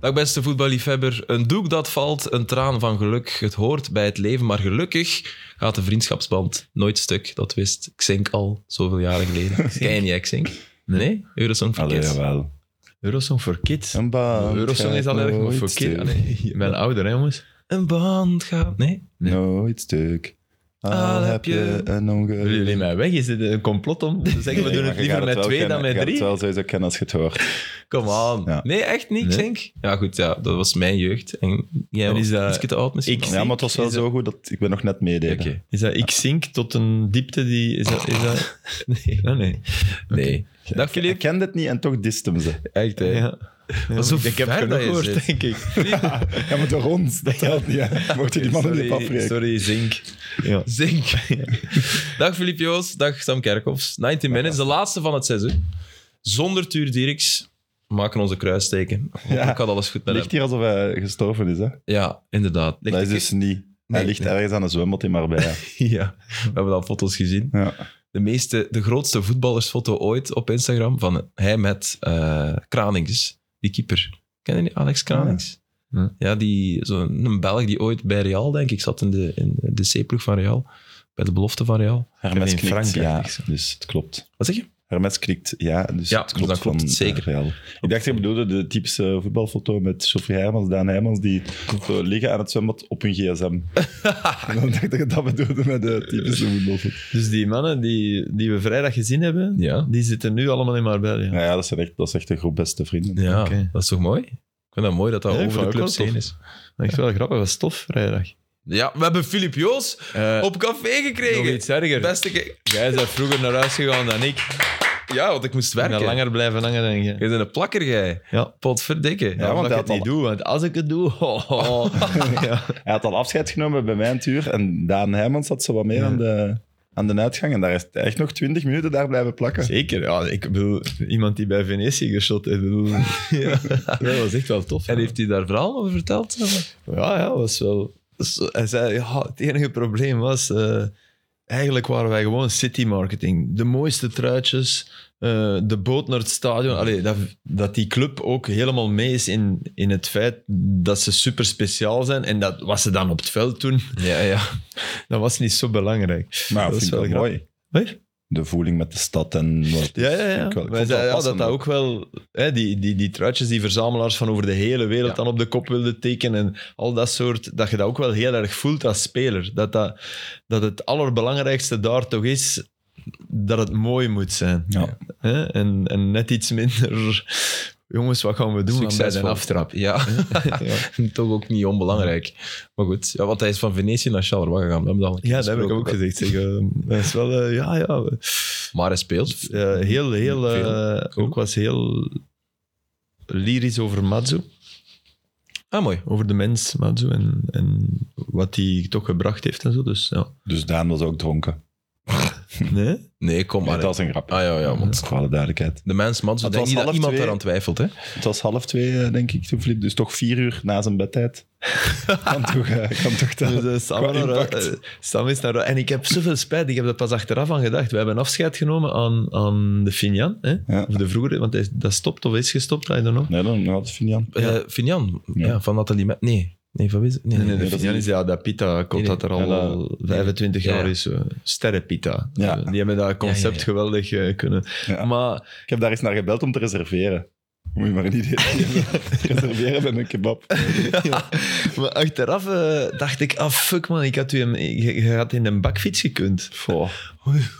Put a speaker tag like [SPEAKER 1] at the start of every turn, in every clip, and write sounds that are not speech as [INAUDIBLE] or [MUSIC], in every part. [SPEAKER 1] Dag beste voetballiefhebber. Een doek dat valt, een traan van geluk. Het hoort bij het leven, maar gelukkig gaat de vriendschapsband nooit stuk. Dat wist Xink al zoveel jaren geleden. Ken je niet, hè, Xink? Nee? Eurosong for
[SPEAKER 2] Allee,
[SPEAKER 1] Kids.
[SPEAKER 2] jawel.
[SPEAKER 3] Eurosong voor kids.
[SPEAKER 2] Een baan.
[SPEAKER 3] Eurosong is
[SPEAKER 2] gaat
[SPEAKER 3] al erg, maar
[SPEAKER 2] nooit eh,
[SPEAKER 3] voor kids.
[SPEAKER 2] stuk.
[SPEAKER 3] Allee, je bent ouder, hè, jongens?
[SPEAKER 1] Een band gaat... Nee?
[SPEAKER 2] Nooit stuk. Al heb je een
[SPEAKER 3] Willen
[SPEAKER 2] ongeluk.
[SPEAKER 3] jullie mij weg? Is dit een complot om te zeggen we
[SPEAKER 2] Nee,
[SPEAKER 3] doen
[SPEAKER 2] maar
[SPEAKER 3] het
[SPEAKER 2] je
[SPEAKER 3] liever
[SPEAKER 2] gaat
[SPEAKER 3] met
[SPEAKER 2] wel
[SPEAKER 3] twee
[SPEAKER 2] kennen.
[SPEAKER 3] dan met
[SPEAKER 2] Je gaat
[SPEAKER 3] drie?
[SPEAKER 2] het wel sowieso kennen als je het
[SPEAKER 3] [LAUGHS]
[SPEAKER 2] hoort.
[SPEAKER 3] Kom aan.
[SPEAKER 2] Ja.
[SPEAKER 1] Nee, echt niet,
[SPEAKER 3] Nee.
[SPEAKER 1] Xink? Ja, goed, ja, dat was mijn jeugd. En jij
[SPEAKER 3] En
[SPEAKER 1] was
[SPEAKER 3] is dat-
[SPEAKER 1] ietsje te oud misschien.
[SPEAKER 3] Ik-
[SPEAKER 1] al.
[SPEAKER 2] Ja, maar het was wel
[SPEAKER 3] Is
[SPEAKER 2] zo goed dat ik ben nog net meedelen.
[SPEAKER 1] Oké.
[SPEAKER 3] Is dat ik zink tot een diepte die... Is dat... Is
[SPEAKER 2] [LAUGHS]
[SPEAKER 3] dat... Nee. Oh, nee.
[SPEAKER 1] Nee. Dag
[SPEAKER 2] Ik
[SPEAKER 1] Filip.
[SPEAKER 2] kende het niet en toch diste hem ze.
[SPEAKER 3] [LAUGHS]
[SPEAKER 1] Echt, hè?
[SPEAKER 3] Ja. Ja,
[SPEAKER 1] zo
[SPEAKER 3] ik heb
[SPEAKER 1] ver dat
[SPEAKER 3] genoeg
[SPEAKER 1] je zit.
[SPEAKER 3] gehoord, denk ik.
[SPEAKER 2] Ja, maar door ons, dat telt niet.
[SPEAKER 3] [LAUGHS]
[SPEAKER 2] hè. Mocht je die [LAUGHS] mannen niet
[SPEAKER 3] sorry,
[SPEAKER 2] afrekenen.
[SPEAKER 3] sorry, zink. Ja.
[SPEAKER 1] Zink.
[SPEAKER 2] [LAUGHS]
[SPEAKER 1] dag Filip Joos, dag Sam Kerkhoffs. 90 Minutes, de laatste van het seizoen. Zonder Tuur Dirks maken onze kruisteken.
[SPEAKER 2] Ja.
[SPEAKER 1] Ik had alles goed met hem.
[SPEAKER 2] Ligt hier alsof hij gestorven is, hè?
[SPEAKER 1] Ja, inderdaad. Ligt
[SPEAKER 2] dat is
[SPEAKER 1] de
[SPEAKER 2] dus niet. hij ligt ergens aan een zwembad in
[SPEAKER 3] [LAUGHS]
[SPEAKER 2] Marbella.
[SPEAKER 1] kist- [LAUGHS] Ja, we hebben al foto's gezien.
[SPEAKER 2] ja.
[SPEAKER 1] De, meeste, de grootste voetballersfoto ooit op Instagram van hij met eh Kranings, die keeper. Ken je die, Alex Kranings?
[SPEAKER 2] Hm.
[SPEAKER 3] Ja.
[SPEAKER 1] Ja, die, zo een Belg die ooit bij Real, denk ik, zat in de, in de C-ploeg van Real. Bij de belofte van Real.
[SPEAKER 2] Hermes
[SPEAKER 3] in
[SPEAKER 2] knikt,
[SPEAKER 3] Frankrijk
[SPEAKER 2] ja.
[SPEAKER 3] niks.
[SPEAKER 2] Dus het klopt.
[SPEAKER 1] Wat zeg je?
[SPEAKER 2] Hermes knikt, ja. Dus
[SPEAKER 1] Ja,
[SPEAKER 2] het klopt
[SPEAKER 1] dan klopt
[SPEAKER 2] van,
[SPEAKER 1] het zeker.
[SPEAKER 2] eh, Real. Ik dacht, je bedoelde de typische voetbalfoto met Sophie Hermans, Daan Hermans, die zo liggen aan het zwembad op hun
[SPEAKER 3] [LAUGHS]
[SPEAKER 2] gsm. en dan dacht ik dat je dat bedoelde met de typische voetbalfoto.
[SPEAKER 3] Dus die mannen die, die we vrijdag gezien hebben,
[SPEAKER 1] Ja.
[SPEAKER 3] die zitten nu allemaal in Marbella.
[SPEAKER 2] Nou ja, dat, zijn echt, dat is echt een groep beste vrienden.
[SPEAKER 1] Ja,
[SPEAKER 3] Oké.
[SPEAKER 1] dat is toch mooi? Ik vind dat mooi dat dat
[SPEAKER 3] Ja, ik
[SPEAKER 1] over de
[SPEAKER 3] vond het
[SPEAKER 1] club
[SPEAKER 3] ook wel
[SPEAKER 1] heen is.
[SPEAKER 3] Echt wel grappig, was tof vrijdag.
[SPEAKER 1] Ja, we hebben Filip Joos
[SPEAKER 3] Eh,
[SPEAKER 1] op café
[SPEAKER 3] nog
[SPEAKER 1] gekregen.
[SPEAKER 3] iets erger.
[SPEAKER 1] Beste ke-
[SPEAKER 3] Jij bent vroeger naar huis gegaan dan ik.
[SPEAKER 1] ja, want ik moest
[SPEAKER 3] Ik
[SPEAKER 1] werken.
[SPEAKER 3] ben langer blijven hangen dan jij.
[SPEAKER 1] Je bent een plakker, jij.
[SPEAKER 3] Ja.
[SPEAKER 1] Potverdikke.
[SPEAKER 2] want
[SPEAKER 3] Ja, want
[SPEAKER 2] hij
[SPEAKER 3] ik
[SPEAKER 2] had
[SPEAKER 3] het niet doe, want als ik het doe... [LAUGHS] oh, oh.
[SPEAKER 2] [LAUGHS]
[SPEAKER 3] ja.
[SPEAKER 2] Hij had al afscheid genomen bij mijn tuur en Daan Hermans zat zo wat meer aan, de, aan de uitgang. En daar is hij echt nog twintig minuten daar blijven plakken.
[SPEAKER 3] Zeker, ja, ik bedoel, iemand die bij Venetië geschot heeft, bedoel, ja, dat was echt wel tof.
[SPEAKER 1] En heeft hij daar verhaal over verteld?
[SPEAKER 3] Ja, ja, was wel... was- Dus, Hij zei, ja, het enige probleem was... eh, eigenlijk waren wij gewoon city marketing. De mooiste truitjes, eh, de boot naar het stadion. Allee, dat, dat die club ook helemaal mee is in, in het feit dat ze super speciaal zijn. En dat was ze dan op het veld toen. [LAUGHS]
[SPEAKER 1] Ja, ja.
[SPEAKER 3] Dat was niet zo belangrijk.
[SPEAKER 2] Maar
[SPEAKER 3] dat
[SPEAKER 2] ik
[SPEAKER 3] is
[SPEAKER 2] vind
[SPEAKER 3] wel
[SPEAKER 2] dat
[SPEAKER 3] grappig.
[SPEAKER 2] mooi.
[SPEAKER 3] Hè?
[SPEAKER 2] De voeling met de stad en wat.
[SPEAKER 3] Ja, ja,
[SPEAKER 2] Ik wel- Dus ik vond
[SPEAKER 3] ja. Wij
[SPEAKER 2] het wel
[SPEAKER 3] zeiden, ja, dat
[SPEAKER 2] passend
[SPEAKER 3] dat ook wel... Hè, die, die, die truitjes die verzamelaars van over de hele wereld
[SPEAKER 1] Ja.
[SPEAKER 3] dan op de kop wilden tekenen en al dat soort... Dat je dat ook wel heel erg voelt als speler. Dat, dat, dat het allerbelangrijkste daar toch is dat het mooi moet zijn.
[SPEAKER 2] Ja.
[SPEAKER 3] Hè? En, en net iets minder... Jongens, wat gaan we doen aan bij de
[SPEAKER 1] Succesvol.
[SPEAKER 3] aftrap?
[SPEAKER 1] Ja,
[SPEAKER 3] Ja.
[SPEAKER 1] [LAUGHS] toch ook niet onbelangrijk. Maar goed, ja, want hij is van Venetië naar Charleroi gegaan. We hebben dat al een keer
[SPEAKER 3] [LAUGHS] Ja, dat heb ik
[SPEAKER 1] besproken.
[SPEAKER 3] ook gezegd. Zeg, eh, dat is wel... eh, ja, ja.
[SPEAKER 1] Maar hij speelt.
[SPEAKER 3] Eh, heel, heel... eh,
[SPEAKER 1] Veel. Cool.
[SPEAKER 3] Ook was heel lyrisch over Matsu.
[SPEAKER 1] Ah, mooi.
[SPEAKER 3] over de mens, Matsu, en, en wat hij toch gebracht heeft en zo. Dus ja.
[SPEAKER 2] Dus Daan was ook
[SPEAKER 3] Oh,
[SPEAKER 2] dronken.
[SPEAKER 3] Nee?
[SPEAKER 1] Nee, kom
[SPEAKER 2] Maar
[SPEAKER 1] maar.
[SPEAKER 2] dat was een grap.
[SPEAKER 1] Ah ja, ja, want
[SPEAKER 2] Dat is voor alle duidelijkheid.
[SPEAKER 1] de mens, man, zo
[SPEAKER 2] Het
[SPEAKER 1] denk
[SPEAKER 2] was
[SPEAKER 1] niet dat
[SPEAKER 2] half
[SPEAKER 1] iemand
[SPEAKER 2] twee.
[SPEAKER 1] daaraan twijfelt. Hè?
[SPEAKER 2] Het was half twee, eh, denk ik, toen Filip. Dus toch vier uur na zijn [LAUGHS] bedtijd. kan, toch, eh, kan toch tellen.
[SPEAKER 3] Dus, eh, Sam,
[SPEAKER 2] Qua
[SPEAKER 3] naar-
[SPEAKER 2] impact.
[SPEAKER 3] eh, Sam is naar... En ik heb zoveel spijt, ik heb er pas achteraf aan gedacht. We hebben afscheid genomen aan, aan de Finjan, hè?
[SPEAKER 2] Ja.
[SPEAKER 3] of de vroegere, want hij, dat stopt of is gestopt, I don't know.
[SPEAKER 2] Nee, dan had het Finian.
[SPEAKER 3] Ja.
[SPEAKER 1] Eh, Finian,
[SPEAKER 2] Ja.
[SPEAKER 1] ja, van Nathalie. Me- Nee, nee, van wie is het? Nee,
[SPEAKER 3] Nee,
[SPEAKER 1] nee,
[SPEAKER 3] nee, de
[SPEAKER 2] dat is
[SPEAKER 3] Finjan
[SPEAKER 2] niet-
[SPEAKER 3] is ja, dat pita
[SPEAKER 1] Nee,
[SPEAKER 3] komt dat er al
[SPEAKER 2] Ja, dat-
[SPEAKER 3] 25
[SPEAKER 1] Ja, ja.
[SPEAKER 3] jaar is. eh, Sterrenpita.
[SPEAKER 2] Ja.
[SPEAKER 3] Eh, die hebben dat concept
[SPEAKER 1] Ja, ja, ja.
[SPEAKER 3] geweldig eh, kunnen.
[SPEAKER 2] Ja.
[SPEAKER 3] Maar
[SPEAKER 2] Ik heb daar eens naar gebeld om te reserveren. Moet je maar een idee [LAUGHS] geven. reserveren bij een kebab.
[SPEAKER 3] Ja. Maar achteraf eh, dacht ik, ah fuck man, ik had u hem, je, je had in een bakfiets gekund.
[SPEAKER 2] Goh.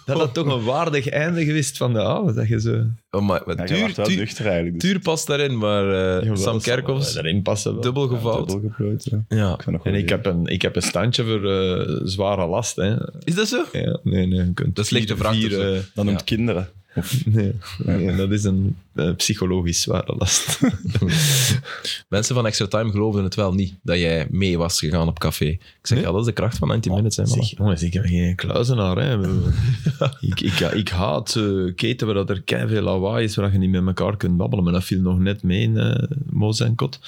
[SPEAKER 3] Dat had toch een waardig einde geweest van de avond, dat je zo...
[SPEAKER 1] Oh, maar, maar
[SPEAKER 2] Ja, je
[SPEAKER 1] tuur,
[SPEAKER 2] was wel
[SPEAKER 1] tuur-
[SPEAKER 2] nuchter eigenlijk. Dus
[SPEAKER 1] Tuur past daarin, maar eh,
[SPEAKER 3] Jawel,
[SPEAKER 1] Sam
[SPEAKER 3] dat zal wel
[SPEAKER 1] Kerkhoffs,
[SPEAKER 3] daarin passen wel.
[SPEAKER 1] dubbel gevouwd.
[SPEAKER 2] dubbel geplooid. hè.
[SPEAKER 1] Ja.
[SPEAKER 2] Ik vind nog wel
[SPEAKER 3] En ik
[SPEAKER 2] leuk.
[SPEAKER 3] heb, een, ik heb een standje voor eh, zware last, hè.
[SPEAKER 1] Is dat zo?
[SPEAKER 3] Ja, nee, nee, je kunt
[SPEAKER 1] Dat is lichte
[SPEAKER 3] vier-
[SPEAKER 1] vracht
[SPEAKER 3] vier,
[SPEAKER 1] of zo.
[SPEAKER 3] eh,
[SPEAKER 2] Dat noemt
[SPEAKER 1] Ja.
[SPEAKER 2] kinderen.
[SPEAKER 3] nee, nee, dat is een eh, psychologisch zware last. [LAUGHS]
[SPEAKER 1] Mensen van Extra Time geloofden het wel niet dat jij mee was gegaan op café. Ik zeg,
[SPEAKER 3] Nee?
[SPEAKER 1] ja,
[SPEAKER 3] Ah,
[SPEAKER 1] dat is de kracht van 90 Minutes. Hè, man.
[SPEAKER 3] Zeg, jongens, ik heb geen kluizenaar. Hè. Ik [LAUGHS] bedoel, ik, ik, ik haat eh, keten waar dat er keiveel lawaai is, waar je niet met elkaar kunt babbelen. Maar dat viel nog net mee in eh Moos en Kot.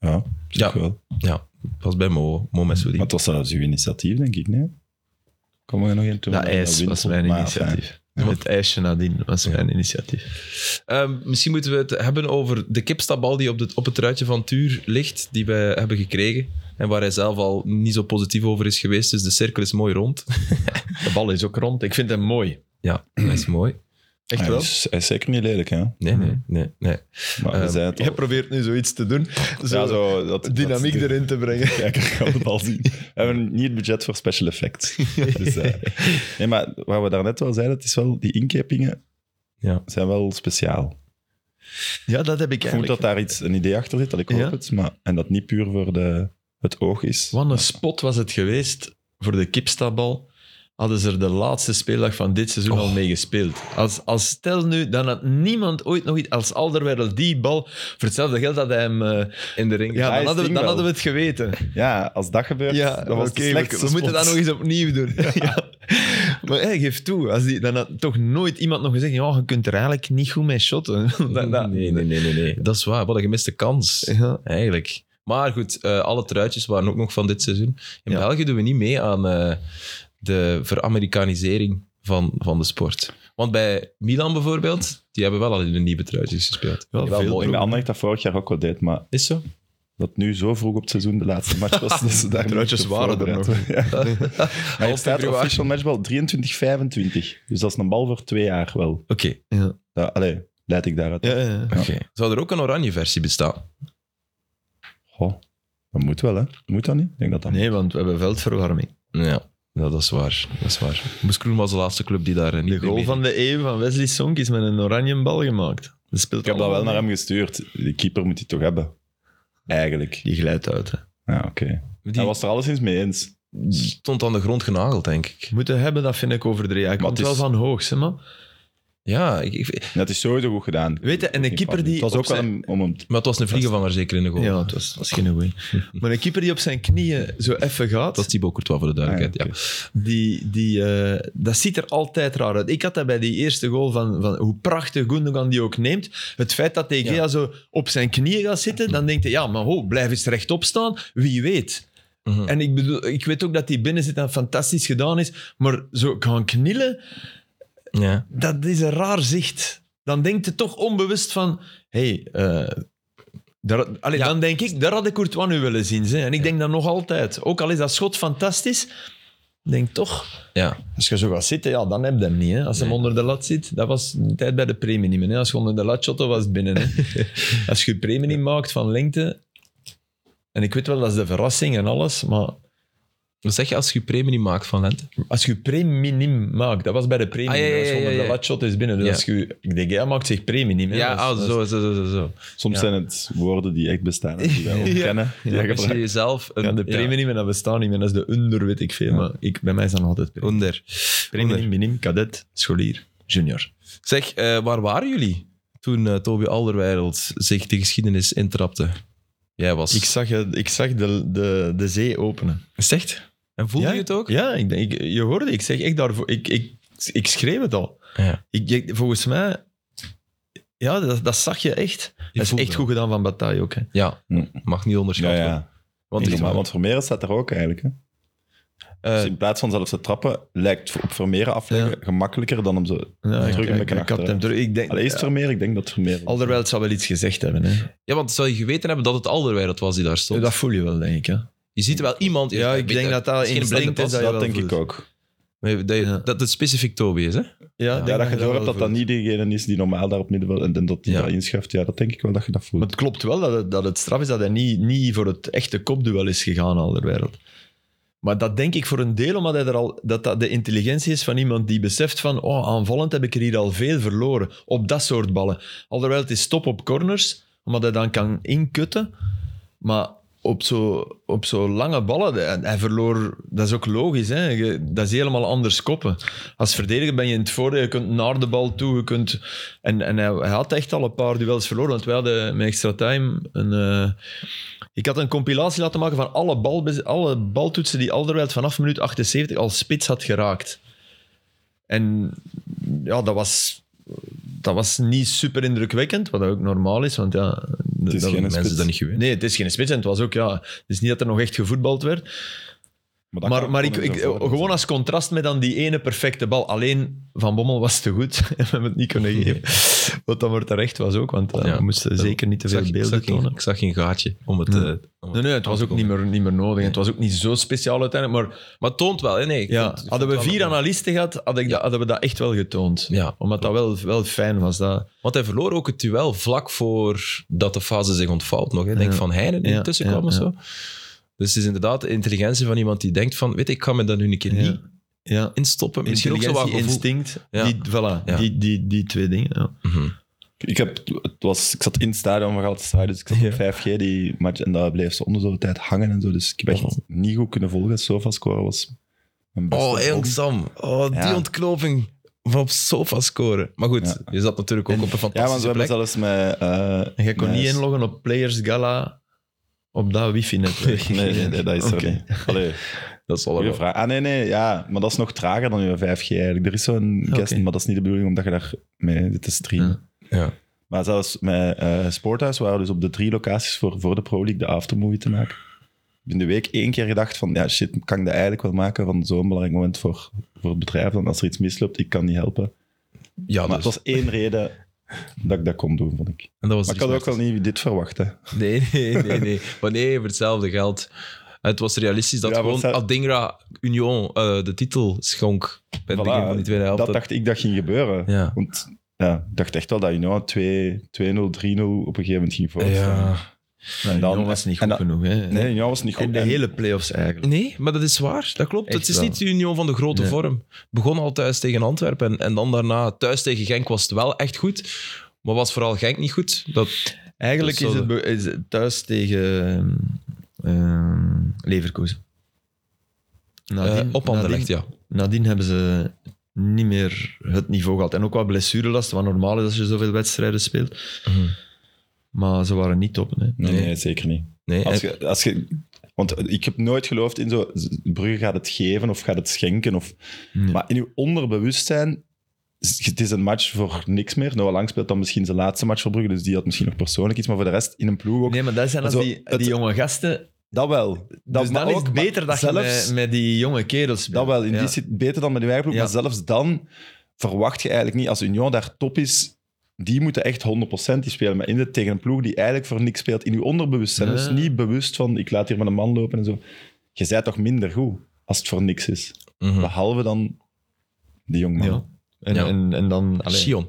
[SPEAKER 2] Ja, op zich
[SPEAKER 1] Ja.
[SPEAKER 2] wel.
[SPEAKER 1] Ja, dat was bij Mo, Mo
[SPEAKER 2] Maar
[SPEAKER 1] Messoudi.
[SPEAKER 2] het was zelfs uw initiatief, denk ik, nee? Kom er nog in toe.
[SPEAKER 3] Dat ijs was mijn initiatief. Het ijsje nadien was mijn initiatief.
[SPEAKER 1] Ehm, misschien moeten we het hebben over de kipstabal die op, de, op het truitje van Tuur ligt, die wij hebben gekregen. En waar hij zelf al niet zo positief over is geweest. Dus de cirkel is mooi rond.
[SPEAKER 3] De bal is ook rond. Ik vind hem mooi.
[SPEAKER 1] Ja, dat is mooi.
[SPEAKER 3] Echt
[SPEAKER 2] Hij
[SPEAKER 3] wel?
[SPEAKER 2] is, hij is zeker niet lelijk, hè?
[SPEAKER 1] Nee, nee, nee. nee.
[SPEAKER 2] Maar
[SPEAKER 1] Ehm,
[SPEAKER 2] we zijn het al.
[SPEAKER 3] Jij probeert nu zoiets te doen. Zo,
[SPEAKER 2] Ja, zo, dat,
[SPEAKER 3] dynamiek
[SPEAKER 2] dat-
[SPEAKER 3] erin te
[SPEAKER 2] [LAUGHS]
[SPEAKER 3] brengen.
[SPEAKER 2] kijker gaan het al
[SPEAKER 3] [LAUGHS]
[SPEAKER 2] zien. We hebben niet het budget voor special effects. Dus, eh, nee, maar wat we daarnet al zeiden, het is wel, die inkepingen
[SPEAKER 1] Ja.
[SPEAKER 2] zijn wel speciaal.
[SPEAKER 3] Ja, dat heb ik
[SPEAKER 2] Ik voel
[SPEAKER 3] eigenlijk.
[SPEAKER 2] dat daar iets, een idee achter zit, dat ik hoop
[SPEAKER 3] Ja.
[SPEAKER 2] het, maar, en dat niet puur voor de, het oog is.
[SPEAKER 3] Wat een spot was het geweest voor de Kipstabal. Hadden ze er de laatste speeldag van dit seizoen
[SPEAKER 2] Oh.
[SPEAKER 3] al mee gespeeld. Als, als stel nu, dan had niemand ooit nog iets... Als Alderweireld die bal, voor hetzelfde geld dat hij hem... eh,
[SPEAKER 1] In de ring.
[SPEAKER 3] ja,
[SPEAKER 2] hij
[SPEAKER 3] dan hadden, we,
[SPEAKER 2] stinkt
[SPEAKER 3] dan
[SPEAKER 2] wel.
[SPEAKER 3] hadden we het geweten.
[SPEAKER 2] [LAUGHS] Ja, als dat gebeurt,
[SPEAKER 3] Ja,
[SPEAKER 2] dan was
[SPEAKER 3] oké,
[SPEAKER 2] het
[SPEAKER 3] we,
[SPEAKER 2] slechtste
[SPEAKER 3] we moeten
[SPEAKER 2] spot.
[SPEAKER 3] dat nog eens opnieuw doen.
[SPEAKER 2] [LAUGHS]
[SPEAKER 3] [LAUGHS] Ja. Maar hey, geef toe, als die, dan had toch nooit iemand nog gezegd, ja, je kunt er eigenlijk niet goed mee shotten. [LAUGHS] Dat- dat-
[SPEAKER 1] Nee, nee, nee, nee, nee. Dat is waar. Wat een gemiste kans.
[SPEAKER 3] Ja.
[SPEAKER 1] Eigenlijk. Maar goed, eh, alle truitjes waren ook nog van dit seizoen. In
[SPEAKER 3] Ja.
[SPEAKER 1] België doen we niet mee aan eh, de veramerikanisering van, van de sport. Want bij Milan bijvoorbeeld, die hebben wel al in de nieuwe truitjes gespeeld. wel
[SPEAKER 3] Wel veel
[SPEAKER 1] mooi.
[SPEAKER 2] Ik denk dat Anderlecht dat vorig jaar ook wel deed, maar
[SPEAKER 1] Is zo?
[SPEAKER 2] dat nu zo vroeg op het seizoen de laatste match
[SPEAKER 3] [LAUGHS]
[SPEAKER 2] was, dat ze daar niet
[SPEAKER 3] Truitjes
[SPEAKER 2] op
[SPEAKER 3] waren er
[SPEAKER 2] voorbereid
[SPEAKER 3] [LAUGHS]
[SPEAKER 2] waren. Ja. Maar
[SPEAKER 1] Half
[SPEAKER 2] het staat
[SPEAKER 1] februari.
[SPEAKER 2] official matchbal 23-25, dus dat is een bal voor twee jaar wel.
[SPEAKER 1] Oké.
[SPEAKER 2] Ja, allee, leid ik daaruit.
[SPEAKER 3] Ja, ja, ja.
[SPEAKER 1] Oké. Zou er ook een oranje versie bestaan?
[SPEAKER 2] Goh, dat moet wel, hè? Moet dat niet? Ik denk dat dat
[SPEAKER 3] Nee, want we hebben veldverwarming.
[SPEAKER 1] Ja, ja, dat is waar. Dat is waar. Moes Kroen was de laatste club die daar eh, niet
[SPEAKER 3] De
[SPEAKER 1] mee
[SPEAKER 3] goal
[SPEAKER 1] meedeed.
[SPEAKER 3] van de eeuw van Wesley Sonk is met een oranje bal gemaakt. Dat speelt
[SPEAKER 2] Ik heb dat wel
[SPEAKER 3] allemaal
[SPEAKER 2] naar hem gestuurd. De keeper moet die toch hebben? Eigenlijk.
[SPEAKER 3] mee. Die glijdt uit. Hè.
[SPEAKER 2] Ja, oké.
[SPEAKER 1] Die
[SPEAKER 2] Hij was er alleszins mee eens.
[SPEAKER 1] stond aan de grond genageld, denk ik.
[SPEAKER 3] Moeten hebben, dat vind ik overdreven. Hij
[SPEAKER 2] Maar
[SPEAKER 3] komt
[SPEAKER 2] het
[SPEAKER 3] wel
[SPEAKER 2] is-
[SPEAKER 3] van hoog, hè, man.
[SPEAKER 1] Ja, ik, ik-
[SPEAKER 2] Dat is sowieso goed gedaan.
[SPEAKER 3] Weet je, en de keeper die...
[SPEAKER 2] Het was
[SPEAKER 3] op
[SPEAKER 2] ook wel
[SPEAKER 3] zijn-
[SPEAKER 2] een- om hem... te-
[SPEAKER 1] maar het was een vliegenvanger zeker in de goal.
[SPEAKER 3] Ja, het was, het was geen
[SPEAKER 2] [LAUGHS]
[SPEAKER 3] goeie. Maar een keeper die op zijn knieën zo even gaat...
[SPEAKER 1] Dat is Thibaut Courtois voor de duidelijkheid.
[SPEAKER 2] Ah,
[SPEAKER 1] ja.
[SPEAKER 2] oké.
[SPEAKER 3] Die, die, eh, dat ziet er altijd raar uit. Ik had dat bij die eerste goal van, van hoe prachtig Gundogan die ook neemt. Het feit dat Tegea
[SPEAKER 1] Ja.
[SPEAKER 3] zo op zijn knieën gaat zitten, dan denkt hij, ja, maar ho, blijf eens rechtop staan. Wie weet.
[SPEAKER 1] Mhm.
[SPEAKER 3] En ik, bedoel, ik weet ook dat die binnen zit en fantastisch gedaan is. Maar zo gaan knielen,
[SPEAKER 1] Ja.
[SPEAKER 3] dat is een raar zicht. Dan denkt hij toch onbewust van, hey, eh, daar, allee,
[SPEAKER 1] Ja.
[SPEAKER 3] dan denk ik, daar had ik Courtois nu willen zien. Hè. En ik denk dat nog altijd. Ook al is dat schot fantastisch, denk toch...
[SPEAKER 1] ja.
[SPEAKER 3] Als je zo gaat zitten, ja, dan heb je hem niet. Hè. Als
[SPEAKER 1] Nee.
[SPEAKER 3] hem onder de lat zit, dat was de tijd bij de premie niet meer. Hè. Als je onder de lat shotte, was het binnen. Hè.
[SPEAKER 1] [LAUGHS]
[SPEAKER 3] Als je je premie niet maakt van lengte... En ik weet wel, dat is de verrassing en alles, maar
[SPEAKER 1] Wat zeg je als je je premie niet maakt van lente?
[SPEAKER 3] als je je premium maakt, dat was bij de premie,
[SPEAKER 1] Ah, ja, ja,
[SPEAKER 3] als je
[SPEAKER 1] ja,
[SPEAKER 3] onder
[SPEAKER 1] ja,
[SPEAKER 3] de
[SPEAKER 1] ja.
[SPEAKER 3] lat shot is binnen. Dus
[SPEAKER 1] Ja.
[SPEAKER 3] als je, ik denk, jij maakt zich premie niet meer.
[SPEAKER 1] Ja,
[SPEAKER 3] Dat
[SPEAKER 1] ah,
[SPEAKER 3] is- dat is-
[SPEAKER 1] zo, zo, zo, zo.
[SPEAKER 2] Soms
[SPEAKER 1] Ja.
[SPEAKER 2] zijn het woorden die echt bestaan. en
[SPEAKER 3] [LAUGHS]
[SPEAKER 2] Die wij ook
[SPEAKER 3] Ja.
[SPEAKER 2] kennen. Die
[SPEAKER 3] Ja,
[SPEAKER 2] wij
[SPEAKER 1] Als je
[SPEAKER 2] gebruiken.
[SPEAKER 1] jezelf een
[SPEAKER 3] Ja, de premie niet meer, dat bestaat niet meer. Dat is de under, weet ik veel. Maar ik, bij mij is dat nog altijd premie.
[SPEAKER 1] Onder.
[SPEAKER 3] Premium, minim, kadet, scholier, junior.
[SPEAKER 1] Zeg, eh, waar waren jullie toen eh Toby Alderweireld zich de geschiedenis intrapte? Jij was...
[SPEAKER 3] Ik zag, het- ik zag de, de, de zee openen.
[SPEAKER 1] Is het echt? En voelde
[SPEAKER 3] ja,
[SPEAKER 1] je het ook?
[SPEAKER 3] Ja, ik, denk- ik, je hoorde, ik zeg echt daarvoor. Ik, ik, ik schreef het al.
[SPEAKER 1] Ja.
[SPEAKER 3] Ik, ik- volgens mij, ja, dat, dat zag je echt. Dat is
[SPEAKER 1] voelde
[SPEAKER 3] echt
[SPEAKER 1] dat.
[SPEAKER 3] goed gedaan van Bataille ook. Hè.
[SPEAKER 1] Ja,
[SPEAKER 2] Hm.
[SPEAKER 1] mag niet
[SPEAKER 2] Ja,
[SPEAKER 1] onderschatten.
[SPEAKER 2] ja.
[SPEAKER 1] Want,
[SPEAKER 2] Want,
[SPEAKER 1] ik-
[SPEAKER 2] normaal, want Vermeer staat er ook eigenlijk. Hè?
[SPEAKER 1] eh,
[SPEAKER 2] Dus in plaats van zelfs te trappen, lijkt op Vermeer afleggen gemakkelijker dan om ze...
[SPEAKER 3] Ja,
[SPEAKER 2] Terug
[SPEAKER 3] ik-
[SPEAKER 2] een
[SPEAKER 3] ik,
[SPEAKER 2] beetje
[SPEAKER 3] ik had
[SPEAKER 2] achteruit.
[SPEAKER 3] hem terug. Ik denk,
[SPEAKER 2] Allee, is het Vermeer? Ik denk dat Vermeer...
[SPEAKER 3] Alderwijl zou wel iets gezegd hebben. Hè.
[SPEAKER 1] ja, want zou je geweten hebben dat het Alderweireld was die daar stond?
[SPEAKER 3] Dat voel je wel, denk ik. Hè.
[SPEAKER 1] Je ziet wel iemand...
[SPEAKER 3] Ja, ik
[SPEAKER 1] weet-
[SPEAKER 3] denk dat dat
[SPEAKER 1] het is geen
[SPEAKER 3] instinct
[SPEAKER 1] blinde
[SPEAKER 3] is
[SPEAKER 1] pas.
[SPEAKER 3] je
[SPEAKER 2] Dat
[SPEAKER 3] wel
[SPEAKER 2] denk ik
[SPEAKER 3] voelt.
[SPEAKER 2] ook.
[SPEAKER 1] Nee, dat, je-
[SPEAKER 3] Ja.
[SPEAKER 1] dat het specifiek Toby is, hè?
[SPEAKER 3] Ja, ik denk
[SPEAKER 2] Ja, dat je door hebt
[SPEAKER 3] wel
[SPEAKER 2] dat dat
[SPEAKER 3] voelt.
[SPEAKER 2] niet degene is die normaal daar op middenveld en, en dat die
[SPEAKER 1] Ja.
[SPEAKER 2] dat inschuift. Ja, dat denk ik wel dat je dat voelt.
[SPEAKER 3] Maar het klopt wel dat het, dat het straf is dat hij niet, niet voor het echte kopduel is gegaan, Alderwereld. Maar dat denk ik voor een deel omdat hij er al, dat dat de intelligentie is van iemand die beseft van oh, aanvallend heb ik er hier al veel verloren op dat soort ballen. Alderwereld is top op corners, omdat hij dan kan inkutten. Maar op zo, op zo lange ballen, hij, hij verloor, dat is ook logisch, hè? Je- dat is helemaal anders koppen. Als verdediger ben je in het voordeel, je kunt naar de bal toe, je kunt... En, en hij, hij had echt al een paar duels verloren, want wij hadden met extra time een... eh, ik had een compilatie laten maken van alle, balbez- alle baltoetsen die Alderweireld vanaf minuut 78 al spits had geraakt. En ja, dat was, dat was niet super indrukwekkend, wat ook normaal is, want ja...
[SPEAKER 2] is
[SPEAKER 3] dat-
[SPEAKER 2] geen
[SPEAKER 1] Mensen
[SPEAKER 2] spits.
[SPEAKER 1] dat niet geweten.
[SPEAKER 3] Nee, het is geen spits. En het was ook, ja, het is niet dat er nog echt gevoetbald werd.
[SPEAKER 2] dat
[SPEAKER 3] maar
[SPEAKER 2] kan-
[SPEAKER 3] maar
[SPEAKER 2] kon
[SPEAKER 3] ik,
[SPEAKER 2] er
[SPEAKER 3] ik,
[SPEAKER 2] zo voor-
[SPEAKER 3] gewoon als contrast met dan die ene perfecte bal. Alleen Van Bommel was te goed [LAUGHS] en we hebben het niet
[SPEAKER 2] [LAUGHS]
[SPEAKER 3] kunnen geven. Wat dan maar terecht was ook, want eh,
[SPEAKER 1] Ja.
[SPEAKER 3] we moesten zeker niet te
[SPEAKER 1] Ik
[SPEAKER 3] veel
[SPEAKER 1] zag, ik,
[SPEAKER 3] beelden
[SPEAKER 1] zag geen,
[SPEAKER 3] tonen. Hm.
[SPEAKER 1] ik zag geen gaatje om het...
[SPEAKER 3] Nee.
[SPEAKER 1] eh, om het
[SPEAKER 3] Nee, nee, het was ook niet meer, niet meer nodig. en Het was ook niet zo speciaal uiteindelijk. Maar
[SPEAKER 1] Maar het toont wel, hè? Nee, ik
[SPEAKER 3] ja,
[SPEAKER 1] vond- ik
[SPEAKER 3] hadden we
[SPEAKER 1] vond het
[SPEAKER 3] vier
[SPEAKER 1] wel-
[SPEAKER 3] analisten gehad, had ik dat- hadden we dat echt wel getoond.
[SPEAKER 1] Ja,
[SPEAKER 3] Omdat dat wel, wel fijn was. Dat,
[SPEAKER 1] want hij verloor ook het duel vlak voor dat de fase zich ontvouwt nog. hè. Ik denk
[SPEAKER 3] Ja.
[SPEAKER 1] van Heijnen die
[SPEAKER 3] Ja,
[SPEAKER 1] tussen
[SPEAKER 3] ja,
[SPEAKER 1] kwam of
[SPEAKER 3] ja.
[SPEAKER 1] zo. Dus het is inderdaad de intelligentie van iemand die denkt van, weet ik, ik kan me daar nu een keer niet
[SPEAKER 3] ja.
[SPEAKER 1] instoppen. Misschien ook zo wat
[SPEAKER 3] Intelligentie,
[SPEAKER 1] gevoel.
[SPEAKER 3] instinct.
[SPEAKER 1] Ja.
[SPEAKER 3] Die, voilà,
[SPEAKER 1] Ja.
[SPEAKER 3] die, die, die twee dingen. Ja.
[SPEAKER 1] Mhm.
[SPEAKER 2] Ik, heb, het was, ik zat in het stadion van Galatasaray, dus ik zat op 5G die match en dat bleef ze onder de tijd hangen en zo. Dus ik heb echt niet goed kunnen volgen. Sofascore was mijn beste.
[SPEAKER 1] Oh, jong Sam. Oh, die
[SPEAKER 2] Ja.
[SPEAKER 1] ontknoping van op sofa scoren. Maar goed,
[SPEAKER 2] Ja.
[SPEAKER 1] je zat natuurlijk ook op een
[SPEAKER 2] Ja, want we
[SPEAKER 1] fantastische
[SPEAKER 2] hebben
[SPEAKER 1] plek.
[SPEAKER 2] zelfs met... eh,
[SPEAKER 3] En jij kon
[SPEAKER 2] met-
[SPEAKER 3] niet inloggen op Players Gala op dat
[SPEAKER 2] [LAUGHS]
[SPEAKER 3] wifi-netwerk.
[SPEAKER 2] Nee, nee, nee, dat is
[SPEAKER 3] Oké. Oh,
[SPEAKER 2] er
[SPEAKER 3] [LAUGHS]
[SPEAKER 2] niet. Allee,
[SPEAKER 1] Dat is
[SPEAKER 2] goeie
[SPEAKER 1] allemaal.
[SPEAKER 2] vraag. Ah, nee, nee, ja. Maar dat is nog trager dan je 5G eigenlijk. Er is zo'n guest, maar dat is niet de bedoeling omdat je daar mee zit te streamen.
[SPEAKER 3] Ah, Ja.
[SPEAKER 1] Ja.
[SPEAKER 2] Maar zelfs met eh Sporthuis waren we dus op de drie locaties voor, voor de Pro League de aftermovie te maken. Ik heb in de week één keer gedacht van, ja shit, kan ik dat eigenlijk wel maken van zo'n belangrijk moment voor, voor het bedrijf? Dan als er iets misloopt, ik kan niet helpen.
[SPEAKER 1] Ja,
[SPEAKER 2] Maar
[SPEAKER 1] dus.
[SPEAKER 2] het was één reden dat ik dat kon doen, vond ik.
[SPEAKER 1] En dat was dus
[SPEAKER 2] Maar ik
[SPEAKER 1] drie
[SPEAKER 2] had ook wel niet dit verwachten.
[SPEAKER 1] Nee, nee, nee. nee. Maar nee, voor hetzelfde geld. Het was realistisch dat
[SPEAKER 2] Ja, voor
[SPEAKER 1] gewoon
[SPEAKER 2] hetzelfde-
[SPEAKER 1] Adingra Union eh, de titel schonk. Bij het
[SPEAKER 2] Voilà,
[SPEAKER 1] begin van die tweede helft.
[SPEAKER 2] Dat dacht ik dat ging gebeuren.
[SPEAKER 1] Ja.
[SPEAKER 2] Want ja, ik dacht echt wel dat Union 2 2-0, 3-0 op een gegeven moment ging voorstaan.
[SPEAKER 1] Ja.
[SPEAKER 2] En dan-
[SPEAKER 3] Union was niet
[SPEAKER 2] en
[SPEAKER 3] goed
[SPEAKER 2] dan-
[SPEAKER 3] genoeg. Hè.
[SPEAKER 2] Nee, Union was niet goed.
[SPEAKER 3] en de
[SPEAKER 2] En-
[SPEAKER 3] hele play-offs eigenlijk.
[SPEAKER 1] Nee, maar dat is waar. Dat klopt.
[SPEAKER 3] Echt
[SPEAKER 1] het is
[SPEAKER 3] wel.
[SPEAKER 1] niet de Union van de grote
[SPEAKER 3] Nee.
[SPEAKER 1] vorm. Het begon al thuis tegen Antwerpen. En, en dan daarna thuis tegen Genk was het wel echt goed. Maar was vooral Genk niet goed. Dat,
[SPEAKER 3] Eigenlijk
[SPEAKER 1] Dus
[SPEAKER 3] is
[SPEAKER 1] zo
[SPEAKER 3] het, be- is het thuis tegen ehm Leverkusen.
[SPEAKER 1] eh, op handen
[SPEAKER 3] nadien,
[SPEAKER 1] legt, ja.
[SPEAKER 3] nadien hebben ze niet meer het niveau gehad. En ook wat blessurelast, wat normaal is als je zoveel wedstrijden speelt.
[SPEAKER 1] Mhm.
[SPEAKER 3] Maar ze waren niet top. Nee.
[SPEAKER 2] Nee,
[SPEAKER 1] Nee.
[SPEAKER 2] nee, zeker niet.
[SPEAKER 1] Nee, eh,
[SPEAKER 2] Als
[SPEAKER 1] en-
[SPEAKER 2] je, als je, want ik heb nooit geloofd in zo, Brugge gaat het geven of gaat het schenken. Of,
[SPEAKER 3] Nee.
[SPEAKER 2] Maar in je onderbewustzijn, is- het is een match voor niks meer. Noah Lang speelt dan misschien zijn laatste match voor Brugge, dus die had misschien nog persoonlijk iets. Maar voor de rest, in een ploeg ook,
[SPEAKER 3] Nee, maar dat zijn als
[SPEAKER 2] Zo,
[SPEAKER 3] die,
[SPEAKER 2] het-
[SPEAKER 3] die jonge gasten.
[SPEAKER 2] dat wel. Dat,
[SPEAKER 3] dus
[SPEAKER 2] maar
[SPEAKER 3] dan is
[SPEAKER 2] ook-
[SPEAKER 3] het beter dat
[SPEAKER 2] maar
[SPEAKER 3] je
[SPEAKER 2] zelfs,
[SPEAKER 3] met, met die jonge kerels speelt.
[SPEAKER 2] Dat wel, in
[SPEAKER 3] Ja.
[SPEAKER 2] die zit beter dan met de eigen ploeg.
[SPEAKER 3] Ja.
[SPEAKER 2] Maar zelfs dan verwacht je eigenlijk niet, als Union daar top is, die moeten echt 100% die spelen. Maar in de, tegen een ploeg die eigenlijk voor niks speelt in je onderbewustzijn.
[SPEAKER 3] Ja.
[SPEAKER 2] Dus niet bewust van, ik laat hier met een man lopen en zo. Je bent toch minder goed als het voor niks is.
[SPEAKER 1] Mhm.
[SPEAKER 2] Behalve dan die jongman.
[SPEAKER 3] Ja. En,
[SPEAKER 1] Ja.
[SPEAKER 3] En, en dan allee,
[SPEAKER 1] Sion.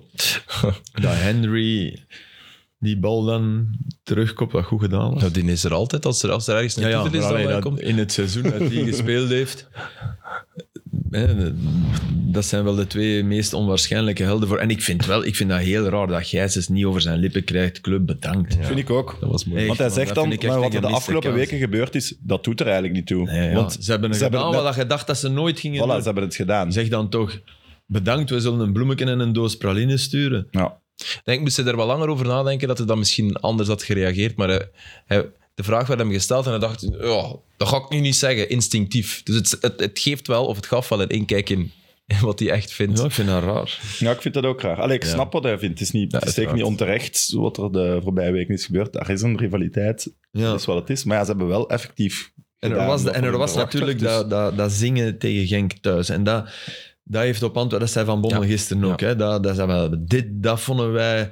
[SPEAKER 3] dat Henry die bal dan terugkopt, wat goed gedaan was.
[SPEAKER 1] Nou, die is er altijd. Als er, als er ergens een titel is,
[SPEAKER 3] maar
[SPEAKER 1] dan
[SPEAKER 3] allee,
[SPEAKER 1] eh,
[SPEAKER 3] dat
[SPEAKER 1] komt...
[SPEAKER 3] in het seizoen dat hij gespeeld heeft. hè, dat zijn wel de twee meest onwaarschijnlijke helden voor. En ik vind, wel, ik vind dat heel raar dat Gijsens niet over zijn lippen krijgt. Club, bedankt.
[SPEAKER 2] Vind ik ook.
[SPEAKER 1] Dat was mooi.
[SPEAKER 3] Echt,
[SPEAKER 2] Want hij
[SPEAKER 3] man,
[SPEAKER 2] zegt
[SPEAKER 3] dat
[SPEAKER 2] dan,
[SPEAKER 3] vind ik echt
[SPEAKER 2] maar wat
[SPEAKER 3] een
[SPEAKER 2] er de
[SPEAKER 3] gemiste
[SPEAKER 2] afgelopen
[SPEAKER 3] kans.
[SPEAKER 2] weken gebeurd is, dat doet er eigenlijk niet toe.
[SPEAKER 3] Nee, ja,
[SPEAKER 2] Want
[SPEAKER 3] ze hebben,
[SPEAKER 2] ze
[SPEAKER 3] ze
[SPEAKER 2] hebben
[SPEAKER 3] gedaan
[SPEAKER 2] dat-
[SPEAKER 3] wat je dacht dat ze nooit
[SPEAKER 2] voilà,
[SPEAKER 3] gingen
[SPEAKER 2] ze
[SPEAKER 3] doen.
[SPEAKER 2] hebben het gedaan.
[SPEAKER 3] Zeg dan toch, bedankt, we zullen een bloemetje en een doos praline sturen.
[SPEAKER 2] Ja.
[SPEAKER 1] Ik denk, moest hij er wel langer over nadenken, dat hij dan misschien anders had gereageerd. Maar hij, hij- de vraag werd hem gesteld en hij dacht, ja, dat ga ik nu niet zeggen, instinctief. Dus het, het, het geeft wel, of het gaf wel een inkijk in, in [LAUGHS] wat hij echt vindt.
[SPEAKER 3] Ja, ik vind dat raar.
[SPEAKER 2] Ja, ik vind dat ook raar. Allee, ik snap wat hij vindt. Het is, niet, het is zeker niet onterecht wat er de voorbije weken is gebeurd. Er is een rivaliteit,
[SPEAKER 3] Ja.
[SPEAKER 2] dat is wat het is. Maar ja, ze hebben wel effectief
[SPEAKER 3] En er
[SPEAKER 2] gedaan
[SPEAKER 3] was,
[SPEAKER 2] wat
[SPEAKER 3] en er was
[SPEAKER 2] verwacht
[SPEAKER 3] natuurlijk
[SPEAKER 2] werd, dus-
[SPEAKER 3] dat, dat, dat zingen tegen Genk thuis. En dat, dat heeft op antwoord, dat zei Van Bommel
[SPEAKER 1] Ja.
[SPEAKER 3] gisteren ook. Hè? Dat, dat, zei wel, dit, dat vonden wij.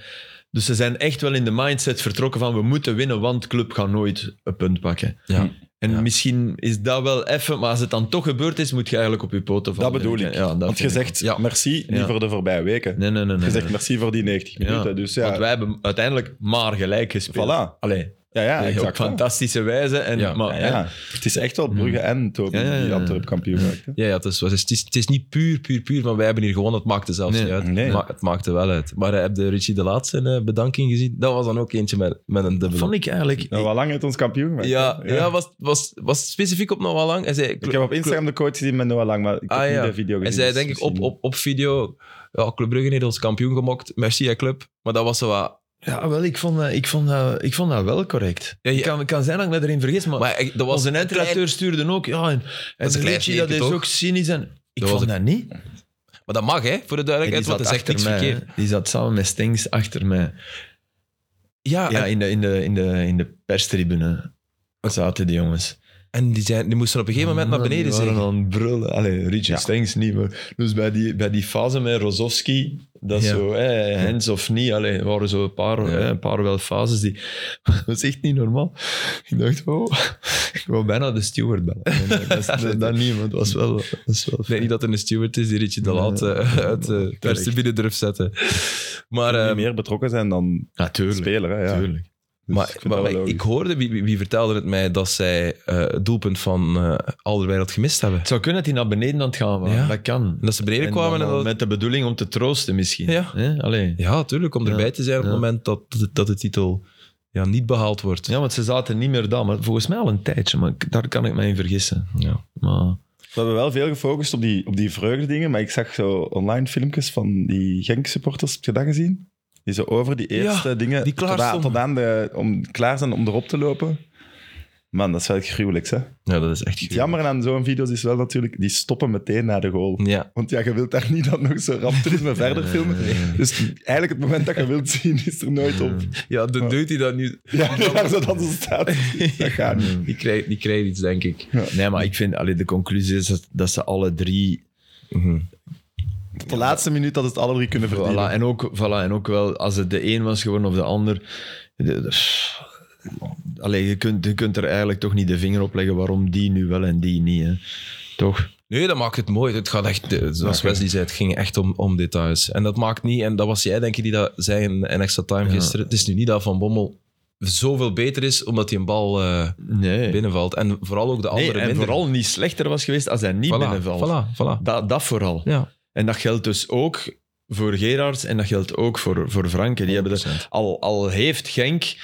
[SPEAKER 3] Dus ze zijn echt wel in de mindset vertrokken van we moeten winnen, want club gaat nooit een punt pakken.
[SPEAKER 1] Ja.
[SPEAKER 3] En
[SPEAKER 1] Ja.
[SPEAKER 3] misschien is dat wel even, maar als het dan toch gebeurd is, moet je eigenlijk op je poten vallen.
[SPEAKER 2] Dat bedoel ik.
[SPEAKER 3] Ja, dat
[SPEAKER 2] Want je
[SPEAKER 3] vind ik
[SPEAKER 2] zegt
[SPEAKER 3] wel. Ja.
[SPEAKER 2] merci niet
[SPEAKER 3] Ja.
[SPEAKER 2] voor de voorbije weken.
[SPEAKER 3] Nee, nee, nee. nee,
[SPEAKER 2] Je
[SPEAKER 3] nee.
[SPEAKER 2] zegt merci voor die 90
[SPEAKER 3] Ja.
[SPEAKER 2] minuten. Dus ja,
[SPEAKER 3] Want wij hebben uiteindelijk maar gelijk gespeeld.
[SPEAKER 2] Voilà.
[SPEAKER 3] Allee,
[SPEAKER 2] ja, ja
[SPEAKER 3] op
[SPEAKER 2] exact. hè.
[SPEAKER 3] fantastische wijze. En,
[SPEAKER 1] Ja.
[SPEAKER 3] maar,
[SPEAKER 2] Ja,
[SPEAKER 3] hè,
[SPEAKER 2] ja. Het is echt wel Brugge en Toby
[SPEAKER 3] Mm. Ja, ja, ja.
[SPEAKER 2] die Antwerp kampioen maakten.
[SPEAKER 1] Ja, ja het, is, het, is, het is niet puur, puur, puur, van wij hebben hier gewonnen. Het maakte zelfs
[SPEAKER 3] Nee,
[SPEAKER 1] niet uit.
[SPEAKER 2] nee.
[SPEAKER 1] Maar het maakte wel uit. Maar eh, heb je Richie de Laat zijn eh, bedanking gezien? Dat was dan ook eentje met, met een dubbele.
[SPEAKER 3] Vond ik eigenlijk...
[SPEAKER 2] Nou, wel lang heeft ons kampioen gemaakt.
[SPEAKER 1] Ja,
[SPEAKER 2] hè.
[SPEAKER 1] ja. was, was, was specifiek op nog wel lang. Hij zei,
[SPEAKER 2] Ik heb op Instagram de coach gezien met Noah Lang, maar ik heb
[SPEAKER 1] Ah,
[SPEAKER 2] niet
[SPEAKER 1] ja.
[SPEAKER 2] de video
[SPEAKER 1] Hij
[SPEAKER 2] gezien.
[SPEAKER 1] zei
[SPEAKER 2] dus
[SPEAKER 1] denk ik op,
[SPEAKER 2] misschien-
[SPEAKER 1] op, op video, ja, Club Brugge heeft ons kampioen gemokt, merci hè, Club. Maar dat was zo wat...
[SPEAKER 3] Ja, wel, ik vond dat, ik vond dat, ik vond dat wel correct.
[SPEAKER 1] Ja, ja.
[SPEAKER 3] Ik kan, het kan zijn dat ik me erin vergis, maar,
[SPEAKER 1] Maar ik- dat was
[SPEAKER 3] onze eindredacteur stuurde ook. Ja, en, en
[SPEAKER 1] is een klein
[SPEAKER 3] Richie, dat is
[SPEAKER 1] teken, toch?
[SPEAKER 3] ook cynisch. En, ik
[SPEAKER 1] Dat was
[SPEAKER 3] vond dat niet. En
[SPEAKER 1] Maar dat mag, hè, voor de
[SPEAKER 3] die
[SPEAKER 1] duidelijkheid,
[SPEAKER 3] zat
[SPEAKER 1] want hij zegt
[SPEAKER 3] achter
[SPEAKER 1] niks
[SPEAKER 3] mij, hè.
[SPEAKER 1] verkeerd.
[SPEAKER 3] Die zat samen met Stengs achter mij.
[SPEAKER 1] Ja,
[SPEAKER 3] Ja,
[SPEAKER 1] Ah, en-
[SPEAKER 3] in de, in de, in de, in de perstribune zaten die jongens.
[SPEAKER 1] En die, zijn, die moesten op een gegeven moment naar beneden
[SPEAKER 3] Ah, Die
[SPEAKER 1] zeggen.
[SPEAKER 3] waren aan het brullen. Allee, Richard Stengs niet, maar... Dus bij die, bij die fase met Rozovski, dat
[SPEAKER 1] Ja.
[SPEAKER 3] zo, hè, hands of niet, allee, er waren zo een paar, hè, een paar wel fases die... [LAUGHS] Dat is echt niet normaal. Ik dacht, oh... Ik wou bijna de
[SPEAKER 1] [LAUGHS]
[SPEAKER 3] steward bellen. Maar Dat, is- dat, dat niet, maar het was wel... Dat is wel
[SPEAKER 1] Ik denk niet dat er een steward is die Richie de Laat eh, uit de perstribune durft zetten. Maar,
[SPEAKER 2] Die
[SPEAKER 1] ehm,
[SPEAKER 2] meer betrokken zijn dan
[SPEAKER 3] Natuurlijk.
[SPEAKER 2] speler. Hè, ja.
[SPEAKER 3] Tuurlijk.
[SPEAKER 2] Dus
[SPEAKER 1] maar,
[SPEAKER 3] [LAUGHS]
[SPEAKER 2] ik vind
[SPEAKER 1] maar
[SPEAKER 2] dat wel
[SPEAKER 1] ik-
[SPEAKER 2] logisch.
[SPEAKER 1] ik hoorde, wie, wie, wie vertelde het mij, dat zij eh, het doelpunt van eh Alderweireld gemist hebben.
[SPEAKER 3] Het zou kunnen dat die naar beneden aan het gaan waren.
[SPEAKER 1] Ja.
[SPEAKER 3] Dat kan.
[SPEAKER 1] En dat ze beneden
[SPEAKER 3] En
[SPEAKER 1] kwamen en
[SPEAKER 3] dan
[SPEAKER 1] dat...
[SPEAKER 3] Met de bedoeling om te troosten misschien.
[SPEAKER 1] Ja.
[SPEAKER 3] Hè? Allee.
[SPEAKER 1] Ja, tuurlijk, om
[SPEAKER 3] Ja.
[SPEAKER 1] erbij te zijn op het
[SPEAKER 3] Ja.
[SPEAKER 1] moment dat, dat de titel ja, niet behaald wordt.
[SPEAKER 3] Ja, want ze zaten niet meer daar. Maar volgens mij al een tijdje, maar ik- daar kan ik mij in vergissen.
[SPEAKER 1] Ja.
[SPEAKER 3] Maar
[SPEAKER 2] We hebben wel veel gefocust op die, op die vreugdedingen, maar ik zag zo online filmpjes van die Genk-supporters. Heb je dat gezien? Die zo over die eerste
[SPEAKER 1] Ja,
[SPEAKER 2] dingen
[SPEAKER 1] die klaar
[SPEAKER 2] tot, aan,
[SPEAKER 1] stonden.
[SPEAKER 2] tot aan de, om, klaar zijn om erop te lopen. Man, dat is wel gruwelijk, hè?
[SPEAKER 1] Ja, dat is echt
[SPEAKER 2] Het jammer aan zo'n video's is wel natuurlijk, die stoppen meteen na de goal.
[SPEAKER 1] Ja.
[SPEAKER 2] Want ja, je wilt daar niet dat nog zo ramptoerisme verder filmen. Dus eigenlijk het moment dat je wilt zien, is er nooit op.
[SPEAKER 1] ja, de dude die dat nu...
[SPEAKER 2] Ja, daar zo dan zo staat. Dat gaat niet.
[SPEAKER 1] Die krijgt, die krijgt iets, denk ik.
[SPEAKER 3] nee, maar ik vind allee, de conclusie is dat, dat ze alle drie.
[SPEAKER 2] Op de laatste minuut dat het alle drie kunnen verdienen.
[SPEAKER 3] Voilà, en, ook, voilà, en ook wel als het de een was geworden of de ander. de- de- pff. allee, je, kunt, je kunt er eigenlijk toch niet de vinger op leggen waarom die nu wel en die niet. Hè. Toch?
[SPEAKER 1] Nee, dat maakt het mooi. Het gaat echt, eh, zoals Wesley zei, het ging echt om, om details. En dat maakt niet, en dat was jij denk ik die dat zei in, in Extra Time gisteren, het is nu niet dat Van Bommel zoveel beter is omdat hij een bal eh,
[SPEAKER 3] Nee.
[SPEAKER 1] binnenvalt. En vooral ook de andere
[SPEAKER 3] nee en
[SPEAKER 1] minder.
[SPEAKER 3] vooral niet slechter was geweest als hij niet
[SPEAKER 1] voilà,
[SPEAKER 3] binnenvalt.
[SPEAKER 1] Voilà, voilà.
[SPEAKER 3] Dat, dat vooral.
[SPEAKER 1] Ja,
[SPEAKER 3] En dat geldt dus ook voor Gerards en dat geldt ook voor, voor Franken. Die hebben er,
[SPEAKER 1] 100%.
[SPEAKER 3] al, al heeft Genk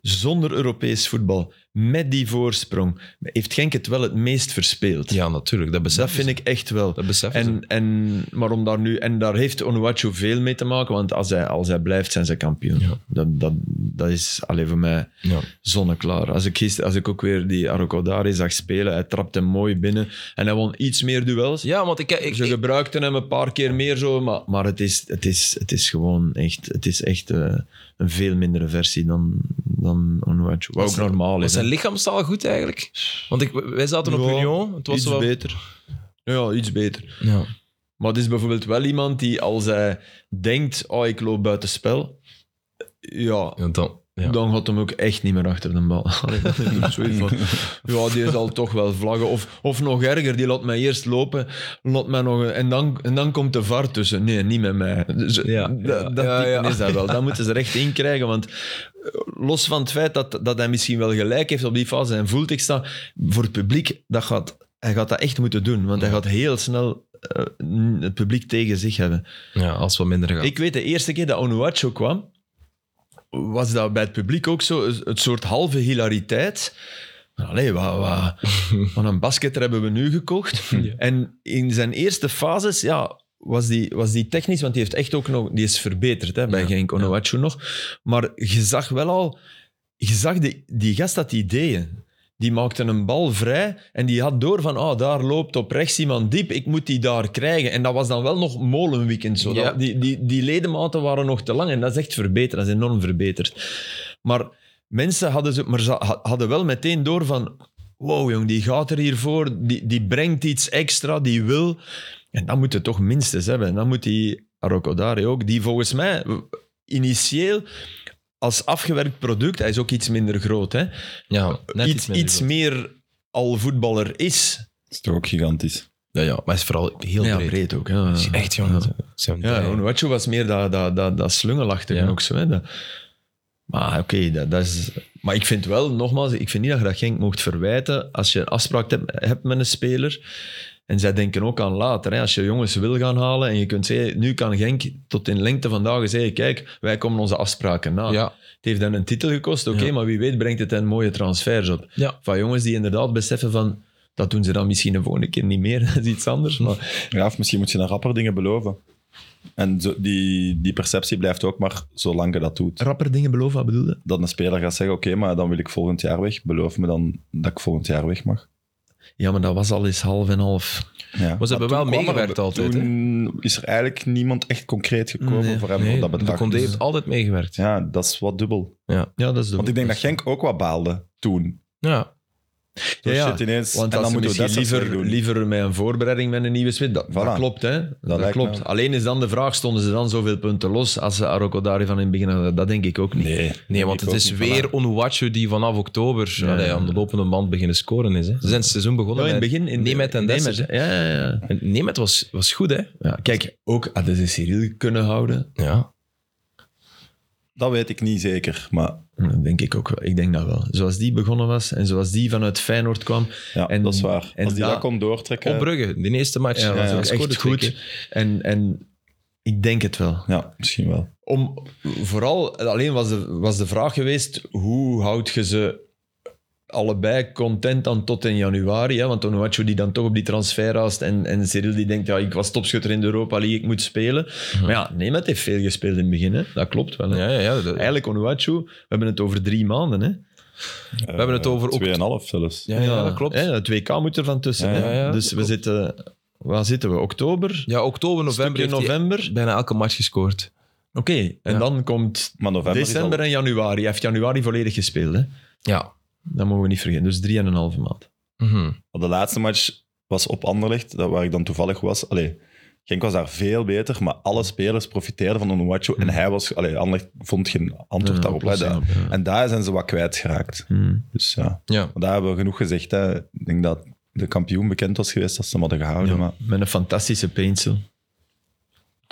[SPEAKER 3] zonder Europees voetbal, met die voorsprong, heeft Genk het wel het meest verspeeld.
[SPEAKER 1] ja natuurlijk. Dat besef
[SPEAKER 3] dat vind ik echt wel.
[SPEAKER 1] Dat besef en,
[SPEAKER 3] En, en, maar om daar nu, en daar heeft Onuachu veel mee te maken, want als hij, als hij blijft, zijn ze kampioen.
[SPEAKER 1] Ja.
[SPEAKER 3] Dat, dat, dat is alleen voor mij
[SPEAKER 1] ja.
[SPEAKER 3] zonneklaar. Als ik, gister, als ik ook weer die Arokodari zag spelen, hij trapte mooi binnen en hij won iets meer duels.
[SPEAKER 1] ja, want ik, ik,
[SPEAKER 3] Ze
[SPEAKER 1] ik-
[SPEAKER 3] gebruikten hem een paar keer meer zo, maar, maar het, is, het, is, het is gewoon echt, het is echt eh, een veel mindere versie dan, dan Onuachu. Wat ook
[SPEAKER 1] zijn-
[SPEAKER 3] normaal
[SPEAKER 1] was
[SPEAKER 3] is.
[SPEAKER 1] zijn
[SPEAKER 3] hè.
[SPEAKER 1] lichaamstaal goed eigenlijk? Want ik, wij zaten op
[SPEAKER 3] Ja,
[SPEAKER 1] Union. Het was
[SPEAKER 3] Iets
[SPEAKER 1] wel...
[SPEAKER 3] beter. Ja, iets beter.
[SPEAKER 1] Ja.
[SPEAKER 3] Maar het is bijvoorbeeld wel iemand die als hij denkt, oh, ik loop buiten spel, ja,
[SPEAKER 1] Ja, dan, ja.
[SPEAKER 3] dan gaat hem ook echt niet meer achter de bal. Allee, dat is ook zoiets van, [LAUGHS] ja, die zal toch wel vlaggen. Of, of nog erger, die laat mij eerst lopen laat mij nog een- en, dan, en dan komt de VAR tussen. Nee, niet met mij. Dus,
[SPEAKER 1] Ja,
[SPEAKER 3] dat
[SPEAKER 1] ja,
[SPEAKER 3] dat
[SPEAKER 1] ja,
[SPEAKER 3] type
[SPEAKER 1] ja.
[SPEAKER 3] is dat wel. Dat moeten ze er echt in krijgen, want eh, los van het feit dat, dat hij misschien wel gelijk heeft op die fase en voelt ik sta, voor het publiek, dat gaat, hij gaat dat echt moeten doen, want hij gaat heel snel eh, het publiek tegen zich hebben.
[SPEAKER 1] ja, als we minder gaan.
[SPEAKER 3] Ik weet, de eerste keer dat Onuachu kwam, was dat bij het publiek ook zo, een- het soort halve hilariteit. Allee, wat,
[SPEAKER 1] [LAUGHS]
[SPEAKER 3] wat, wat een basketter hebben we nu gekocht.
[SPEAKER 1] Ja.
[SPEAKER 3] En in zijn eerste fases, ja, was die, was die technisch, want die heeft echt ook nog, die is verbeterd hè, bij
[SPEAKER 1] Ja,
[SPEAKER 3] Genk Onuachu nog. Maar je zag wel al, je zag die, die gast had ideeën. Die maakte een bal vrij en die had door van, ah, daar loopt op rechts iemand diep, ik moet die daar krijgen. En dat was dan wel nog molenweekend zo.
[SPEAKER 1] Ja.
[SPEAKER 3] Dat- die, die, die ledematen waren nog te lang en dat is echt verbeterd, dat is enorm verbeterd. Maar mensen hadden, ze, maar ze ha- hadden wel meteen door van, wow jong, die gaat er hiervoor, die, die brengt iets extra, die wil. En dat moet je toch minstens hebben. En dan moet die Arokodari ook, die volgens mij eh, initieel als afgewerkt product, hij is ook iets minder groot, hè?
[SPEAKER 1] ja, net
[SPEAKER 3] iets,
[SPEAKER 1] iets minder
[SPEAKER 3] iets
[SPEAKER 1] goed.
[SPEAKER 3] meer al voetballer is.
[SPEAKER 2] Dat is toch ook gigantisch.
[SPEAKER 1] Ja, ja, maar hij is vooral heel
[SPEAKER 3] Ja,
[SPEAKER 1] breed.
[SPEAKER 3] breed ook. Ja.
[SPEAKER 1] Dus Echt, jongen. Zo'n
[SPEAKER 3] Ja,
[SPEAKER 1] draai.
[SPEAKER 3] Onuachu was meer dat, dat, dat, dat slungelachtige
[SPEAKER 1] Ja.
[SPEAKER 3] ook zo. Hè? Dat- maar oké, dat, dat is... Maar ik vind wel, nogmaals, ik vind niet dat je dat Genk mocht verwijten als je een afspraak hebt, hebt met een speler. En zij denken ook aan later. Hè? Als je jongens wil gaan halen en je kunt zeggen, nu kan Genk tot in lengte vandaag zeggen, kijk, wij komen onze afspraken na.
[SPEAKER 1] ja.
[SPEAKER 3] Het heeft hen een titel gekost, oké,
[SPEAKER 1] Ja.
[SPEAKER 3] maar wie weet brengt het hen mooie transfers op.
[SPEAKER 1] Ja.
[SPEAKER 3] Van jongens die inderdaad beseffen van, dat doen ze dan misschien de volgende keer niet meer, [LAUGHS] dat is iets anders. Maar
[SPEAKER 2] Ja, of misschien moet je dan rapper dingen beloven. En zo, die, die perceptie blijft ook maar zolang je dat doet.
[SPEAKER 3] rapper dingen beloven, wat bedoelde?
[SPEAKER 2] Dat een speler gaat zeggen, oké, maar dan wil ik volgend jaar weg. Beloof me dan dat ik volgend jaar weg mag.
[SPEAKER 3] Ja, maar dat was al eens half en half.
[SPEAKER 2] Ja.
[SPEAKER 1] Maar ze hebben wel
[SPEAKER 2] toen kwam er-
[SPEAKER 1] meegewerkt altijd. Hè?
[SPEAKER 2] Toen is er eigenlijk niemand echt concreet gekomen
[SPEAKER 3] Nee.
[SPEAKER 2] voor hem
[SPEAKER 1] Nee,
[SPEAKER 2] op dat
[SPEAKER 1] de
[SPEAKER 2] bedrag.
[SPEAKER 1] Condé
[SPEAKER 2] Dus
[SPEAKER 1] heeft altijd meegewerkt. Ja.
[SPEAKER 2] ja, dat is wat dubbel.
[SPEAKER 3] Ja, dat is de
[SPEAKER 2] Want ik denk dat Genk ook wat baalde toen.
[SPEAKER 1] Ja.
[SPEAKER 2] Zo
[SPEAKER 3] Ja, ja.
[SPEAKER 2] shit ineens.
[SPEAKER 3] Want
[SPEAKER 2] en
[SPEAKER 3] als
[SPEAKER 2] dan
[SPEAKER 3] ze
[SPEAKER 2] moeten we dat
[SPEAKER 3] misschien
[SPEAKER 2] liever,
[SPEAKER 3] liever, liever met een voorbereiding met een nieuwe spits. Dat, dat
[SPEAKER 2] Voilà.
[SPEAKER 3] klopt, hè? Dat,
[SPEAKER 2] lijkt
[SPEAKER 3] klopt.
[SPEAKER 2] me.
[SPEAKER 3] Alleen is dan de vraag: stonden ze dan zoveel punten los als ze Aroko daar van in het begin hadden? Dat denk ik ook niet.
[SPEAKER 2] Nee,
[SPEAKER 1] Nee, want
[SPEAKER 2] ik
[SPEAKER 1] het
[SPEAKER 2] ook
[SPEAKER 1] is
[SPEAKER 2] niet.
[SPEAKER 1] weer Onuwachu die vanaf oktober
[SPEAKER 3] Ja.
[SPEAKER 1] allee, aan de lopende band beginnen scoren is. Hè. Ze zijn het seizoen begonnen
[SPEAKER 3] Ja, in het
[SPEAKER 1] met
[SPEAKER 3] begin. In
[SPEAKER 1] Nemeth en
[SPEAKER 3] Nemeth,
[SPEAKER 1] Dessers. hè.
[SPEAKER 3] Ja, ja, ja.
[SPEAKER 1] En Nemeth was, was goed, hè?
[SPEAKER 3] Ja, kijk, ook hadden ze Cyril kunnen houden.
[SPEAKER 1] Ja.
[SPEAKER 2] Dat weet ik niet zeker, maar
[SPEAKER 3] Dat denk ik ook wel. Ik denk dat wel. Zoals die begonnen was en zoals die vanuit Feyenoord kwam.
[SPEAKER 2] ja,
[SPEAKER 3] En-
[SPEAKER 2] dat is waar.
[SPEAKER 3] en
[SPEAKER 2] Als die
[SPEAKER 3] da-
[SPEAKER 2] dat kon doortrekken...
[SPEAKER 1] Op Brugge, die eerste match.
[SPEAKER 3] Ja, was
[SPEAKER 2] ja,
[SPEAKER 3] ook
[SPEAKER 1] Hij scoorde
[SPEAKER 3] echt
[SPEAKER 1] twee
[SPEAKER 3] goed.
[SPEAKER 1] keer.
[SPEAKER 3] En, en ik denk het wel.
[SPEAKER 2] Ja, misschien wel.
[SPEAKER 3] Om, vooral, alleen was de, was de vraag geweest, hoe houd je ze allebei content dan tot in januari? Hè? Want Onuachu die dan toch op die transfer haast en, en Cyril die denkt, ja, ik was topschutter in de Europa League, ik moet spelen. Maar ja, Nemeth heeft veel gespeeld in het begin, hè? dat klopt wel. Hè?
[SPEAKER 1] Ja, ja, ja. dat-
[SPEAKER 3] Eigenlijk Onuachu, we hebben het over drie maanden. Hè?
[SPEAKER 2] We
[SPEAKER 1] hebben het over ook-
[SPEAKER 2] 2,5 Eh, zelfs.
[SPEAKER 1] ja, ja, dat klopt.
[SPEAKER 3] Hè? Het WK moet er van tussen.
[SPEAKER 2] Ja,
[SPEAKER 3] hè.
[SPEAKER 1] ja, ja,
[SPEAKER 3] dus
[SPEAKER 1] dat
[SPEAKER 3] we
[SPEAKER 1] klopt.
[SPEAKER 3] zitten, waar zitten we? Oktober?
[SPEAKER 1] Ja, oktober, november
[SPEAKER 3] Stukje
[SPEAKER 1] heeft hij
[SPEAKER 3] november?
[SPEAKER 1] bijna elke match gescoord.
[SPEAKER 3] Oké, en
[SPEAKER 1] Ja.
[SPEAKER 3] dan komt
[SPEAKER 2] Maar november is
[SPEAKER 3] december
[SPEAKER 2] al-
[SPEAKER 3] en januari. Hij heeft januari volledig gespeeld. Hè?
[SPEAKER 1] Ja.
[SPEAKER 3] Dat mogen we niet vergeten. Dus drie en een halve maand.
[SPEAKER 1] Mhm.
[SPEAKER 2] De laatste match was op Anderlecht, dat waar ik dan toevallig was. Allee, Genk was daar veel beter, maar alle spelers profiteerden van Onuachu.
[SPEAKER 1] Hmm.
[SPEAKER 2] En hij was... Allee, Anderlecht vond geen antwoord daarop. hè.
[SPEAKER 3] oplossing
[SPEAKER 2] Da-
[SPEAKER 3] op, ja.
[SPEAKER 2] En daar zijn ze wat kwijtgeraakt.
[SPEAKER 3] Hmm.
[SPEAKER 2] Dus ja,
[SPEAKER 1] Ja.
[SPEAKER 2] maar daar hebben we genoeg gezegd. Hè. Ik denk dat de kampioen bekend was geweest als ze hem hadden gehouden.
[SPEAKER 3] Ja,
[SPEAKER 2] Maar,
[SPEAKER 3] Met een fantastische pencil.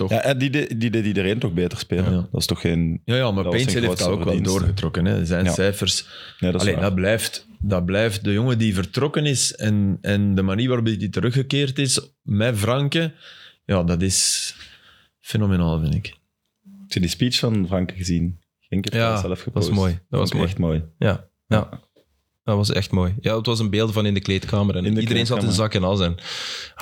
[SPEAKER 2] ja, en die, de- die deed iedereen toch beter spelen.
[SPEAKER 3] Ja.
[SPEAKER 2] Dat is toch geen...
[SPEAKER 3] Ja, ja maar
[SPEAKER 2] Dat was
[SPEAKER 3] Pencil
[SPEAKER 2] zijn
[SPEAKER 3] heeft dat ook wel
[SPEAKER 2] grootste verdienste.
[SPEAKER 3] doorgetrokken. Hè. Zijn
[SPEAKER 2] Ja.
[SPEAKER 3] cijfers.
[SPEAKER 2] Nee, dat is
[SPEAKER 3] Alleen
[SPEAKER 2] waar.
[SPEAKER 3] dat blijft, dat blijft de jongen die vertrokken is en, en de manier waarop hij teruggekeerd is met Franke. Ja, dat is fenomenaal, vind ik.
[SPEAKER 2] Heb je die speech van Franke gezien? Genk heeft
[SPEAKER 1] Ja,
[SPEAKER 2] dat zelf
[SPEAKER 1] dat
[SPEAKER 2] gepost.
[SPEAKER 1] was mooi. Dat
[SPEAKER 2] Vond
[SPEAKER 1] was
[SPEAKER 2] ik
[SPEAKER 1] mooi.
[SPEAKER 2] echt mooi.
[SPEAKER 1] Ja. ja. Dat was echt mooi. Ja, het was een beeld van in de kleedkamer. En
[SPEAKER 2] In de
[SPEAKER 1] iedereen zat in zak en as. En,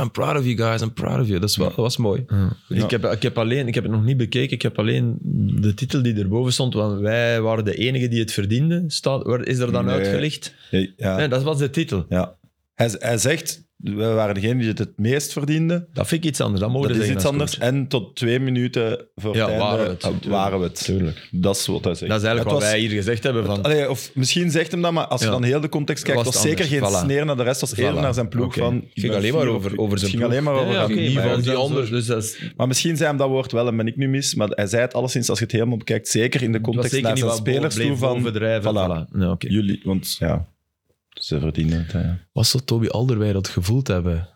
[SPEAKER 1] I'm proud of you guys, I'm proud of you. Dat, is wel, dat was mooi.
[SPEAKER 2] Ja.
[SPEAKER 3] Ik, heb, ik, heb alleen, ik heb het nog niet bekeken. Ik heb alleen de titel die erboven stond. Want wij waren de enigen die het verdienden. Staat, waar- is er dan
[SPEAKER 2] Nee.
[SPEAKER 3] uitgelicht?
[SPEAKER 2] Ja, ja.
[SPEAKER 3] Nee, dat was de titel.
[SPEAKER 2] ja. Hij, hij zegt, we waren degene die het het meest verdiende.
[SPEAKER 3] Dat vind ik iets anders. Oh, Dat, mogen
[SPEAKER 2] Dat
[SPEAKER 3] we
[SPEAKER 2] is
[SPEAKER 3] zeggen
[SPEAKER 2] iets
[SPEAKER 3] als
[SPEAKER 2] anders.
[SPEAKER 3] coach.
[SPEAKER 2] En tot twee minuten voor
[SPEAKER 3] Ja,
[SPEAKER 2] het einde
[SPEAKER 3] waren we het.
[SPEAKER 2] eh, waren we het.
[SPEAKER 3] Tuurlijk.
[SPEAKER 2] Dat is wat hij zegt.
[SPEAKER 3] Dat is eigenlijk
[SPEAKER 2] Het
[SPEAKER 3] wat
[SPEAKER 2] was-
[SPEAKER 3] wij hier gezegd hebben. Van,
[SPEAKER 2] Allee, of misschien zegt hem dat, maar als
[SPEAKER 3] Ja.
[SPEAKER 2] je dan heel de context kijkt,
[SPEAKER 3] Was
[SPEAKER 2] was
[SPEAKER 3] het
[SPEAKER 2] zeker geen
[SPEAKER 3] anders, voilà.
[SPEAKER 2] sneer naar de rest, was eerder
[SPEAKER 3] Voilà.
[SPEAKER 2] naar zijn ploeg.
[SPEAKER 3] Oké.
[SPEAKER 2] Van,
[SPEAKER 3] Het
[SPEAKER 2] ik
[SPEAKER 1] ging
[SPEAKER 2] ben
[SPEAKER 1] alleen maar
[SPEAKER 2] vier op-
[SPEAKER 1] over- over zijn
[SPEAKER 2] Het ging
[SPEAKER 1] ploeg.
[SPEAKER 2] alleen maar
[SPEAKER 3] Ja,
[SPEAKER 2] over
[SPEAKER 3] ja,
[SPEAKER 2] dat
[SPEAKER 3] Oh, oké,
[SPEAKER 2] genieven.
[SPEAKER 3] maar
[SPEAKER 1] van
[SPEAKER 3] dat
[SPEAKER 1] die
[SPEAKER 3] is
[SPEAKER 1] ander.
[SPEAKER 3] zo. Dus dat is,
[SPEAKER 2] Maar misschien zei hem dat woord wel en ben ik nu mis, maar hij zei het alleszins, als je het helemaal bekijkt, zeker in de
[SPEAKER 3] Het was
[SPEAKER 2] context
[SPEAKER 3] zeker
[SPEAKER 2] naar
[SPEAKER 3] niet
[SPEAKER 2] zijn
[SPEAKER 3] wat
[SPEAKER 2] spelers toe van
[SPEAKER 3] overdrijven.
[SPEAKER 2] Voilà.
[SPEAKER 3] Voilà. Ja, oké.
[SPEAKER 2] jullie, want ja, ze verdienen het. hè, ja.
[SPEAKER 1] Wat zou Toby Alderweireld dat gevoeld hebben?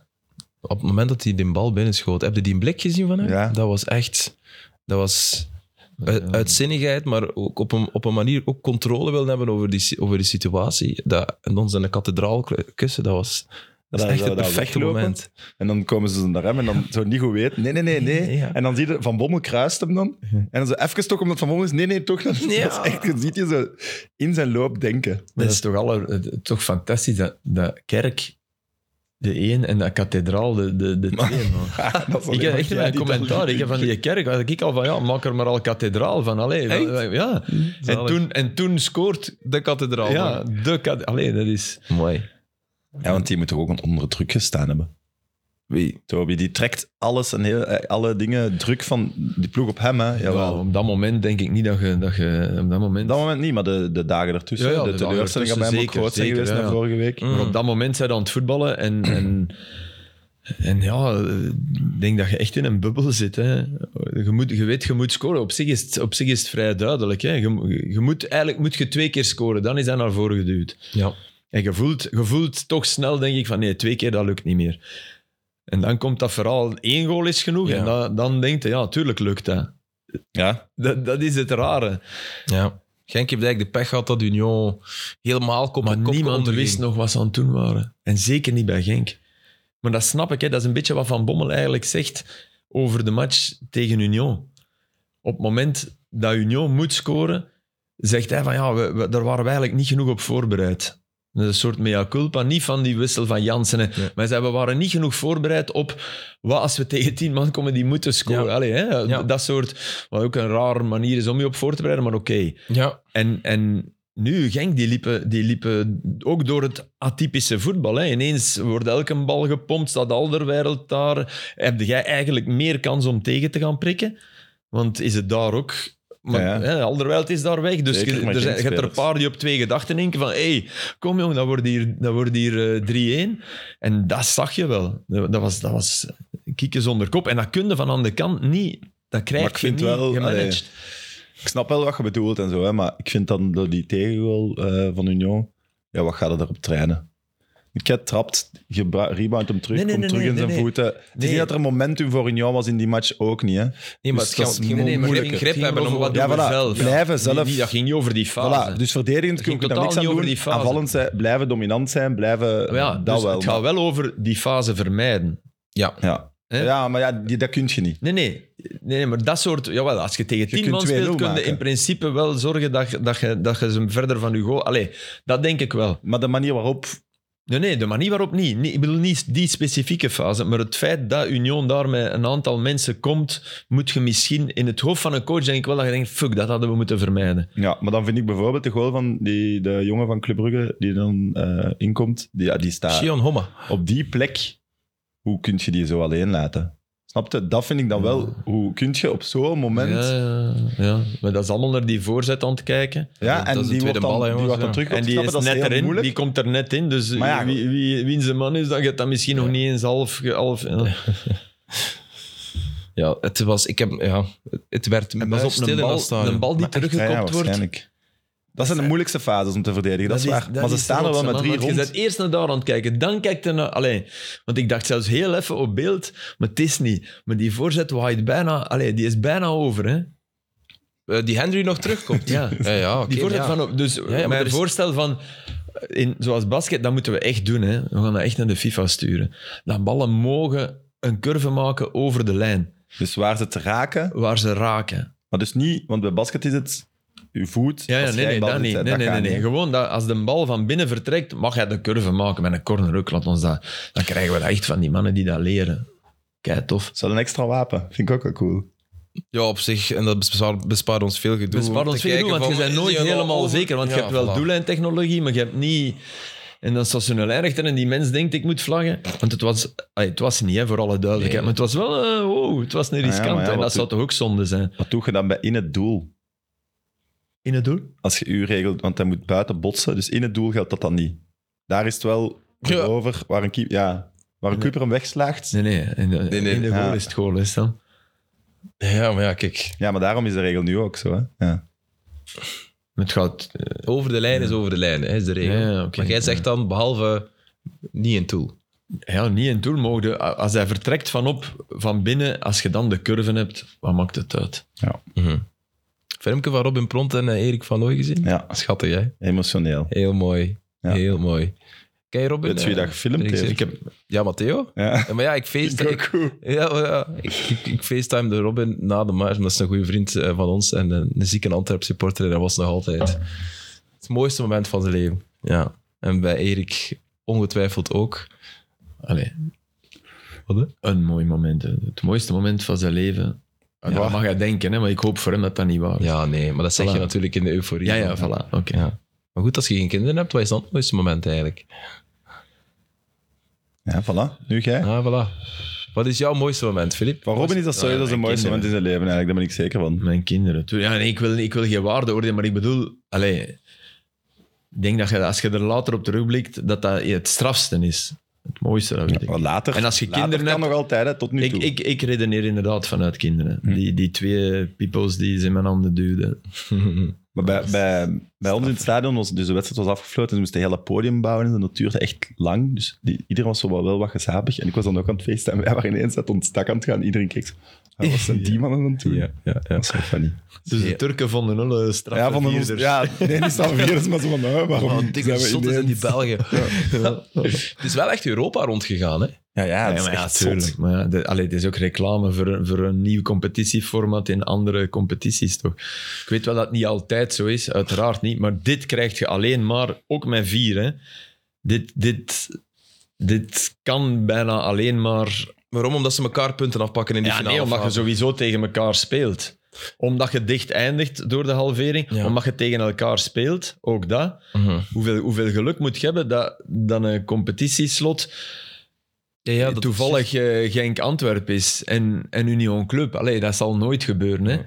[SPEAKER 1] Op het moment dat hij die bal binnenschoot. Heb je die blik gezien van hem?
[SPEAKER 2] Ja.
[SPEAKER 1] Dat was echt... Dat was u- uitzinnigheid, maar ook op een, op een manier ook controle willen hebben over die, si- over die situatie. Dat, en ons in de kathedraal k- kussen, dat was... Dat is
[SPEAKER 2] Dan
[SPEAKER 1] echt
[SPEAKER 2] zou
[SPEAKER 1] het
[SPEAKER 2] dat
[SPEAKER 1] perfecte
[SPEAKER 2] weglopen.
[SPEAKER 1] moment.
[SPEAKER 2] En dan komen ze naar hem en dan zo niet goed weten. Nee, nee, nee, nee.
[SPEAKER 1] Ja.
[SPEAKER 2] En dan zie je Van Bommel kruist hem dan. En dan zo even toch omdat Van Bommel is. Nee, nee, toch. Dan,
[SPEAKER 1] Ja.
[SPEAKER 2] dat is echt, je ziet je zo in zijn loop
[SPEAKER 3] [LAUGHS]
[SPEAKER 2] denken.
[SPEAKER 3] Maar dat is toch, alle, eh, toch fantastisch dat, dat kerk de een en dat kathedraal de, de, de twee. man.
[SPEAKER 2] Dat is alleen
[SPEAKER 3] Ik heb
[SPEAKER 2] maar
[SPEAKER 3] echt
[SPEAKER 2] jij
[SPEAKER 3] mijn
[SPEAKER 2] die dat
[SPEAKER 3] commentaar.
[SPEAKER 2] doet.
[SPEAKER 3] Ik heb van die kerk, had ik al van ja, maak er maar al kathedraal van. Allee,
[SPEAKER 1] Echt?
[SPEAKER 3] wa- wa- ja. En
[SPEAKER 1] Zalig.
[SPEAKER 3] toen, en toen scoort
[SPEAKER 1] De kathedraal.
[SPEAKER 3] ja, de kathedraal. Allee, dat is.
[SPEAKER 1] Mooi.
[SPEAKER 2] Ja, want die moet toch ook onder druk gestaan hebben.
[SPEAKER 1] Wie?
[SPEAKER 2] Toby, die trekt alles en heel, eh, alle dingen druk van die ploeg op hem. Hè.
[SPEAKER 3] Ja,
[SPEAKER 2] Jawel.
[SPEAKER 3] Nou, op dat moment denk ik niet dat je. Dat je op dat moment.
[SPEAKER 2] Op dat moment niet, maar de, de dagen ertussen.
[SPEAKER 3] Ja, ja,
[SPEAKER 2] de
[SPEAKER 3] de dagen
[SPEAKER 2] teleurstelling gaat
[SPEAKER 3] ertussen
[SPEAKER 2] bij hem ook
[SPEAKER 3] zeker,
[SPEAKER 2] groot zijn
[SPEAKER 3] zeker,
[SPEAKER 2] geweest
[SPEAKER 3] ja,
[SPEAKER 2] na
[SPEAKER 3] ja. Mm.
[SPEAKER 2] vorige week.
[SPEAKER 3] Maar op dat moment zijn we aan het voetballen en, en, en ja, ik denk dat je echt in een bubbel zit. Hè. Je, moet, je weet, je moet scoren. Op zich is het, op zich is het vrij duidelijk. Hè. Je, je moet, eigenlijk moet je twee keer scoren, dan is hij naar voren geduwd.
[SPEAKER 1] Ja.
[SPEAKER 3] En je voelt, je voelt toch snel, denk ik, van nee, twee keer dat lukt niet meer. En dan komt dat verhaal, één goal is genoeg.
[SPEAKER 1] Ja.
[SPEAKER 3] En dan, dan denk je, ja, tuurlijk lukt dat.
[SPEAKER 2] Ja,
[SPEAKER 3] Dat, dat is het rare.
[SPEAKER 1] ja. Genk heeft eigenlijk de pech gehad dat Union helemaal kop
[SPEAKER 3] Maar
[SPEAKER 1] en kop
[SPEAKER 3] niemand
[SPEAKER 1] onderging.
[SPEAKER 3] wist nog wat ze aan het doen waren. En zeker niet bij Genk. Maar dat snap ik, hè. dat is een beetje wat Van Bommel eigenlijk zegt over de match tegen Union. Op het moment dat Union moet scoren, zegt hij van ja, we, we- daar waren we eigenlijk niet genoeg op voorbereid. Dat is een soort mea culpa, niet van die wissel van Jansen. hè. Maar hij zei, we waren niet genoeg voorbereid op wat als we tegen tien man komen die moeten scoren.
[SPEAKER 1] Ja.
[SPEAKER 3] Allee, hè?
[SPEAKER 1] Ja.
[SPEAKER 3] Dat soort, wat ook een rare manier is om je op voor te bereiden, maar oké.
[SPEAKER 1] Ja.
[SPEAKER 3] En, en nu, Genk, die liepen, die liepen ook door het atypische voetbal. Hè. Ineens wordt elke bal gepompt, staat Alderwereld daar. Heb jij eigenlijk meer kans om tegen te gaan prikken? Want is het daar ook Maar
[SPEAKER 2] Ja,
[SPEAKER 3] ja,
[SPEAKER 2] ja.
[SPEAKER 3] Alderwijld is daar weg. Dus
[SPEAKER 2] Zeker
[SPEAKER 3] je,
[SPEAKER 2] met
[SPEAKER 3] er zijn, je hebt er een
[SPEAKER 2] jeugdspelers.
[SPEAKER 3] paar die op twee gedachten denken van hé, hey, kom jong, dat wordt hier, dat wordt hier eh, 3-1. En dat zag je wel. Dat was, dat was kikken zonder kop. En dat kun je van aan de kant niet. Dat krijg
[SPEAKER 2] Maar ik
[SPEAKER 3] je
[SPEAKER 2] vind
[SPEAKER 3] niet
[SPEAKER 2] wel,
[SPEAKER 3] gemanaged.
[SPEAKER 2] Ik snap wel wat je bedoelt en zo, hè, maar ik vind dan door die tegengoal eh, van Union, ja, wat gaat er daarop trainen? Ket trapt, je bra- rebound hem terug,
[SPEAKER 3] Nee, nee,
[SPEAKER 2] komt
[SPEAKER 3] nee,
[SPEAKER 2] terug in
[SPEAKER 3] nee,
[SPEAKER 2] zijn
[SPEAKER 3] nee, nee.
[SPEAKER 2] voeten. Het is
[SPEAKER 3] Nee.
[SPEAKER 2] niet dat er momentum voor Union was in die match, ook niet. Hè.
[SPEAKER 1] Nee, maar
[SPEAKER 2] Dus
[SPEAKER 1] het
[SPEAKER 2] dat
[SPEAKER 1] gaat
[SPEAKER 2] is
[SPEAKER 1] het ging om
[SPEAKER 2] nee, maar
[SPEAKER 1] moeilijker.
[SPEAKER 2] geen
[SPEAKER 1] grip hebben om wat
[SPEAKER 2] Ja,
[SPEAKER 1] doen we
[SPEAKER 2] voilà.
[SPEAKER 1] zelf.
[SPEAKER 2] Blijven zelf.
[SPEAKER 3] Die- die- dat ging niet over die fase.
[SPEAKER 2] Voilà, dus verdedigend kun
[SPEAKER 3] ging
[SPEAKER 2] je daar
[SPEAKER 3] totaal
[SPEAKER 2] niks aan
[SPEAKER 3] niet over
[SPEAKER 2] doen.
[SPEAKER 3] die fase.
[SPEAKER 2] Aanvallend zijn, blijven dominant zijn, blijven
[SPEAKER 3] Maar ja,
[SPEAKER 2] dat
[SPEAKER 3] dus
[SPEAKER 2] wel.
[SPEAKER 3] het gaat wel over die fase vermijden.
[SPEAKER 1] Ja.
[SPEAKER 2] maar- ja.
[SPEAKER 3] Hè?
[SPEAKER 2] ja, maar ja, die, dat kun je niet.
[SPEAKER 3] Nee, nee. nee, nee maar dat soort... Jawel, als je tegen tien
[SPEAKER 2] kunt
[SPEAKER 3] man
[SPEAKER 2] 2-0
[SPEAKER 3] speelt, kun je
[SPEAKER 2] maken.
[SPEAKER 3] in principe wel zorgen dat, je- dat, je, dat je ze verder van je goal... Allee, dat denk ik wel.
[SPEAKER 2] Maar de manier waarop
[SPEAKER 3] Nee, nee, de manier waarop niet. Nee, Ik bedoel niet die specifieke fase, maar het feit dat Union daar met een aantal mensen komt, moet je misschien in het hoofd van een coach denk ik wel dat je denkt, fuck, dat hadden we moeten vermijden.
[SPEAKER 2] Ja, maar dan vind ik bijvoorbeeld de goal van die, de jongen van Club Brugge die dan eh, inkomt, die, ja, die staat
[SPEAKER 1] Shion Homma.
[SPEAKER 2] op die plek. Hoe kun je die zo alleen laten? Snap je? Dat vind ik dan wel. Hoe kun je op zo'n moment...
[SPEAKER 3] Ja,
[SPEAKER 2] Ja,
[SPEAKER 3] ja, ja. Maar dat is allemaal naar die voorzet aan het kijken.
[SPEAKER 1] dat
[SPEAKER 2] en
[SPEAKER 1] is de
[SPEAKER 2] die wordt
[SPEAKER 1] tweede
[SPEAKER 2] dan,
[SPEAKER 1] bal, hè,
[SPEAKER 2] die
[SPEAKER 1] jongens,
[SPEAKER 2] wordt dan
[SPEAKER 1] ja.
[SPEAKER 2] terug
[SPEAKER 3] En die
[SPEAKER 2] opgesnapt,
[SPEAKER 3] is
[SPEAKER 2] dat
[SPEAKER 3] net
[SPEAKER 2] heel
[SPEAKER 3] erin,
[SPEAKER 2] moeilijk.
[SPEAKER 3] die komt er net in. Dus
[SPEAKER 2] Maar ja,
[SPEAKER 3] wie, wie, wie zijn man is, dan gaat dat misschien nog niet eens half... ge- half
[SPEAKER 1] Ja, het was... Ik heb... Ja, het werd
[SPEAKER 2] En dat is op
[SPEAKER 1] muisstil in
[SPEAKER 2] een bal-
[SPEAKER 1] dat stadion.
[SPEAKER 3] een bal die
[SPEAKER 2] Maar echt,
[SPEAKER 3] teruggekopt
[SPEAKER 2] ja, ja,
[SPEAKER 3] wordt.
[SPEAKER 2] waarschijnlijk. Dat zijn de moeilijkste fases om te verdedigen, dat, is waar.
[SPEAKER 3] dat
[SPEAKER 2] maar ze
[SPEAKER 3] is
[SPEAKER 2] staan er wel
[SPEAKER 3] rotsen,
[SPEAKER 2] met
[SPEAKER 3] man,
[SPEAKER 2] drie
[SPEAKER 3] want Je
[SPEAKER 2] rond.
[SPEAKER 3] bent eerst naar daar aan het kijken, dan kijkt je naar... Allee, want ik dacht zelfs heel even op beeld, maar het is niet. Maar die voorzet waait bijna... Allee, die is bijna over, hè.
[SPEAKER 1] Eh, die Henry nog terugkomt.
[SPEAKER 3] [LAUGHS] Ja.
[SPEAKER 1] ja, ja oké,
[SPEAKER 3] Die voorzet
[SPEAKER 1] ja.
[SPEAKER 3] van op... Dus
[SPEAKER 1] ja, maar
[SPEAKER 3] mijn
[SPEAKER 1] er is-
[SPEAKER 3] voorstel van... In, zoals basket, dat moeten we echt doen, hè. We gaan dat echt naar de FIFA sturen. Dat ballen mogen een curve maken over de lijn,
[SPEAKER 2] Dus waar ze te raken,
[SPEAKER 3] waar ze raken.
[SPEAKER 2] maar dus niet... Want bij basket is het je voet.
[SPEAKER 3] Ja, ja
[SPEAKER 2] als
[SPEAKER 3] nee,
[SPEAKER 2] jij
[SPEAKER 3] nee,
[SPEAKER 2] bal
[SPEAKER 3] dat
[SPEAKER 2] zit,
[SPEAKER 3] niet.
[SPEAKER 2] hè,
[SPEAKER 3] Nee, nee,
[SPEAKER 2] gaat
[SPEAKER 3] nee, nee.
[SPEAKER 2] niet.
[SPEAKER 3] Gewoon dat als de bal van binnen vertrekt, mag hij de curve maken met een corner ook. Laat ons dat, dan krijgen we dat echt van die mannen die dat leren. Kijk, tof.
[SPEAKER 2] Dat is wel een extra wapen. Vind ik ook wel cool.
[SPEAKER 1] Ja, op zich. En dat bespaart, bespaart ons veel gedoe.
[SPEAKER 3] Dus
[SPEAKER 1] om
[SPEAKER 3] spaar
[SPEAKER 1] te
[SPEAKER 3] ons veel
[SPEAKER 1] kijken
[SPEAKER 3] gedoe, want je
[SPEAKER 1] van,
[SPEAKER 3] bent
[SPEAKER 1] is
[SPEAKER 3] nooit
[SPEAKER 1] die al
[SPEAKER 3] helemaal
[SPEAKER 1] over?
[SPEAKER 3] zeker. Want
[SPEAKER 1] Ja,
[SPEAKER 3] je hebt wel
[SPEAKER 1] voilà.
[SPEAKER 3] doellijntechnologie, maar je hebt niet... En dan staat zo'n lijnrechter en die mens denkt, ik moet vlaggen. Want het was, ay, het was niet, hè, voor alle duidelijkheid.
[SPEAKER 1] Nee.
[SPEAKER 3] Maar het was wel, eh, wow, het was niet
[SPEAKER 2] ja,
[SPEAKER 3] riskant.
[SPEAKER 2] maar ja,
[SPEAKER 3] en
[SPEAKER 2] wat
[SPEAKER 3] dat zou
[SPEAKER 2] doe-
[SPEAKER 3] toch ook zonde zijn?
[SPEAKER 2] Wat doe je dan bij in het doel?
[SPEAKER 3] In het doel?
[SPEAKER 2] als je u regelt, want hij moet buiten botsen. Dus in het doel geldt dat dan niet. Daar is het wel
[SPEAKER 1] Ja.
[SPEAKER 2] over waar een, keep, ja, waar een keeper hem wegslaagt.
[SPEAKER 3] Nee, nee. In de,
[SPEAKER 1] Nee, nee,
[SPEAKER 3] in de goal
[SPEAKER 2] ja.
[SPEAKER 3] is het goal, is het dan.
[SPEAKER 1] Ja, maar ja, kijk.
[SPEAKER 2] Ja, maar daarom is de regel nu ook zo. Hè? Ja.
[SPEAKER 3] Maar Het gaat... eh,
[SPEAKER 1] Over de lijn is over de lijn, hè, is de regel.
[SPEAKER 3] Ja, ja, oké.
[SPEAKER 1] maar jij zegt dan, behalve niet in tool.
[SPEAKER 3] Ja, niet in het doel mogen. Als hij vertrekt van op, van binnen, als je dan de curven hebt, wat maakt het uit? Mhm.
[SPEAKER 1] Filmpje van Robin Pront en eh, Erik van Looy gezien?
[SPEAKER 2] ja,
[SPEAKER 1] Schattig, hè?
[SPEAKER 2] emotioneel.
[SPEAKER 1] Heel mooi.
[SPEAKER 2] Ja.
[SPEAKER 1] Heel mooi. Kijk, Robin.
[SPEAKER 2] Weet je wie
[SPEAKER 1] eh,
[SPEAKER 2] dat gefilmd
[SPEAKER 1] ik
[SPEAKER 2] heeft?
[SPEAKER 1] zeg-
[SPEAKER 2] Ik heb...
[SPEAKER 1] Ja, Matteo.
[SPEAKER 2] Ja.
[SPEAKER 1] Ja, maar ja, ik feest. Ik, ja, maar ja, ik, ik, ik facetimede Robin na de match, maar dat is een goede vriend eh, van ons en een, een zieke Antwerp supporter en dat was nog
[SPEAKER 3] Ah.
[SPEAKER 1] altijd het mooiste moment van zijn leven. Ja. En bij Erik ongetwijfeld ook.
[SPEAKER 3] Allee,
[SPEAKER 1] Wat, hè?
[SPEAKER 3] een mooi moment. hè. Het mooiste moment van zijn leven. Ja.
[SPEAKER 2] Ja.
[SPEAKER 3] Dat mag hij denken, hè, maar ik hoop voor hem dat dat niet waar is.
[SPEAKER 1] Ja, nee, maar dat zeg je
[SPEAKER 3] Voilà.
[SPEAKER 1] natuurlijk in de euforie.
[SPEAKER 3] ja, ja,
[SPEAKER 1] van-
[SPEAKER 3] voilà. Oké.
[SPEAKER 1] Ja. Maar goed, als je geen kinderen hebt, wat is dan het mooiste moment eigenlijk?
[SPEAKER 2] ja, voilà. Nu jij.
[SPEAKER 1] Ah, voilà. Wat is jouw mooiste moment, Filip?
[SPEAKER 2] Van Robin is dat sowieso
[SPEAKER 3] Ja,
[SPEAKER 2] dat is het
[SPEAKER 3] mijn
[SPEAKER 2] mooiste moment in zijn leven eigenlijk. Daar ben ik zeker van.
[SPEAKER 3] Mijn kinderen. Toen- Ja, nee, ik, wil, ik wil geen waarde oordelen, maar ik bedoel, allee, ik denk dat je, als je er later op terugblikt, dat dat het strafste is. Het mooiste, dat weet ik.
[SPEAKER 2] Maar later,
[SPEAKER 3] En als je
[SPEAKER 2] later
[SPEAKER 3] kinderen
[SPEAKER 2] kan
[SPEAKER 3] hebt-
[SPEAKER 2] nog altijd, hè, tot nu
[SPEAKER 3] Ik,
[SPEAKER 2] toe. Hm.
[SPEAKER 3] ik, ik redeneer inderdaad vanuit kinderen. Die, die twee peoples die ze in mijn handen duwden.
[SPEAKER 2] Maar bij, bij, bij ons in het stadion was dus de wedstrijd was afgesloten en ze moesten het hele podium bouwen en dat duurde echt lang. Dus die, iedereen was zo wel, wel wat gezapig. En ik was dan ook aan het feesten en wij waren ineens uit ons dak aan het gaan. Iedereen keek zo, "Ah, wat zijn die mannen aan het doen?
[SPEAKER 1] Ja, ja, ja.
[SPEAKER 2] Dat is wel funny.
[SPEAKER 3] Dus de
[SPEAKER 1] Ja.
[SPEAKER 3] Turken vonden eh, nul straf.
[SPEAKER 2] Ja, van de ons, ja, nee, niet staan vierders, maar zo van, hè, waarom
[SPEAKER 1] Oh, dikke
[SPEAKER 2] zijn we
[SPEAKER 1] zotten zijn die
[SPEAKER 2] [LAUGHS] ineens-
[SPEAKER 1] Belgen. Het is wel echt Europa rondgegaan, hè?
[SPEAKER 2] Ja, ja, dat
[SPEAKER 3] Ja,
[SPEAKER 2] is
[SPEAKER 3] maar ja,
[SPEAKER 2] echt zot.
[SPEAKER 3] tuurlijk. Maar ja, de- allee, het is ook reclame voor, een- voor een nieuw competitieformat in andere competities, toch? Ik weet wel dat het niet altijd zo is, uiteraard niet. Maar dit krijg je alleen maar, ook met vier, hè. Dit, dit, dit kan bijna alleen maar...
[SPEAKER 1] Waarom? Omdat ze elkaar punten afpakken in die
[SPEAKER 3] Ja,
[SPEAKER 1] finale.
[SPEAKER 3] nee, omdat je
[SPEAKER 1] fase.
[SPEAKER 3] sowieso tegen elkaar speelt. Omdat je dicht eindigt door de halvering.
[SPEAKER 1] Ja.
[SPEAKER 3] Omdat je tegen elkaar speelt, ook dat.
[SPEAKER 1] Mhm.
[SPEAKER 3] Hoeveel, hoeveel geluk moet je hebben dat, dat een competitieslot...
[SPEAKER 1] Ja, ja, dat-
[SPEAKER 3] toevallig eh, Genk Antwerp is en, en Union Club. Allee, dat zal nooit gebeuren. Hè?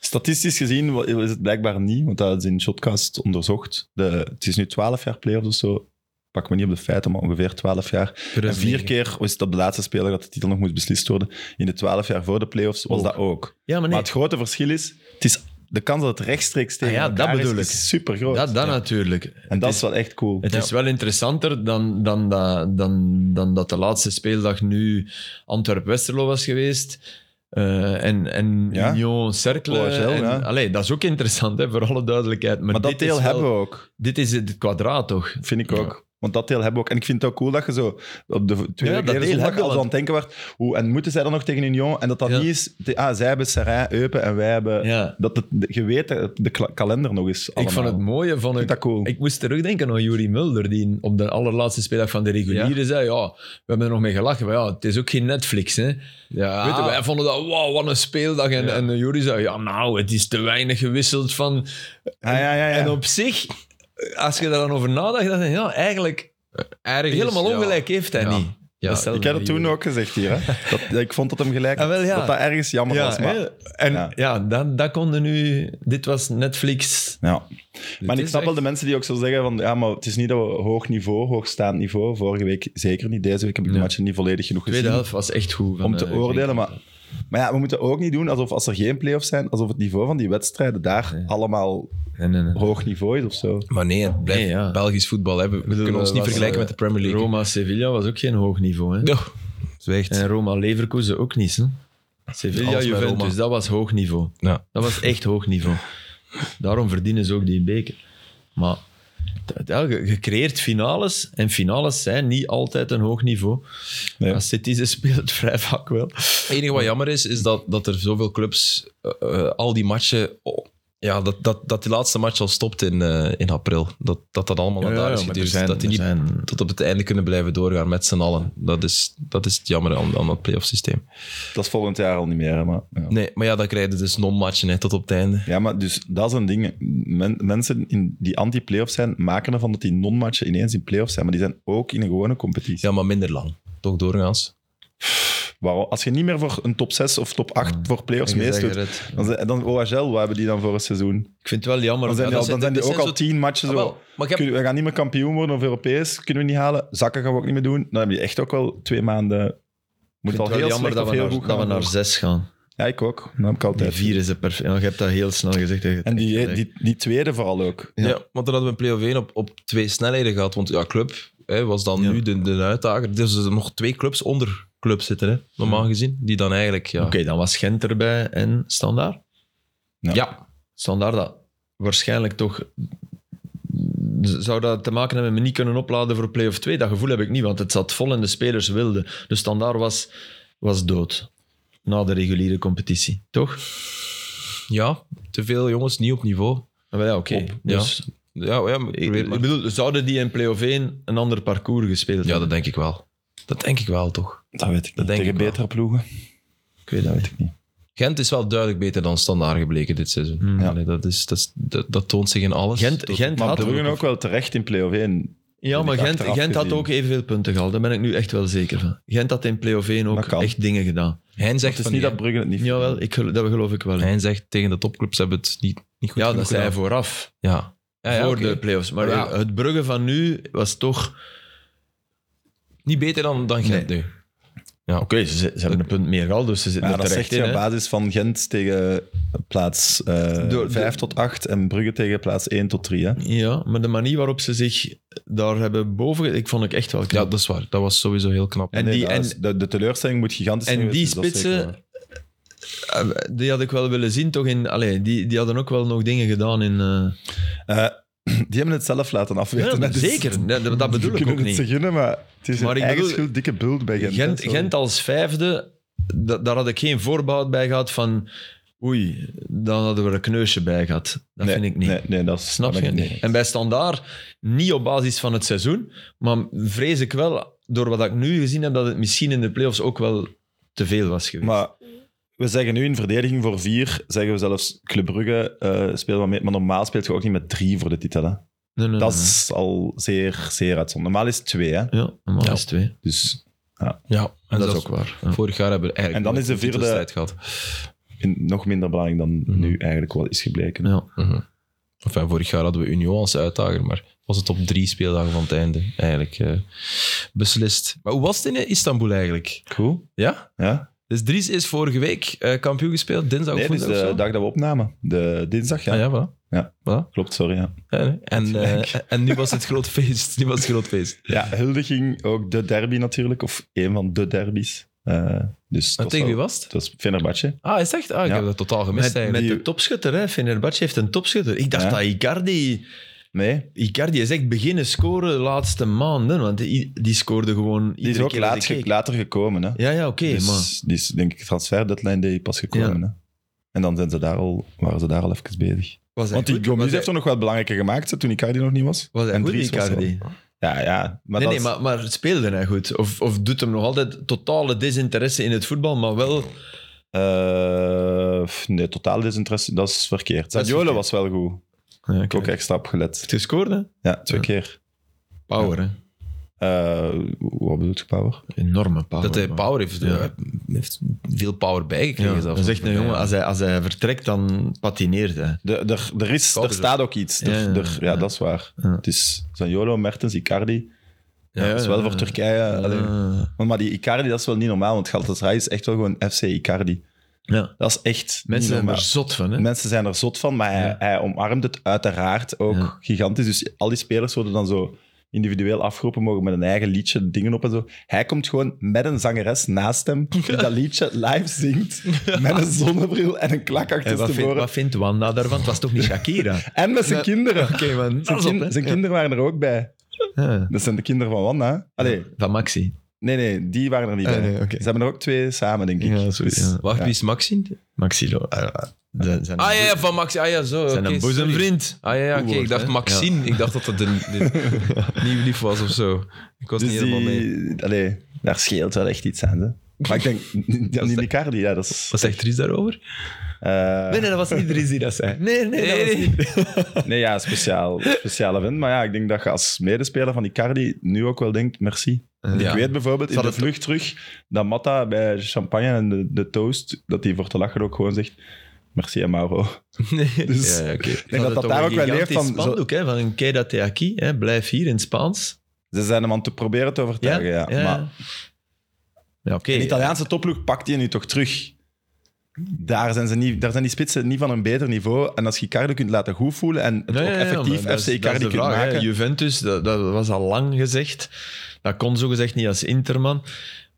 [SPEAKER 2] Statistisch gezien wa- is het blijkbaar niet, want dat is in Shotcast onderzocht. De, het is nu 12 jaar playoffs of zo. Pak me niet op de feiten, maar ongeveer 12 jaar.
[SPEAKER 3] Dus
[SPEAKER 2] En vier keer was het op de laatste speler dat de titel nog moest beslist worden. In de 12 jaar voor de playoffs was
[SPEAKER 3] Ook.
[SPEAKER 2] dat ook.
[SPEAKER 3] Ja, maar
[SPEAKER 2] Maar
[SPEAKER 3] Oh. nee,
[SPEAKER 2] het grote verschil is, het is de kans dat het rechtstreeks tegen
[SPEAKER 3] Ah ja,
[SPEAKER 2] elkaar
[SPEAKER 3] dat
[SPEAKER 2] is,
[SPEAKER 3] bedoel ik.
[SPEAKER 2] is super groot.
[SPEAKER 3] dat, dat natuurlijk.
[SPEAKER 2] en dat
[SPEAKER 3] is-
[SPEAKER 2] is wel echt cool.
[SPEAKER 3] Het
[SPEAKER 1] Ja.
[SPEAKER 3] is wel interessanter dan, dan, dat, dan, dan dat de laatste speeldag nu Antwerp-Westerlo was geweest. Eh, en en
[SPEAKER 2] Ja.
[SPEAKER 3] Union Cercle.
[SPEAKER 2] OHL,
[SPEAKER 3] en-
[SPEAKER 2] ja.
[SPEAKER 3] Allee, dat is ook interessant, hè, voor alle duidelijkheid. Maar,
[SPEAKER 2] maar dat
[SPEAKER 3] dit is
[SPEAKER 2] deel
[SPEAKER 3] wel-
[SPEAKER 2] hebben we ook,
[SPEAKER 3] Dit is het kwadraat, toch?
[SPEAKER 2] vind ik ook. Want dat deel hebben we ook. En ik vind het ook cool dat je zo op de twee
[SPEAKER 3] Ja,
[SPEAKER 2] ja,
[SPEAKER 3] dat deel
[SPEAKER 2] keer
[SPEAKER 3] hebben
[SPEAKER 2] dat
[SPEAKER 3] we,
[SPEAKER 2] al zo aan
[SPEAKER 3] want-
[SPEAKER 2] het denken werd. Hoe, en moeten zij dan nog tegen Union? En dat dat
[SPEAKER 3] Ja.
[SPEAKER 2] niet is... te- Ah, zij hebben Serrain, Eupen en wij hebben...
[SPEAKER 3] Ja.
[SPEAKER 2] Dat het, de- je weet dat het de kla- kalender nog eens
[SPEAKER 3] Ik
[SPEAKER 2] allemaal.
[SPEAKER 3] vond het mooie van...
[SPEAKER 2] Ik vind dat cool.
[SPEAKER 3] Ik moest terugdenken aan Juri Mulder, die op de allerlaatste speeldag van de reguliere zei, ja, we hebben er nog mee gelachen, maar ja, het is ook geen Netflix, hè.
[SPEAKER 2] Ah.
[SPEAKER 1] Ja.
[SPEAKER 3] Weet je, wij vonden dat, wauw, wat een speeldag. En,
[SPEAKER 1] Ja.
[SPEAKER 3] en Juri zei, ja, nou, het is te weinig gewisseld van...
[SPEAKER 2] Ah, ja, ja, ja.
[SPEAKER 3] En op zich, als je daar dan over nadacht, dan denk je, ja, eigenlijk
[SPEAKER 1] Ergens,
[SPEAKER 3] helemaal
[SPEAKER 1] ja.
[SPEAKER 3] ongelijk heeft hij
[SPEAKER 1] Ja.
[SPEAKER 3] niet.
[SPEAKER 1] Ja,
[SPEAKER 3] Dat stelde
[SPEAKER 2] ik heb het toen
[SPEAKER 3] Juri.
[SPEAKER 2] ook gezegd hier. Hè. Dat, ik vond dat hem gelijk
[SPEAKER 3] Ah, wel, ja.
[SPEAKER 2] Dat dat ergens jammer was.
[SPEAKER 3] Ja,
[SPEAKER 2] Maar,
[SPEAKER 3] hè. en
[SPEAKER 2] ja.
[SPEAKER 3] ja, dat, dat konden nu... Dit was Netflix...
[SPEAKER 2] ja. Maar
[SPEAKER 1] Het
[SPEAKER 2] ik
[SPEAKER 1] is
[SPEAKER 2] snap wel
[SPEAKER 1] echt-
[SPEAKER 2] de mensen die ook zo zeggen van ja, maar het is niet dat we hoog niveau, hoogstaand niveau. Vorige week zeker niet. Deze week heb ik de
[SPEAKER 3] Ja.
[SPEAKER 2] matchen niet volledig genoeg
[SPEAKER 3] De tweede
[SPEAKER 2] gezien
[SPEAKER 3] helft was echt goed. van,
[SPEAKER 2] om te
[SPEAKER 3] eh,
[SPEAKER 2] oordelen.
[SPEAKER 3] Genk.
[SPEAKER 2] Maar, maar ja, we moeten ook niet doen alsof als er geen play-offs zijn, alsof het niveau van die wedstrijden daar allemaal
[SPEAKER 3] Nee, nee, nee.
[SPEAKER 2] hoog niveau is of zo.
[SPEAKER 1] Maar nee, het blijft
[SPEAKER 3] Nee, ja.
[SPEAKER 1] Belgisch voetbal. Hè. We
[SPEAKER 3] Ik bedoel,
[SPEAKER 1] kunnen ons
[SPEAKER 3] eh,
[SPEAKER 1] niet
[SPEAKER 3] was,
[SPEAKER 1] vergelijken
[SPEAKER 3] eh,
[SPEAKER 1] met de Premier League.
[SPEAKER 3] Roma-Sevilla was ook geen hoog niveau. Hè?
[SPEAKER 1] Ja, zwijgt.
[SPEAKER 3] En Roma-Leverkusen ook niet. Hè? Sevilla,
[SPEAKER 1] Alles met
[SPEAKER 3] Juventus,
[SPEAKER 1] Roma.
[SPEAKER 3] dat was hoog niveau.
[SPEAKER 1] Ja.
[SPEAKER 3] Dat was echt hoog niveau. Daarom verdienen ze ook die beker. Maar t- ja, je je creëert finales en finales zijn niet altijd een hoog niveau.
[SPEAKER 2] Nee.
[SPEAKER 3] Als City ze speelt [LAUGHS] vrij vaak wel.
[SPEAKER 1] Het enige wat jammer is, is dat, dat er zoveel clubs eh, eh, al die matchen... oh, ja, dat, dat, dat die laatste match al stopt in, eh, in april. Dat dat, dat allemaal naar daar is geduurd. dat die niet tot op het einde kunnen blijven doorgaan met z'n allen. Dat is, dat is het jammer aan, aan dat playoff systeem.
[SPEAKER 2] Dat is volgend jaar al niet meer. hè, Maar, ja.
[SPEAKER 1] Nee, maar ja, dan krijg je dus non-matchen hè, tot op het einde.
[SPEAKER 2] ja, maar dus dat is een ding. Men- mensen in, die anti-play-offs zijn, maken ervan dat die non-matchen ineens in play-offs zijn. Maar die zijn ook in een gewone competitie.
[SPEAKER 1] Ja, maar minder lang. Toch doorgaans.
[SPEAKER 2] Waarom- als je niet meer voor een top 6 of top 8 voor play-offs
[SPEAKER 3] Mm. En je zegt eh,
[SPEAKER 2] meestoet,
[SPEAKER 3] het.
[SPEAKER 2] dan, zijn- dan OHL, wat hebben die dan voor het seizoen?
[SPEAKER 3] Ik vind het wel jammer.
[SPEAKER 2] Dan zijn,
[SPEAKER 1] Ja,
[SPEAKER 2] die
[SPEAKER 1] dat
[SPEAKER 2] al- dan
[SPEAKER 1] zijn-
[SPEAKER 2] zijn die
[SPEAKER 1] dat zijn
[SPEAKER 2] ook al
[SPEAKER 1] zo-
[SPEAKER 2] tien matchen
[SPEAKER 1] Ah,
[SPEAKER 2] zo.
[SPEAKER 1] wel, maar ik heb-
[SPEAKER 2] Kun- We gaan niet meer kampioen worden of Europees, kunnen we niet halen. Zakken gaan we ook niet meer doen. Dan heb je echt ook wel twee maanden... Moet
[SPEAKER 3] Ik vind
[SPEAKER 2] al
[SPEAKER 3] het
[SPEAKER 2] heel
[SPEAKER 3] wel jammer
[SPEAKER 2] slecht
[SPEAKER 3] dat
[SPEAKER 2] of
[SPEAKER 3] we,
[SPEAKER 2] heel
[SPEAKER 3] naar,
[SPEAKER 2] goed
[SPEAKER 3] dat we
[SPEAKER 2] gaan.
[SPEAKER 3] naar zes gaan.
[SPEAKER 2] Ja, ik ook. Dat heb ik
[SPEAKER 3] Die
[SPEAKER 2] altijd.
[SPEAKER 3] vier is er perfect. Ja, je hebt dat heel snel gezegd. hè.
[SPEAKER 2] En die, die, die tweede vooral ook.
[SPEAKER 1] Ja.
[SPEAKER 3] Ja.
[SPEAKER 1] want dan hadden we een play-off 1 op, op twee snelheden gehad. Want ja, club hè, was dan
[SPEAKER 3] Ja.
[SPEAKER 1] nu de, de uitdager. Dus er nog twee clubs onder club zitten, hè, normaal gezien. Die dan eigenlijk... Ja,
[SPEAKER 3] Oké, dan was Gent erbij en Standaard.
[SPEAKER 1] ja.
[SPEAKER 3] Standaard dat waarschijnlijk toch... Zou dat te maken hebben met niet kunnen opladen voor play-off 2? Dat gevoel heb ik niet, want het zat vol en de spelers wilden. Dus Standaard was, was dood. Na de reguliere competitie, toch?
[SPEAKER 1] ja te veel jongens niet op niveau.
[SPEAKER 3] Ah, wel Ja, oké.
[SPEAKER 1] Op,
[SPEAKER 3] Dus,
[SPEAKER 1] Ja, ja, maar
[SPEAKER 3] Ik,
[SPEAKER 1] probeer
[SPEAKER 3] ik
[SPEAKER 1] maar.
[SPEAKER 3] bedoel, zouden die in play-off 1 een ander parcours gespeeld
[SPEAKER 1] ja,
[SPEAKER 3] hebben?
[SPEAKER 1] dat denk ik wel. Dat denk ik wel, toch.
[SPEAKER 2] Dat weet ik niet.
[SPEAKER 1] Dat denk
[SPEAKER 2] Tegen
[SPEAKER 1] ik wel.
[SPEAKER 2] betere ploegen?
[SPEAKER 3] ik weet dat
[SPEAKER 2] Dat
[SPEAKER 3] niet.
[SPEAKER 2] weet ik niet.
[SPEAKER 1] Gent is wel duidelijk beter dan standaard gebleken dit seizoen.
[SPEAKER 3] Hmm.
[SPEAKER 2] Ja.
[SPEAKER 1] Allee, dat, is, dat, is- dat, dat toont zich in alles.
[SPEAKER 3] Gent,
[SPEAKER 1] Tot-
[SPEAKER 3] Gent
[SPEAKER 2] Maar
[SPEAKER 3] had...
[SPEAKER 2] Bruggen ook wel terecht in play-off 1.
[SPEAKER 3] Ja,
[SPEAKER 2] Vind
[SPEAKER 3] maar
[SPEAKER 2] ik
[SPEAKER 3] Gent,
[SPEAKER 2] achteraf
[SPEAKER 3] Gent had
[SPEAKER 2] gezien.
[SPEAKER 3] ook evenveel punten gehaald. Daar ben ik nu echt wel zeker van. Gent had in play-off 1 ook
[SPEAKER 2] Dat kan.
[SPEAKER 3] echt dingen gedaan.
[SPEAKER 1] Hein zegt,
[SPEAKER 2] Het
[SPEAKER 1] van
[SPEAKER 2] is niet
[SPEAKER 1] niet,
[SPEAKER 2] dat Bruggen het niet...
[SPEAKER 3] Jawel, ik, gel- dat geloof ik wel.
[SPEAKER 1] Hein zegt tegen de topclubs hebben het niet, niet goed
[SPEAKER 3] ja,
[SPEAKER 1] genoeg
[SPEAKER 3] dat zei hij
[SPEAKER 1] gedaan.
[SPEAKER 3] vooraf.
[SPEAKER 1] Ja. Ja,
[SPEAKER 2] Ah
[SPEAKER 1] ja,
[SPEAKER 3] voor
[SPEAKER 1] oké.
[SPEAKER 3] de play-offs. Maar
[SPEAKER 1] Ja.
[SPEAKER 3] het Brugge van nu was toch...
[SPEAKER 1] Niet beter dan, dan Gent nu.
[SPEAKER 3] Oké, ze, ze hebben een punt meer gehaald, dus ze zitten
[SPEAKER 2] Ja,
[SPEAKER 3] er
[SPEAKER 2] dat
[SPEAKER 3] terecht
[SPEAKER 2] zegt je
[SPEAKER 3] in.
[SPEAKER 2] op
[SPEAKER 3] hè.
[SPEAKER 2] basis van Gent tegen eh, plaats
[SPEAKER 3] Door-
[SPEAKER 2] 5
[SPEAKER 3] door-
[SPEAKER 2] tot 8 en Brugge tegen plaats 1 tot 3. Hè?
[SPEAKER 3] Ja, maar de manier waarop ze zich daar hebben boven... Ik vond ik echt wel
[SPEAKER 1] Ja,
[SPEAKER 3] knap.
[SPEAKER 1] dat is waar. Dat was sowieso heel knap.
[SPEAKER 3] En
[SPEAKER 2] Nee,
[SPEAKER 3] die-
[SPEAKER 2] dat
[SPEAKER 3] en-
[SPEAKER 2] is- de, de teleurstelling moet gigantisch zijn.
[SPEAKER 3] en die
[SPEAKER 2] geweest, dus dat is zeker
[SPEAKER 3] spitsen... eh, Die had ik wel willen zien, toch? In, allee, die, die hadden ook wel nog dingen gedaan in... eh,
[SPEAKER 2] waar. Eh, [CLEARS THROAT] die hebben het zelf laten afweten.
[SPEAKER 3] Ja,
[SPEAKER 2] hè, dus
[SPEAKER 3] zeker,
[SPEAKER 2] [LAUGHS]
[SPEAKER 3] Ja, dat, dat
[SPEAKER 2] Die
[SPEAKER 3] bedoel ik
[SPEAKER 2] kunnen
[SPEAKER 3] ook
[SPEAKER 2] het
[SPEAKER 3] niet.
[SPEAKER 2] ze gunnen, maar het is
[SPEAKER 3] Maar
[SPEAKER 2] een
[SPEAKER 3] ik
[SPEAKER 2] eigen
[SPEAKER 3] bedoel-
[SPEAKER 2] schuld, dikke bult bij Gent.
[SPEAKER 3] Gent,
[SPEAKER 2] hè, zo.
[SPEAKER 3] Gent als vijfde, da- daar had ik geen voorbehoud bij gehad van oei, dan hadden we er een kneusje bij gehad. Dat
[SPEAKER 2] Nee,
[SPEAKER 3] vind ik niet.
[SPEAKER 2] Nee, nee, dat
[SPEAKER 3] Snap
[SPEAKER 2] dat
[SPEAKER 3] je?
[SPEAKER 2] ben ik niet.
[SPEAKER 3] En bij Standaard, niet op basis van het seizoen, maar vrees ik wel, door wat ik nu gezien heb, dat het misschien in de playoffs ook wel te veel was geweest.
[SPEAKER 2] Maar we zeggen nu in verdediging voor vier, zeggen we zelfs Club Brugge eh speelt wel mee. Maar normaal speelt je ook niet met drie voor de titel. Hè?
[SPEAKER 3] Nee, nee,
[SPEAKER 2] Dat
[SPEAKER 3] nee,
[SPEAKER 2] is al zeer, zeer uitzonderlijk. Normaal is het twee, hè?
[SPEAKER 3] nee. Ja, normaal
[SPEAKER 1] Ja.
[SPEAKER 3] is twee.
[SPEAKER 2] Dus
[SPEAKER 1] ja, en
[SPEAKER 3] dat is
[SPEAKER 1] zelfs
[SPEAKER 3] ook waar. Ja.
[SPEAKER 1] Vorig jaar hebben we
[SPEAKER 2] En
[SPEAKER 1] eigenlijk
[SPEAKER 2] dan
[SPEAKER 1] nooit
[SPEAKER 2] is de
[SPEAKER 1] een
[SPEAKER 2] vierde-
[SPEAKER 1] titelstrijd gehad.
[SPEAKER 2] in- nog minder belangrijk dan
[SPEAKER 1] Mhm.
[SPEAKER 2] nu eigenlijk wel is gebleken.
[SPEAKER 3] Ja.
[SPEAKER 1] Mhm. Enfin, vorig jaar hadden we Union als uitdager, maar was het op drie speeldagen van het einde eigenlijk eh, beslist. Maar hoe was het in eh, Istanbul eigenlijk?
[SPEAKER 2] Goed.
[SPEAKER 1] Ja?
[SPEAKER 2] Ja?
[SPEAKER 1] Dus Dries is vorige week eh, kampioen gespeeld, dinsdag
[SPEAKER 2] Nee,
[SPEAKER 1] of
[SPEAKER 2] dit is
[SPEAKER 1] woensdag of
[SPEAKER 2] de
[SPEAKER 1] zo?
[SPEAKER 2] dag dat we opnamen. De dinsdag, ja.
[SPEAKER 1] Ah ja, voilà.
[SPEAKER 2] Ja.
[SPEAKER 1] Voilà.
[SPEAKER 2] Klopt, sorry. Ja.
[SPEAKER 1] Ja, nee.
[SPEAKER 2] [LAUGHS]
[SPEAKER 1] en, eh, en nu was het groot feest. Nu was het groot feest.
[SPEAKER 2] ja, huldiging, ook de derby natuurlijk. Of een van de derbies. Eh, dus het
[SPEAKER 1] En
[SPEAKER 2] was
[SPEAKER 1] tegen wie
[SPEAKER 2] wel-
[SPEAKER 1] was het?
[SPEAKER 2] Het was Fenerbahce.
[SPEAKER 1] Ah, is het echt? Ah, ik
[SPEAKER 2] Ja.
[SPEAKER 1] heb dat totaal gemist
[SPEAKER 3] Met,
[SPEAKER 1] eigenlijk.
[SPEAKER 3] met
[SPEAKER 2] Die-
[SPEAKER 3] de topschutter, hè. Fenerbahce heeft een topschutter. Ik dacht
[SPEAKER 2] Ja.
[SPEAKER 3] dat Icardi...
[SPEAKER 2] Nee,
[SPEAKER 3] Icardi is echt beginnen scoren de laatste maanden, want die, die scoorde gewoon
[SPEAKER 2] die is
[SPEAKER 3] iedere
[SPEAKER 2] ook
[SPEAKER 3] keer dat
[SPEAKER 2] laat
[SPEAKER 3] ik
[SPEAKER 2] ge-
[SPEAKER 3] keek.
[SPEAKER 2] later gekomen. Hè.
[SPEAKER 3] Ja, ja, oké,
[SPEAKER 2] dus
[SPEAKER 3] maar...
[SPEAKER 2] die is denk ik transfer deadline day pas gekomen. Hè. En dan zijn ze daar al, waren ze daar al even bezig.
[SPEAKER 3] Was hij
[SPEAKER 2] Want die
[SPEAKER 3] goed?
[SPEAKER 2] Gomez
[SPEAKER 3] Was hij-
[SPEAKER 2] heeft toch nog wat belangrijker gemaakt hè, toen Icardi nog niet was.
[SPEAKER 3] Was hij goed,
[SPEAKER 2] Dries was
[SPEAKER 3] Icardi?
[SPEAKER 2] wel- Ja, ja. Maar
[SPEAKER 3] nee,
[SPEAKER 2] dat
[SPEAKER 3] nee,
[SPEAKER 2] is-
[SPEAKER 3] maar, maar speelde hij goed? Of, of doet hem nog altijd totale desinteresse in het voetbal, maar wel...
[SPEAKER 2] Eh, f- nee, totaal desinteresse. Dat is verkeerd.
[SPEAKER 3] Dat is
[SPEAKER 2] Zaniolo
[SPEAKER 3] verkeerd.
[SPEAKER 2] was wel goed.
[SPEAKER 3] Ja,
[SPEAKER 2] Ik heb ook extra opgelet.
[SPEAKER 3] Het gescoord, hè?
[SPEAKER 2] Ja, twee
[SPEAKER 3] Ja.
[SPEAKER 2] keer.
[SPEAKER 3] Power, hè?
[SPEAKER 2] Eh, wat bedoelt je, Power?
[SPEAKER 3] Enorme power.
[SPEAKER 1] Dat hij
[SPEAKER 3] man.
[SPEAKER 1] power heeft, eh,
[SPEAKER 3] Ja.
[SPEAKER 1] heeft veel power bijgekregen.
[SPEAKER 3] Ja,
[SPEAKER 1] zelfs.
[SPEAKER 3] dat is echt een jongen, als hij, als hij vertrekt, dan patineert hij.
[SPEAKER 2] De, er, er, is,
[SPEAKER 1] Kopen
[SPEAKER 2] er
[SPEAKER 1] ze.
[SPEAKER 2] staat ook iets. Er-
[SPEAKER 3] Ja, ja,
[SPEAKER 2] er- dus. ja,
[SPEAKER 3] ja.
[SPEAKER 2] dat is waar.
[SPEAKER 3] Ja.
[SPEAKER 2] Het is Zaniolo, Mertens, Icardi.
[SPEAKER 1] Ja,
[SPEAKER 2] dat is wel voor Turkije. allee.
[SPEAKER 3] Ah,
[SPEAKER 2] Want Maar die Icardi, dat is wel niet normaal. Want Galatasaray is echt wel gewoon FC Icardi.
[SPEAKER 3] ja.
[SPEAKER 2] Dat is echt
[SPEAKER 3] Mensen
[SPEAKER 2] niet
[SPEAKER 3] zijn
[SPEAKER 2] normaal.
[SPEAKER 3] er zot van, hè?
[SPEAKER 2] Mensen zijn er zot van, maar hij,
[SPEAKER 3] Ja.
[SPEAKER 2] hij omarmt het uiteraard ook
[SPEAKER 3] Ja.
[SPEAKER 2] gigantisch. Dus al die spelers worden dan zo individueel afgeroepen, mogen met een eigen liedje dingen op en zo. Hij komt gewoon met een zangeres naast hem, die dat liedje live zingt, met een zonnebril en een klak
[SPEAKER 3] En Eh, wat, vindt,
[SPEAKER 2] achterstevoren.
[SPEAKER 3] wat vindt Wanda daarvan? Het was toch niet Shakira?
[SPEAKER 2] En met zijn kinderen.
[SPEAKER 3] Oké, man.
[SPEAKER 2] Zijn,
[SPEAKER 3] Pas op,
[SPEAKER 2] kin-
[SPEAKER 3] hè.
[SPEAKER 2] zijn kinderen waren er ook bij.
[SPEAKER 3] Ja.
[SPEAKER 2] Dat zijn de kinderen van Wanda. hè? Allee,
[SPEAKER 3] Van Maxi.
[SPEAKER 2] nee, nee, die waren er niet
[SPEAKER 3] Ah,
[SPEAKER 2] bij.
[SPEAKER 3] nee, oké.
[SPEAKER 2] Ze hebben er ook twee samen, denk ik. Dus-
[SPEAKER 3] Ja, zo is- ja.
[SPEAKER 1] Wacht,
[SPEAKER 2] ja.
[SPEAKER 1] wie is Maxine?
[SPEAKER 3] Maxi. Lo- ah, ah, zijn, zijn
[SPEAKER 1] Ah ja, ja,
[SPEAKER 3] boe-
[SPEAKER 1] van Maxine. Ah ja, zo.
[SPEAKER 3] zijn
[SPEAKER 1] oké, sorry.
[SPEAKER 3] een boezemvriend.
[SPEAKER 1] Ah ja, ja oké, ik
[SPEAKER 3] Oerwoord,
[SPEAKER 1] dacht
[SPEAKER 3] hè?
[SPEAKER 1] Maxine. Ik dacht dat het een,
[SPEAKER 3] [LAUGHS]
[SPEAKER 1] een nieuw lief was of zo. Ik was
[SPEAKER 2] Dus
[SPEAKER 1] niet helemaal mee.
[SPEAKER 2] die, allee, daar scheelt wel echt iets aan. Hè? Maar ik
[SPEAKER 3] [LAUGHS]
[SPEAKER 2] denk,
[SPEAKER 1] is
[SPEAKER 2] die
[SPEAKER 1] de-
[SPEAKER 2] Icardi, ja, dat is...
[SPEAKER 1] Wat zegt Dries daarover?
[SPEAKER 2] eh,
[SPEAKER 3] Nee, nee, dat was niet Dries die dat zei. Nee, nee, dat was
[SPEAKER 1] Nee,
[SPEAKER 3] niet.
[SPEAKER 1] nee.
[SPEAKER 2] Nee, ja, speciaal, speciale vent. Maar ja, ik denk dat je als medespeler van Icardi nu ook wel denkt, merci. Want
[SPEAKER 1] Ja.
[SPEAKER 2] Ik weet bijvoorbeeld in
[SPEAKER 3] Zal
[SPEAKER 2] de
[SPEAKER 3] het-
[SPEAKER 2] vlucht terug dat Matta bij champagne en de, de toast, dat hij voor te lachen ook gewoon zegt, merci aan Mauro. Ik
[SPEAKER 3] [LAUGHS]
[SPEAKER 1] Nee.
[SPEAKER 2] Dus-
[SPEAKER 1] ja, ja, oké.
[SPEAKER 2] denk dat
[SPEAKER 3] Hadden
[SPEAKER 2] dat,
[SPEAKER 3] toch
[SPEAKER 2] daar
[SPEAKER 3] een
[SPEAKER 2] ook wel leeft
[SPEAKER 3] gigantisch
[SPEAKER 2] van... zo-
[SPEAKER 3] spandoek, hè, van een queda te aquí, hè, blijf hier in het Spaans.
[SPEAKER 2] ze zijn hem aan het proberen te overtuigen, ja. Maar
[SPEAKER 3] Ja, oké.
[SPEAKER 2] de Italiaanse topploeg pakt je nu toch terug. Daar zijn, ze niet, daar zijn die spitsen niet van een beter niveau. En als je Icardi kunt laten goed voelen en het
[SPEAKER 3] Ja,
[SPEAKER 2] ook
[SPEAKER 3] ja, ja,
[SPEAKER 2] effectief
[SPEAKER 3] maar dat
[SPEAKER 2] FC
[SPEAKER 3] is- dat is
[SPEAKER 2] Icardi
[SPEAKER 3] de
[SPEAKER 2] kunt
[SPEAKER 3] vraag, hè.
[SPEAKER 2] maken...
[SPEAKER 3] Juventus, dat, dat was al lang gezegd. Dat kon zo gezegd niet als Interman.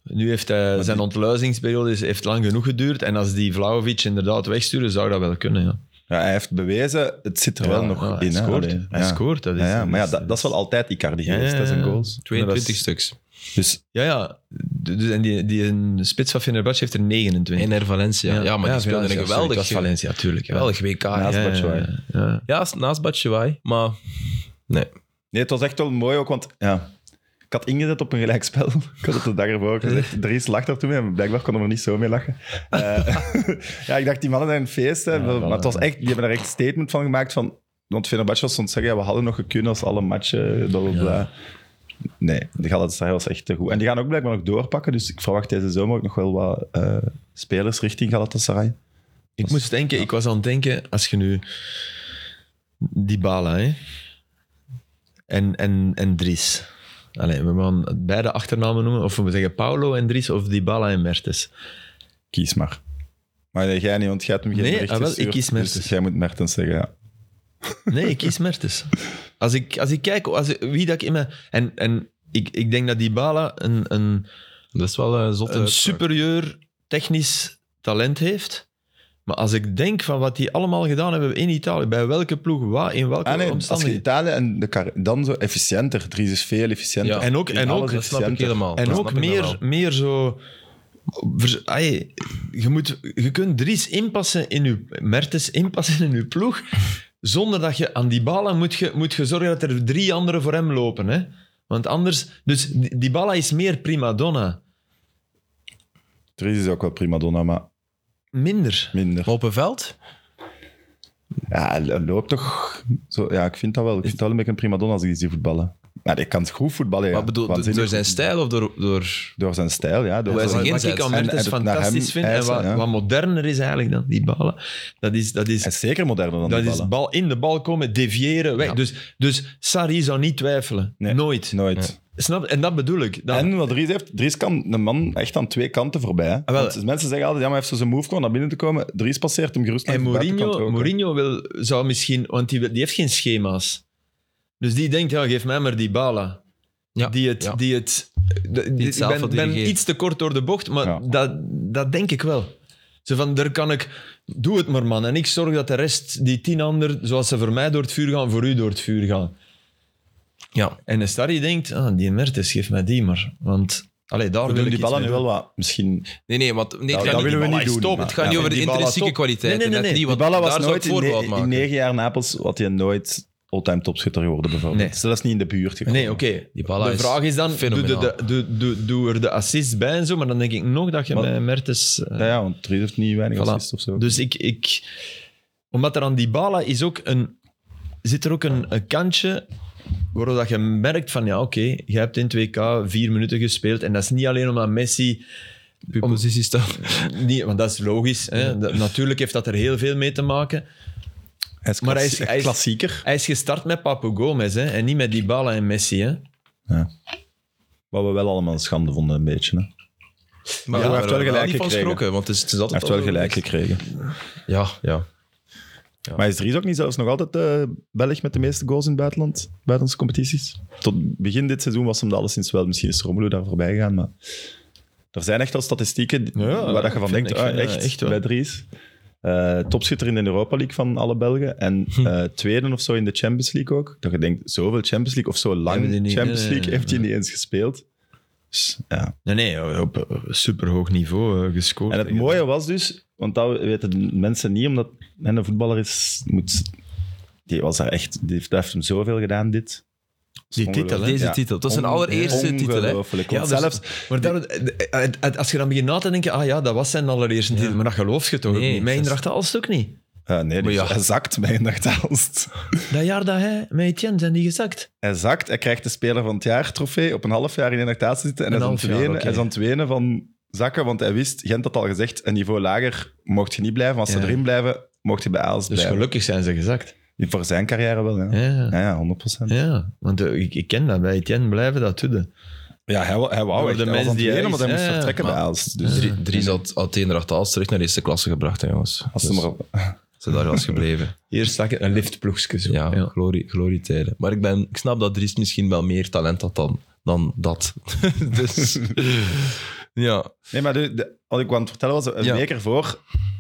[SPEAKER 3] Nu heeft hij, zijn ontluizingsperiode is- heeft lang genoeg geduurd. En als die Vlaovic inderdaad wegsturen, zou dat wel kunnen. Ja.
[SPEAKER 2] Ja, hij heeft bewezen, het zit er
[SPEAKER 3] Ja,
[SPEAKER 2] wel nog
[SPEAKER 3] ja,
[SPEAKER 2] in.
[SPEAKER 3] Hij
[SPEAKER 2] hè.
[SPEAKER 3] scoort.
[SPEAKER 2] Allee,
[SPEAKER 3] hij
[SPEAKER 2] ja.
[SPEAKER 3] scoort. Dat is,
[SPEAKER 2] Ja, ja, maar ja,
[SPEAKER 3] is-
[SPEAKER 2] dat, dat is wel altijd Icardi
[SPEAKER 3] Ja,
[SPEAKER 2] geweest,
[SPEAKER 3] ja,
[SPEAKER 2] dat zijn
[SPEAKER 3] ja.
[SPEAKER 2] goals.
[SPEAKER 1] 22
[SPEAKER 2] Maar dat
[SPEAKER 1] stuks.
[SPEAKER 2] is- Dus
[SPEAKER 3] Ja, ja. Dus, en die, die een spits van Fenerbahce heeft er 29.
[SPEAKER 1] En naar Valencia. Ja, maar die speelde een
[SPEAKER 3] Valencia, sorry, het
[SPEAKER 1] geweldig,
[SPEAKER 3] was Valencia, tuurlijk. Ja.
[SPEAKER 1] geweldig WK. Ja,
[SPEAKER 2] naast
[SPEAKER 3] Ja, ja,
[SPEAKER 2] Batshuayi.
[SPEAKER 3] ja, ja.
[SPEAKER 1] ja naast Batshuayi, maar...
[SPEAKER 2] Nee, het was echt wel mooi ook, want ja, ik had ingezet op een gelijkspel. [LAUGHS] Ik had het de dag ervoor ook
[SPEAKER 3] [LAUGHS]
[SPEAKER 2] gezegd. Dries lachte er toen mee, maar blijkbaar kon hij er niet zo mee lachen. Eh, [LAUGHS] ja, ik dacht, die mannen zijn een feest. hè.
[SPEAKER 3] Ja,
[SPEAKER 2] maar
[SPEAKER 3] voilà.
[SPEAKER 2] het was echt, die hebben daar echt een statement van gemaakt. Van, want Fenerbahce was soms zeggen, ja, we hadden nog gekund als alle matchen, bla, bla, bla. Nee, de Galatasaray was echt te goed. En die gaan ook blijkbaar nog doorpakken, dus ik verwacht deze zomer ook nog wel wat eh, spelers richting Galatasaray. Dus
[SPEAKER 3] Ik moest denken, ik was aan het denken, als je nu Dybala hè? En, en, en Dries. Allee, we gaan beide achternamen noemen, of we zeggen Paolo en Dries of Dybala en Mertens.
[SPEAKER 2] Kies maar. Maar nee, jij niet, want jij hebt hem geen
[SPEAKER 3] Nee,
[SPEAKER 2] bericht
[SPEAKER 3] ah, wel,
[SPEAKER 2] gestuurd,
[SPEAKER 3] ik kies
[SPEAKER 2] Dus
[SPEAKER 3] Mertens.
[SPEAKER 2] jij moet Mertens zeggen, ja.
[SPEAKER 3] Nee, ik kies Mertens. Als ik, als ik kijk, als ik- wie dat ik in mijn... En, en ik, ik denk dat Dybala een, een,
[SPEAKER 1] Dat is wel eh, een zotte...
[SPEAKER 3] een
[SPEAKER 1] uitspraak.
[SPEAKER 3] superieur technisch talent heeft. Maar als ik denk van wat die allemaal gedaan hebben in Italië, bij welke ploeg, waar, in welke
[SPEAKER 2] Ah, nee, als je
[SPEAKER 3] omstandigheden...
[SPEAKER 2] Italië en de Car- dan zo efficiënter. Dries is veel efficiënter.
[SPEAKER 1] Ja.
[SPEAKER 3] En ook-
[SPEAKER 2] Drie
[SPEAKER 3] en ook-
[SPEAKER 2] alles
[SPEAKER 1] Dat snap ik
[SPEAKER 2] efficiënter.
[SPEAKER 1] helemaal.
[SPEAKER 3] En
[SPEAKER 1] Dat
[SPEAKER 3] ook
[SPEAKER 1] snap ik
[SPEAKER 3] meer,
[SPEAKER 1] dan
[SPEAKER 3] meer zo. vers- ai, je, moet, je kunt Dries inpassen in je. Mertens inpassen in je ploeg. Zonder dat je aan die ballen moet, je, moet je zorgen dat er drie anderen voor hem lopen. Hè? Want anders. Dus die die Bala is meer prima donna.
[SPEAKER 2] Dries is ook wel prima donna, maar
[SPEAKER 3] Minder.
[SPEAKER 2] minder.
[SPEAKER 1] wel. Op een veld?
[SPEAKER 2] Ja, hij loopt toch... Zo, ja, ik vind dat wel. Ik vind dat wel een beetje een prima donna als ik die zie voetballen. Nou, die kan goed voetballen. ja.
[SPEAKER 1] Maar bedoel, door-
[SPEAKER 2] Waanzinnig
[SPEAKER 1] door zijn
[SPEAKER 2] goed.
[SPEAKER 1] stijl of door... door...
[SPEAKER 2] Door zijn stijl, ja. Door
[SPEAKER 1] Hoe hij
[SPEAKER 2] zijn-
[SPEAKER 1] zich
[SPEAKER 3] Wat, wat
[SPEAKER 1] inzet.
[SPEAKER 3] ik aan
[SPEAKER 1] En-
[SPEAKER 2] en
[SPEAKER 3] Mertens
[SPEAKER 2] het naar
[SPEAKER 3] fantastisch
[SPEAKER 2] hem
[SPEAKER 3] vind
[SPEAKER 2] eisen,
[SPEAKER 3] en wat,
[SPEAKER 2] ja.
[SPEAKER 3] wat moderner is eigenlijk dan die ballen, dat is, dat is
[SPEAKER 2] Hij is zeker moderner dan
[SPEAKER 3] Dat
[SPEAKER 2] die
[SPEAKER 3] is
[SPEAKER 2] ballen.
[SPEAKER 3] bal in de bal komen, deviëren, weg.
[SPEAKER 1] Ja.
[SPEAKER 3] Dus, dus Sarri zou niet twijfelen.
[SPEAKER 2] Nee.
[SPEAKER 3] Nooit.
[SPEAKER 2] Nooit.
[SPEAKER 3] Snap? En dat bedoel ik. Dat,
[SPEAKER 2] En wat Dries heeft, Dries kan de man echt aan twee kanten voorbij. hè.
[SPEAKER 3] Ah, wel.
[SPEAKER 2] Want mensen zeggen altijd, ja, maar hij heeft zo zijn move gewoon naar binnen te komen. Dries passeert hem gerust naar
[SPEAKER 3] en
[SPEAKER 2] de buitenkant
[SPEAKER 3] Mourinho,
[SPEAKER 2] ook, hè.
[SPEAKER 3] Mourinho wil, zou misschien... Want die, wil- die heeft geen schema's. Dus die denkt, ja, geef mij maar die ballen.
[SPEAKER 1] Ja.
[SPEAKER 3] Die het...
[SPEAKER 1] Ja.
[SPEAKER 3] Die het de- die- ik
[SPEAKER 1] zelf
[SPEAKER 3] ben,
[SPEAKER 1] wat
[SPEAKER 3] ben
[SPEAKER 1] dirigeert.
[SPEAKER 3] iets te kort door de bocht, maar
[SPEAKER 2] Ja.
[SPEAKER 3] dat, dat denk ik wel. Zo van, daar kan ik... Doe het maar, man. En ik zorg dat de rest, die tien anderen, zoals ze voor mij door het vuur gaan, voor u door het vuur gaan.
[SPEAKER 1] Ja.
[SPEAKER 3] En de Starry denkt, ah, die Mertens, geef mij die maar. Want allee,
[SPEAKER 2] We
[SPEAKER 3] daar wil
[SPEAKER 2] doen
[SPEAKER 3] ik
[SPEAKER 2] die
[SPEAKER 3] iets
[SPEAKER 2] ballen
[SPEAKER 3] mee
[SPEAKER 2] nu
[SPEAKER 3] doen.
[SPEAKER 2] wel wat. Misschien
[SPEAKER 1] Nee, nee, want... Nee,
[SPEAKER 2] Nou,
[SPEAKER 1] het gaat
[SPEAKER 2] dat
[SPEAKER 1] niet,
[SPEAKER 2] willen we
[SPEAKER 3] die
[SPEAKER 2] niet
[SPEAKER 3] ballen
[SPEAKER 2] doen.
[SPEAKER 3] stop.
[SPEAKER 2] maar-
[SPEAKER 1] het gaat
[SPEAKER 2] Ja,
[SPEAKER 1] niet
[SPEAKER 3] Ja,
[SPEAKER 1] over de
[SPEAKER 3] die ballen
[SPEAKER 1] intrinsieke
[SPEAKER 3] top.
[SPEAKER 1] kwaliteiten.
[SPEAKER 3] Nee, nee, nee,
[SPEAKER 1] net niet,
[SPEAKER 3] nee.
[SPEAKER 2] Die
[SPEAKER 1] want
[SPEAKER 2] ballen was
[SPEAKER 1] daar zou ik
[SPEAKER 2] nooit in,
[SPEAKER 1] voorbehoud
[SPEAKER 2] ne- in
[SPEAKER 1] maken.
[SPEAKER 2] negen jaar Napels wat hij nooit all-time topschutter geworden bijvoorbeeld.
[SPEAKER 3] Nee.
[SPEAKER 2] Dus dat is niet in de buurt gekomen.
[SPEAKER 3] Nee, oké.
[SPEAKER 1] Die ballen
[SPEAKER 3] De
[SPEAKER 1] is
[SPEAKER 3] vraag is dan, doe, de,
[SPEAKER 1] fenomenaal.
[SPEAKER 3] de- doe, doe, doe er de assist bij en zo, maar dan denk ik nog dat je
[SPEAKER 2] Maar-
[SPEAKER 3] met Mertens... eh,
[SPEAKER 2] Ja, ja, want Dries heeft niet weinig
[SPEAKER 3] Voilà.
[SPEAKER 2] assists of zo.
[SPEAKER 3] Dus ik, ik... Omdat er aan die ballen is ook een... Zit er ook een, een kantje waardoor dat je merkt van, ja, oké, je hebt in 2K vier minuten gespeeld en dat is niet alleen omdat Messi...
[SPEAKER 1] Uw positie staat.
[SPEAKER 3] Niet, want dat is logisch. Hè? Dat- natuurlijk heeft dat er heel veel mee te maken.
[SPEAKER 2] hij is,
[SPEAKER 3] maar hij
[SPEAKER 2] klassie-
[SPEAKER 3] is- hij is-
[SPEAKER 2] klassieker.
[SPEAKER 3] Hij is gestart met Papu Gomez hè, en niet met Dybala en Messi. Hè.
[SPEAKER 2] Wat we wel allemaal een schande vonden, een beetje. Hè. Hij
[SPEAKER 1] Maar
[SPEAKER 2] hij heeft
[SPEAKER 1] daar
[SPEAKER 2] wel
[SPEAKER 1] hebben we
[SPEAKER 2] gelijk
[SPEAKER 1] niet van
[SPEAKER 2] gekregen.
[SPEAKER 1] geschrokken, want het is, het is altijd
[SPEAKER 2] heeft
[SPEAKER 3] Oh,
[SPEAKER 2] wel gelijk gekregen.
[SPEAKER 1] Ja, ja.
[SPEAKER 2] Maar is Dries ook niet zelfs nog altijd eh Belg met de meeste goals in het buitenland? Buitenlandse competities? Tot begin dit seizoen was hem dat alleszins wel. Misschien is Romelu daar voorbij gegaan, maar... Er zijn echt al statistieken die- waar
[SPEAKER 3] Ja,
[SPEAKER 2] dat je
[SPEAKER 3] ik
[SPEAKER 2] van
[SPEAKER 3] vind-
[SPEAKER 2] denkt,
[SPEAKER 3] ik
[SPEAKER 2] ah,
[SPEAKER 3] vind, eh,
[SPEAKER 2] echt,
[SPEAKER 3] echt wel.
[SPEAKER 2] bij Dries. Eh, topschutter in de Europa League van alle Belgen.
[SPEAKER 3] [LAUGHS]
[SPEAKER 2] En eh, tweede of zo in de Champions League ook. Dat je denkt, zoveel Champions League of zo lang
[SPEAKER 3] Hebben die niet, eh,
[SPEAKER 2] Champions
[SPEAKER 3] nee,
[SPEAKER 2] League
[SPEAKER 3] nee,
[SPEAKER 2] heeft hij niet eens gespeeld. Dus, ja,
[SPEAKER 3] Nee, nee, op eh, superhoog niveau eh, gescoord.
[SPEAKER 2] en het mooie was dus, want dat weten de mensen niet, omdat en een voetballer is, moet, die was daar echt, die heeft, dat heeft hem zoveel gedaan, dit.
[SPEAKER 3] Die titel, hè?
[SPEAKER 1] Deze titel. Dat is zijn allereerste titel, hè?
[SPEAKER 2] Ongelooflijk.
[SPEAKER 3] Ja,
[SPEAKER 2] Want
[SPEAKER 3] dus-
[SPEAKER 2] zelfs,
[SPEAKER 3] Maar daar- eh, eh, eh, als je dan begint na te denken, ah ja, dat was zijn allereerste titel, maar dat geloof je toch ook
[SPEAKER 1] Nee,
[SPEAKER 3] niet. Mijn
[SPEAKER 1] dat is-
[SPEAKER 3] Eindracht Aalst ook niet.
[SPEAKER 2] Ah, nee, die
[SPEAKER 1] Maar ja.
[SPEAKER 2] hij zakt bij Nachtaalst.
[SPEAKER 3] Dat jaar dat hij met Etienne zijn die gezakt.
[SPEAKER 2] Hij zakt, hij krijgt de Speler van het Jaar trofee op een half jaar in Nachtaalst zitten en
[SPEAKER 3] Een
[SPEAKER 2] hij is, aan het
[SPEAKER 3] half jaar,
[SPEAKER 2] wenen,
[SPEAKER 3] oké.
[SPEAKER 2] hij is aan het wenen van zakken, want hij wist, Gent had al gezegd, een niveau lager mocht je niet blijven, als ze
[SPEAKER 3] Ja.
[SPEAKER 2] erin blijven, mocht je bij Aalst
[SPEAKER 3] Dus
[SPEAKER 2] blijven.
[SPEAKER 3] gelukkig zijn ze gezakt.
[SPEAKER 2] Voor zijn carrière wel, ja.
[SPEAKER 3] Ja,
[SPEAKER 2] Ja, ja 100%.
[SPEAKER 3] ja want eh, ik, ik ken dat. Bij Etienne blijven dat doet.
[SPEAKER 2] Ja, hij, wa- hij
[SPEAKER 3] Door
[SPEAKER 2] wou echt.
[SPEAKER 3] de
[SPEAKER 2] hij
[SPEAKER 3] mens
[SPEAKER 2] was aan het
[SPEAKER 3] die hij
[SPEAKER 2] wenen,
[SPEAKER 3] is.
[SPEAKER 2] want hij moest
[SPEAKER 3] Ja, ja,
[SPEAKER 2] vertrekken
[SPEAKER 1] maar-
[SPEAKER 2] bij Aalst. Dus
[SPEAKER 1] Drie- Dries had Ateendracht Aalst terug naar de eerste klasse gebracht, hè, jongens.
[SPEAKER 2] als ze
[SPEAKER 1] Dus
[SPEAKER 2] maar...
[SPEAKER 1] ze daar was gebleven.
[SPEAKER 3] Eerst zag ik een liftploegje zo.
[SPEAKER 1] Ja, glorie, glorietijden. Maar ik, ben, ik snap dat Dries misschien wel meer talent had dan, dan dat. [LAUGHS]
[SPEAKER 2] [LAUGHS]
[SPEAKER 1] dus ja,
[SPEAKER 2] [LAUGHS] Nee, maar de, de- wat ik wou aan het vertellen was, een
[SPEAKER 1] Ja.
[SPEAKER 2] week ervoor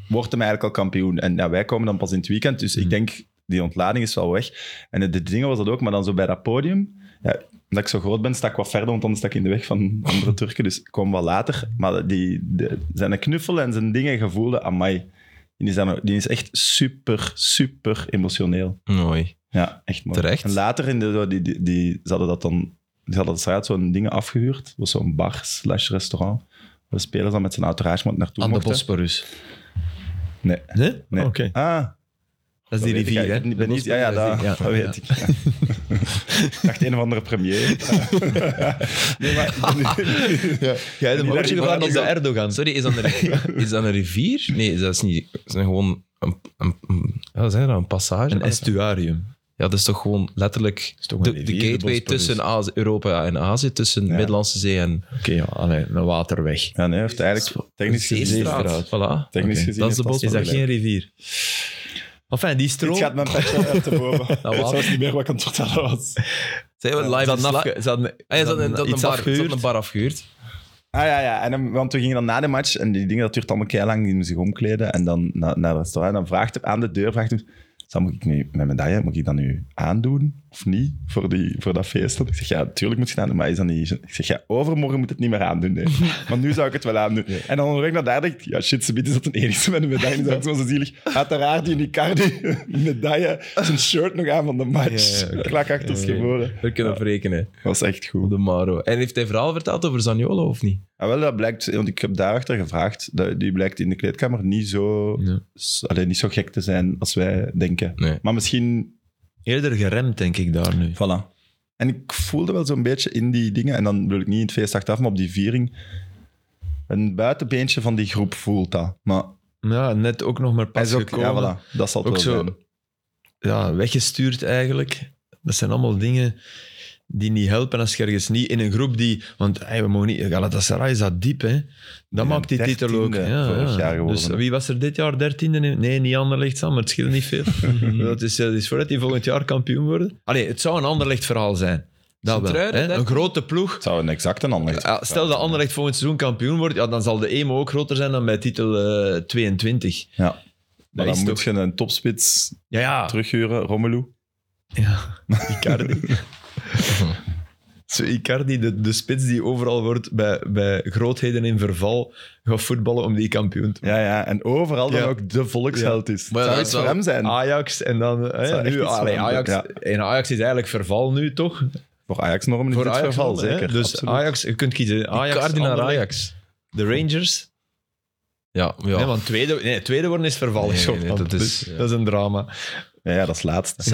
[SPEAKER 2] wordt hem eigenlijk al kampioen. En ja, wij komen dan pas in het weekend, dus ik denk, die ontlading is wel weg. En de, de dingen was dat ook, maar dan zo bij dat podium... Ja, omdat ik zo groot ben, sta ik wat verder, want anders sta ik in de weg van [LAUGHS] andere Turken. Dus ik kwam wat later. Maar die, de- zijn knuffel en zijn dingen gevoelde, amai. Die is, dan- die is echt super, super emotioneel.
[SPEAKER 1] mooi.
[SPEAKER 2] Ja, echt mooi.
[SPEAKER 1] Terecht.
[SPEAKER 2] En later, in de, zo die, die, die, ze hadden dat dan... Die hadden de straat zo'n dingen afgehuurd. Dat was zo'n bar slash restaurant. Waar de spelers dan met zijn entourage naartoe
[SPEAKER 3] Aan de
[SPEAKER 2] mochten.
[SPEAKER 3] Bosporus.
[SPEAKER 2] Nee.
[SPEAKER 3] Nee?
[SPEAKER 2] Nee.
[SPEAKER 3] Oké.
[SPEAKER 2] Ah,
[SPEAKER 3] Dat
[SPEAKER 2] dat
[SPEAKER 3] is die
[SPEAKER 2] weet ik
[SPEAKER 3] rivier, hè?
[SPEAKER 2] eigenlijk niet. Ben
[SPEAKER 3] De
[SPEAKER 2] niet- ja, ja,
[SPEAKER 3] Bosporus,
[SPEAKER 2] dat, [LAUGHS]
[SPEAKER 3] ja.
[SPEAKER 2] dat weet ik. Ja.
[SPEAKER 3] [LAUGHS]
[SPEAKER 2] ik dacht een of andere premier. nee, maar... ja.
[SPEAKER 3] Jij de
[SPEAKER 2] Die
[SPEAKER 3] motie
[SPEAKER 2] daar-
[SPEAKER 3] gedaan
[SPEAKER 2] die
[SPEAKER 3] op de
[SPEAKER 2] daar-
[SPEAKER 3] Erdogan.
[SPEAKER 1] Sorry, is dat, een,
[SPEAKER 3] [LAUGHS]
[SPEAKER 1] is dat een rivier? Nee, dat is niet. Dat is gewoon een, een, een- ja, wat zijn dat, een passage.
[SPEAKER 3] Een estuarium.
[SPEAKER 1] Ja, dat is toch gewoon letterlijk
[SPEAKER 3] is toch een
[SPEAKER 1] de,
[SPEAKER 3] rivier,
[SPEAKER 1] de
[SPEAKER 3] de
[SPEAKER 1] gateway
[SPEAKER 3] Bosporus.
[SPEAKER 1] tussen Azi- Europa en Azië, tussen
[SPEAKER 2] Ja.
[SPEAKER 1] Middellandse Zee en
[SPEAKER 3] Oké, ja, allee, een waterweg.
[SPEAKER 2] [LAUGHS] ja, nee, heeft eigenlijk technisch gezien...
[SPEAKER 1] Zeestraat. Voilà.
[SPEAKER 2] Technisch gezien
[SPEAKER 3] Oké,
[SPEAKER 1] dat is de
[SPEAKER 2] heeft
[SPEAKER 1] Bosporus.
[SPEAKER 3] Is
[SPEAKER 2] wel
[SPEAKER 3] dat
[SPEAKER 2] gelijk.
[SPEAKER 3] geen rivier? Enfin, die stroom...
[SPEAKER 2] Dit gaat mijn petje uit te boven. Dat
[SPEAKER 1] water.
[SPEAKER 2] was niet meer wat ik aan het vertellen was.
[SPEAKER 1] Zijn we
[SPEAKER 3] Ze
[SPEAKER 1] live in
[SPEAKER 3] hadden
[SPEAKER 1] Ah, Sla-
[SPEAKER 3] afge- ze hadden- ze
[SPEAKER 1] Ah, ja, ze hadden- ze
[SPEAKER 3] hadden
[SPEAKER 1] hadden
[SPEAKER 3] iets
[SPEAKER 1] een bar- ze
[SPEAKER 3] afgehuurd.
[SPEAKER 1] hadden een bar afgehuurd.
[SPEAKER 2] Ah ja, ja. En dan, want we gingen dan na de match en die dingen, dat duurt allemaal keihard lang, die moeten zich omkleden. En dan na- naar het restaurant, dan vraagt hij aan de deur, vraagt hij, "Zal, moet ik nu, mijn medaille, moet ik dat nu aandoen of niet voor, die, voor dat feest? Ik zeg, ja, natuurlijk moet je het aandoen, maar is dat niet... Ik zeg, ja, overmorgen moet het niet meer aandoen,
[SPEAKER 1] [LAUGHS]
[SPEAKER 2] nee. Maar nu zou ik het wel aandoen. En dan onderweg naar daar denk ik, ja shit, ze is dat de enige met
[SPEAKER 1] [LAUGHS]
[SPEAKER 2] een medaille. Dat is wel zo zielig. Uiteraard die Nicardi, [LAUGHS] medaille, zijn shirt nog aan van de match.
[SPEAKER 1] Ja, ja, oké.
[SPEAKER 2] Klak achter is
[SPEAKER 1] Ja, ja.
[SPEAKER 2] geboren.
[SPEAKER 1] We kunnen verrekenen.
[SPEAKER 2] Dat was echt goed.
[SPEAKER 1] Op de Maro. En heeft hij verhaal verteld over Zaniolo of niet?
[SPEAKER 2] Ah, wel, dat blijkt, want ik heb daarachter gevraagd, dat, die blijkt in de kleedkamer niet zo,
[SPEAKER 3] Ja.
[SPEAKER 2] s- allee, niet zo gek te zijn als wij denken.
[SPEAKER 1] Nee.
[SPEAKER 2] Maar misschien,
[SPEAKER 3] Eerder geremd, denk ik, daar nu.
[SPEAKER 2] voilà. En ik voelde wel zo'n beetje in die dingen, en dan wil ik niet in het feest achteraf, maar op die viering, een buitenbeentje van die groep voelt dat. Maar
[SPEAKER 3] Ja, net ook nog maar
[SPEAKER 2] hij
[SPEAKER 3] pas
[SPEAKER 2] is ook,
[SPEAKER 3] gekomen.
[SPEAKER 2] ja, voilà, dat zal het
[SPEAKER 3] Ook
[SPEAKER 2] wel
[SPEAKER 3] zo-
[SPEAKER 2] zijn.
[SPEAKER 3] ja, weggestuurd eigenlijk. Dat zijn allemaal dingen die niet helpen als je ergens niet in een groep die... Want hey, we mogen niet... Galatasaray is dat diep, hè. Dat
[SPEAKER 2] Ja,
[SPEAKER 3] maakt die titel ook.
[SPEAKER 2] dertiende
[SPEAKER 3] Ja,
[SPEAKER 2] vorig
[SPEAKER 3] ja.
[SPEAKER 2] jaar geworden,
[SPEAKER 3] dus
[SPEAKER 2] hè.
[SPEAKER 3] wie was er dit jaar dertiende? Nee, niet Anderlecht, Sam, maar het scheelt niet
[SPEAKER 2] [LAUGHS]
[SPEAKER 3] veel. dat, is, dat is vooruit die volgend jaar kampioen worden. Allee, het zou een Anderlecht verhaal zijn. Dat wel,
[SPEAKER 1] Sint-Truiden,
[SPEAKER 3] hè. Een
[SPEAKER 1] dertiende?
[SPEAKER 3] grote ploeg.
[SPEAKER 2] Het zou een exacte ander
[SPEAKER 3] Ja, stel dat Anderlecht volgend seizoen kampioen wordt, ja, dan zal de EMO ook groter zijn dan bij titel eh, 22.
[SPEAKER 2] Ja. Maar
[SPEAKER 3] is
[SPEAKER 2] dan moet
[SPEAKER 3] toch- Ah.
[SPEAKER 2] je een topspits
[SPEAKER 3] Ja, ja.
[SPEAKER 2] terughuren, Romelu.
[SPEAKER 3] Ja, Icardi. [LAUGHS] Zo Icardi, de, de spits die overal wordt bij, bij grootheden in verval, gaat voetballen om die kampioen te
[SPEAKER 2] Ja, ja. En overal
[SPEAKER 3] Ja.
[SPEAKER 2] dan ook de volksheld is.
[SPEAKER 1] Maar ja,
[SPEAKER 2] het zou
[SPEAKER 1] dat
[SPEAKER 2] iets
[SPEAKER 1] zou-
[SPEAKER 2] voor hem zijn.
[SPEAKER 3] Ajax en dan... hè,
[SPEAKER 2] zou echt
[SPEAKER 3] nu,
[SPEAKER 2] iets
[SPEAKER 3] allee,
[SPEAKER 2] veranderen,
[SPEAKER 3] Ajax,
[SPEAKER 2] ja.
[SPEAKER 3] en Ajax is eigenlijk verval nu, toch?
[SPEAKER 2] Voor Ajax-normen is
[SPEAKER 3] Voor
[SPEAKER 2] dit
[SPEAKER 3] Ajax
[SPEAKER 2] verval,
[SPEAKER 3] wel, hè?
[SPEAKER 2] zeker.
[SPEAKER 3] Dus
[SPEAKER 2] Absoluut.
[SPEAKER 3] Ajax, je kunt kiezen. Ah, Ajax,
[SPEAKER 1] Icardi naar
[SPEAKER 3] Anderlecht,
[SPEAKER 1] Ajax.
[SPEAKER 3] De Rangers.
[SPEAKER 1] Ja, ja.
[SPEAKER 3] Nee, want tweede, nee, tweede worden is verval.
[SPEAKER 1] Nee, nee, nee,
[SPEAKER 3] dat,
[SPEAKER 1] dat
[SPEAKER 3] is,
[SPEAKER 1] is-
[SPEAKER 3] dat is een drama.
[SPEAKER 2] Ja, ja, dat is laatste.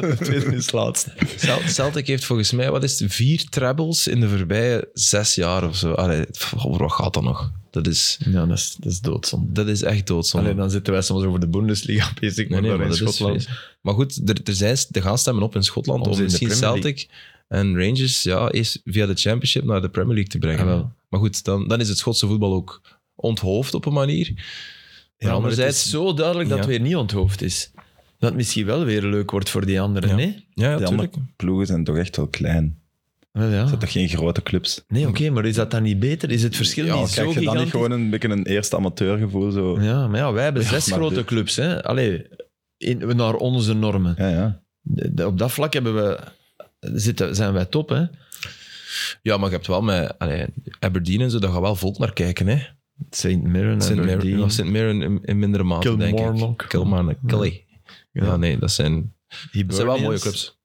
[SPEAKER 3] De tweede is laatste.
[SPEAKER 1] Cel- Celtic heeft volgens mij, wat is het, vier trebles in de voorbije zes jaar of zo. Allee, pff, over wat gaat dat nog? Dat is,
[SPEAKER 3] Ja, dat is, dat is doodzonde.
[SPEAKER 1] dat is echt doodzonde.
[SPEAKER 3] Alleen dan zitten wij soms over de Bundesliga [LAUGHS] bezig,
[SPEAKER 1] Nee,
[SPEAKER 3] maar,
[SPEAKER 1] nee,
[SPEAKER 3] daar
[SPEAKER 1] maar
[SPEAKER 3] in
[SPEAKER 1] dat is
[SPEAKER 3] Schotland...
[SPEAKER 1] vreselijk. Maar goed, er, er, zijn, er gaan stemmen op in Schotland
[SPEAKER 3] Om
[SPEAKER 1] om,
[SPEAKER 3] ze in de
[SPEAKER 1] misschien
[SPEAKER 3] Premier League.
[SPEAKER 1] Celtic en Rangers ja, eerst via de Championship naar de Premier League te brengen.
[SPEAKER 3] Jawel.
[SPEAKER 1] maar goed, dan, dan is het Schotse voetbal ook onthoofd op een manier.
[SPEAKER 3] Ja,
[SPEAKER 1] Maar
[SPEAKER 3] maar het
[SPEAKER 1] anderzijds-
[SPEAKER 3] is zo duidelijk dat
[SPEAKER 1] Ja.
[SPEAKER 3] het weer niet onthoofd is. Dat het misschien wel weer leuk wordt voor die anderen,
[SPEAKER 1] Ja.
[SPEAKER 3] nee?
[SPEAKER 1] Ja,
[SPEAKER 2] De andere
[SPEAKER 1] natuurlijk.
[SPEAKER 2] ploegen zijn toch echt wel klein.
[SPEAKER 3] Wel ja.
[SPEAKER 2] Het zijn toch geen grote clubs?
[SPEAKER 3] Nee, oké, maar is dat dan niet beter? Is Ah. het verschil
[SPEAKER 2] Ja,
[SPEAKER 3] niet zo
[SPEAKER 2] krijg je dan
[SPEAKER 3] gigantisch?
[SPEAKER 2] niet gewoon een beetje een eerste amateurgevoel? Zo. Ja.
[SPEAKER 3] Ja, maar ja, wij hebben
[SPEAKER 2] Ja,
[SPEAKER 3] zes
[SPEAKER 2] maar
[SPEAKER 3] grote
[SPEAKER 2] dit-
[SPEAKER 3] clubs, hè. Allee, in, naar onze normen.
[SPEAKER 2] Ja,
[SPEAKER 3] De- de- op dat vlak hebben we, zitten, zijn wij top, hè.
[SPEAKER 1] Ja, maar je hebt wel met allee, Aberdeen en zo, daar gaat wel volk naar kijken. Hè.
[SPEAKER 3] St. Mirren,
[SPEAKER 1] St. Mirren,
[SPEAKER 3] Aberdeen,
[SPEAKER 1] of St. Mirren in, in mindere mate, denk ik.
[SPEAKER 3] Kilmarnock.
[SPEAKER 1] Kilmarnock. Killy.
[SPEAKER 3] Ja.
[SPEAKER 1] Ja. nee, dat zijn, dat zijn wel mooie
[SPEAKER 3] Hibernians.
[SPEAKER 1] clubs.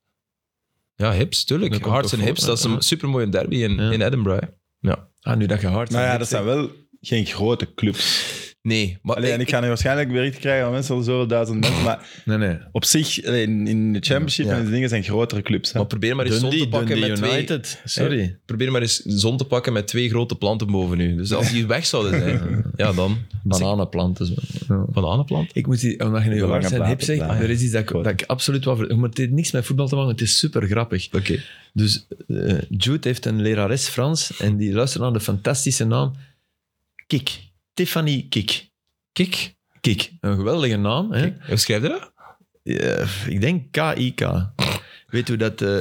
[SPEAKER 1] Ja, Hips,
[SPEAKER 3] Dat
[SPEAKER 1] tuurlijk.
[SPEAKER 3] komt
[SPEAKER 1] Hearts
[SPEAKER 3] toch
[SPEAKER 1] en Hips,
[SPEAKER 3] voor,
[SPEAKER 1] dat is
[SPEAKER 3] ja.
[SPEAKER 1] een supermooie derby in,
[SPEAKER 3] Ja.
[SPEAKER 1] in Edinburgh. Ja.
[SPEAKER 3] Ah, nu dat je hard
[SPEAKER 2] Maar ja, dat zijn wel geen grote clubs.
[SPEAKER 1] Nee, maar
[SPEAKER 2] Alleen, ik ga nu waarschijnlijk bericht krijgen van mensen, al zoveel duizend mensen. Maar
[SPEAKER 3] Nee, nee.
[SPEAKER 2] op zich, allee, in, in de championship
[SPEAKER 1] Ja.
[SPEAKER 2] en die dingen zijn grotere clubs. hè.
[SPEAKER 1] Maar probeer maar eens zon te pakken
[SPEAKER 3] Dundee
[SPEAKER 1] met twee...
[SPEAKER 3] United. Sorry.
[SPEAKER 1] Probeer maar eens zon te pakken met twee grote planten boven u. Dus als die weg zouden
[SPEAKER 3] [LAUGHS]
[SPEAKER 1] zijn, ja dan...
[SPEAKER 3] Bananenplanten. zo. Ja.
[SPEAKER 1] Bananenplant?
[SPEAKER 3] Ik moet die, omdat je nu
[SPEAKER 2] De lange
[SPEAKER 3] hard zijn hip
[SPEAKER 2] platen,
[SPEAKER 3] zegt,
[SPEAKER 2] platen.
[SPEAKER 3] er is iets dat ik,
[SPEAKER 2] Goed.
[SPEAKER 3] dat ik absoluut wel... ver- Maar het heeft niks met voetbal te maken, het is super grappig.
[SPEAKER 1] Oké.
[SPEAKER 3] Dus eh, Jude heeft een lerares Frans en die luistert naar de fantastische naam Kik. Tiffany Kik.
[SPEAKER 1] Kik.
[SPEAKER 3] Kik. Een geweldige naam. Hè?
[SPEAKER 1] Hoe schrijf je dat?
[SPEAKER 3] Eh, ik denk K-I-K. Weet u
[SPEAKER 1] [LAUGHS]
[SPEAKER 3] dat... eh,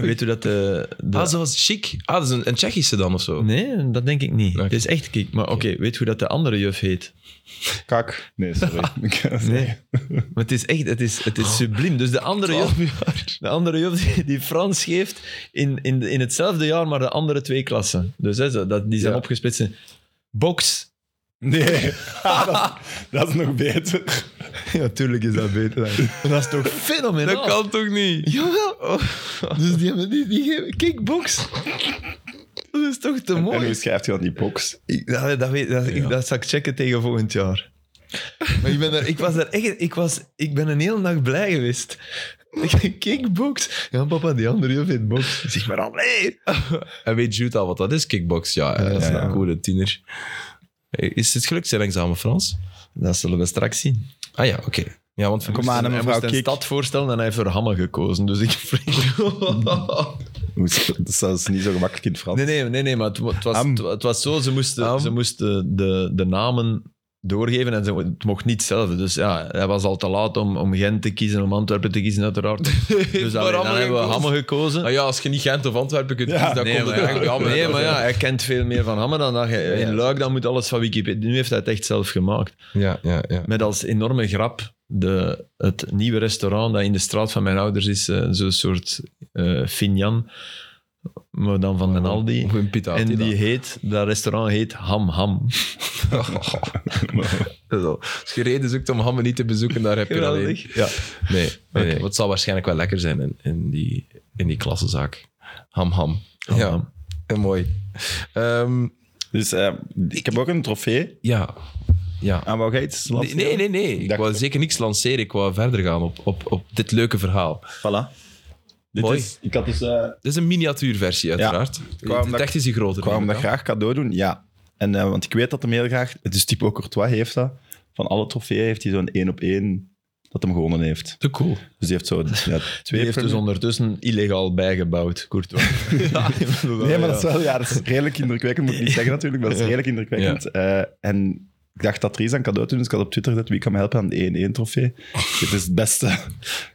[SPEAKER 3] weet u dat... eh, de,
[SPEAKER 1] Ah, zoals chic. Ah, dat is een, een Tsjechische dan of zo.
[SPEAKER 3] Nee, dat denk ik niet.
[SPEAKER 1] Oké.
[SPEAKER 3] Het is echt Kik. Maar oké, weet u hoe dat de andere juf heet?
[SPEAKER 2] Kak. Nee,
[SPEAKER 3] [LAUGHS]
[SPEAKER 2] sorry.
[SPEAKER 3] Nee. Maar het is echt... Het is,
[SPEAKER 1] Oh.
[SPEAKER 3] het is subliem. Dus de andere juf...
[SPEAKER 1] [LAUGHS]
[SPEAKER 3] De andere juf die- die Frans geeft in, in, de- in hetzelfde jaar, maar de andere twee klassen. Dus hè, zo- dat, die zijn
[SPEAKER 2] Ja.
[SPEAKER 3] opgesplitst. in Box.
[SPEAKER 2] Nee. [LAUGHS] Ah, dat, is- dat is nog beter.
[SPEAKER 3] Natuurlijk is dat beter. Dat is toch fenomenaal?
[SPEAKER 1] Dat kan toch niet?
[SPEAKER 3] Jawel. Dus die hebben die, die geven... Kijk, box. Dat is toch te
[SPEAKER 2] En
[SPEAKER 3] mooi?
[SPEAKER 2] hoe schrijft je dan die box?
[SPEAKER 3] Ik, dat, dat, weet, dat, ik,
[SPEAKER 1] Ja.
[SPEAKER 3] dat zal ik checken tegen volgend jaar. Maar ik ben er, ik was daar echt, ik, was, ik ben een hele dag blij geweest. [LAUGHS] Kickbox. Ja, papa, die andere juf heet box. Zeg maar, allee.
[SPEAKER 1] En weet Jude al wat dat is, kickbox? Ja, dat is
[SPEAKER 2] ja, ja.
[SPEAKER 1] een coole tiener. Is het gelukt, zijn examen Frans?
[SPEAKER 3] Dat zullen we straks zien.
[SPEAKER 1] Ah ja, oké. Ja, want
[SPEAKER 2] Kom aan,
[SPEAKER 3] hij
[SPEAKER 2] mevrouw
[SPEAKER 3] moest een
[SPEAKER 2] Kik.
[SPEAKER 3] stad voorstellen en hij heeft voor Hamme gekozen. Dus ik [LAUGHS]
[SPEAKER 2] Hoe is- Dat is zelfs niet zo gemakkelijk in het Frans.
[SPEAKER 3] Nee, nee, nee, nee maar het, wa- het was,
[SPEAKER 2] Am.
[SPEAKER 3] het, wa- het was zo, ze moesten,
[SPEAKER 1] Am.
[SPEAKER 3] ze moesten de, de namen doorgeven en ze, het mocht niet zelf. Dus ja, hij was al te laat om, om Gent te kiezen, om Antwerpen te kiezen, [LAUGHS] uiteraard. Dus alleen, dan hebben we Hamme gekozen.
[SPEAKER 1] Nou ja, als je niet Gent of Antwerpen kunt
[SPEAKER 2] Ja.
[SPEAKER 1] kiezen, dan
[SPEAKER 3] nee,
[SPEAKER 1] komt
[SPEAKER 3] maar,
[SPEAKER 1] het eigenlijk
[SPEAKER 3] ja,
[SPEAKER 1] jammer.
[SPEAKER 3] nee, maar ja, hij kent veel meer van Hamme dan dat je in
[SPEAKER 1] Ja.
[SPEAKER 3] Luik, dan moet alles van Wikipedia. Nu heeft hij het echt zelf gemaakt.
[SPEAKER 1] Ja, ja,
[SPEAKER 3] [LAUGHS]
[SPEAKER 1] ja. [LAUGHS]
[SPEAKER 3] Met als enorme grap de, het nieuwe restaurant dat in de straat van mijn ouders is, eh, zo'n soort eh Finjan, maar dan van den Aldi.
[SPEAKER 1] Of een pita.
[SPEAKER 3] En die heet, dat restaurant heet Ham Ham.
[SPEAKER 1] Zo. Als je reden zoekt om Hamme niet te bezoeken, daar heb je alleen...
[SPEAKER 3] Ja.
[SPEAKER 1] Nee, nee, nee.
[SPEAKER 3] Oké.
[SPEAKER 1] Want het zal waarschijnlijk wel lekker zijn in, in, die, in die klassenzaak. Ham, ham.
[SPEAKER 3] Ham,
[SPEAKER 1] ja,
[SPEAKER 3] ham.
[SPEAKER 1] eh, mooi. Ehm,
[SPEAKER 2] Dus eh, ik heb ook een trofee.
[SPEAKER 1] ja, ja.
[SPEAKER 2] Aan wou jij iets
[SPEAKER 1] Nee,
[SPEAKER 2] lanceren?
[SPEAKER 1] nee, nee. nee. Ik
[SPEAKER 2] Dacht
[SPEAKER 1] wou
[SPEAKER 2] ik.
[SPEAKER 1] zeker niks lanceren. Ik wou verder gaan op, op, op dit leuke verhaal.
[SPEAKER 2] Voilà. Dit
[SPEAKER 1] Mooi.
[SPEAKER 2] is, ik had dus... eh,
[SPEAKER 1] Dit is een miniatuurversie, uiteraard.
[SPEAKER 2] Kwam
[SPEAKER 1] De
[SPEAKER 2] dat-
[SPEAKER 1] echt is die groter.
[SPEAKER 2] Ik wou hem dat
[SPEAKER 1] inderdaad.
[SPEAKER 2] graag cadeau doen, ja. En, eh, want ik weet dat hem heel graag... Het is type ook Courtois heeft dat. Van alle trofeeën heeft hij zo'n één op één dat hem gewonnen heeft.
[SPEAKER 1] Te cool.
[SPEAKER 2] Dus die heeft zo ja,
[SPEAKER 3] Die
[SPEAKER 2] twee...
[SPEAKER 3] heeft dus ondertussen illegaal bijgebouwd, Courtois.
[SPEAKER 2] nee, maar dat is wel... Ja, dat is redelijk indrukwekkend. Moet ik niet zeggen natuurlijk, maar dat is redelijk indrukwekkend. Eh, en ik dacht dat er iets aan cadeau te doen, dus ik had op Twitter gezet wie kan me helpen aan de 1-1 trofee.
[SPEAKER 1] Oh.
[SPEAKER 2] dit is het beste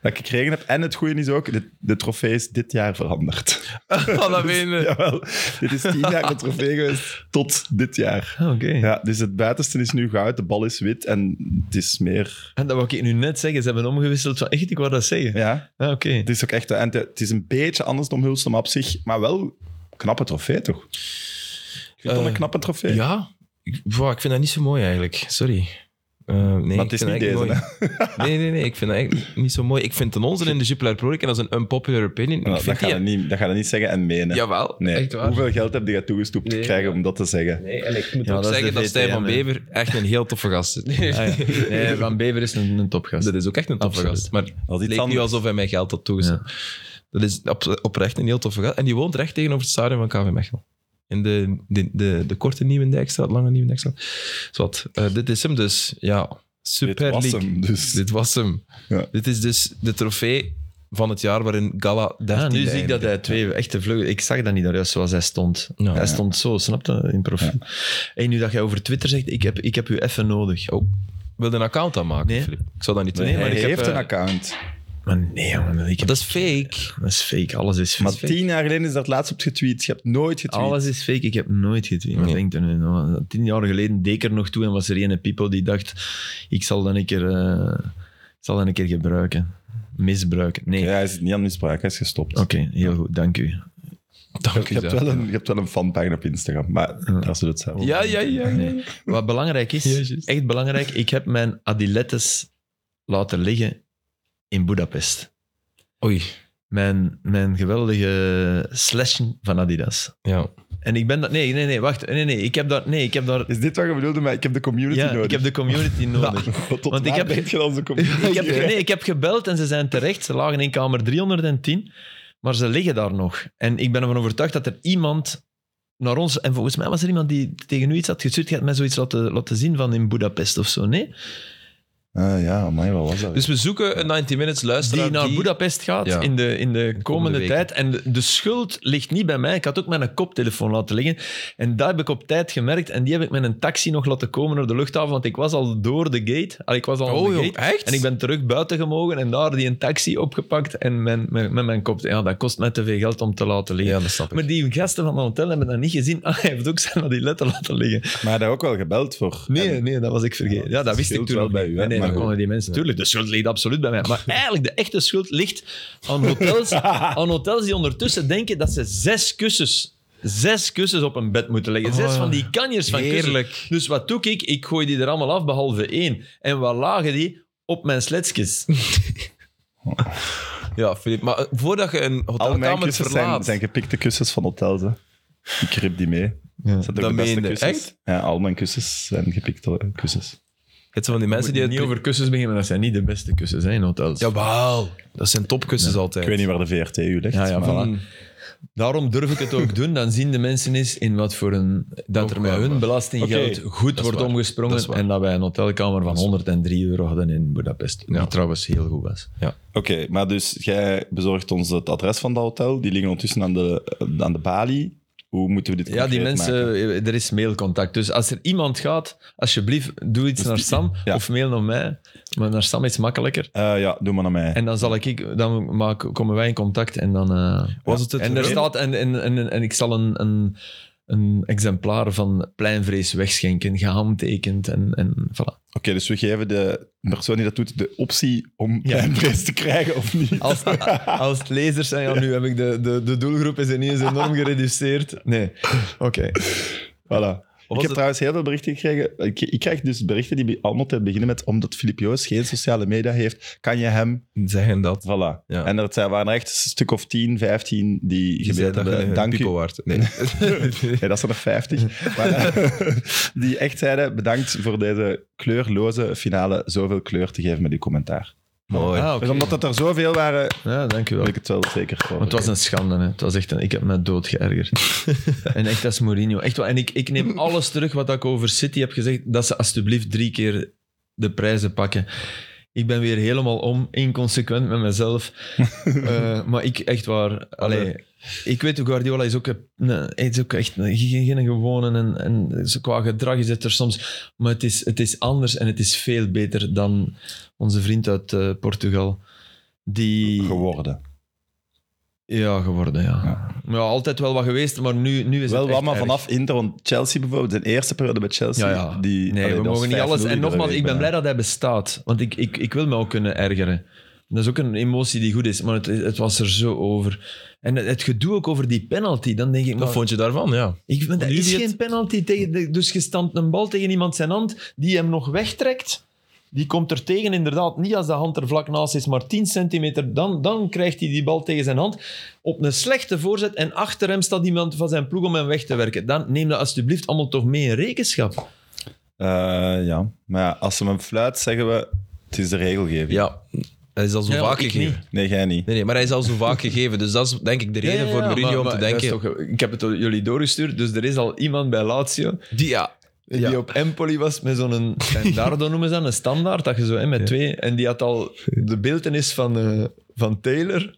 [SPEAKER 2] dat ik gekregen heb. En het goede is ook, de, de trofee is dit jaar veranderd.
[SPEAKER 1] [LAUGHS] Oh, dat meen je.
[SPEAKER 2] [LAUGHS] Jawel, dit is tien jaar de trofee geweest tot dit jaar.
[SPEAKER 3] [LAUGHS] Ah, Oké.
[SPEAKER 2] Ja, dus het buitenste is nu goud, de bal is wit en het is meer...
[SPEAKER 3] En dat wou ik nu net zeggen. Ze hebben omgewisseld van... Echt, ik wou dat zeggen.
[SPEAKER 2] Ja,
[SPEAKER 3] Ah, Oké.
[SPEAKER 2] het is ook echt... En het het is een beetje anders dan Hulsum op zich, maar wel een knappe trofee, toch? Ik vind dat
[SPEAKER 1] Eh,
[SPEAKER 2] een knappe trofee.
[SPEAKER 1] Ja, ik, wow, ik vind dat niet zo mooi eigenlijk. Sorry. Eh, nee,
[SPEAKER 2] maar het is
[SPEAKER 1] ik
[SPEAKER 2] niet
[SPEAKER 1] vind
[SPEAKER 2] deze,
[SPEAKER 1] dat
[SPEAKER 2] hè.
[SPEAKER 1] eigenlijk mooi. Nee, nee, nee. Ik vind dat eigenlijk niet zo mooi. Ik vind ten onze in de Jupiler Pro League, en dat is een unpopular opinion.
[SPEAKER 2] Nou,
[SPEAKER 1] ik
[SPEAKER 2] dat,
[SPEAKER 1] vind
[SPEAKER 2] ga
[SPEAKER 1] die,
[SPEAKER 2] je niet, dat ga je niet zeggen en menen.
[SPEAKER 1] Jawel,
[SPEAKER 2] nee.
[SPEAKER 1] echt waar.
[SPEAKER 2] Hoeveel geld heb je toegestopt
[SPEAKER 1] Nee.
[SPEAKER 2] te krijgen om dat te zeggen?
[SPEAKER 1] Nee, en ik moet
[SPEAKER 3] Ja,
[SPEAKER 1] ook
[SPEAKER 3] dat is
[SPEAKER 1] zeggen
[SPEAKER 3] de
[SPEAKER 1] dat Stijn van
[SPEAKER 3] VTM, hè.
[SPEAKER 1] Bever echt een heel toffe gast is.
[SPEAKER 3] Ah, ja. [LAUGHS] [LAUGHS] Nee, Van Bever is een, een topgast.
[SPEAKER 1] Dat is ook echt een toffe
[SPEAKER 3] Absoluut.
[SPEAKER 1] gast. Maar het leek
[SPEAKER 2] Dat is iets
[SPEAKER 1] niet
[SPEAKER 2] anders.
[SPEAKER 1] alsof hij mij geld had toegezet. Dat is op- oprecht een heel toffe gast. En die woont recht tegenover het stadion van KV Mechelen. In de, de, de, de korte Nieuwendijkstraat, lange Nieuwendijkstraat. Zwat, eh, dit is hem dus. Ja,
[SPEAKER 2] Dit
[SPEAKER 1] Super
[SPEAKER 2] was
[SPEAKER 1] League.
[SPEAKER 2] hem, dus.
[SPEAKER 1] Dit was hem.
[SPEAKER 2] Ja.
[SPEAKER 1] Dit is dus de trofee van het jaar waarin Gala 13
[SPEAKER 3] Ah, nu zie ik
[SPEAKER 1] eindigde.
[SPEAKER 3] dat hij twee echte vluggen... Ik zag dat niet daar juist zoals hij stond.
[SPEAKER 1] Ja.
[SPEAKER 3] hij stond zo, snap je? In profiel. En nu dat jij over Twitter zegt, ik heb, ik heb u even nodig.
[SPEAKER 1] Oh, wil je een account aanmaken,
[SPEAKER 3] Nee.
[SPEAKER 1] Filip? Ik zou dat niet doen.
[SPEAKER 2] Nee, maar
[SPEAKER 3] maar
[SPEAKER 2] hij
[SPEAKER 3] ik heb,
[SPEAKER 2] heeft
[SPEAKER 3] eh,
[SPEAKER 2] een account.
[SPEAKER 3] Maar nee, jongen. Ik heb,
[SPEAKER 1] Dat is fake.
[SPEAKER 3] dat is fake. Alles is
[SPEAKER 2] Maar
[SPEAKER 3] fake.
[SPEAKER 2] tien jaar geleden is dat laatst op getweet. Je hebt nooit getweet.
[SPEAKER 3] Alles is fake. Ik heb nooit getweet. Wat
[SPEAKER 1] Nee.
[SPEAKER 3] denkt er nu? nog? Tien jaar geleden deed ik er nog toe en was er ene Pipo die dacht, ik zal dat een keer, eh, ik zal dat een keer gebruiken. Misbruiken. Nee.
[SPEAKER 2] Ja, hij is niet aan misbruik, hij is gestopt.
[SPEAKER 3] Oké, heel goed. Dank u.
[SPEAKER 1] Dank
[SPEAKER 2] Je,
[SPEAKER 1] u
[SPEAKER 2] hebt
[SPEAKER 1] wel.
[SPEAKER 2] wel een, je hebt wel een fanpagina op Instagram, maar dat is het zelf.
[SPEAKER 1] Ja, ja, ja. ja.
[SPEAKER 3] Wat belangrijk is, echt belangrijk, ik heb mijn Adilettes laten liggen in Budapest.
[SPEAKER 1] Oei,
[SPEAKER 3] Mijn, mijn geweldige slashen van Adidas.
[SPEAKER 1] ja.
[SPEAKER 3] En ik ben dat... Nee, nee, nee, wacht. Nee, nee, ik heb daar... Nee, ik heb daar...
[SPEAKER 2] Is dit wat je bedoelde? Maar ik heb de community
[SPEAKER 3] Ja,
[SPEAKER 2] nodig.
[SPEAKER 3] ik heb
[SPEAKER 2] [LAUGHS]
[SPEAKER 3] de community nodig.
[SPEAKER 2] Tot
[SPEAKER 3] Want ik
[SPEAKER 2] waar
[SPEAKER 3] heb-
[SPEAKER 2] denk je dat onze community?
[SPEAKER 3] [LAUGHS] Ik heb, nee, ik heb gebeld en ze zijn terecht. Ze lagen in kamer 310, maar ze liggen daar nog. En ik ben ervan overtuigd dat er iemand naar ons... En volgens mij was er iemand die tegen u iets had gestuurd. Je hebt mij zoiets laten, laten zien van in Budapest of zo, nee?
[SPEAKER 2] Ah, ja, maar wat was dat?
[SPEAKER 1] Dus we zoeken een 90 Minutes luisteraar
[SPEAKER 3] Die naar Budapest gaat
[SPEAKER 1] Ja.
[SPEAKER 3] in de, in de komende,
[SPEAKER 1] weken.
[SPEAKER 3] tijd. En de, de schuld ligt niet bij mij. Ik had ook mijn koptelefoon laten liggen. En dat heb ik op tijd gemerkt. En die heb ik met een taxi nog laten komen naar de luchthaven. Want ik was al door de gate. Al, ik was al aan
[SPEAKER 1] Oh
[SPEAKER 3] de
[SPEAKER 1] joh,
[SPEAKER 3] gate.
[SPEAKER 1] echt?
[SPEAKER 3] En ik ben terug buiten gemogen en daar die een taxi opgepakt en mijn, mijn, met mijn kop. Ja, dat kost mij te veel geld om te laten liggen.
[SPEAKER 1] Ja, dat snap ik.
[SPEAKER 3] maar die gasten van het hotel hebben dat niet gezien. [LAUGHS] Ah, hij heeft ook zijn die letter laten liggen.
[SPEAKER 2] Maar daar ook wel gebeld voor.
[SPEAKER 3] Nee,
[SPEAKER 2] En-
[SPEAKER 3] nee, dat was ik vergeten. Ja, dat wist ik
[SPEAKER 2] scheelt
[SPEAKER 3] toen
[SPEAKER 2] wel
[SPEAKER 3] nog
[SPEAKER 2] bij
[SPEAKER 3] niet.
[SPEAKER 2] u, hè,
[SPEAKER 3] Nee, nee,
[SPEAKER 2] maar
[SPEAKER 3] dan
[SPEAKER 2] goed.
[SPEAKER 3] komen die mensen. Tuurlijk, de schuld ligt absoluut bij mij. [LAUGHS] Maar eigenlijk, de echte schuld ligt aan [LAUGHS] hotels, aan hotels die ondertussen denken dat ze zes kussens... Zes kussens op een bed moeten leggen. Zes
[SPEAKER 1] Oh,
[SPEAKER 3] van die kanjers van kussens.
[SPEAKER 1] Heerlijk.
[SPEAKER 3] Dus wat doe ik? Ik gooi die er allemaal af, behalve één. En wat lagen die? Op mijn [LAUGHS] sletsjes.
[SPEAKER 1] Ja, Filip, maar eh, voordat je een
[SPEAKER 2] Al mijn
[SPEAKER 1] hotelkamer
[SPEAKER 2] kussens zijn,
[SPEAKER 1] verlaat...
[SPEAKER 2] zijn gepikte kussens van hotels. Hè. Ik rip die mee. Dat zijn ook
[SPEAKER 1] Dat
[SPEAKER 2] de beste
[SPEAKER 1] meen je,
[SPEAKER 2] kussens.
[SPEAKER 1] echt?
[SPEAKER 2] Ja, al mijn kussens zijn gepikte eh, kussens.
[SPEAKER 1] Het zijn van die mensen die...
[SPEAKER 3] niet
[SPEAKER 1] Het...
[SPEAKER 3] over kussens beginnen, maar dat zijn niet de beste kussens hè, in hotels.
[SPEAKER 1] Jawel, dat zijn topkussens altijd.
[SPEAKER 2] Ik weet niet waar de VRT u ligt.
[SPEAKER 3] Ja, ja,
[SPEAKER 2] maar-
[SPEAKER 3] voilà. Daarom durf ik het
[SPEAKER 1] [LAUGHS]
[SPEAKER 3] ook doen. Dan zien de mensen eens in wat voor een... Dat er met hun belastinggeld
[SPEAKER 2] Oké,
[SPEAKER 3] goed
[SPEAKER 1] is
[SPEAKER 3] wordt
[SPEAKER 1] waar.
[SPEAKER 3] omgesprongen.
[SPEAKER 1] Dat is waar.
[SPEAKER 3] en dat wij een hotelkamer van 103 euro hadden in Budapest. Die
[SPEAKER 1] Ja.
[SPEAKER 3] trouwens heel goed was.
[SPEAKER 2] Oké, maar dus jij bezorgt ons het adres van dat hotel. Die liggen ondertussen aan de, aan de balie. Hoe moeten we dit
[SPEAKER 3] Ja, die
[SPEAKER 2] concreet
[SPEAKER 3] mensen... eh,
[SPEAKER 2] maken?
[SPEAKER 3] Er is mailcontact. Dus als er iemand gaat, alsjeblieft, doe iets naar
[SPEAKER 1] [LAUGHS]
[SPEAKER 3] Sam.
[SPEAKER 2] ja.
[SPEAKER 3] Of mail naar mij. Maar naar Sam is makkelijker.
[SPEAKER 2] Eh, ja, doe maar naar mij.
[SPEAKER 3] En dan, zal ik, dan maak, komen wij in contact en dan... eh,
[SPEAKER 1] Was het het
[SPEAKER 3] En er
[SPEAKER 1] Rome?
[SPEAKER 3] staat, en, en, en, en ik zal een, een, een exemplaar van Pleinvrees wegschenken, gehandtekend en, en voilà.
[SPEAKER 2] Oké, dus we geven de persoon die dat doet de optie om [LAUGHS] een prijs te krijgen of niet.
[SPEAKER 3] Als, als het lezers zijn, ja, nu heb ik de, de, de doelgroep is ineens enorm gereduceerd. Nee, oké.
[SPEAKER 2] Voilà. Ik
[SPEAKER 1] was
[SPEAKER 2] heb
[SPEAKER 1] het-
[SPEAKER 2] trouwens heel veel berichten gekregen. Ik, ik krijg dus berichten die be- allemaal te beginnen met omdat Filip Joos geen sociale media heeft, kan je hem...
[SPEAKER 1] Zeggen dat.
[SPEAKER 2] Voilà.
[SPEAKER 1] Ja.
[SPEAKER 2] En er zijn- waren er echt een stuk of 10, 15 die
[SPEAKER 1] Je zei
[SPEAKER 2] gebeld
[SPEAKER 1] dat je
[SPEAKER 3] eh,
[SPEAKER 2] hebben.
[SPEAKER 1] een
[SPEAKER 2] Dank
[SPEAKER 1] pipo
[SPEAKER 2] u.
[SPEAKER 1] waard. Nee.
[SPEAKER 2] Ja, dat zijn er 50. Maar, eh, [LAUGHS] die echt zeiden bedankt voor deze kleurloze finale zoveel kleur te geven met uw commentaar.
[SPEAKER 3] [LAUGHS] Mooi. Ah, oké.
[SPEAKER 2] Dus omdat het er zoveel waren,
[SPEAKER 3] Ja, dankjewel.
[SPEAKER 2] wil ik het wel zeker voor.
[SPEAKER 3] Maar het was een schande, hè. Het was echt een, ik heb me dood geërgerd. en echt, dat is Mourinho. Echt waar. En ik, ik neem alles terug wat ik over City heb gezegd, dat ze alsjeblieft drie keer de prijzen pakken. Ik ben weer helemaal om, inconsequent met mezelf. Eh, maar ik, echt waar, allee, ik weet, Guardiola is ook, een, nee, hij is ook echt een- geen, geen gewone. En, en zo qua gedrag is het er soms. Maar het is, het is anders en het is veel beter dan onze vriend uit eh, Portugal. Die,
[SPEAKER 2] geworden.
[SPEAKER 3] ja, geworden, ja. ja. altijd wel wat geweest, maar nu, nu is
[SPEAKER 2] Wel
[SPEAKER 3] het
[SPEAKER 2] wat
[SPEAKER 3] echt
[SPEAKER 2] maar
[SPEAKER 3] erg.
[SPEAKER 2] vanaf Inter, want Chelsea bijvoorbeeld, zijn eerste periode bij Chelsea.
[SPEAKER 3] Ja, ja.
[SPEAKER 2] Die,
[SPEAKER 3] nee,
[SPEAKER 2] allee,
[SPEAKER 3] we
[SPEAKER 2] dat was
[SPEAKER 3] mogen niet alles...
[SPEAKER 2] 5-0
[SPEAKER 3] En nogmaals,
[SPEAKER 2] iedere
[SPEAKER 3] ik ben
[SPEAKER 2] week
[SPEAKER 3] blij dat hij bestaat. Want ik, ik, ik wil me ook kunnen ergeren. Dat is ook een emotie die goed is, maar het, het was er zo over. En het, het gedoe ook over die penalty, dan denk ik...
[SPEAKER 1] Wat
[SPEAKER 3] Maar,
[SPEAKER 1] vond je daarvan? Ja.
[SPEAKER 3] ik vind, dat
[SPEAKER 1] nu
[SPEAKER 3] is
[SPEAKER 1] die
[SPEAKER 3] geen
[SPEAKER 1] het-
[SPEAKER 3] penalty. Tegen de- dus je stampt een bal tegen iemand zijn hand, die hem nog wegtrekt. Die komt er tegen, inderdaad, niet als de hand er vlak naast is, maar 10 centimeter. Dan, dan krijgt hij die bal tegen zijn hand op een slechte voorzet. En achter hem staat iemand van zijn ploeg om hem weg te werken. Dan neem dat alsjeblieft allemaal toch mee in rekenschap.
[SPEAKER 2] bijna. Eh, ja, maar ja, als ze hem fluit, zeggen we, het is de regelgeving.
[SPEAKER 1] Ja, hij is al zo
[SPEAKER 3] Ja, maar
[SPEAKER 1] vaak
[SPEAKER 3] ik
[SPEAKER 1] gegeven.
[SPEAKER 3] niet.
[SPEAKER 2] Nee, jij niet.
[SPEAKER 1] Nee, nee, maar hij is al zo vaak [LAUGHS] gegeven. Dus dat is denk ik de reden voor Mourinho om te denken.
[SPEAKER 3] ik heb het jullie doorgestuurd, dus er is al iemand bij Lazio
[SPEAKER 1] Die, ja, [LAUGHS]
[SPEAKER 3] Die
[SPEAKER 1] Ja.
[SPEAKER 3] op Empoli was met zo'n standaardo noemen ze dat, een standaard, dat je zo hè, met twee. En die had al de beeldenis van, eh, van Taylor.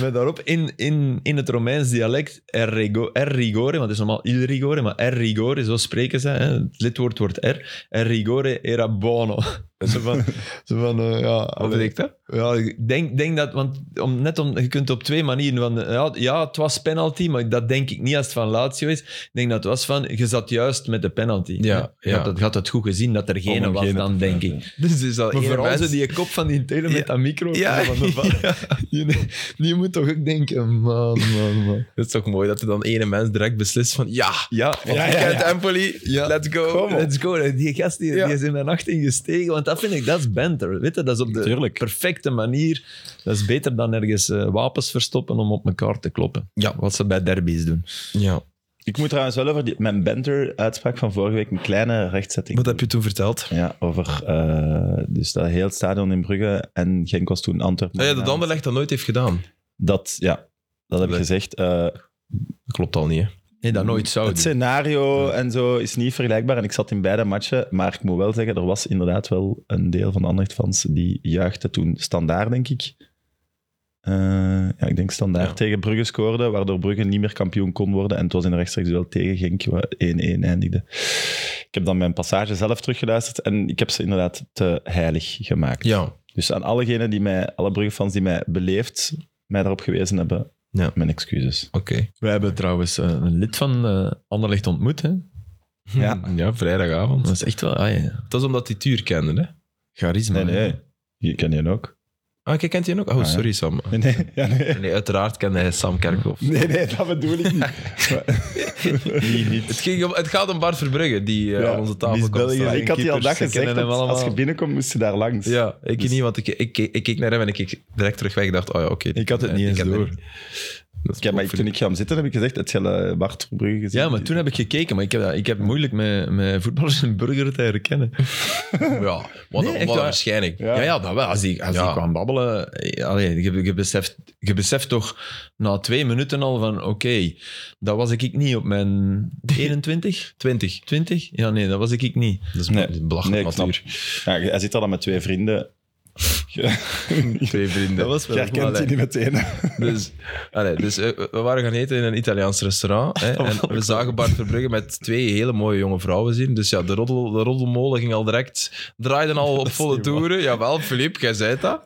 [SPEAKER 3] Met daarop in, in, in het Romeins dialect er, rigo, er rigore, want het is normaal il rigore, maar er rigore, zo spreken ze. Hè. Het lidwoord wordt er. Er rigore era buono. [LAUGHS] Zo van, zo van eh, ja,
[SPEAKER 1] wat
[SPEAKER 3] allee.
[SPEAKER 1] betekent dat?
[SPEAKER 3] Ja, ik denk, denk dat, want om, net om, je kunt op twee manieren van, ja, ja, het was penalty, maar dat denk ik niet als het van Lazio is. Ik denk dat het was van, je zat juist met de penalty.
[SPEAKER 1] Ja,
[SPEAKER 3] Je
[SPEAKER 1] ja.
[SPEAKER 3] had het, je had het goed gezien dat er geen
[SPEAKER 2] hem
[SPEAKER 3] was
[SPEAKER 2] geen
[SPEAKER 3] dan,
[SPEAKER 2] te
[SPEAKER 3] denk
[SPEAKER 2] fluiten.
[SPEAKER 3] ik.
[SPEAKER 1] Dus is dat
[SPEAKER 3] Maar
[SPEAKER 1] één
[SPEAKER 3] vooral
[SPEAKER 1] mens-
[SPEAKER 3] zo die kop van die telen met
[SPEAKER 1] Ja.
[SPEAKER 3] dat micro.
[SPEAKER 1] Ja.
[SPEAKER 3] Van [LAUGHS] de VAR. Die, die moet toch ook denken, man, man, man.
[SPEAKER 1] Dat is toch mooi dat er dan ene mens direct beslist van ja,
[SPEAKER 3] Ja,
[SPEAKER 1] want
[SPEAKER 2] Ja,
[SPEAKER 1] ik
[SPEAKER 2] ja,
[SPEAKER 1] ken
[SPEAKER 2] ja.
[SPEAKER 1] Empoli,
[SPEAKER 3] Ja.
[SPEAKER 1] let's go.
[SPEAKER 2] Kom op.
[SPEAKER 1] Let's-
[SPEAKER 3] Let's go. Die gast die,
[SPEAKER 1] Ja.
[SPEAKER 3] die is in mijn nacht ingestegen. Want dat vind ik, dat is banter. Weet je, dat is op de
[SPEAKER 2] Tuurlijk.
[SPEAKER 3] perfecte manier. Dat is beter dan ergens eh, wapens verstoppen om op elkaar te kloppen.
[SPEAKER 1] Ja.
[SPEAKER 3] Wat ze bij derbies doen.
[SPEAKER 1] Ja.
[SPEAKER 2] Ik moet trouwens wel over die, mijn Benter-uitspraak van vorige week een kleine rechtzetting.
[SPEAKER 1] Wat heb je toen verteld?
[SPEAKER 2] Ja, over eh, dus dat heel het stadion in Brugge en Genk was toen Antwerpen.
[SPEAKER 1] Oh Ja, ja, dat Anderlecht dat nooit heeft gedaan.
[SPEAKER 2] Dat, ja, dat heb ik
[SPEAKER 1] Nee.
[SPEAKER 2] gezegd. eh,
[SPEAKER 1] Dat klopt al niet, hè.
[SPEAKER 3] Nee, dat nooit zou
[SPEAKER 2] Mm, het scenario en zo is niet vergelijkbaar. En ik zat in beide matchen. Maar ik moet wel zeggen, er was inderdaad wel een deel van de Anderlecht-fans die juichte toen standaard, denk ik. Eh, ja, ik denk standaard
[SPEAKER 1] Ja.
[SPEAKER 2] tegen Brugge scoorde, waardoor Brugge niet meer kampioen kon worden. En het was in een rechtstreeks wel tegen Genk, waar 1-1 eindigde. Ik heb dan mijn passage zelf teruggeluisterd en ik heb ze inderdaad te heilig gemaakt.
[SPEAKER 1] Ja.
[SPEAKER 2] Dus aan allegenen die mij, alle Brugge-fans die mij beleefd, mij daarop gewezen hebben,
[SPEAKER 1] Ja.
[SPEAKER 2] mijn excuses.
[SPEAKER 1] Oké.
[SPEAKER 3] We hebben trouwens eh, een lid van eh Anderlecht ontmoet. Hè?
[SPEAKER 2] Ja.
[SPEAKER 1] ja, vrijdagavond.
[SPEAKER 3] Dat is echt wel... Ah, ja.
[SPEAKER 1] Dat is omdat die Tuur kende, hè?
[SPEAKER 3] Charisma.
[SPEAKER 2] Nee, nee. Je kent je ook.
[SPEAKER 1] Ah, kijk, kent hij ook? Oh,
[SPEAKER 2] ja.
[SPEAKER 1] sorry, Sam.
[SPEAKER 2] Nee, nee. Ja, nee.
[SPEAKER 1] Nee, uiteraard kende hij Sam Kerkhoff.
[SPEAKER 2] Nee, nee, dat bedoel ik niet. Maar- niet,
[SPEAKER 1] Het,
[SPEAKER 2] niet.
[SPEAKER 1] ging om- het gaat om Bart Verbrugge, die eh,
[SPEAKER 2] Ja,
[SPEAKER 1] aan onze
[SPEAKER 2] die
[SPEAKER 1] tafel
[SPEAKER 2] is
[SPEAKER 1] komt
[SPEAKER 2] België.
[SPEAKER 1] staan.
[SPEAKER 2] Ik had die al
[SPEAKER 3] keepers,
[SPEAKER 2] dag
[SPEAKER 3] ze
[SPEAKER 2] gezegd,
[SPEAKER 3] kennen hem
[SPEAKER 2] dat als je
[SPEAKER 3] allemaal.
[SPEAKER 2] binnenkomt, moest je daar langs.
[SPEAKER 1] Ja, ik
[SPEAKER 2] Dus-
[SPEAKER 1] niet, want ik, ik, ik, ik keek naar hem en ik keek direct terug weg. Ik dacht, oh ja, oké.
[SPEAKER 3] Ik had het niet eens
[SPEAKER 1] heb
[SPEAKER 3] door.
[SPEAKER 1] het niet. Dat is
[SPEAKER 2] Ja, maar ik- toen ik ga hem zitten, heb ik gezegd, het Jelle Bart Verbrugge gezien.
[SPEAKER 3] Ja, maar toen heb ik gekeken. Maar ik heb, dat- ik heb moeilijk met, met voetballers en burger te herkennen.
[SPEAKER 1] Ja, wat,
[SPEAKER 3] Nee, echt
[SPEAKER 1] wat
[SPEAKER 3] waar.
[SPEAKER 1] een verschijning.
[SPEAKER 2] Ja.
[SPEAKER 3] Ja, ja, dat wel. Als die, als
[SPEAKER 1] Ja.
[SPEAKER 3] die kwam babbelen... eh, Allee, je, je, beseft, je beseft toch na twee minuten al van... Oké, dat was ik niet op [LAUGHS] mijn 21,
[SPEAKER 1] 20.
[SPEAKER 3] 20? Ja, nee, dat was ik niet.
[SPEAKER 1] Dat is
[SPEAKER 2] Nee.
[SPEAKER 1] een belachelijk
[SPEAKER 2] Nee, ik snap.
[SPEAKER 1] natuur.
[SPEAKER 2] Ja, hij zit al dan met twee vrienden. Je
[SPEAKER 1] Twee
[SPEAKER 3] Dat
[SPEAKER 1] vrienden.
[SPEAKER 2] [LAUGHS]
[SPEAKER 3] was wel goed.
[SPEAKER 2] herkent die niet meteen.
[SPEAKER 1] Dus, allee, dus eh, we waren gaan eten in een Italiaans restaurant.
[SPEAKER 3] [LAUGHS]
[SPEAKER 1] Hè,
[SPEAKER 3] Oh,
[SPEAKER 1] en we zagen Bart Verbrugge met twee hele mooie jonge vrouwen zien. Dus ja, de, roddel, de roddelmolen ging al direct... Draaiden
[SPEAKER 3] [LAUGHS]
[SPEAKER 1] al op volle
[SPEAKER 3] niet waar.
[SPEAKER 1] toeren. Jawel, Filip, jij zei dat.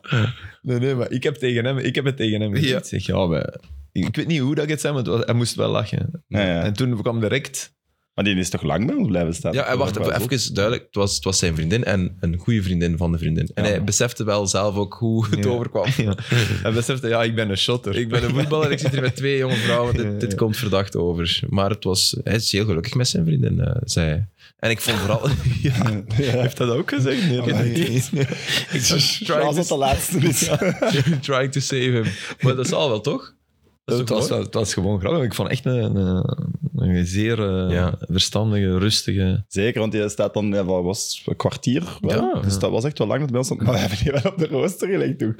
[SPEAKER 3] Nee, nee, maar ik heb, tegen hem, ik heb het tegen hem gezegd.
[SPEAKER 1] Ja.
[SPEAKER 3] Ik Zeg, ja, wij- ik weet niet hoe dat ik het zei, maar het was- hij moest wel lachen.
[SPEAKER 2] Ja, ja.
[SPEAKER 3] En toen kwam direct...
[SPEAKER 2] Maar die is toch lang bij ons blijven staan?
[SPEAKER 1] Ja, en wacht,
[SPEAKER 2] Dat is wel
[SPEAKER 1] even,
[SPEAKER 2] goed.
[SPEAKER 1] even duidelijk. Het was, het was zijn vriendin en een goede vriendin van de vriendin. En
[SPEAKER 2] Ja.
[SPEAKER 1] hij besefte wel zelf ook hoe het
[SPEAKER 3] Ja.
[SPEAKER 1] overkwam.
[SPEAKER 3] [LAUGHS] Ja. Hij besefte, ja, ik ben een shotter.
[SPEAKER 1] Ik ben een voetballer, ik zit hier met twee jonge vrouwen.
[SPEAKER 3] Ja, ja.
[SPEAKER 1] Dit, dit komt verdacht over. Maar het was, hij is heel gelukkig met zijn vriendin, eh, zei hij. En ik vond
[SPEAKER 3] [LAUGHS]
[SPEAKER 1] vooral... [LAUGHS] ja,
[SPEAKER 2] [LAUGHS] Ja.
[SPEAKER 3] Heeft dat ook gezegd?
[SPEAKER 2] [LAUGHS]
[SPEAKER 3] Nee,
[SPEAKER 2] maar
[SPEAKER 3] dat
[SPEAKER 2] ik-
[SPEAKER 3] niet.
[SPEAKER 2] Als dat de laatste is.
[SPEAKER 3] [LAUGHS]
[SPEAKER 1] trying to save him. Maar dat zal wel, toch?
[SPEAKER 3] Het
[SPEAKER 1] toch
[SPEAKER 3] was, wel- het was gewoon grappig. Ik vond echt een, een, Een zeer eh,
[SPEAKER 1] Ja.
[SPEAKER 3] verstandige, rustige.
[SPEAKER 2] Zeker, want je staat dan, ja, wat was het, een kwartier? wel?
[SPEAKER 1] Ja.
[SPEAKER 2] dus dat was echt wel lang dat bij ons stond. Maar we hebben die wel op [LAUGHS] de rooster gelegd toen.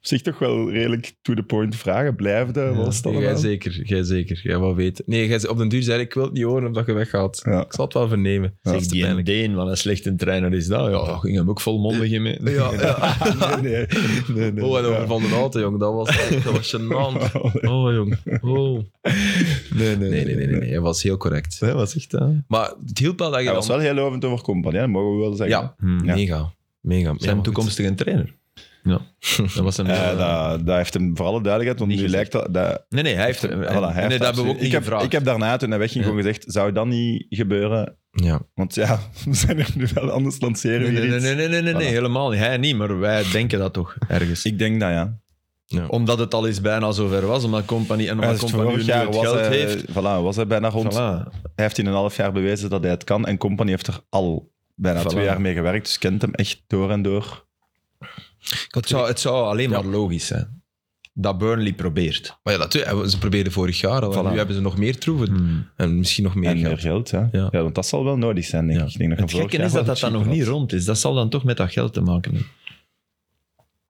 [SPEAKER 2] Op zich toch wel redelijk to the point vragen. Blijven daar, was het
[SPEAKER 1] Jij
[SPEAKER 2] allemaal?
[SPEAKER 1] zeker, jij zeker. Jij wou weten. Nee, jij, zei- op den duur zei ik, ik wil het niet horen omdat je weggaat.
[SPEAKER 3] [LAUGHS]
[SPEAKER 2] Ja.
[SPEAKER 1] Ik zal het wel vernemen.
[SPEAKER 2] Ja.
[SPEAKER 1] Zeg, te
[SPEAKER 3] Die
[SPEAKER 1] pijnlijk.
[SPEAKER 3] Deen, wat een slechte trainer is dat. Ja, ging hem ook volmondig in mee. [LAUGHS]
[SPEAKER 1] Ja, ja.
[SPEAKER 2] nee, nee, nee, nee.
[SPEAKER 1] Oh, en over
[SPEAKER 2] Ja.
[SPEAKER 1] Van den Houten, jong. Dat was, dat was gênant.
[SPEAKER 2] [LAUGHS]
[SPEAKER 1] Oh, jong. Oh.
[SPEAKER 3] Nee,
[SPEAKER 1] Nee, nee, nee, nee, nee. Hij was heel correct.
[SPEAKER 3] Hè, wat zegt dat?
[SPEAKER 1] Maar het hielp wel dat je
[SPEAKER 2] Hij
[SPEAKER 1] dan...
[SPEAKER 2] was wel heel lovend over Company, hè, dat mogen we wel zeggen.
[SPEAKER 1] Ja,
[SPEAKER 2] Ja.
[SPEAKER 1] mega. Mega. Ja,
[SPEAKER 3] Zijn
[SPEAKER 1] maar
[SPEAKER 3] toekomstige trainer. Ja. [LAUGHS] Dat was hem.
[SPEAKER 2] Eh, dat, dat heeft hem voor alle duidelijkheid, want
[SPEAKER 3] Niet
[SPEAKER 2] nu lijkt dat... dat
[SPEAKER 3] nee, nee, hij heeft.
[SPEAKER 2] voilà,
[SPEAKER 3] Voilà,
[SPEAKER 2] hij heeft
[SPEAKER 3] nee, dat hebben we
[SPEAKER 2] absoluut-
[SPEAKER 3] ook niet
[SPEAKER 2] ik heb,
[SPEAKER 3] gevraagd.
[SPEAKER 2] Ik heb daarna, toen hij wegging,
[SPEAKER 3] Ja.
[SPEAKER 2] gewoon gezegd, zou dat niet gebeuren?
[SPEAKER 1] goed. Ja.
[SPEAKER 2] Want ja, [LAUGHS] we zijn er nu wel, anders lanceren we hier
[SPEAKER 3] nee, nee, nee,
[SPEAKER 2] iets.
[SPEAKER 3] nee, nee, nee, nee,
[SPEAKER 2] Voilà.
[SPEAKER 3] helemaal niet. Hij niet, maar wij denken dat toch ergens.
[SPEAKER 2] Ik denk dat, ja.
[SPEAKER 3] Omdat het al eens bijna zover was, omdat Company en
[SPEAKER 2] Hij
[SPEAKER 3] omdat
[SPEAKER 2] is
[SPEAKER 3] Company nu
[SPEAKER 2] vorig jaar
[SPEAKER 3] het
[SPEAKER 2] was
[SPEAKER 3] geld
[SPEAKER 2] hij,
[SPEAKER 3] heeft.
[SPEAKER 2] Voilà, was hij bijna rond.
[SPEAKER 3] Voilà.
[SPEAKER 2] Hij heeft in een half jaar bewezen dat hij het kan. En Company heeft er al bijna
[SPEAKER 3] Voilà.
[SPEAKER 2] twee jaar mee gewerkt. Dus kent hem echt door en door.
[SPEAKER 3] Het, zou, het zou alleen
[SPEAKER 1] Ja.
[SPEAKER 3] maar logisch zijn dat Burnley probeert.
[SPEAKER 1] Maar ja, natuurlijk. Ze probeerden vorig jaar al. En
[SPEAKER 2] Voilà.
[SPEAKER 1] nu hebben ze nog meer troeven.
[SPEAKER 3] Hmm.
[SPEAKER 1] En misschien nog meer
[SPEAKER 2] en meer
[SPEAKER 1] geld.
[SPEAKER 2] geld, hè. Ja. want dat zal wel nodig zijn, denk
[SPEAKER 1] Ja.
[SPEAKER 2] ik. ik denk dat
[SPEAKER 3] Het
[SPEAKER 2] hij vorig
[SPEAKER 3] gekke is
[SPEAKER 2] jaar
[SPEAKER 3] dat
[SPEAKER 2] wel
[SPEAKER 3] dat dan nog
[SPEAKER 2] cheaper
[SPEAKER 3] niet
[SPEAKER 2] had.
[SPEAKER 3] rond is. Dat zal dan toch met dat geld te maken hebben.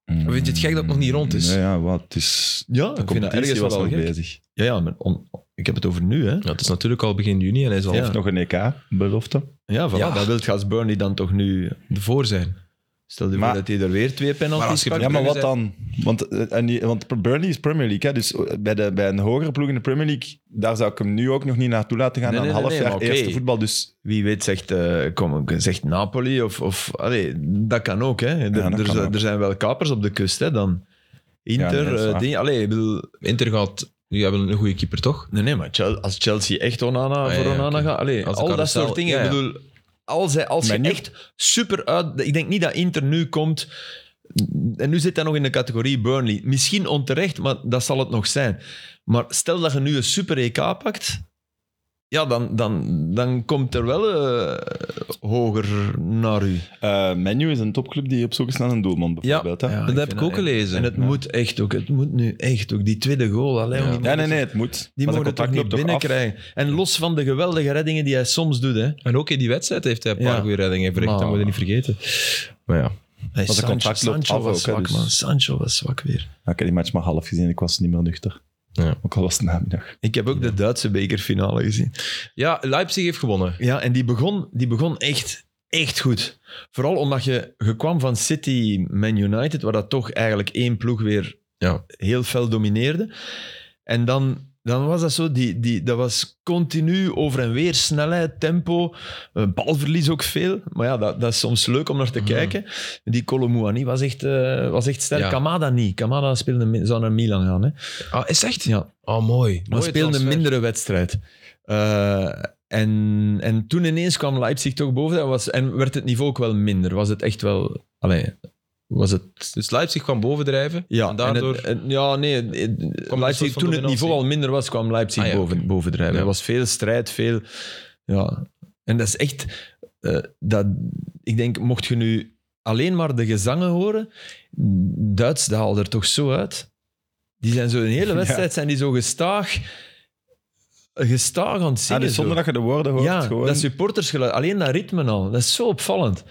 [SPEAKER 2] Mm.
[SPEAKER 1] Vind je het gek dat het nog niet rond is?
[SPEAKER 2] Ja, ja wat, het is...
[SPEAKER 3] Ja,
[SPEAKER 2] De
[SPEAKER 3] ik vind dat ergens
[SPEAKER 2] competitie was
[SPEAKER 3] wel
[SPEAKER 2] nog
[SPEAKER 3] gek.
[SPEAKER 2] bezig.
[SPEAKER 3] Ja, ja maar om- ik heb het over nu, hè.
[SPEAKER 1] Ja, het is natuurlijk al begin juni en hij zal
[SPEAKER 3] Ja.
[SPEAKER 1] nog
[SPEAKER 2] Nog een EK-belofte.
[SPEAKER 3] Ja, voilà,
[SPEAKER 1] Ja.
[SPEAKER 3] dat wilt Gas Burnley dan toch nu...
[SPEAKER 1] ervoor zijn.
[SPEAKER 3] Stel je
[SPEAKER 2] Maar-
[SPEAKER 3] voor dat hij er weer twee
[SPEAKER 1] Maar als
[SPEAKER 3] penalties
[SPEAKER 1] je-
[SPEAKER 3] pakt.
[SPEAKER 2] Ja, maar wat
[SPEAKER 1] Brugge
[SPEAKER 2] dan? Want, eh, en die- want Burnley is Premier League. Hè? Dus bij, de, bij een hogere ploeg in de Premier League, daar zou ik hem nu ook nog niet naartoe laten gaan.
[SPEAKER 3] Nee,
[SPEAKER 2] na een
[SPEAKER 3] nee,
[SPEAKER 2] half
[SPEAKER 3] nee, nee,
[SPEAKER 2] jaar
[SPEAKER 3] maar oké.
[SPEAKER 2] eerste voetbal. Dus
[SPEAKER 3] Wie weet zegt, eh, kom, zegt Napoli of... of allee, dat kan ook, hè. Er,
[SPEAKER 2] Ja, dat
[SPEAKER 3] er,
[SPEAKER 2] kan
[SPEAKER 3] zijn-
[SPEAKER 2] ook.
[SPEAKER 3] er zijn wel kapers op de kust, hè, dan.
[SPEAKER 2] Ja, nee,
[SPEAKER 3] Inter,
[SPEAKER 2] dat is
[SPEAKER 3] eh,
[SPEAKER 2] waar.
[SPEAKER 3] ding, allee, ik bedoel...
[SPEAKER 1] Inter gaat... Die hebben een goede keeper, toch?
[SPEAKER 3] Nee, nee, maar Chel- als Chelsea echt Onana
[SPEAKER 1] Ah, ja,
[SPEAKER 3] voor
[SPEAKER 1] ja,
[SPEAKER 3] Onana
[SPEAKER 1] oké.
[SPEAKER 3] gaat... Allee,
[SPEAKER 1] Als de
[SPEAKER 3] al dat
[SPEAKER 1] carousel-
[SPEAKER 3] soort dingen.
[SPEAKER 1] ja,
[SPEAKER 3] Ik
[SPEAKER 1] ja.
[SPEAKER 3] bedoel, als, hij, als
[SPEAKER 2] Maar
[SPEAKER 3] je
[SPEAKER 2] nu-
[SPEAKER 3] echt super uit... Ik denk niet dat Inter nu komt... En nu zit hij nog in de categorie Burnley. Misschien onterecht, maar dat zal het nog zijn. Maar stel dat je nu een super EK pakt... Ja, dan, dan, dan komt er wel eh, hoger naar u.
[SPEAKER 2] eh Menu is een topclub die op zoek is naar een doelman, bijvoorbeeld. hè?
[SPEAKER 3] Ja,
[SPEAKER 1] dat
[SPEAKER 3] ik
[SPEAKER 1] heb
[SPEAKER 3] vind
[SPEAKER 1] ik
[SPEAKER 3] dat
[SPEAKER 1] ook
[SPEAKER 3] echt-
[SPEAKER 1] gelezen.
[SPEAKER 3] En het
[SPEAKER 2] Ja.
[SPEAKER 3] moet echt ook. Het moet nu echt ook. Die tweede goal. Allee,
[SPEAKER 1] Ja.
[SPEAKER 3] jongen, die
[SPEAKER 2] Ja, nee,
[SPEAKER 3] mogen
[SPEAKER 2] nee, het moet.
[SPEAKER 3] Die
[SPEAKER 2] Maar
[SPEAKER 3] mogen het
[SPEAKER 2] dat
[SPEAKER 3] toch niet
[SPEAKER 2] contract loopt af.
[SPEAKER 3] binnenkrijgen. En los van de geweldige reddingen die hij soms doet. Hè.
[SPEAKER 1] En ook in die wedstrijd heeft hij een paar
[SPEAKER 3] Ja.
[SPEAKER 1] goede reddingen verricht. Dat
[SPEAKER 3] Maar-
[SPEAKER 1] moet je niet vergeten. Maar ja.
[SPEAKER 3] Hij
[SPEAKER 2] de
[SPEAKER 3] Sancho,
[SPEAKER 2] contract loopt
[SPEAKER 3] Sancho
[SPEAKER 2] af
[SPEAKER 3] was
[SPEAKER 2] ook, hè,
[SPEAKER 3] zwak,
[SPEAKER 2] dus-
[SPEAKER 3] man. Sancho was zwak weer.
[SPEAKER 2] Ja, Ik heb die match maar half gezien, ik was niet meer nuchter.
[SPEAKER 1] Ja.
[SPEAKER 2] Ook al was het namiddag.
[SPEAKER 3] Ik heb ook de Duitse bekerfinale gezien.
[SPEAKER 1] ja, Leipzig heeft gewonnen.
[SPEAKER 3] Ja, en die begon, die begon echt, echt goed. Vooral omdat je, je kwam van City, Man United, waar dat toch eigenlijk één ploeg weer
[SPEAKER 1] Ja.
[SPEAKER 3] heel fel domineerde. En dan, dan was dat zo, die, die, dat was continu over en weer, snelheid, tempo, eh, balverlies ook veel. Maar ja, dat, dat is soms leuk om naar te
[SPEAKER 1] Mhm.
[SPEAKER 3] kijken. Die Colomouani was echt, eh, was echt sterk.
[SPEAKER 1] Ja.
[SPEAKER 3] Kamada niet. Kamada speelde, mi- zou naar Milan gaan. Hè.
[SPEAKER 1] Ah, is echt?
[SPEAKER 3] Ja.
[SPEAKER 1] Oh, mooi.
[SPEAKER 3] Maar
[SPEAKER 1] Mooi
[SPEAKER 3] speelde een
[SPEAKER 1] transfer.
[SPEAKER 3] mindere wedstrijd. Eh, en, en toen ineens kwam Leipzig toch boven. Dat was, en werd het niveau ook wel minder. Was het echt wel... Allee, was het...
[SPEAKER 1] Dus Leipzig kwam bovendrijven.
[SPEAKER 3] Ja,
[SPEAKER 1] en
[SPEAKER 3] en het-
[SPEAKER 1] daardoor...
[SPEAKER 3] en- ja nee. eh,
[SPEAKER 1] van
[SPEAKER 3] Leipzig, toen het
[SPEAKER 1] dominantie.
[SPEAKER 3] niveau al minder was, kwam Leipzig
[SPEAKER 1] Ah, ja,
[SPEAKER 3] boven, bovendrijven.
[SPEAKER 1] Ja.
[SPEAKER 3] Er was veel strijd, veel... Ja. En dat is echt... eh, dat, ik denk, mocht je nu alleen maar de gezangen horen, Duits, dat haalt er toch zo uit. Die zijn zo een
[SPEAKER 1] [LAUGHS]
[SPEAKER 3] hele wedstrijd, zijn die zo gestaag, gestaag aan het
[SPEAKER 2] Ah,
[SPEAKER 3] zingen.
[SPEAKER 2] dus zonder
[SPEAKER 3] zo.
[SPEAKER 2] dat je de woorden hoort,
[SPEAKER 3] ja,
[SPEAKER 2] gewoon...
[SPEAKER 3] dat supportersgeluid, alleen dat ritme al. Dat is zo opvallend.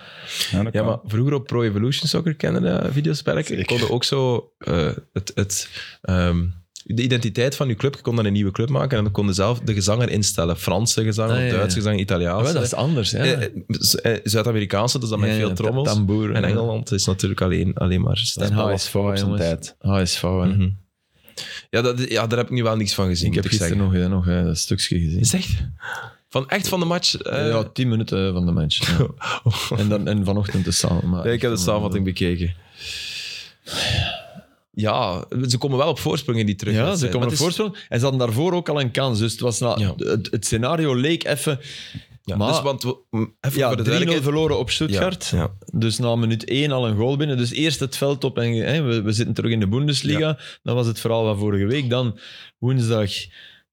[SPEAKER 2] Ja, dat
[SPEAKER 1] Ja,
[SPEAKER 2] kan.
[SPEAKER 1] maar vroeger op Pro Evolution Soccer kennen dat videospelletje.
[SPEAKER 2] Zeker.
[SPEAKER 1] Ik kon ook zo eh, het, het, ehm, de identiteit van je club. Je kon dan een nieuwe club maken en dan kon je zelf de gezanger instellen. Franse gezang,
[SPEAKER 3] Ah,
[SPEAKER 1] of
[SPEAKER 3] ja, ja.
[SPEAKER 1] Duitse gezang,
[SPEAKER 3] Ah,
[SPEAKER 1] Italiaans.
[SPEAKER 3] wel, dat is anders, hè.
[SPEAKER 1] Eh, eh, Z- eh, Zuid-Amerikaanse, dus dan met
[SPEAKER 3] Ja,
[SPEAKER 1] veel
[SPEAKER 3] ja,
[SPEAKER 1] trommels.
[SPEAKER 3] tamboer,
[SPEAKER 1] En
[SPEAKER 3] ja.
[SPEAKER 1] Engeland is natuurlijk alleen, alleen maar
[SPEAKER 3] En
[SPEAKER 1] stem.
[SPEAKER 2] Dat was
[SPEAKER 3] HSV,
[SPEAKER 2] op zijn
[SPEAKER 3] jongens.
[SPEAKER 2] tijd.
[SPEAKER 3] HSV, hè.
[SPEAKER 1] Mhm. ja, dat, ja, daar heb ik nu wel niks van gezien,
[SPEAKER 3] Ik heb
[SPEAKER 1] moet ik
[SPEAKER 3] gisteren
[SPEAKER 1] zeggen.
[SPEAKER 3] nog, eh, nog eh, dat stukje gezien.
[SPEAKER 1] Is echt? Van, echt van de match? eh, Oh.
[SPEAKER 3] ja, tien minuten van de match.
[SPEAKER 1] [LAUGHS]
[SPEAKER 3] ja. en, dan, en vanochtend de samen. Maar
[SPEAKER 1] Ja, ik heb de samenvatting bekeken. Ja, ze komen wel op voorsprong in die terug.
[SPEAKER 3] Ja, ze komen op voorsprong. En ze hadden daarvoor ook al een kans. Dus het, was na,
[SPEAKER 1] Ja.
[SPEAKER 3] het, het scenario leek even...
[SPEAKER 1] Ja,
[SPEAKER 3] Maar-
[SPEAKER 1] dus, want we- m, even
[SPEAKER 3] Ja,
[SPEAKER 1] voor de
[SPEAKER 3] 3-0
[SPEAKER 1] duidelijkheid.
[SPEAKER 3] verloren op Stuttgart.
[SPEAKER 1] Ja, ja.
[SPEAKER 3] Dus na minuut 1 al een goal binnen. Dus eerst het veld op en hè, we, we zitten terug in de Bundesliga. Dat was het verhaal van vorige week. Dan woensdag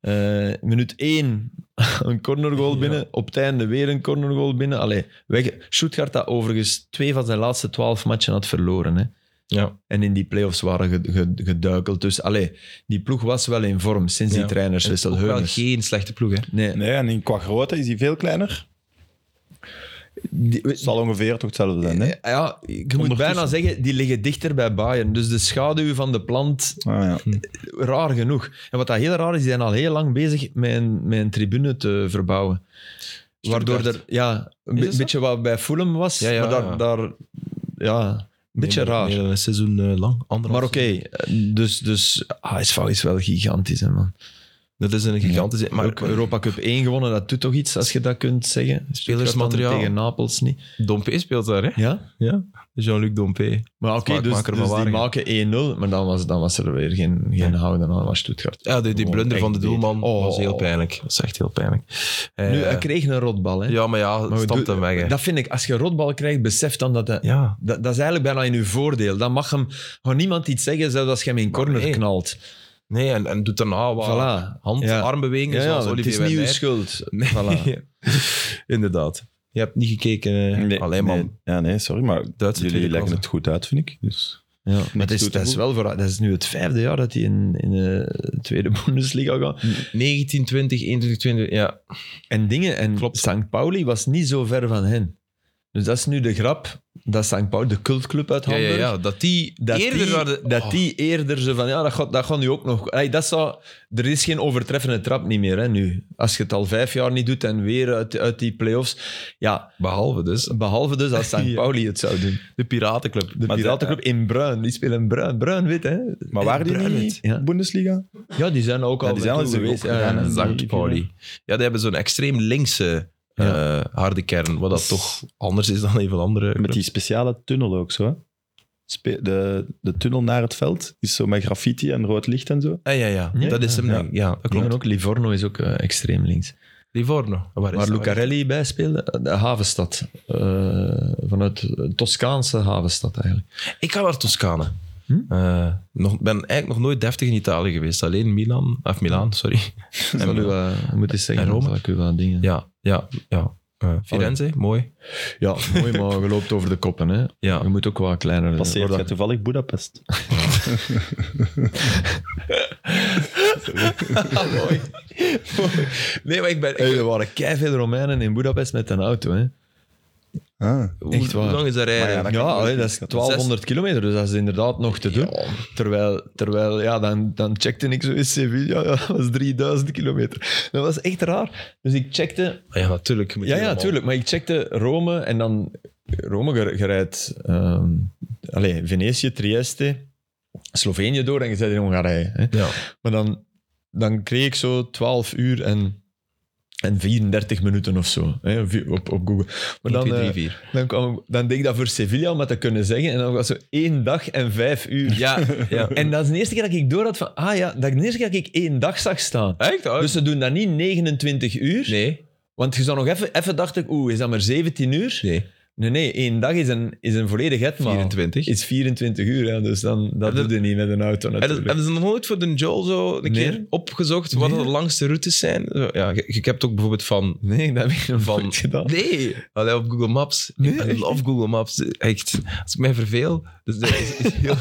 [SPEAKER 3] eh, minuut 1 [LAUGHS] een cornergoal
[SPEAKER 1] Ja.
[SPEAKER 3] binnen. Op het einde weer een cornergoal binnen. Allee, weg. Stuttgart dat overigens twee van zijn laatste twaalf matchen had verloren. Hè.
[SPEAKER 1] Ja.
[SPEAKER 3] En in die play-offs waren ge- ge- geduikeld. Dus allee, die ploeg was wel in vorm sinds
[SPEAKER 1] Ja.
[SPEAKER 3] die trainerswissel.
[SPEAKER 1] Ook wel
[SPEAKER 3] Heunens.
[SPEAKER 1] geen slechte ploeg, hè?
[SPEAKER 3] Nee,
[SPEAKER 2] Nee, en in- qua grootte is hij veel kleiner.
[SPEAKER 3] die-
[SPEAKER 2] Het zal ongeveer toch hetzelfde zijn, hè?
[SPEAKER 3] Eh, Ja, je moet
[SPEAKER 2] Ondertussen.
[SPEAKER 3] bijna zeggen, die liggen dichter bij Bayern. Dus de schaduw van de plant,
[SPEAKER 2] Ah, ja.
[SPEAKER 3] raar genoeg. En wat dat heel raar is, die zijn al heel lang bezig met een, met een tribune te verbouwen. Waardoor er ja, een
[SPEAKER 1] Is
[SPEAKER 3] be-
[SPEAKER 1] dat zo?
[SPEAKER 3] beetje wat bij Fulham was,
[SPEAKER 1] Ja, ja,
[SPEAKER 3] maar daar,
[SPEAKER 1] ja.
[SPEAKER 3] daar ja, een beetje
[SPEAKER 1] Nee,
[SPEAKER 3] raar.
[SPEAKER 1] meer dan een seizoen eh, lang. Anderhalf
[SPEAKER 3] maar oké, dus, dus HSV is wel gigantisch, hè, man.
[SPEAKER 1] Dat is een gigantische...
[SPEAKER 3] Maar
[SPEAKER 1] Maar
[SPEAKER 3] ook Europa Cup 1 gewonnen, dat doet toch iets, als je dat kunt zeggen?
[SPEAKER 1] Spelersmateriaal.
[SPEAKER 3] Tegen Napels niet.
[SPEAKER 1] Dompe speelt daar, hè?
[SPEAKER 3] Ja?
[SPEAKER 1] Ja. Jean-Luc Dompe.
[SPEAKER 3] Maar oké, dus,
[SPEAKER 1] Smaakmaker
[SPEAKER 3] dus
[SPEAKER 1] van
[SPEAKER 3] die
[SPEAKER 1] Waregem.
[SPEAKER 3] maken 1-0, maar dan was, dan was er weer geen, geen houden aan, was Stuttgart.
[SPEAKER 1] Ja, die, die
[SPEAKER 3] Gewoon
[SPEAKER 1] blunder
[SPEAKER 3] echt
[SPEAKER 1] van de
[SPEAKER 3] beter.
[SPEAKER 1] doelman
[SPEAKER 3] Oh.
[SPEAKER 1] was heel pijnlijk. Dat is echt heel pijnlijk. Eh,
[SPEAKER 3] Nu, hij kreeg een rotbal, hè.
[SPEAKER 1] ja, maar ja,
[SPEAKER 3] Maar
[SPEAKER 1] het
[SPEAKER 3] we
[SPEAKER 1] stamt
[SPEAKER 3] doen-
[SPEAKER 1] hem weg, hè.
[SPEAKER 3] Dat vind ik, als je een rotbal krijgt, besef dan dat, hij-
[SPEAKER 1] ja.
[SPEAKER 3] dat dat is eigenlijk bijna in uw voordeel. Dan mag hem gewoon niemand iets zeggen, zelfs als je hem in corner
[SPEAKER 1] nee.
[SPEAKER 3] knalt.
[SPEAKER 1] Nee, en, en doet daarna wat
[SPEAKER 3] Voilà.
[SPEAKER 1] hand-
[SPEAKER 3] Ja.
[SPEAKER 1] armbewegingen zoals
[SPEAKER 3] het
[SPEAKER 1] Olivier
[SPEAKER 3] is niet uw
[SPEAKER 1] Wijnmaer.
[SPEAKER 3] schuld.
[SPEAKER 1] Nee.
[SPEAKER 3] Voilà.
[SPEAKER 1] [LAUGHS] Inderdaad. Je hebt niet gekeken. eh, Alleen maar
[SPEAKER 2] nee. Ja, nee, sorry, maar
[SPEAKER 1] Duitse
[SPEAKER 2] jullie
[SPEAKER 1] tweede
[SPEAKER 2] leggen
[SPEAKER 1] klasse.
[SPEAKER 2] het goed uit, vind ik. Dus.
[SPEAKER 3] Ja, maar het
[SPEAKER 2] toe
[SPEAKER 3] is,
[SPEAKER 2] te
[SPEAKER 3] dat is
[SPEAKER 2] voegen.
[SPEAKER 3] wel voor, dat is nu het vijfde jaar dat hij in, in de tweede [LAUGHS] Bundesliga gaat.
[SPEAKER 1] 19, 20, 21, 20. Ja.
[SPEAKER 3] En dingen, en
[SPEAKER 1] Klopt.
[SPEAKER 3] St. Pauli was niet zo ver van hen. Dus dat is nu de grap, dat St. Pauli, de cultclub uit
[SPEAKER 1] Ja,
[SPEAKER 3] Hamburg,
[SPEAKER 1] ja, ja, dat die
[SPEAKER 3] dat,
[SPEAKER 1] eerder
[SPEAKER 3] die,
[SPEAKER 1] waren-
[SPEAKER 3] dat
[SPEAKER 1] Oh,
[SPEAKER 3] die eerder zo van, ja, dat gaat, dat gaat nu ook nog... Ey, dat zou, er is geen overtreffende trap niet meer, hè, nu. Als je het al vijf jaar niet doet en weer uit, uit die play-offs. Ja,
[SPEAKER 1] Behalve dus
[SPEAKER 3] behalve dus
[SPEAKER 1] [LAUGHS]
[SPEAKER 3] als St.
[SPEAKER 1] Ja.
[SPEAKER 3] Pauli het zou doen.
[SPEAKER 1] de Piratenclub.
[SPEAKER 3] De
[SPEAKER 2] Maar
[SPEAKER 3] Piratenclub in bruin, die spelen bruin, bruin-wit, hè.
[SPEAKER 1] Eh,
[SPEAKER 2] Maar waren die
[SPEAKER 1] Bruin
[SPEAKER 2] niet
[SPEAKER 1] het,
[SPEAKER 2] in
[SPEAKER 3] ja.
[SPEAKER 2] de Bundesliga?
[SPEAKER 3] Ja, die zijn ook
[SPEAKER 2] Ja,
[SPEAKER 3] al
[SPEAKER 2] die zijn al eens
[SPEAKER 3] naartoe
[SPEAKER 2] geweest,
[SPEAKER 3] gegaan,
[SPEAKER 2] ja,
[SPEAKER 3] hè.
[SPEAKER 2] en
[SPEAKER 1] St.
[SPEAKER 2] die-
[SPEAKER 1] eh, Pauli. Ja, die hebben zo'n extreem linkse eh, harde kern, wat dat toch anders is dan even andere
[SPEAKER 2] Met
[SPEAKER 1] clubs.
[SPEAKER 2] die speciale tunnel ook zo. hè? Spe- de, de tunnel naar het veld is zo met graffiti en rood licht en zo.
[SPEAKER 1] Ah, ja, ja,
[SPEAKER 3] Ja,
[SPEAKER 1] dat is hem.
[SPEAKER 2] ja.
[SPEAKER 1] denk ik. Ja, dat
[SPEAKER 3] Ik denk
[SPEAKER 1] klopt.
[SPEAKER 3] ook, Livorno is ook eh, extreem links.
[SPEAKER 1] Livorno. Waar is
[SPEAKER 3] Waar
[SPEAKER 1] dat?
[SPEAKER 3] Lucarelli bij speelde, de havenstad. Eh, vanuit een Toscaanse havenstad eigenlijk.
[SPEAKER 1] Ik ga naar Toscane.
[SPEAKER 3] Hm?
[SPEAKER 1] Eh, nog, ben eigenlijk nog nooit deftig in Italië geweest. Alleen Milan, of Milaan, sorry.
[SPEAKER 3] Zal u wat- moet eens zeggen,
[SPEAKER 1] En Rome?
[SPEAKER 3] zal ik u wat dingen.
[SPEAKER 1] Ja, ja, ja. Eh, Firenze, mooi.
[SPEAKER 3] Ja, mooi, maar je loopt over de koppen. Hè. Je
[SPEAKER 1] Ja.
[SPEAKER 3] moet ook wat kleiner eh,
[SPEAKER 2] Passeert jij
[SPEAKER 3] worden.
[SPEAKER 2] toevallig Budapest?
[SPEAKER 3] mooi.
[SPEAKER 1] Nee, maar ik ben...
[SPEAKER 3] Hey, Eh, er waren keiveel Romeinen in Budapest met een auto. Hè.
[SPEAKER 2] Ah.
[SPEAKER 1] hoe,
[SPEAKER 3] echt waar.
[SPEAKER 1] hoe lang is dat
[SPEAKER 2] Maar ja,
[SPEAKER 1] rijden?
[SPEAKER 2] dat
[SPEAKER 3] Ja,
[SPEAKER 2] kan wel.
[SPEAKER 3] allee, dat is 1200 kilometer, dus dat is inderdaad nog te doen. Terwijl, terwijl ja, dan, dan checkte ik zo in Sevilla, ja, dat was 3000 kilometer. Dat was echt raar. Dus ik checkte,
[SPEAKER 1] Ah ja, natuurlijk. je moet
[SPEAKER 3] Ja, ja,
[SPEAKER 1] helemaal-
[SPEAKER 3] tuurlijk. Maar ik checkte Rome en dan... Rome ge- je rijdt... ehm, allee, Venetië, Trieste, Slovenië door en je zit in Hongarije. Hè.
[SPEAKER 1] Ja.
[SPEAKER 3] Maar dan, dan kreeg ik zo 12 uur en, en 34 minuten of zo hè, vi- op, op Google. Maar dan,
[SPEAKER 1] 1, 2, 3,
[SPEAKER 3] eh,
[SPEAKER 1] 4.
[SPEAKER 3] dan, kwam, dan deed ik dat voor Sevilla om dat te kunnen zeggen. En dan was zo één dag en vijf uur.
[SPEAKER 1] Ja, [LAUGHS] ja.
[SPEAKER 3] [LAUGHS] En dat is de eerste keer dat ik door had van... Ah ja, dat is de eerste keer dat ik één dag zag staan.
[SPEAKER 1] Echt? Oh,
[SPEAKER 3] Dus ze doen dat niet 29 uur.
[SPEAKER 1] nee.
[SPEAKER 3] Want je zou nog even, even dacht ik, oeh, is dat maar 17 uur?
[SPEAKER 1] Nee.
[SPEAKER 3] Nee, nee, één dag is een, is een volledig etmaal.
[SPEAKER 1] 24.
[SPEAKER 3] Is 24 uur, ja, dus dan, dat
[SPEAKER 1] Heb
[SPEAKER 3] doe je niet met een auto
[SPEAKER 1] Hebben
[SPEAKER 3] natuurlijk.
[SPEAKER 1] hebben ze nog nooit voor de Joel zo een
[SPEAKER 3] Nee.
[SPEAKER 1] keer opgezocht wat
[SPEAKER 3] Nee.
[SPEAKER 1] de langste routes zijn? Zo, Ja, je, je hebt ook bijvoorbeeld van...
[SPEAKER 3] Nee, dat heb ik nog
[SPEAKER 1] van
[SPEAKER 3] nooit gedaan.
[SPEAKER 1] Nee, Allee, op Google Maps.
[SPEAKER 3] Nee,
[SPEAKER 1] ik
[SPEAKER 3] echt?
[SPEAKER 1] love Google Maps. Echt. Als ik mij verveel. Dus dat is, is heel,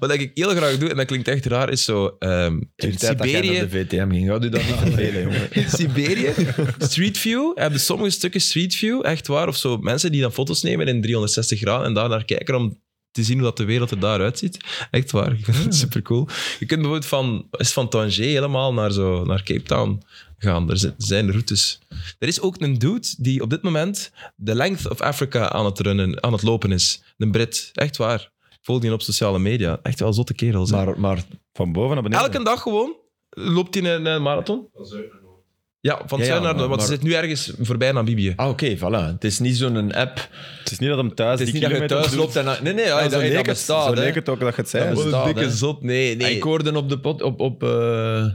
[SPEAKER 1] [LAUGHS] wat ik heel graag doe, en dat klinkt echt raar, is zo... ehm, in
[SPEAKER 3] De tijd dat jij
[SPEAKER 1] Siberië...
[SPEAKER 3] naar de VTM ging, ja, doe dat niet vervelen, [LAUGHS] jongen.
[SPEAKER 1] in Siberië, Street View, hebben sommige stukken Street View, echt waar, of zo, mensen die dan foto's nemen in 360 graden en daar naar kijken om te zien hoe dat de wereld er daaruit ziet. Echt waar, ik vind het super cool. Je kunt bijvoorbeeld van, is van Tangier helemaal naar, zo, naar Cape Town gaan. Er zi- zijn routes. Er is ook een dude die op dit moment de length of Africa aan het, runnen, aan het lopen is. Een Brit, echt waar. Ik volg die op sociale media. Echt wel zotte kerels. hè.
[SPEAKER 3] Maar, maar
[SPEAKER 2] Van boven naar beneden.
[SPEAKER 1] Elke dag gewoon loopt hij een, een marathon. Van Ja, van
[SPEAKER 3] Ja,
[SPEAKER 1] zuid
[SPEAKER 3] ja,
[SPEAKER 1] naar noord. Want ze
[SPEAKER 3] maar-
[SPEAKER 1] zit nu ergens voorbij Namibië.
[SPEAKER 3] ah, oké, voilà. Het is niet zo'n app.
[SPEAKER 2] Het is niet dat hem thuis
[SPEAKER 3] Het is
[SPEAKER 2] die
[SPEAKER 3] niet dat je
[SPEAKER 2] kilometer
[SPEAKER 3] thuis
[SPEAKER 2] doet.
[SPEAKER 3] loopt en... dan- Nee, nee, ja,
[SPEAKER 2] Ja,
[SPEAKER 3] dat,
[SPEAKER 2] zo leek
[SPEAKER 3] dat
[SPEAKER 2] het-
[SPEAKER 3] bestaat,
[SPEAKER 2] zo
[SPEAKER 3] hè.
[SPEAKER 2] leek het ook dat je het zei.
[SPEAKER 3] Dat
[SPEAKER 1] Wat
[SPEAKER 2] Dus-
[SPEAKER 1] een
[SPEAKER 3] bestaat,
[SPEAKER 1] dikke
[SPEAKER 3] hè.
[SPEAKER 1] zot. Nee, nee.
[SPEAKER 3] Ik hoorde op de pot... Op, op, eh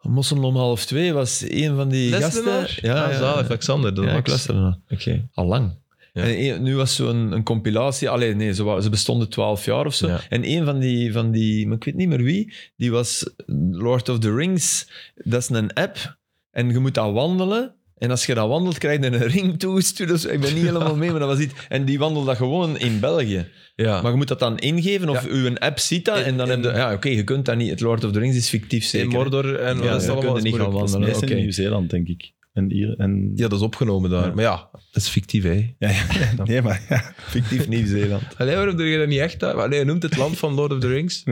[SPEAKER 3] Mosselm om half twee was een van die
[SPEAKER 1] Leslenaar?
[SPEAKER 3] gasten... Ja,
[SPEAKER 1] ah,
[SPEAKER 3] ja,
[SPEAKER 1] zalig,
[SPEAKER 3] ja.
[SPEAKER 1] Alexander. Dat
[SPEAKER 3] Ja, ik
[SPEAKER 1] Max.
[SPEAKER 3] luisterde naar.
[SPEAKER 1] Oké.
[SPEAKER 3] Al lang.
[SPEAKER 1] Ja.
[SPEAKER 3] En een- nu was zo'n een compilatie. Allee, nee, ze, wa- ze bestonden twaalf jaar of zo.
[SPEAKER 1] Ja.
[SPEAKER 3] En een van die, van die, maar ik weet niet meer wie, die was Lord of the Rings. Dat is een app. En je moet dat wandelen. En als je dan wandelt, krijg je een ring toegestuurd. of zo. Ik ben niet
[SPEAKER 1] [LAUGHS]
[SPEAKER 3] helemaal mee, maar dat was iets. En die wandelt dat gewoon in België.
[SPEAKER 1] Ja.
[SPEAKER 3] Maar je moet dat dan ingeven of uw app ziet dat.
[SPEAKER 1] In-
[SPEAKER 3] en dan
[SPEAKER 1] in-
[SPEAKER 3] heb je... Ja, oké, je kunt dat niet. Het Lord of the Rings is fictief
[SPEAKER 1] in
[SPEAKER 3] zeker.
[SPEAKER 1] Mordor en
[SPEAKER 3] Ja,
[SPEAKER 1] wat is
[SPEAKER 3] ja.
[SPEAKER 1] het allemaal
[SPEAKER 3] Kunnen niet
[SPEAKER 1] Dat is
[SPEAKER 3] gaan
[SPEAKER 1] moeilijk.
[SPEAKER 3] wandelen.
[SPEAKER 2] Dat is
[SPEAKER 3] oké.
[SPEAKER 2] in Nieuw-Zeeland, denk ik. En hier, en...
[SPEAKER 1] Ja, dat is opgenomen daar.
[SPEAKER 2] Ja.
[SPEAKER 1] Maar ja, dat is fictief, hè.
[SPEAKER 2] [LAUGHS] Ja, ja. Nee, maar ja.
[SPEAKER 3] Fictief [LAUGHS] Nieuw-Zeeland.
[SPEAKER 1] Allee, waarom doe je dat niet echt? uit? Allee, je noemt het land van Lord of the Rings.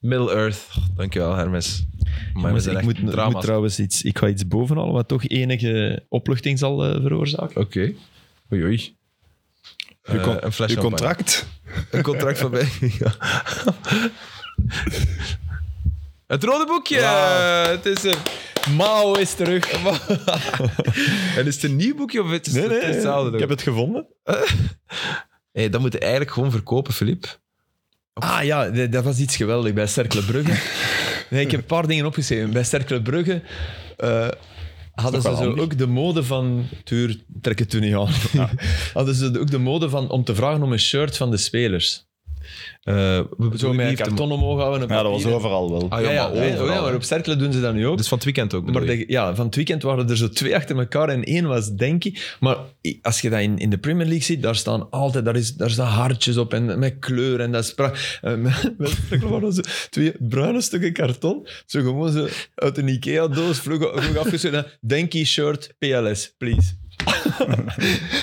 [SPEAKER 1] Middle-earth. Dankjewel, Hermes. Maar we
[SPEAKER 3] Jongens,
[SPEAKER 1] zijn
[SPEAKER 3] ik
[SPEAKER 1] echt
[SPEAKER 3] moet, ik
[SPEAKER 1] drama's.
[SPEAKER 3] moet trouwens iets... Ik ga iets bovenhalen wat toch enige opluchting zal eh, veroorzaken.
[SPEAKER 1] Oké. Oei, oei.
[SPEAKER 2] Je,
[SPEAKER 1] Eh,
[SPEAKER 2] con-
[SPEAKER 1] een fles
[SPEAKER 2] je
[SPEAKER 1] champagne.
[SPEAKER 2] contract.
[SPEAKER 1] Een contract van mij. [LAUGHS] Ja. Het rode boekje!
[SPEAKER 3] Wauw.
[SPEAKER 1] Het is er.
[SPEAKER 3] Mao is terug.
[SPEAKER 1] En is het een nieuw boekje of het is
[SPEAKER 3] Nee,
[SPEAKER 1] het
[SPEAKER 3] nee,
[SPEAKER 1] hetzelfde?
[SPEAKER 3] ik heb het gevonden.
[SPEAKER 1] Hey, dat moet je eigenlijk gewoon verkopen, Filip.
[SPEAKER 3] Ah ja, d- dat was iets geweldig bij Cercle Brugge. [LAUGHS] nee, ik heb een paar dingen opgeschreven. Bij Cercle Brugge eh, hadden
[SPEAKER 2] Is toch
[SPEAKER 3] ze
[SPEAKER 2] wel
[SPEAKER 3] zo
[SPEAKER 2] handig?
[SPEAKER 3] ook de mode van... Tuur, trek het toen niet aan. [LAUGHS] hadden ze ook de mode van om te vragen om een shirt van de spelers.
[SPEAKER 1] Eh, we
[SPEAKER 3] Zo met een
[SPEAKER 1] liefde-
[SPEAKER 3] karton omhoog houden. op
[SPEAKER 2] Ja, dat was
[SPEAKER 3] papier.
[SPEAKER 2] overal wel.
[SPEAKER 1] Ah,
[SPEAKER 3] Ja, ja,
[SPEAKER 1] maar
[SPEAKER 3] ja,
[SPEAKER 1] overal.
[SPEAKER 3] ja, maar op Cercle doen ze dat nu ook.
[SPEAKER 1] Dus van het weekend ook,
[SPEAKER 3] Maar
[SPEAKER 1] bedoel je?
[SPEAKER 3] de- ja, van het weekend waren er zo twee achter elkaar en één was Denki. Maar i- als je dat in, in de Premier League ziet, daar staan altijd daar is, daar staan hartjes op en met kleur. En dat is pra- eh, met- [LAUGHS] met- er waren zo twee bruine stukken karton, zo gewoon zo uit een Ikea-doos, vlug, vlug afgeschreven. Denki shirt, PLS, please. [LAUGHS]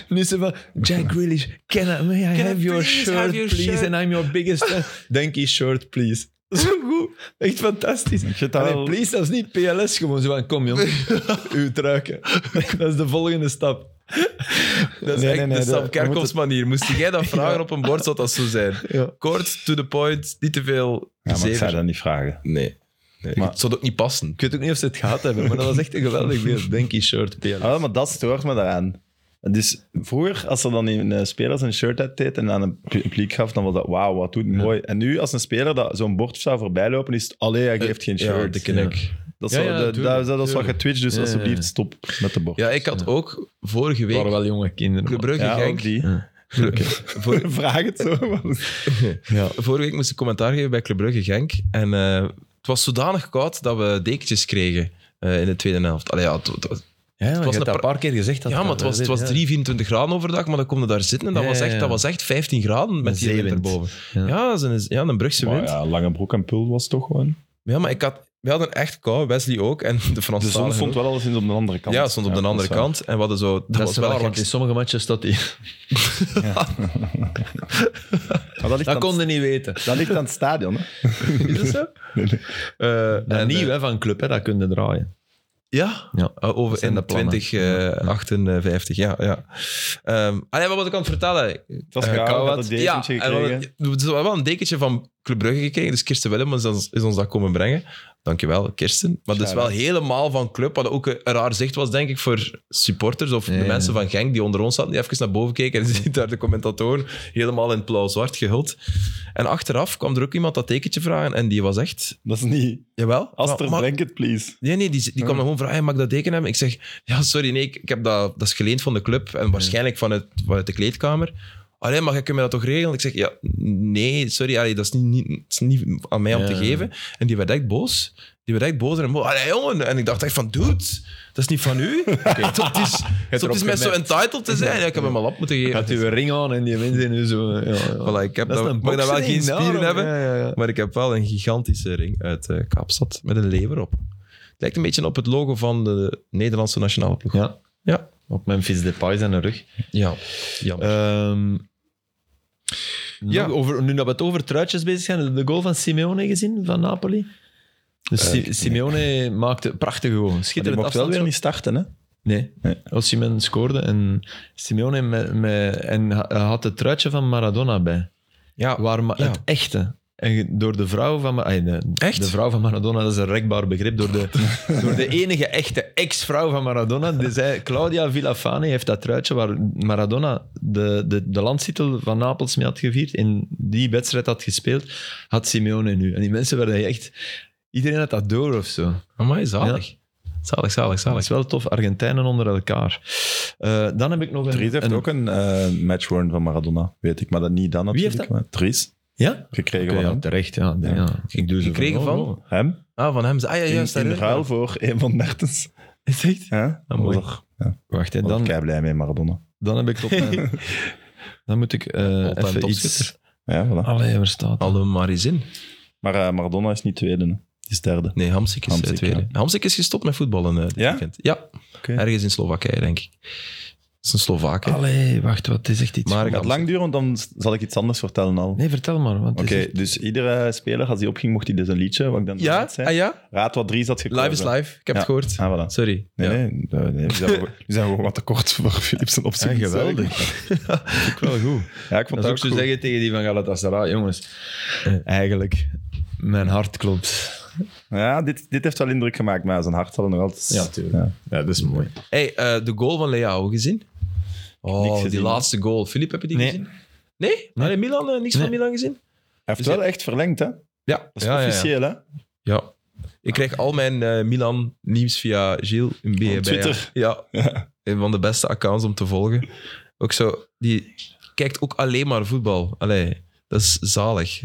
[SPEAKER 3] nu is ze van, Jack Grealish, can I, may I
[SPEAKER 1] I
[SPEAKER 3] have your
[SPEAKER 1] please
[SPEAKER 3] shirt,
[SPEAKER 1] have your
[SPEAKER 3] please?
[SPEAKER 1] shirt?
[SPEAKER 3] And I'm your biggest [LAUGHS] fan. Denki shirt, please. [LAUGHS] Zo goed. Echt fantastisch.
[SPEAKER 2] Ik vind dat
[SPEAKER 3] Allee,
[SPEAKER 2] wel-
[SPEAKER 3] please, dat is niet PLS gewoon zo van,
[SPEAKER 1] [LAUGHS]
[SPEAKER 3] kom jong, uw truiken. Dat is de volgende stap.
[SPEAKER 1] Dat is
[SPEAKER 2] Nee,
[SPEAKER 1] echt
[SPEAKER 2] nee, nee,
[SPEAKER 1] de
[SPEAKER 2] dat-
[SPEAKER 1] Sam
[SPEAKER 2] we
[SPEAKER 1] Kerkhoffs
[SPEAKER 2] moeten-
[SPEAKER 1] manier. Moest jij dat vragen op een bord, zou dat zo zijn.
[SPEAKER 3] Ja.
[SPEAKER 1] Kort, to the point, niet te veel.
[SPEAKER 2] Ja, maar ik
[SPEAKER 1] zever.
[SPEAKER 2] zou dat niet vragen.
[SPEAKER 1] Nee. nee.
[SPEAKER 2] Maar-
[SPEAKER 1] Het zou ook niet passen.
[SPEAKER 3] Ik weet ook niet of ze het gehad hebben, maar dat was echt een geweldig beeld. Denkie shirt, PLS.
[SPEAKER 2] Ah, wel, maar dat stoort me daaraan. Dus vroeger, als er dan een eh, speler zijn shirt uitdeed en aan een pu- publiek gaf, dan was dat wauw, wat doet mooi. En nu, als een speler dat zo'n bord zou voorbij lopen, is het allee, hij geeft geen
[SPEAKER 1] Ja,
[SPEAKER 2] shirt.
[SPEAKER 1] dikke nek.
[SPEAKER 2] Dat is,
[SPEAKER 3] Ja,
[SPEAKER 2] wel-
[SPEAKER 3] ja,
[SPEAKER 2] de-
[SPEAKER 3] tuurlijk,
[SPEAKER 2] dat, dat is wat
[SPEAKER 3] tuurlijk.
[SPEAKER 2] getwitcht, dus
[SPEAKER 3] Ja, ja, ja.
[SPEAKER 2] alsjeblieft stop met de bord.
[SPEAKER 1] Ja, ik had ook vorige
[SPEAKER 3] Het waren
[SPEAKER 1] week...
[SPEAKER 3] wel jonge kinderen.
[SPEAKER 1] Club
[SPEAKER 3] maar-
[SPEAKER 1] Brugge,
[SPEAKER 2] Ja,
[SPEAKER 1] Genk.
[SPEAKER 2] ook [LAUGHS] die.
[SPEAKER 1] Voor-
[SPEAKER 2] Vraag het zo.
[SPEAKER 3] Ja.
[SPEAKER 1] Vorige week moest ik commentaar geven bij Club Brugge Genk. En eh, het was zodanig koud dat we dekentjes kregen eh, in de tweede helft. Allee, ja, het, het- het-
[SPEAKER 3] Ja, maar
[SPEAKER 1] was
[SPEAKER 3] je
[SPEAKER 1] een
[SPEAKER 3] hebt dat een
[SPEAKER 1] par-
[SPEAKER 3] paar keer gezegd. Dat
[SPEAKER 1] ja, maar het was, het was 3, 24 graden overdag, maar dan kom je daar zitten en dat,
[SPEAKER 3] Ja,
[SPEAKER 1] was,
[SPEAKER 3] ja,
[SPEAKER 1] echt,
[SPEAKER 3] ja.
[SPEAKER 1] dat was echt 15 graden met die wind
[SPEAKER 3] zeewind.
[SPEAKER 1] erboven.
[SPEAKER 3] Ja.
[SPEAKER 1] Ja, dat is een, ja, een Brugse wind. Ja.
[SPEAKER 2] ja, lange broek en pul was toch gewoon.
[SPEAKER 1] maar ik had, we hadden echt kou, Wesley ook en de
[SPEAKER 2] De
[SPEAKER 1] Fransen
[SPEAKER 2] zon stond wel alleszins op de andere kant.
[SPEAKER 1] Ja, stond op de
[SPEAKER 2] dat
[SPEAKER 1] andere
[SPEAKER 2] is waar.
[SPEAKER 1] kant. En we hadden zo... Dat,
[SPEAKER 3] Dat,
[SPEAKER 1] was
[SPEAKER 3] is
[SPEAKER 1] wel
[SPEAKER 3] waar,
[SPEAKER 1] een
[SPEAKER 3] want in
[SPEAKER 1] gek-
[SPEAKER 3] sommige matches
[SPEAKER 1] [LAUGHS]
[SPEAKER 3] staat die...
[SPEAKER 2] Maar dat ligt,
[SPEAKER 3] Dat
[SPEAKER 2] aan,
[SPEAKER 3] konden niet
[SPEAKER 1] [LAUGHS]
[SPEAKER 3] weten.
[SPEAKER 2] dat ligt aan het stadion. Hè?
[SPEAKER 3] Is dat zo?
[SPEAKER 1] en,
[SPEAKER 3] dat
[SPEAKER 1] eh,
[SPEAKER 3] nieuw hè, van club, hè, dat kunnen draaien.
[SPEAKER 1] Ja,
[SPEAKER 3] Ja,
[SPEAKER 1] Uh, over
[SPEAKER 3] dat zijn
[SPEAKER 1] in
[SPEAKER 3] de plannen.
[SPEAKER 1] 2058, ja. ja. Ehm, ah nee, wat was ik aan het vertellen?
[SPEAKER 2] Het was
[SPEAKER 1] Eh,
[SPEAKER 2] koud,
[SPEAKER 3] koud,
[SPEAKER 2] had een
[SPEAKER 1] Ja,
[SPEAKER 2] dekentje
[SPEAKER 1] en we hadden-
[SPEAKER 2] gekregen.
[SPEAKER 1] we hadden wel een dekentje van Club Brugge gekregen. Dus Kirsten Willemans is- is ons dat komen brengen. Dankjewel, Kirsten. Maar dus wel
[SPEAKER 2] Shout-out.
[SPEAKER 1] helemaal van club. Wat ook een raar zicht was, denk ik, voor supporters of
[SPEAKER 3] Ja,
[SPEAKER 1] de
[SPEAKER 3] ja.
[SPEAKER 1] mensen van Genk die onder ons zaten, die even naar boven keken. En [LAUGHS] je ziet daar de commentatoren helemaal in het blauw-zwart gehuld. En achteraf kwam er ook iemand dat tekentje vragen. En die was echt...
[SPEAKER 2] Dat is niet...
[SPEAKER 1] Jawel.
[SPEAKER 2] Aster,
[SPEAKER 1] maar-
[SPEAKER 2] blanket, please.
[SPEAKER 1] Nee, nee, die, die kwam me gewoon vragen, "Hey, mag ik dat deken hebben? Ik zeg, ja, sorry, nee, ik, ik heb dat, dat is geleend van de club en waarschijnlijk vanuit, vanuit de kleedkamer. Allee, maar jij kunt me dat toch regelen? Ik zeg, ja, nee, sorry, allee, dat, is niet, niet, dat is niet aan mij om te
[SPEAKER 3] Ja.
[SPEAKER 1] geven. En die werd echt boos. Die werd echt boos en boos. Allee, jongen. En ik dacht echt van, dude, [LAUGHS] dat is niet van
[SPEAKER 3] [LAUGHS]
[SPEAKER 1] u. Tot is, tot is mij zo entitled te zijn. Ja, ik heb hem al op moeten geven.
[SPEAKER 3] Gaat u een ring aan en die mensen nu zo... Ja, ja.
[SPEAKER 1] Voilà, ik heb
[SPEAKER 3] Dat is
[SPEAKER 1] dat,
[SPEAKER 3] een
[SPEAKER 1] mag dat wel
[SPEAKER 3] boksring,
[SPEAKER 1] geen spieren
[SPEAKER 3] daarom.
[SPEAKER 1] hebben,
[SPEAKER 3] Ja, ja, ja.
[SPEAKER 1] maar ik heb wel een gigantische ring uit eh, Kaapstad met een lever op. Het lijkt een beetje op het logo van de Nederlandse nationale ploeg.
[SPEAKER 3] Ja.
[SPEAKER 1] Ja.
[SPEAKER 3] Op Memphis Depay zijn rug.
[SPEAKER 1] Ja, jammer.
[SPEAKER 3] Ehm
[SPEAKER 1] Ja.
[SPEAKER 3] nog over, nu dat we het over truitjes bezig zijn, hebben we de goal van Simeone gezien van Napoli? Dus
[SPEAKER 1] Eh,
[SPEAKER 3] Si- Simeone maakte prachtig gewoon.
[SPEAKER 2] Maar die
[SPEAKER 3] Schitterend
[SPEAKER 2] mocht wel weer
[SPEAKER 3] afstandsschot.
[SPEAKER 2] niet starten, hè?
[SPEAKER 3] Nee.
[SPEAKER 2] Nee.
[SPEAKER 3] Osimhen scoorde en Simeone met, met, en ha- had het truitje van Maradona bij.
[SPEAKER 1] ja,
[SPEAKER 3] Waar ma-
[SPEAKER 1] ja.
[SPEAKER 3] Het echte. En ge- door de vrouw van... Ma- ay, de,
[SPEAKER 1] Echt?
[SPEAKER 3] de vrouw van Maradona, dat is een rekbaar begrip. Door
[SPEAKER 2] [LAUGHS]
[SPEAKER 3] de, door de enige echte ex-vrouw van Maradona. Die zei, Claudia Villafane heeft dat truitje waar Maradona de, de, de landstitel van Napels mee had gevierd. In die wedstrijd had gespeeld, had Simeone nu. En die mensen werden echt... Iedereen had dat door of zo.
[SPEAKER 1] Amai, zalig. Zalig, zalig,
[SPEAKER 3] Dat
[SPEAKER 1] zalig.
[SPEAKER 3] is wel tof. Argentijnen onder elkaar. Eh, dan heb ik nog een...
[SPEAKER 2] Dries heeft
[SPEAKER 3] een-
[SPEAKER 2] ook een eh matchworn van Maradona, weet ik, maar dat niet dan
[SPEAKER 3] Wie
[SPEAKER 2] natuurlijk.
[SPEAKER 3] heeft dat?
[SPEAKER 2] maar Dries,
[SPEAKER 3] Ja?
[SPEAKER 2] gekregen
[SPEAKER 3] Oké,
[SPEAKER 2] van
[SPEAKER 3] ja,
[SPEAKER 2] hem.
[SPEAKER 3] terecht. Ja,
[SPEAKER 2] Ja.
[SPEAKER 3] ja. Ik doe ze
[SPEAKER 1] Gekregen
[SPEAKER 3] oh,
[SPEAKER 1] van?
[SPEAKER 3] oh.
[SPEAKER 2] Hem,
[SPEAKER 1] Ah, van hem. Ah ja,
[SPEAKER 2] in,
[SPEAKER 1] juist.
[SPEAKER 2] in
[SPEAKER 1] daar-
[SPEAKER 2] ruil voor een van Mertens.
[SPEAKER 1] Is echt? Ah,
[SPEAKER 2] Ja,
[SPEAKER 1] mooi.
[SPEAKER 2] was er
[SPEAKER 3] Wacht, hè,
[SPEAKER 2] Dan ben Oh, ik
[SPEAKER 3] dan,
[SPEAKER 2] kei blij mee, Maradona.
[SPEAKER 3] dan heb ik tot mijn...
[SPEAKER 1] [LAUGHS]
[SPEAKER 3] Dan moet ik eh,
[SPEAKER 1] All-time
[SPEAKER 3] even iets...
[SPEAKER 1] topschutter.
[SPEAKER 2] Ja, voilà.
[SPEAKER 1] Ah.
[SPEAKER 3] Allee, waar staat dat?
[SPEAKER 1] Hadden we maar eens in.
[SPEAKER 2] Maar eh, Maradona is niet tweede, hè. die is derde.
[SPEAKER 1] Nee, Hamsik is
[SPEAKER 2] Hamsik,
[SPEAKER 1] eh, tweede. Hamsik is gestopt met voetballen eh, dit
[SPEAKER 2] Ja?
[SPEAKER 1] weekend. Ja,
[SPEAKER 2] Oké.
[SPEAKER 1] ergens in Slowakije, denk ik. Dat is een Slovaak. hè.
[SPEAKER 3] Allee, wacht, wat is echt iets...
[SPEAKER 1] Maar-
[SPEAKER 2] Het gaat lang duren, want dan s- zal ik iets anders vertellen al.
[SPEAKER 3] Nee, vertel maar. Want
[SPEAKER 2] Oké,
[SPEAKER 3] het is echt-
[SPEAKER 2] dus iedere speler, als die opging, mocht hij dus een liedje, wat ik dan
[SPEAKER 1] Ja,
[SPEAKER 2] net zei.
[SPEAKER 1] ah, ja,
[SPEAKER 2] Raad wat Dries had gekozen.
[SPEAKER 1] live is live. Ik heb
[SPEAKER 2] Ja.
[SPEAKER 1] het gehoord.
[SPEAKER 2] Ah, voilà.
[SPEAKER 1] Sorry.
[SPEAKER 2] Nee,
[SPEAKER 1] Ja.
[SPEAKER 2] nee, eh, nee, we zijn gewoon- we zijn gewoon wat te kort voor Philips en optie.
[SPEAKER 3] Ja, geweldig. ook wel [LAUGHS] goed. Eh.
[SPEAKER 2] Ja, ik vond
[SPEAKER 3] Dat
[SPEAKER 2] dat,
[SPEAKER 3] is ook
[SPEAKER 2] ook
[SPEAKER 3] zo
[SPEAKER 2] goed.
[SPEAKER 3] zeggen tegen die van Galatasaray, jongens. Eigenlijk, mijn hart klopt.
[SPEAKER 2] Ja, dit, dit heeft wel indruk gemaakt, maar zijn hart zal nog altijd...
[SPEAKER 3] Ja, tuurlijk. Ja, dat is mooi.
[SPEAKER 1] Hey, eh, de goal van Leao gezien? Oh,
[SPEAKER 2] Niks gezien,
[SPEAKER 1] die
[SPEAKER 2] hè?
[SPEAKER 1] laatste goal. Filip, heb je die
[SPEAKER 3] Nee.
[SPEAKER 1] gezien? Nee? Allee, Milan, eh, niks
[SPEAKER 3] Nee.
[SPEAKER 1] van Milan gezien?
[SPEAKER 2] Hij heeft wel echt verlengd, hè?
[SPEAKER 1] Ja,
[SPEAKER 2] Dat is
[SPEAKER 1] ja, ja, ja.
[SPEAKER 2] officieel, hè?
[SPEAKER 1] Ja. Ik krijg al mijn eh, Milan-nieuws via Gilles in
[SPEAKER 2] Op Twitter.
[SPEAKER 1] [LAUGHS] Ja. Een van de beste accounts om te volgen. Ook zo, die kijkt ook alleen maar voetbal. Allee, dat is zalig.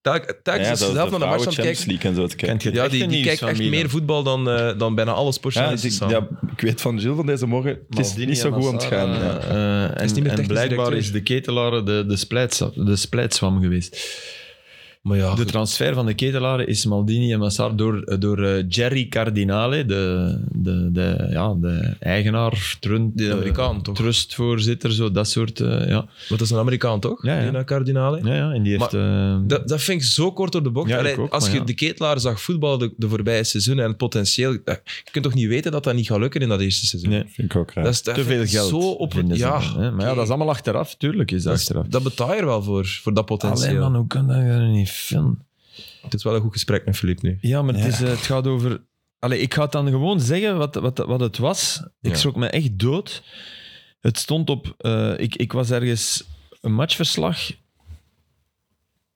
[SPEAKER 1] Telk- Telkens
[SPEAKER 2] ja,
[SPEAKER 1] is ze zelf naar de match aan het
[SPEAKER 2] Champions
[SPEAKER 1] kijken.
[SPEAKER 2] League en zo te kijken.
[SPEAKER 3] Kent je het
[SPEAKER 1] Ja,
[SPEAKER 3] echte
[SPEAKER 1] die, die
[SPEAKER 3] nieuws
[SPEAKER 1] kijkt
[SPEAKER 3] van
[SPEAKER 1] echt
[SPEAKER 3] Milan?
[SPEAKER 1] meer voetbal dan, eh, dan bijna alle
[SPEAKER 2] Ja,
[SPEAKER 1] sportjournalisten
[SPEAKER 2] ik,
[SPEAKER 1] samen.
[SPEAKER 2] ja, ik weet van Gilles van deze morgen, het is
[SPEAKER 3] Maldini
[SPEAKER 2] niet zo
[SPEAKER 3] en
[SPEAKER 2] goed aan het
[SPEAKER 3] Massara,
[SPEAKER 2] gaan. Ja.
[SPEAKER 3] eh, eh, en,
[SPEAKER 1] is niet meer
[SPEAKER 3] en
[SPEAKER 1] technisch
[SPEAKER 3] blijkbaar
[SPEAKER 1] directeur.
[SPEAKER 3] is de ketelaren de, de, splijtsa- de splijtswam geweest.
[SPEAKER 1] maar ja,
[SPEAKER 3] De
[SPEAKER 1] goed.
[SPEAKER 3] transfer van de ketelaren is Maldini en Massar door, door eh, Jerry Cardinale, de, de, de, ja, de eigenaar, trun,
[SPEAKER 1] Die
[SPEAKER 3] eh,
[SPEAKER 1] Amerikaan, toch?
[SPEAKER 3] trustvoorzitter, zo, dat soort. eh, ja.
[SPEAKER 1] Want dat is een Amerikaan, toch?
[SPEAKER 3] Ja, ja.
[SPEAKER 1] Die naar Cardinale.
[SPEAKER 3] Ja, ja, en die heeft. eh,
[SPEAKER 1] Dat, dat vind ik zo kort door de bocht.
[SPEAKER 3] Ja, ik
[SPEAKER 1] Allee,
[SPEAKER 3] ook,
[SPEAKER 1] als
[SPEAKER 3] maar
[SPEAKER 1] je
[SPEAKER 3] ja.
[SPEAKER 1] de ketelaar zag voetballen de, de voorbije seizoenen en het potentieel... eh, Je kunt toch niet weten dat dat niet gaat lukken in dat eerste seizoen?
[SPEAKER 3] Nee.
[SPEAKER 2] Vind ik ook raar.
[SPEAKER 1] Dat is, dat
[SPEAKER 3] te
[SPEAKER 1] vind
[SPEAKER 3] veel
[SPEAKER 1] ik
[SPEAKER 3] geld.
[SPEAKER 1] Zo op,
[SPEAKER 3] vinden ze
[SPEAKER 1] ja,
[SPEAKER 3] dan, hè. Maar ja,
[SPEAKER 1] oké.
[SPEAKER 3] dat is allemaal achteraf, tuurlijk is dat,
[SPEAKER 1] Dat is-
[SPEAKER 3] achteraf.
[SPEAKER 1] dat betaal je er wel voor, voor dat potentieel.
[SPEAKER 3] Alleen man, hoe kan dat er niet van?
[SPEAKER 1] Het is wel een goed gesprek met Filip nu.
[SPEAKER 3] Ja, maar het,
[SPEAKER 2] Ja.
[SPEAKER 3] Is, eh, het gaat over. Allee, ik ga het dan gewoon zeggen wat, wat, wat het was. Ik
[SPEAKER 1] Ja.
[SPEAKER 3] schrok me echt dood. Het stond op. eh, ik, ik was ergens een matchverslag.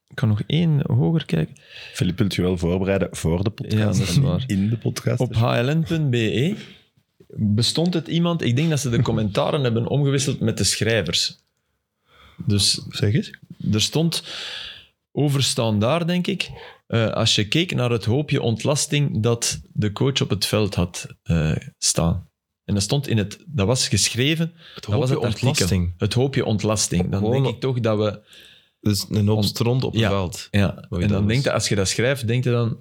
[SPEAKER 3] Ik kan nog één hoger kijken.
[SPEAKER 2] Filip wilt je wel voorbereiden voor de podcast.
[SPEAKER 3] Ja, dat is
[SPEAKER 2] en niet
[SPEAKER 3] waar.
[SPEAKER 2] In de podcast.
[SPEAKER 3] Op hln.be E bestond het iemand. Ik denk dat ze de commentaren hebben omgewisseld met de schrijvers. Dus
[SPEAKER 2] zeg eens.
[SPEAKER 3] Er stond overstaan daar, denk ik. eh, als je keek naar het hoopje ontlasting dat de coach op het veld had eh, staan. En dat stond in het, dat was geschreven,
[SPEAKER 1] Het
[SPEAKER 3] was het artikel. het hoopje ontlasting. Dan
[SPEAKER 1] Gewoon-
[SPEAKER 3] denk ik toch dat we,
[SPEAKER 1] Dus een hoop
[SPEAKER 3] Om-
[SPEAKER 1] stront op
[SPEAKER 3] Ja.
[SPEAKER 1] het veld.
[SPEAKER 3] ja.
[SPEAKER 1] Oei, dat
[SPEAKER 3] En dan
[SPEAKER 1] is-
[SPEAKER 3] denk je, als je dat schrijft, denk je dan,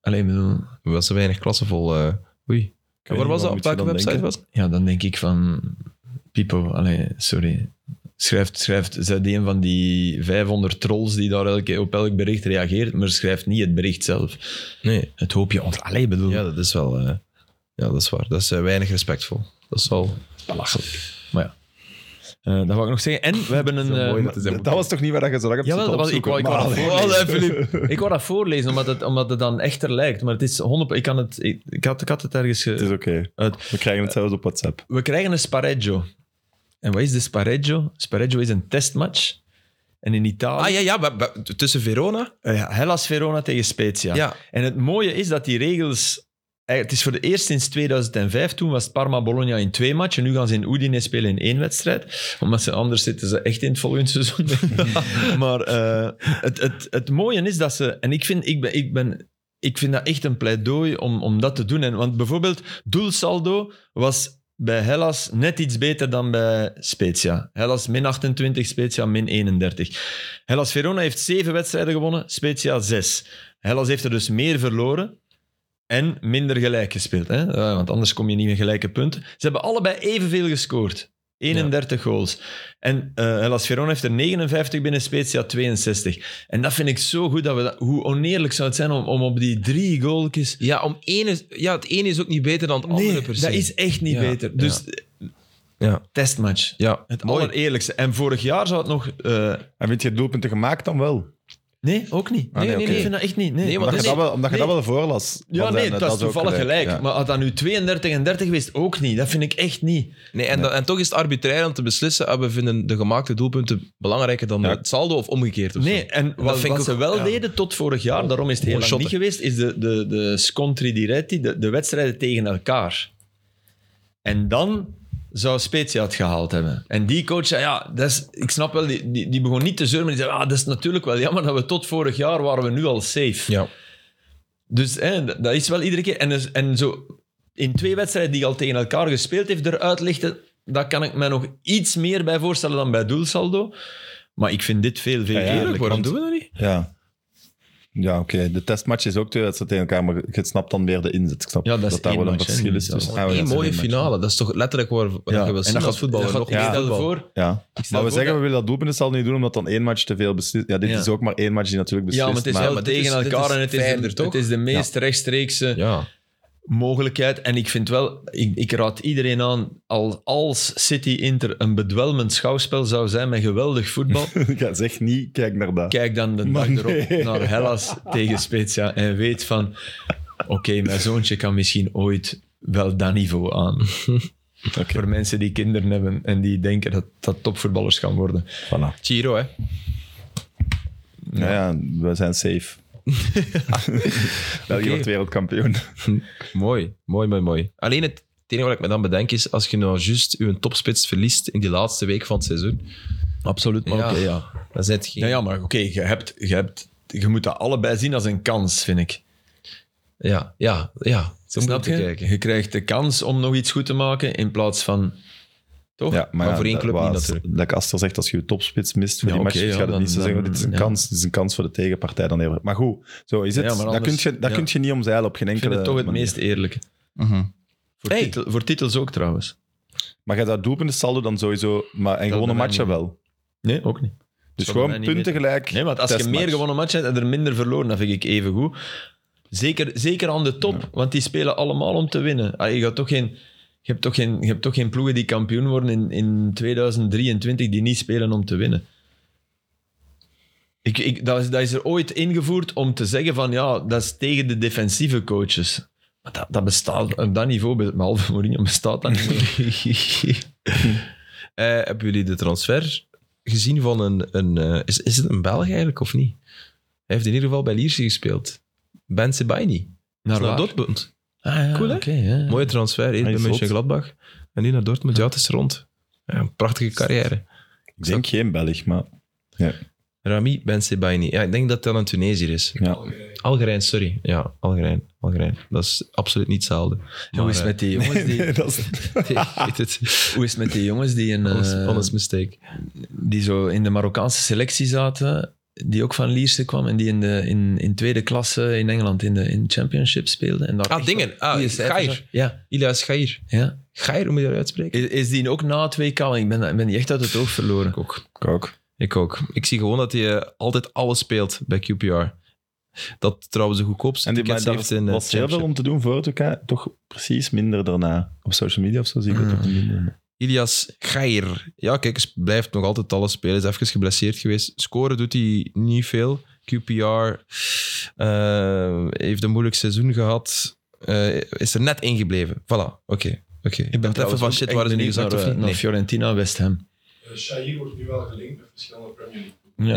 [SPEAKER 3] alleen bedoel,
[SPEAKER 1] Er was weinig klassevol. eh oei. En waar was dat? Op welke website was het?
[SPEAKER 3] ja, dan denk ik van, Pipo, allee, sorry. Schrijft, schrijft, zet een van die 500 trolls die daar elke, op elk bericht reageert, maar schrijft niet het bericht zelf.
[SPEAKER 1] Nee.
[SPEAKER 3] Het hoopje ontlasting. Allee, bedoel,
[SPEAKER 1] Ja, dat is wel... eh, ja, dat is waar. Dat is eh, weinig respectvol. Dat is wel...
[SPEAKER 3] Belachelijk. Maar ja. Eh, dat wou ik nog zeggen. En we
[SPEAKER 1] [LAUGHS]
[SPEAKER 3] hebben een...
[SPEAKER 1] Zo mooi
[SPEAKER 3] eh,
[SPEAKER 1] dat te zeggen.
[SPEAKER 2] Dat was toch niet waar dat je zo lang hebt
[SPEAKER 3] Jawel, dat
[SPEAKER 2] zitten
[SPEAKER 3] was, ik, wou, ik, wou dat
[SPEAKER 2] opzoeken? Maar
[SPEAKER 3] voorlezen.
[SPEAKER 2] allee.
[SPEAKER 3] eh, ik wou dat voorlezen, omdat het, omdat het dan echter lijkt. Maar het is 100... Ik, kan het, ik, ik had, ik had het ergens... ge-
[SPEAKER 2] [LAUGHS] Het is oké.
[SPEAKER 3] uit.
[SPEAKER 2] We krijgen het zelfs op WhatsApp.
[SPEAKER 3] We krijgen een spareggio. En wat is de spareggio? Spareggio is een testmatch. En in Italië...
[SPEAKER 1] Ah ja, ja. maar- maar tussen Verona?
[SPEAKER 3] Eh, ja, Hellas Verona tegen Spezia.
[SPEAKER 1] ja.
[SPEAKER 3] En het mooie is dat die regels... eh, Het is voor de eerst sinds 2005. Toen was het Parma-Bologna in twee matchen. Nu gaan ze in Udine spelen in één wedstrijd. Omdat ze anders zitten ze echt in het volgende seizoen. [LAUGHS] maar eh, het, het, het mooie is dat ze... En ik vind, ik ben, ik ben, ik vind dat echt een pleidooi om, om dat te doen. En, want bijvoorbeeld doelsaldo was bij Hellas net iets beter dan bij Spezia. Hellas min 28, Spezia min 31. Hellas Verona heeft zeven wedstrijden gewonnen, Spezia zes. Hellas heeft er dus meer verloren en minder gelijk gespeeld. Hè? Eh, Want anders kom je niet met gelijke punten. Ze hebben allebei evenveel gescoord. 31 goals. En eh Hellas Verona heeft er 59 binnen, Spezia 62. En dat vind ik zo goed. Dat we dat, hoe oneerlijk zou het zijn om, om op die drie goaltjes...
[SPEAKER 1] Ja, om ene, ja, het ene is ook niet beter dan het andere
[SPEAKER 3] Nee,
[SPEAKER 1] per se.
[SPEAKER 3] dat is echt niet
[SPEAKER 1] Ja,
[SPEAKER 3] beter.
[SPEAKER 1] ja.
[SPEAKER 3] Dus
[SPEAKER 1] Ja,
[SPEAKER 3] testmatch.
[SPEAKER 1] ja.
[SPEAKER 3] Het
[SPEAKER 1] mooi.
[SPEAKER 3] allereerlijkste. En vorig jaar zou het nog... eh,
[SPEAKER 2] En vind je het doelpunten gemaakt dan wel?
[SPEAKER 3] nee, ook niet.
[SPEAKER 2] Ah, nee, oké.
[SPEAKER 3] Ik vind dat echt niet. Nee,
[SPEAKER 1] Nee, want
[SPEAKER 2] Omdat je
[SPEAKER 1] dat
[SPEAKER 2] dat
[SPEAKER 1] is-
[SPEAKER 2] wel- omdat je
[SPEAKER 3] nee.
[SPEAKER 2] dat wel voorlas.
[SPEAKER 3] Ja,
[SPEAKER 2] Want,
[SPEAKER 3] nee,
[SPEAKER 2] eh,
[SPEAKER 3] dat, is
[SPEAKER 2] ook
[SPEAKER 3] toevallig gelijk.
[SPEAKER 2] ja.
[SPEAKER 3] Maar had dat nu 32 en 30 geweest, ook niet. Dat vind ik echt niet.
[SPEAKER 1] Nee, en, dan- en toch is het arbitrair om te beslissen. ah, we vinden de gemaakte doelpunten belangrijker dan
[SPEAKER 2] Ja.
[SPEAKER 1] het saldo of omgekeerd. Of
[SPEAKER 3] Nee, en wat,
[SPEAKER 1] vind ik
[SPEAKER 3] wat
[SPEAKER 1] ook-
[SPEAKER 3] ze wel
[SPEAKER 1] ja.
[SPEAKER 3] deden tot vorig jaar, daarom is het heel
[SPEAKER 1] Mooie
[SPEAKER 3] lang niet
[SPEAKER 1] shotten.
[SPEAKER 3] geweest, is de, de, de scontri diretti, de, de wedstrijden tegen elkaar. En dan zou Spezia het gehaald hebben. En die coach zei, ja, dat is, ik snap wel, die, die, die begon niet te zeuren, maar die zei, ah, dat is natuurlijk wel jammer dat we tot vorig jaar waren we nu al safe.
[SPEAKER 1] zo. Ja.
[SPEAKER 3] Dus hè, d- dat is wel iedere keer. En, dus- en zo, in twee wedstrijden die hij al tegen elkaar gespeeld heeft eruit lichten, daar kan ik mij nog iets meer bij voorstellen dan bij doelsaldo. Maar ik vind dit veel, veel
[SPEAKER 2] Ja, ja,
[SPEAKER 3] eerlijk.
[SPEAKER 2] Tuurlijk,
[SPEAKER 1] waarom
[SPEAKER 3] want-
[SPEAKER 1] doen we dat niet?
[SPEAKER 2] Ja. Ja, oké. De testmatch is ook twee wedstrijden tegen elkaar, maar je snapt dan weer de inzet. Ik snap
[SPEAKER 3] Ja, dat is
[SPEAKER 2] daar
[SPEAKER 3] één
[SPEAKER 2] wel een
[SPEAKER 3] match, hè,
[SPEAKER 2] verschil is
[SPEAKER 3] niet zelfs.
[SPEAKER 2] tussen. Ah,
[SPEAKER 1] Een
[SPEAKER 2] ja, dat is
[SPEAKER 1] mooie
[SPEAKER 2] één match,
[SPEAKER 1] finale. Dat is toch letterlijk waar waar
[SPEAKER 3] Ja,
[SPEAKER 1] je wil
[SPEAKER 3] en
[SPEAKER 1] zien
[SPEAKER 3] dat
[SPEAKER 1] als
[SPEAKER 3] gaat voetbal.
[SPEAKER 1] voetballer.
[SPEAKER 3] Dat
[SPEAKER 1] Nog
[SPEAKER 3] gaat,
[SPEAKER 1] meer
[SPEAKER 3] ik stel
[SPEAKER 1] voetbal.
[SPEAKER 3] voor,
[SPEAKER 2] Ja.
[SPEAKER 3] stel
[SPEAKER 2] Maar we
[SPEAKER 3] voor
[SPEAKER 2] zeggen,
[SPEAKER 3] dat-
[SPEAKER 2] we willen dat doelbenestal niet doen, omdat dan één match te veel beslist. Ja, dit
[SPEAKER 3] Ja.
[SPEAKER 2] is ook maar één match die natuurlijk beslist.
[SPEAKER 3] ja, maar het is
[SPEAKER 1] maar-
[SPEAKER 3] wel
[SPEAKER 1] maar dit
[SPEAKER 3] tegen
[SPEAKER 1] is- dit
[SPEAKER 3] elkaar
[SPEAKER 1] is
[SPEAKER 3] en het is, de,
[SPEAKER 1] fijner, toch?
[SPEAKER 3] het is de meest rechtstreekse
[SPEAKER 1] Ja.
[SPEAKER 3] mogelijkheid. En ik vind wel, ik, ik raad iedereen aan, al- als City Inter een bedwelmend schouwspel zou zijn met
[SPEAKER 1] [LAUGHS]
[SPEAKER 3] geweldig voetbal,
[SPEAKER 2] [LAUGHS] ja, zeg niet, kijk naar dat.
[SPEAKER 3] kijk dan de dag
[SPEAKER 2] Maar
[SPEAKER 3] erop
[SPEAKER 2] nee.
[SPEAKER 3] naar Hellas tegen Spezia en weet van, oké, mijn zoontje kan misschien ooit wel dat niveau
[SPEAKER 1] [LAUGHS]
[SPEAKER 3] aan. Voor mensen die kinderen hebben en die denken dat dat topvoetballers gaan worden.
[SPEAKER 2] Voilà.
[SPEAKER 1] Giro, hè.
[SPEAKER 2] Ja, ja, we zijn
[SPEAKER 3] [LAUGHS]
[SPEAKER 2] safe. [LAUGHS] België
[SPEAKER 1] Oké.
[SPEAKER 2] wordt wereldkampioen.
[SPEAKER 1] Mooi, mooi, mooi, mooi. Alleen het, het enige wat ik me dan bedenk is, als je nou juist je topspits verliest in die laatste week van het seizoen,
[SPEAKER 3] Absoluut,
[SPEAKER 1] maar oké,
[SPEAKER 3] ja.
[SPEAKER 1] dan zit geen...
[SPEAKER 3] Ja, ja, maar oké, je, hebt, je, hebt, je moet dat allebei zien als een kans, vind ik.
[SPEAKER 1] ja, ja, ja. Zo moet
[SPEAKER 3] Snap
[SPEAKER 1] je
[SPEAKER 3] je?
[SPEAKER 1] het kijken.
[SPEAKER 3] Je krijgt de kans om nog iets goed te maken in plaats van... Toch?
[SPEAKER 2] Ja,
[SPEAKER 1] Maar voor één
[SPEAKER 2] dat
[SPEAKER 1] club niet
[SPEAKER 2] was-
[SPEAKER 1] natuurlijk.
[SPEAKER 2] Dat Aster zegt, als je je topspits mist voor
[SPEAKER 3] Ja,
[SPEAKER 2] die match,
[SPEAKER 3] oké, ja,
[SPEAKER 2] gaat het
[SPEAKER 3] dan-
[SPEAKER 2] niet zo
[SPEAKER 3] dan-
[SPEAKER 2] zeggen, dit is een
[SPEAKER 3] ja.
[SPEAKER 2] kans, dit is een kans voor de tegenpartij dan eerder. Maar goed, zo is het.
[SPEAKER 3] Ja, maar
[SPEAKER 2] dat kun
[SPEAKER 3] anders-
[SPEAKER 2] je, dat
[SPEAKER 3] ja.
[SPEAKER 2] kun je niet omzeilen op geen
[SPEAKER 3] ik
[SPEAKER 2] enkele
[SPEAKER 3] vind het toch het
[SPEAKER 2] manier.
[SPEAKER 3] meest eerlijke.
[SPEAKER 1] Mhm.
[SPEAKER 3] Voor,
[SPEAKER 1] Hey.
[SPEAKER 3] titel- voor titels ook trouwens.
[SPEAKER 2] Maar je dat doelpunten saldo dan sowieso, maar en gewonnen
[SPEAKER 3] bij
[SPEAKER 2] matchen
[SPEAKER 3] mij
[SPEAKER 2] wel.
[SPEAKER 3] Nee, ook niet.
[SPEAKER 2] Dus
[SPEAKER 3] zal bij
[SPEAKER 2] gewoon
[SPEAKER 3] mij niet
[SPEAKER 2] punten gelijk.
[SPEAKER 3] Nee, want als je
[SPEAKER 2] testmatch.
[SPEAKER 3] meer gewonnen matchen hebt en er minder verloren, dan vind ik even goed. Zeker, zeker aan de top, want die spelen allemaal om te winnen. Ah, je, gaat toch geen, je, hebt toch geen, je hebt toch geen ploegen die kampioen worden in, in 2023 die niet spelen om te winnen. Ik, ik, dat, is, dat is er ooit ingevoerd om te zeggen van ja, dat is tegen de defensieve coaches. Maar dat, dat bestaat op dat niveau, be- behalve Mourinho, bestaat dat niet meer.
[SPEAKER 1] Eh, hebben jullie de transfer gezien van een... een eh, is, is het een Belg eigenlijk of niet? Hij heeft in ieder geval bij Lierse gespeeld. Ben Sebaini. Naar,
[SPEAKER 3] waar?
[SPEAKER 1] naar Dortmund.
[SPEAKER 3] Ah, ja,
[SPEAKER 1] [LAUGHS] Cool, hè?
[SPEAKER 3] oké, ja.
[SPEAKER 1] Mooie transfer, eerder
[SPEAKER 2] Hij
[SPEAKER 1] bij
[SPEAKER 2] is
[SPEAKER 1] Mönchengladbach. En nu naar Dortmund. Ja, het is rond. Ja, een prachtige carrière.
[SPEAKER 2] Ik denk geen Belg, maar
[SPEAKER 1] Rami Ben Sebaini. Ja, ik denk dat dat een Tunesier is.
[SPEAKER 2] ja.
[SPEAKER 1] Algerijn, sorry. Ja, Algerijn. Algerijn. Dat is absoluut niet hetzelfde.
[SPEAKER 3] Hoe is het
[SPEAKER 1] Maar,
[SPEAKER 3] met
[SPEAKER 1] [LAUGHS]
[SPEAKER 3] die jongens
[SPEAKER 2] [LAUGHS]
[SPEAKER 3] die...
[SPEAKER 2] dat is,
[SPEAKER 1] eh, weet het.
[SPEAKER 3] Hoe is het met die jongens die, in, [LAUGHS] eh,
[SPEAKER 1] Honest, honest mistake.
[SPEAKER 3] die zo in de Marokkaanse selectie zaten, die ook van Lierse kwam en die in, de, in, in tweede klasse in Engeland in de in championship speelden? En daar
[SPEAKER 1] Ah,
[SPEAKER 3] echt
[SPEAKER 1] dingen.
[SPEAKER 3] wel
[SPEAKER 1] Ah,
[SPEAKER 3] goede cijfers had?
[SPEAKER 1] Gair.
[SPEAKER 3] Ja,
[SPEAKER 1] Ilias Gair.
[SPEAKER 3] ja.
[SPEAKER 1] Gair, hoe moet je dat uitspreken?
[SPEAKER 3] Is, is die ook na het WK? Want Ik ben, ik ben die echt uit het oog verloren.
[SPEAKER 1] Ik ook.
[SPEAKER 2] ik ook.
[SPEAKER 1] Ik ook. Ik zie gewoon dat hij eh, altijd alles speelt bij QPR. Dat trouwens de goedkoopste
[SPEAKER 2] En die, maar
[SPEAKER 1] tickets
[SPEAKER 2] daar
[SPEAKER 1] heeft in eh,
[SPEAKER 2] was heel veel
[SPEAKER 1] Championship.
[SPEAKER 2] om te doen voor het elkaar, toch precies minder daarna. Op social media of zo zie ik dat
[SPEAKER 3] Mm.
[SPEAKER 2] ook minder.
[SPEAKER 1] Ilias Gair. Ja, kijk, hij blijft nog altijd alles spelen. Is even geblesseerd geweest. Scoren doet hij niet veel. QPR eh, heeft een moeilijk seizoen gehad. Eh, is er net ingebleven. Voilà, oké. oké. Ik ben even
[SPEAKER 3] trouwens
[SPEAKER 1] van
[SPEAKER 3] ook
[SPEAKER 1] shit,
[SPEAKER 3] echt
[SPEAKER 1] waren ze niet
[SPEAKER 3] benieuwd
[SPEAKER 1] gezakt
[SPEAKER 3] naar,
[SPEAKER 1] of
[SPEAKER 3] eh,
[SPEAKER 1] niet?
[SPEAKER 3] naar
[SPEAKER 1] Nee.
[SPEAKER 3] Fiorentina, West Ham.
[SPEAKER 4] Eh, Shair wordt nu wel gelinkt met verschillende Premier League.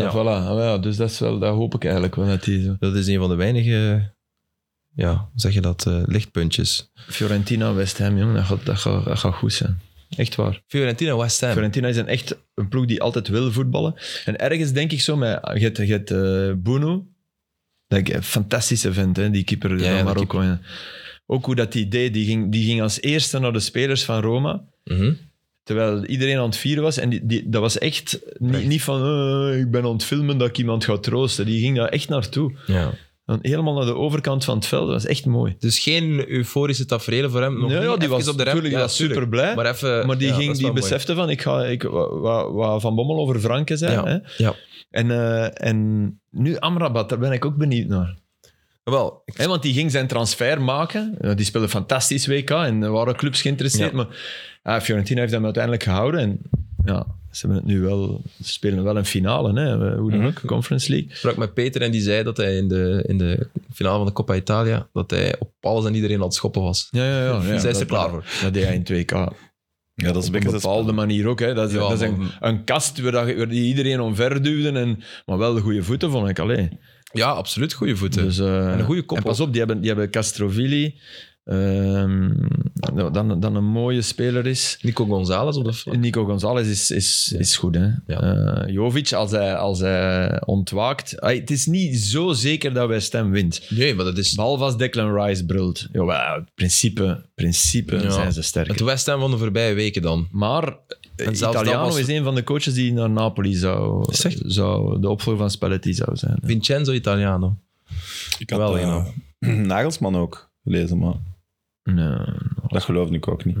[SPEAKER 3] Ja,
[SPEAKER 1] Ja.
[SPEAKER 3] voilà. Ah, ja, dus dat, is wel, dat hoop ik eigenlijk wel. Dat die zo.
[SPEAKER 1] Dat is een van de weinige, ja, hoe zeg je dat, eh, lichtpuntjes.
[SPEAKER 3] Fiorentina, West Ham, jong, dat gaat, dat, gaat, dat gaat goed zijn. Echt waar.
[SPEAKER 1] Fiorentina, West Ham.
[SPEAKER 3] Fiorentina is een echt een ploeg die altijd wil voetballen. En ergens denk ik zo, met, je hebt, je hebt eh, Bruno, dat ik een fantastische vind, hè, die keeper
[SPEAKER 1] ja,
[SPEAKER 3] van
[SPEAKER 1] de
[SPEAKER 3] Marokko. Ook hoe dat die deed, die ging, die ging als eerste naar de spelers van Roma.
[SPEAKER 1] Mhm.
[SPEAKER 3] Terwijl iedereen aan het vieren was. En die, die, dat was echt niet,
[SPEAKER 1] Echt.
[SPEAKER 3] niet van, eh, ik ben aan het filmen dat ik iemand ga troosten. Die ging daar echt naartoe.
[SPEAKER 1] ja.
[SPEAKER 3] Dan helemaal naar de overkant van het veld. Dat was echt mooi.
[SPEAKER 1] Dus geen euforische tafereelen voor hem. Nog
[SPEAKER 3] Nee,
[SPEAKER 1] niet.
[SPEAKER 3] ja, die
[SPEAKER 1] Even
[SPEAKER 3] was
[SPEAKER 1] op de rem.
[SPEAKER 3] natuurlijk
[SPEAKER 1] Ja,
[SPEAKER 3] was
[SPEAKER 1] tuurlijk.
[SPEAKER 3] super blij.
[SPEAKER 1] Maar, even,
[SPEAKER 3] Maar die,
[SPEAKER 1] Eh, ja, dat
[SPEAKER 3] ging,
[SPEAKER 1] is
[SPEAKER 3] die
[SPEAKER 1] wel mooi.
[SPEAKER 3] besefte van, ik ga, ik, wat, wat Van Bommel over Franken zei.
[SPEAKER 1] Ja.
[SPEAKER 3] Hè?
[SPEAKER 1] Ja.
[SPEAKER 3] En, eh, en nu Amrabat, daar ben ik ook benieuwd naar.
[SPEAKER 1] Wel, ik-
[SPEAKER 3] Hè, want die ging zijn transfer maken. Eh, die speelde fantastisch WK en er waren clubs geïnteresseerd.
[SPEAKER 1] Ja.
[SPEAKER 3] Maar ah, Fiorentina heeft hem uiteindelijk gehouden. En ja, ze, hebben het nu wel, ze spelen wel een finale, hè? eh, hoe dan
[SPEAKER 2] Mhm.
[SPEAKER 3] ook, Conference League.
[SPEAKER 1] Ik sprak met Peter en die zei dat hij in de, in de finale van de Coppa Italia dat hij op alles en iedereen aan het schoppen was.
[SPEAKER 3] Ja, ja, ja.
[SPEAKER 1] Zijn ze
[SPEAKER 3] dat-
[SPEAKER 1] klaar voor?
[SPEAKER 3] Dat deed hij in 2K.
[SPEAKER 2] Ja, dat is
[SPEAKER 3] Op een bepaalde manier ook. Hè. Dat, is-
[SPEAKER 1] Ja,
[SPEAKER 3] dat is
[SPEAKER 1] maar-
[SPEAKER 3] een, een kast waar, dat- waar die iedereen omver duwden. En, maar wel de goede voeten, vond ik. Allee.
[SPEAKER 1] Ja, absoluut. Goede voeten.
[SPEAKER 3] Dus, eh,
[SPEAKER 1] een goede kop
[SPEAKER 3] En pas op, die hebben, die hebben Castrovili, ehm, nou, dan, dan een mooie speler is.
[SPEAKER 1] Nico González op dat vlak.
[SPEAKER 3] Nico González is, is,
[SPEAKER 1] Ja.
[SPEAKER 3] is goed. Hè?
[SPEAKER 1] Ja.
[SPEAKER 3] Eh, Jovic, als hij, als hij ontwaakt. Ai, het is niet zo zeker dat West Ham wint.
[SPEAKER 1] Nee, maar dat is
[SPEAKER 3] Behalve als Declan Rice brult. Jawel, in principe, principe
[SPEAKER 1] Ja.
[SPEAKER 3] zijn ze
[SPEAKER 1] het
[SPEAKER 3] sterker.
[SPEAKER 1] West Ham van de voorbije weken dan.
[SPEAKER 3] Maar eh,
[SPEAKER 1] En zelfs dat
[SPEAKER 3] Italiano
[SPEAKER 1] was-
[SPEAKER 3] is een van de coaches die naar Napoli zou,
[SPEAKER 1] Zeg.
[SPEAKER 3] zou de opvolger van Spalletti zou zijn.
[SPEAKER 1] Vincenzo Italiano.
[SPEAKER 2] Ik
[SPEAKER 1] Wel,
[SPEAKER 2] eh, [CLEARS THROAT] Nagelsman ook gelezen, maar
[SPEAKER 3] Nee.
[SPEAKER 2] dat geloofde ik ook niet.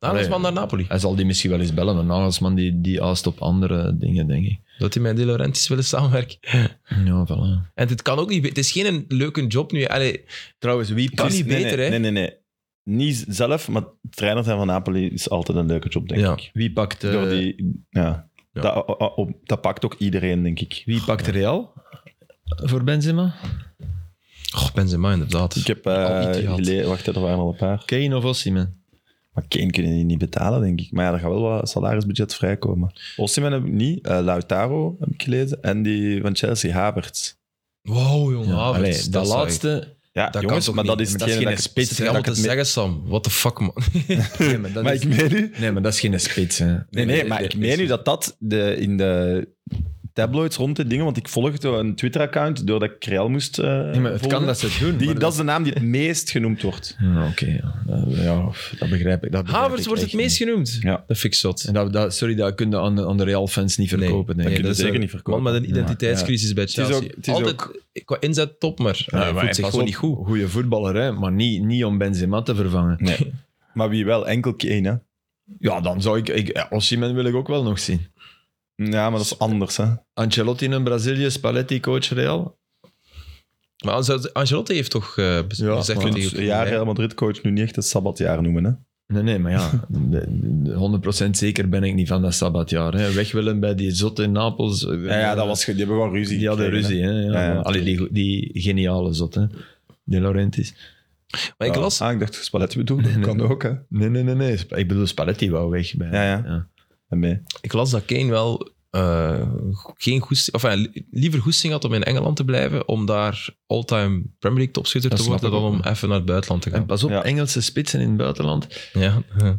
[SPEAKER 1] Nagelsman naar Napoli.
[SPEAKER 3] Hij zal die misschien wel eens bellen, maar Nagelsman die, die aast op andere dingen, denk ik.
[SPEAKER 1] Dat hij met De Laurentiis willen samenwerken.
[SPEAKER 3] Ja, voilà.
[SPEAKER 1] En dit kan ook niet... be- Het is geen een leuke job nu. Allee,
[SPEAKER 3] Trouwens, wie
[SPEAKER 1] Kan
[SPEAKER 2] Dus-
[SPEAKER 1] niet
[SPEAKER 2] nee,
[SPEAKER 1] beter,
[SPEAKER 2] nee,
[SPEAKER 1] hè?
[SPEAKER 2] Nee, nee, nee. Niet zelf, maar trainer zijn van Napoli is altijd een leuke job, denk
[SPEAKER 1] Ja.
[SPEAKER 2] ik.
[SPEAKER 3] Wie pakt, eh,
[SPEAKER 2] Door die, ja.
[SPEAKER 1] ja.
[SPEAKER 2] Dat, o- o- op- dat pakt ook iedereen, denk ik.
[SPEAKER 3] wie pakt Real voor Benzema?
[SPEAKER 1] oh, Benzema inderdaad.
[SPEAKER 2] Ik heb eh,
[SPEAKER 1] Al iets gehad.
[SPEAKER 2] gele- wacht, hè, er waren al een paar.
[SPEAKER 3] Kane of Osimhen?
[SPEAKER 2] Maar Kane kunnen die niet betalen, denk ik. Maar ja, er gaat wel wat salarisbudget vrijkomen. Osimhen heb ik niet. eh, Lautaro heb ik gelezen. En die van Chelsea, Havertz.
[SPEAKER 1] Wow, jongen.
[SPEAKER 3] Ja,
[SPEAKER 1] Havertz,
[SPEAKER 3] allee,
[SPEAKER 1] dat
[SPEAKER 3] dat
[SPEAKER 1] zou ik-
[SPEAKER 3] laatste...
[SPEAKER 2] Ja,
[SPEAKER 1] Dat
[SPEAKER 2] jongens,
[SPEAKER 1] kan toch
[SPEAKER 2] maar dat
[SPEAKER 1] niet?
[SPEAKER 2] is
[SPEAKER 1] Maar
[SPEAKER 2] het
[SPEAKER 1] dat is
[SPEAKER 2] dat
[SPEAKER 1] geen
[SPEAKER 2] ik-
[SPEAKER 1] spits. Dat
[SPEAKER 2] dat
[SPEAKER 1] allemaal
[SPEAKER 2] ik
[SPEAKER 1] te
[SPEAKER 2] het mee-
[SPEAKER 1] zeggen, Sam. What the fuck, man.
[SPEAKER 3] Nee, maar dat
[SPEAKER 2] Maar
[SPEAKER 3] is,
[SPEAKER 2] ik meen nu...
[SPEAKER 3] nee, maar dat is geen spits, hè.
[SPEAKER 2] Nee, nee, maar ik meen nu dat dat de, in de tabloids rond de dingen... Want ik volgde een Twitter-account doordat ik Real moest eh
[SPEAKER 3] Nee, maar het
[SPEAKER 2] volgen.
[SPEAKER 3] kan dat ze het doen.
[SPEAKER 2] Die,
[SPEAKER 3] maar
[SPEAKER 2] dat is de naam die het meest genoemd wordt.
[SPEAKER 3] Ja, Oké, ja. Dat- ja, dat begrijp ik. Dat begrijp
[SPEAKER 1] Havertz
[SPEAKER 3] ik
[SPEAKER 1] wordt
[SPEAKER 3] echt
[SPEAKER 1] het meest
[SPEAKER 3] niet.
[SPEAKER 1] genoemd.
[SPEAKER 2] Ja.
[SPEAKER 1] Dat vind ik zot.
[SPEAKER 3] En dat, dat, sorry, dat kunnen aan de, aan de Real-fans niet verkopen,
[SPEAKER 1] Nee,
[SPEAKER 3] denk
[SPEAKER 2] kun
[SPEAKER 3] ik.
[SPEAKER 2] je
[SPEAKER 1] dat is
[SPEAKER 2] zeker
[SPEAKER 1] een
[SPEAKER 2] niet verkopen.
[SPEAKER 1] Man met een identiteitscrisis bij
[SPEAKER 2] is
[SPEAKER 1] Chelsea.
[SPEAKER 2] ook- het is
[SPEAKER 1] Altijd qua inzet top, maar
[SPEAKER 3] Ja,
[SPEAKER 1] hij
[SPEAKER 3] maar
[SPEAKER 1] voelt zich
[SPEAKER 3] pas
[SPEAKER 1] gewoon niet
[SPEAKER 3] op,
[SPEAKER 1] goed.
[SPEAKER 3] Goeie voetballer, hè, maar niet, niet om Benzema te vervangen.
[SPEAKER 2] Nee. maar wie wel? Enkel Kane, hè?
[SPEAKER 3] Ja, dan zou ik... ik Osimhen wil ik ook wel nog zien.
[SPEAKER 2] Ja, maar dat is anders, hè?
[SPEAKER 3] Ancelotti in Brazilië, Spalletti, coach Real.
[SPEAKER 1] Maar Ange- Ancelotti heeft toch eh, bez-
[SPEAKER 3] Ja,
[SPEAKER 1] gezegd
[SPEAKER 3] maar
[SPEAKER 1] dat
[SPEAKER 2] Dus
[SPEAKER 1] hij...
[SPEAKER 2] een jaar Real Madrid-coach nu niet echt het sabbatjaar noemen, hè?
[SPEAKER 3] Nee, nee, maar ja, [LAUGHS] de- de- 100% zeker ben ik niet van dat sabbatjaar. Hè. Weg willen bij die zotte in Napels. eh,
[SPEAKER 2] Ja, ja dat was, ge- die hebben gewoon ruzie.
[SPEAKER 3] Die hadden
[SPEAKER 2] gekregen, hè.
[SPEAKER 3] ruzie, hè. Ja,
[SPEAKER 2] Ja, ja.
[SPEAKER 3] maar- Allee, die, die geniale zot, hè. De Laurentiis.
[SPEAKER 1] Maar ik
[SPEAKER 2] Ja.
[SPEAKER 1] las...
[SPEAKER 2] Ah, ik dacht Spalletti bedoelde. Dat kan ook, hè?
[SPEAKER 3] Nee, nee, nee, nee. Ik bedoel, Spalletti wou weg. Bij,
[SPEAKER 2] Ja, ja. En mee.
[SPEAKER 1] Ik las dat Kane wel eh, geen goesting, of eh, liever goesting had om in Engeland te blijven, om daar all-time Premier League topschutter
[SPEAKER 3] Dat
[SPEAKER 1] te
[SPEAKER 3] snap
[SPEAKER 1] worden, dan
[SPEAKER 3] ik
[SPEAKER 1] om
[SPEAKER 3] ook.
[SPEAKER 1] even naar het buitenland te
[SPEAKER 3] En
[SPEAKER 1] gaan.
[SPEAKER 3] pas op,
[SPEAKER 2] Ja.
[SPEAKER 3] Engelse spitsen in het buitenland.
[SPEAKER 1] Ja. [LAUGHS]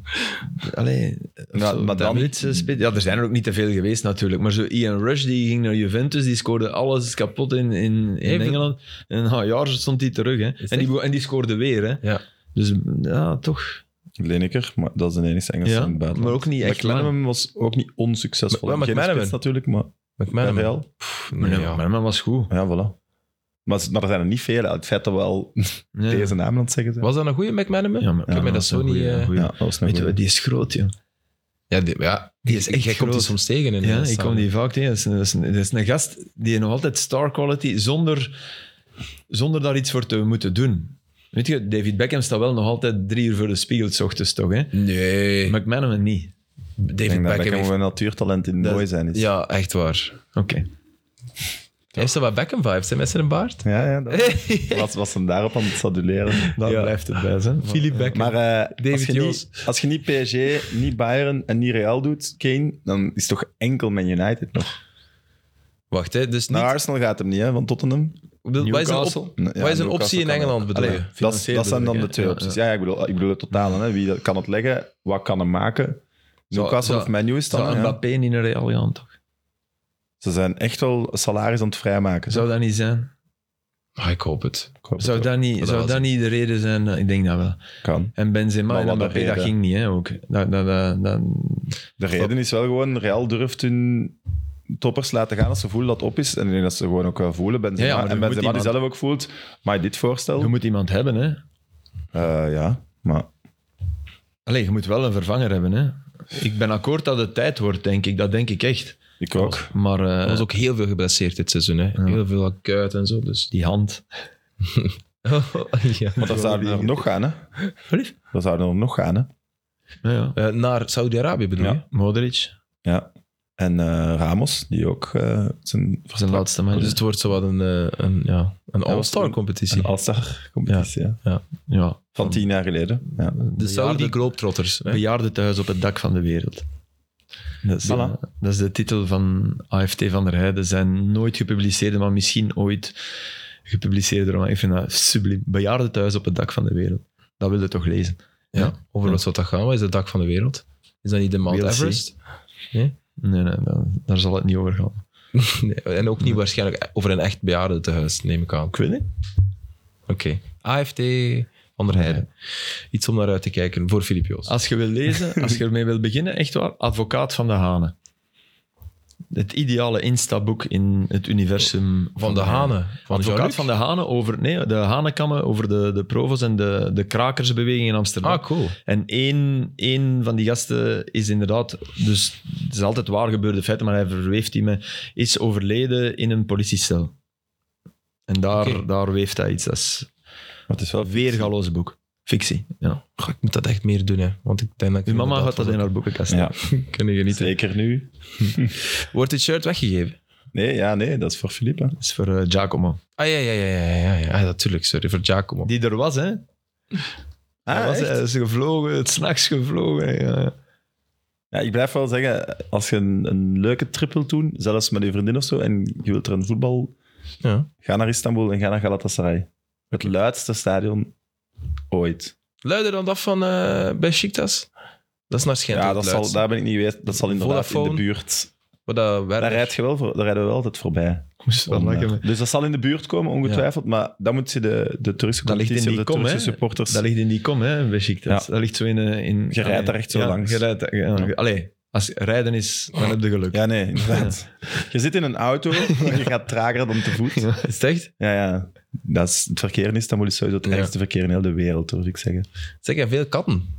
[SPEAKER 3] Allee, of
[SPEAKER 2] Ja,
[SPEAKER 3] zo,
[SPEAKER 2] maar dan-
[SPEAKER 3] Britse spits. Ja, er zijn er ook niet te veel geweest natuurlijk. Maar zo Ian Rush, die ging naar Juventus, die scoorde alles kapot in, in, in
[SPEAKER 1] Even-
[SPEAKER 3] Engeland. En na een jaar stond hij terug, hè. En die,
[SPEAKER 1] echt?
[SPEAKER 3] be- en die scoorde weer, hè.
[SPEAKER 1] Ja.
[SPEAKER 3] Dus ja, toch.
[SPEAKER 2] Lineker, maar dat is de enige Engelse
[SPEAKER 3] Ja,
[SPEAKER 2] in het buitenland.
[SPEAKER 3] maar ook niet echt
[SPEAKER 2] McManaman was ook niet onsuccesvol.
[SPEAKER 1] Maar- maar
[SPEAKER 2] Geen
[SPEAKER 1] McManaman-
[SPEAKER 2] spits natuurlijk, maar bij
[SPEAKER 1] McManaman.
[SPEAKER 2] Real.
[SPEAKER 1] Pff,
[SPEAKER 3] Maar
[SPEAKER 1] nee,
[SPEAKER 3] nee,
[SPEAKER 1] ja.
[SPEAKER 3] maar man was goed.
[SPEAKER 2] Ja, voilà. Maar, ze- maar er zijn er niet vele. Het feit dat we al
[SPEAKER 3] Ja.
[SPEAKER 2] deze namen aan het zeggen zijn.
[SPEAKER 1] Was dat een goede McManaman?
[SPEAKER 3] Ja, maar
[SPEAKER 1] Ik ben
[SPEAKER 3] man
[SPEAKER 1] dat
[SPEAKER 3] was
[SPEAKER 1] zo
[SPEAKER 3] een
[SPEAKER 1] niet...
[SPEAKER 3] goeie-
[SPEAKER 1] eh,
[SPEAKER 3] goeie.
[SPEAKER 2] Ja, dat was een
[SPEAKER 3] Weet je
[SPEAKER 2] goeie.
[SPEAKER 3] wat, die is groot, joh.
[SPEAKER 1] Ja, die, ja,
[SPEAKER 3] Die is echt
[SPEAKER 1] Jij komt die
[SPEAKER 3] groot.
[SPEAKER 1] soms tegen in eh,
[SPEAKER 3] Ja, ik
[SPEAKER 1] staan.
[SPEAKER 3] kom die vaak tegen. Dat is, een, dat, is een, dat is een gast die nog altijd star quality zonder, zonder daar iets voor te moeten doen. Weet je, David Beckham staat wel nog altijd drie uur voor de spiegel 's ochtends toch, hè?
[SPEAKER 1] Nee,
[SPEAKER 3] McManaman niet.
[SPEAKER 2] Ik
[SPEAKER 1] David
[SPEAKER 2] denk dat
[SPEAKER 1] Beckham
[SPEAKER 2] Beckham
[SPEAKER 1] heeft...
[SPEAKER 2] een natuurtalent in
[SPEAKER 1] Dat-
[SPEAKER 2] mooi zijn is.
[SPEAKER 1] Ja, echt waar.
[SPEAKER 3] Oké.
[SPEAKER 1] Hij heeft zo wat Beckham-vibes, hè, met zijn baard.
[SPEAKER 2] Ja, ja, dat
[SPEAKER 1] [LAUGHS]
[SPEAKER 2] was, was hem daarop aan het saduleren.
[SPEAKER 3] Daar
[SPEAKER 1] Ja.
[SPEAKER 3] blijft het bij, hè?
[SPEAKER 1] Philip Beckham.
[SPEAKER 2] Maar eh, als,
[SPEAKER 1] David
[SPEAKER 2] je
[SPEAKER 1] Jones.
[SPEAKER 2] niet, als je niet PSG, niet Bayern en niet Real doet, Kane, dan is toch enkel Man United nog.
[SPEAKER 1] Wacht, hè, dus niet...
[SPEAKER 2] Naar Arsenal gaat hem niet, hè, van Tottenham.
[SPEAKER 1] Wat is een, op-
[SPEAKER 3] Newcastle?
[SPEAKER 1] wat
[SPEAKER 2] Ja,
[SPEAKER 1] is een
[SPEAKER 2] Newcastle
[SPEAKER 1] optie in
[SPEAKER 2] kan
[SPEAKER 1] Engeland, bedoel
[SPEAKER 3] Allee,
[SPEAKER 1] je?
[SPEAKER 2] Dat, is-
[SPEAKER 3] financieel
[SPEAKER 2] dat zijn dan de
[SPEAKER 3] bedoel ik,
[SPEAKER 2] twee
[SPEAKER 3] hè.
[SPEAKER 2] opties. Ja, ja, ik bedoel, ik bedoel het totaal. Hè. Wie dat kan het leggen? Wat kan hem maken?
[SPEAKER 3] Zou-
[SPEAKER 2] Newcastle
[SPEAKER 3] zou-
[SPEAKER 2] of Man U is
[SPEAKER 3] Zou
[SPEAKER 2] dan... ja.
[SPEAKER 3] Mbappé niet naar Real gaan, toch?
[SPEAKER 2] Ze zijn echt wel salaris aan het vrijmaken.
[SPEAKER 3] Zou dat niet zijn?
[SPEAKER 1] Ah, ik hoop het.
[SPEAKER 2] Ik hoop het
[SPEAKER 3] Zou
[SPEAKER 2] wel.
[SPEAKER 3] dat niet,
[SPEAKER 1] dat
[SPEAKER 3] zou
[SPEAKER 1] was
[SPEAKER 3] dat
[SPEAKER 1] het.
[SPEAKER 3] niet de reden zijn? Ik denk dat wel.
[SPEAKER 2] kan.
[SPEAKER 3] En Benzema
[SPEAKER 2] Maar
[SPEAKER 3] en
[SPEAKER 2] wat de
[SPEAKER 3] Mbappé, dat
[SPEAKER 2] reden?
[SPEAKER 3] ging niet, hè, ook. Dat, dat, dat, dat-
[SPEAKER 2] De reden is wel gewoon, Real durft hun toppers laten gaan als ze voelen dat het op is. En ik denk dat ze gewoon ook wel voelen. Benzema,
[SPEAKER 3] Ja, ja, maar er
[SPEAKER 2] en
[SPEAKER 3] moet
[SPEAKER 2] Benzema die
[SPEAKER 3] iemand-
[SPEAKER 2] zelf ook voelt, maar dit voorstel...
[SPEAKER 3] Je moet iemand hebben, hè?
[SPEAKER 2] Eh, ja, maar...
[SPEAKER 3] Allee, je moet wel een vervanger hebben, hè? Ik ben akkoord dat het tijd wordt, denk ik. Dat denk ik echt.
[SPEAKER 2] Ik ook.
[SPEAKER 3] Maar eh,
[SPEAKER 1] Er was ook heel veel geblesseerd dit seizoen. Hè. Heel veel kuit en zo. Dus.
[SPEAKER 3] die hand.
[SPEAKER 1] ja.
[SPEAKER 2] Want dat zouden er nog gaan, hè?
[SPEAKER 3] Sorry?
[SPEAKER 2] Dat zouden er nog gaan, hè?
[SPEAKER 3] Ja, ja.
[SPEAKER 1] Eh, naar Saudi-Arabië bedoel je?
[SPEAKER 2] Ja.
[SPEAKER 3] Modric,
[SPEAKER 2] Ja. En eh, Ramos, die ook eh, zijn...
[SPEAKER 3] zijn laatste match.
[SPEAKER 1] Dus het wordt zo wat een, eh, een, ja, een all-star
[SPEAKER 2] een-
[SPEAKER 1] competitie.
[SPEAKER 2] Een all competitie, ja.
[SPEAKER 3] ja,
[SPEAKER 2] Van tien jaar geleden. Ja.
[SPEAKER 1] De Saudi
[SPEAKER 3] bejaarden-
[SPEAKER 1] Globetrotters. Hè.
[SPEAKER 3] Bejaarden thuis op het dak van de wereld. Dat is,
[SPEAKER 2] Voilà.
[SPEAKER 3] eh, dat is de titel van AFT van der Heijden. Zijn nooit gepubliceerde, maar misschien ooit gepubliceerde roman. Ik vind dat subliem. Bejaarden thuis op het dak van de wereld. Dat wil je toch lezen?
[SPEAKER 1] Ja. Over wat zou dat gaan? Wat is het dak van de wereld? Is dat niet de Mount
[SPEAKER 3] We'll see.
[SPEAKER 1] Everest? [LAUGHS]
[SPEAKER 3] Nee, nee, dan- daar zal het niet over gaan.
[SPEAKER 1] Nee, en ook niet waarschijnlijk over een echt bejaarde te huis, neem ik aan.
[SPEAKER 3] Ik weet niet.
[SPEAKER 1] Oké. AFT van der Heijden. Iets om naar uit te kijken voor Filip Joos.
[SPEAKER 3] Als je wil lezen, als je ermee wil beginnen, echt waar, Advocaat van de Hanen. Het ideale instaboek in het universum
[SPEAKER 1] van de Hanen. Van
[SPEAKER 3] Advocaat
[SPEAKER 1] Jean-Luc?
[SPEAKER 3] van de Hanen over nee, de Hanenkammen, over de, de provo's en de, de krakersbeweging in Amsterdam.
[SPEAKER 1] Ah, cool.
[SPEAKER 3] En één, één van die gasten is inderdaad, dus het is altijd waar gebeurde feiten, maar hij verweeft die met, is overleden in een politiecel. En daar,
[SPEAKER 1] Oké.
[SPEAKER 3] daar weeft hij iets. Dat is
[SPEAKER 2] Maar het is wel
[SPEAKER 3] een weergaloze boek. Fictie. Ja.
[SPEAKER 1] Goh, ik moet dat echt meer doen, hè. Want ik denk dat ik
[SPEAKER 3] Uw mama
[SPEAKER 1] inderdaad
[SPEAKER 3] gaat dat in
[SPEAKER 1] wel-
[SPEAKER 3] haar boekenkast.
[SPEAKER 2] Ja,
[SPEAKER 1] Kunnen genieten.
[SPEAKER 2] zeker nu.
[SPEAKER 1] Wordt dit shirt weggegeven?
[SPEAKER 2] Nee, ja, nee, dat is voor Philippe.
[SPEAKER 3] Dat is voor eh, Giacomo.
[SPEAKER 1] Ah, ja, ja, ja, ja, ja, ja. Ah, natuurlijk. Sorry, voor Giacomo.
[SPEAKER 3] Die er was, hè?
[SPEAKER 2] Ah,
[SPEAKER 3] hij, was, eh, hij is gevlogen, het s'nachts gevlogen. Ja.
[SPEAKER 2] Ja, ik blijf wel zeggen, als je een, een leuke trip wilt doen, zelfs met je vriendin of zo, en je wilt er een voetbal,
[SPEAKER 1] Ja.
[SPEAKER 2] ga naar Istanbul en ga naar Galatasaray. Het luidste stadion ooit.
[SPEAKER 1] Luider dan dat van eh Besiktas? Dat is naar Gent.
[SPEAKER 2] ja,
[SPEAKER 1] het
[SPEAKER 2] dat zal,
[SPEAKER 1] luidst.
[SPEAKER 2] daar ben ik niet geweest. Dat zal inderdaad in
[SPEAKER 1] Vodafone.
[SPEAKER 2] de buurt.
[SPEAKER 1] Wat dat werkt.
[SPEAKER 2] Daar, rijd je wel voor, daar rijden we wel altijd voorbij.
[SPEAKER 3] Ik moest wel
[SPEAKER 2] Om,
[SPEAKER 3] lachen,
[SPEAKER 2] eh,
[SPEAKER 3] maar-
[SPEAKER 2] dus dat zal in de buurt komen, ongetwijfeld. Maar dan moet je de, de Turkse
[SPEAKER 3] Dat ligt in
[SPEAKER 2] competitie of
[SPEAKER 3] die
[SPEAKER 2] de
[SPEAKER 3] kom,
[SPEAKER 2] Turkse
[SPEAKER 3] hè?
[SPEAKER 2] supporters...
[SPEAKER 3] Dat ligt in die kom, hè, Besiktas. Dat ligt zo in... eh, in
[SPEAKER 2] Je rijdt daar echt zo
[SPEAKER 3] ja,
[SPEAKER 2] langs.
[SPEAKER 3] Je rijdt, daar- ja. Allee, als rijden is, dan heb je geluk.
[SPEAKER 2] Ja, nee, inderdaad.
[SPEAKER 3] [LAUGHS]
[SPEAKER 2] Je zit in een auto [LAUGHS] en je gaat trager dan te voet.
[SPEAKER 3] Ja.
[SPEAKER 1] Is het echt?
[SPEAKER 2] Ja, ja. Dat is, het verkeer in Istanbul is sowieso het
[SPEAKER 1] Ja.
[SPEAKER 2] ergste verkeer in heel de wereld, hoor ik zeggen.
[SPEAKER 1] Zeg, jij veel katten?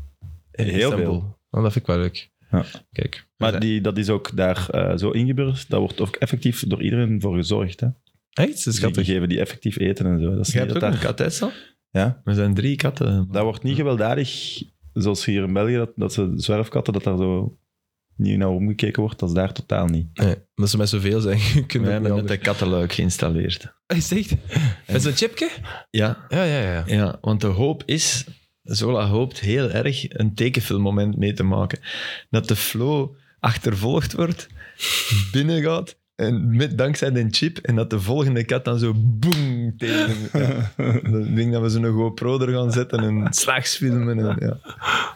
[SPEAKER 1] In
[SPEAKER 2] Heel
[SPEAKER 1] Istanbul.
[SPEAKER 2] veel.
[SPEAKER 1] Oh, dat vind ik wel leuk.
[SPEAKER 2] Ja.
[SPEAKER 1] Kijk.
[SPEAKER 2] Maar die, dat is ook daar eh, zo ingeburgerd. Daar wordt ook effectief door iedereen voor gezorgd. Hè?
[SPEAKER 1] Echt? Dat is
[SPEAKER 2] Dus die
[SPEAKER 1] schattig.
[SPEAKER 2] geven die effectief eten en zo. Dat is
[SPEAKER 3] Jij
[SPEAKER 2] niet
[SPEAKER 3] hebt
[SPEAKER 2] dat
[SPEAKER 3] ook een
[SPEAKER 2] daar,
[SPEAKER 3] kat, hè, Sam?
[SPEAKER 2] ja,
[SPEAKER 3] We zijn drie katten.
[SPEAKER 2] dat wordt niet gewelddadig, zoals hier in België, dat, dat ze zwerfkatten, dat daar zo niet naar omgekeken wordt. Dat is daar totaal niet.
[SPEAKER 1] Nee, omdat ze met zoveel zijn, [LAUGHS]
[SPEAKER 3] We
[SPEAKER 1] kunnen we
[SPEAKER 3] hebben net
[SPEAKER 1] niet
[SPEAKER 3] een
[SPEAKER 1] met
[SPEAKER 3] kattenluik geïnstalleerd.
[SPEAKER 1] Is het echt? Met zo'n chipje?
[SPEAKER 3] Ja,
[SPEAKER 1] Ja, ja, ja.
[SPEAKER 3] ja, want de hoop is, Zola hoopt heel erg een tekenfilmmoment mee te maken. Dat de flow achtervolgd wordt, binnengaat, en met, dankzij de chip, en dat de volgende kat dan zo boem tegen hem... Ja. Ik denk dat we zo'n GoPro er gaan zetten en slags filmen. En, ja.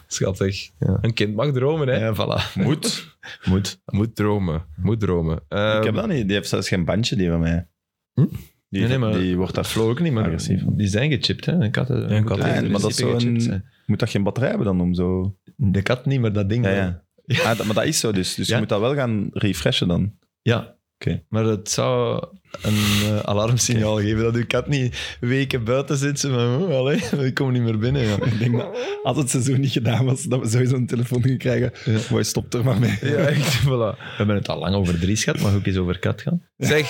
[SPEAKER 1] Schattig.
[SPEAKER 3] Ja.
[SPEAKER 1] Een kind mag dromen, hè?
[SPEAKER 3] ja, voilà.
[SPEAKER 1] Moet.
[SPEAKER 3] Moet.
[SPEAKER 1] Moet dromen. Moet dromen. Ehm,
[SPEAKER 2] ik heb dat niet. Die heeft zelfs geen bandje, die van mij.
[SPEAKER 3] Hm?
[SPEAKER 2] Die,
[SPEAKER 3] Nee, nee, maar-
[SPEAKER 2] die wordt daar
[SPEAKER 3] Flow ook niet, maar
[SPEAKER 2] Agressief.
[SPEAKER 3] die zijn gechipt, hè. Katten moeten
[SPEAKER 1] katten
[SPEAKER 3] in
[SPEAKER 2] Ja, maar dat is zo'n-
[SPEAKER 3] principe gechipt zijn.
[SPEAKER 2] Moet dat geen batterij hebben dan om zo...
[SPEAKER 3] De kat niet, maar dat ding
[SPEAKER 2] Ja,
[SPEAKER 3] wel.
[SPEAKER 2] [LAUGHS] ja. Ah, dat- maar dat is zo dus. Dus
[SPEAKER 3] Ja.
[SPEAKER 2] je moet dat wel gaan refreshen dan.
[SPEAKER 3] Ja.
[SPEAKER 2] Oké.
[SPEAKER 3] Maar het zou een eh, alarmsignaal geven dat uw kat niet weken buiten zit. Ze van, oh, allee, [LAUGHS] ik kom niet meer binnen. Ja.
[SPEAKER 2] Ik denk
[SPEAKER 3] [LAUGHS]
[SPEAKER 2] dat als het seizoen niet gedaan was, dat we sowieso een telefoon gingen krijgen.
[SPEAKER 3] Ja.
[SPEAKER 2] Mooi, stop er maar mee.
[SPEAKER 1] Ja, echt, voilà.
[SPEAKER 3] We hebben het al lang over Dries gehad, mag ook eens over kat gaan.
[SPEAKER 1] Zeg.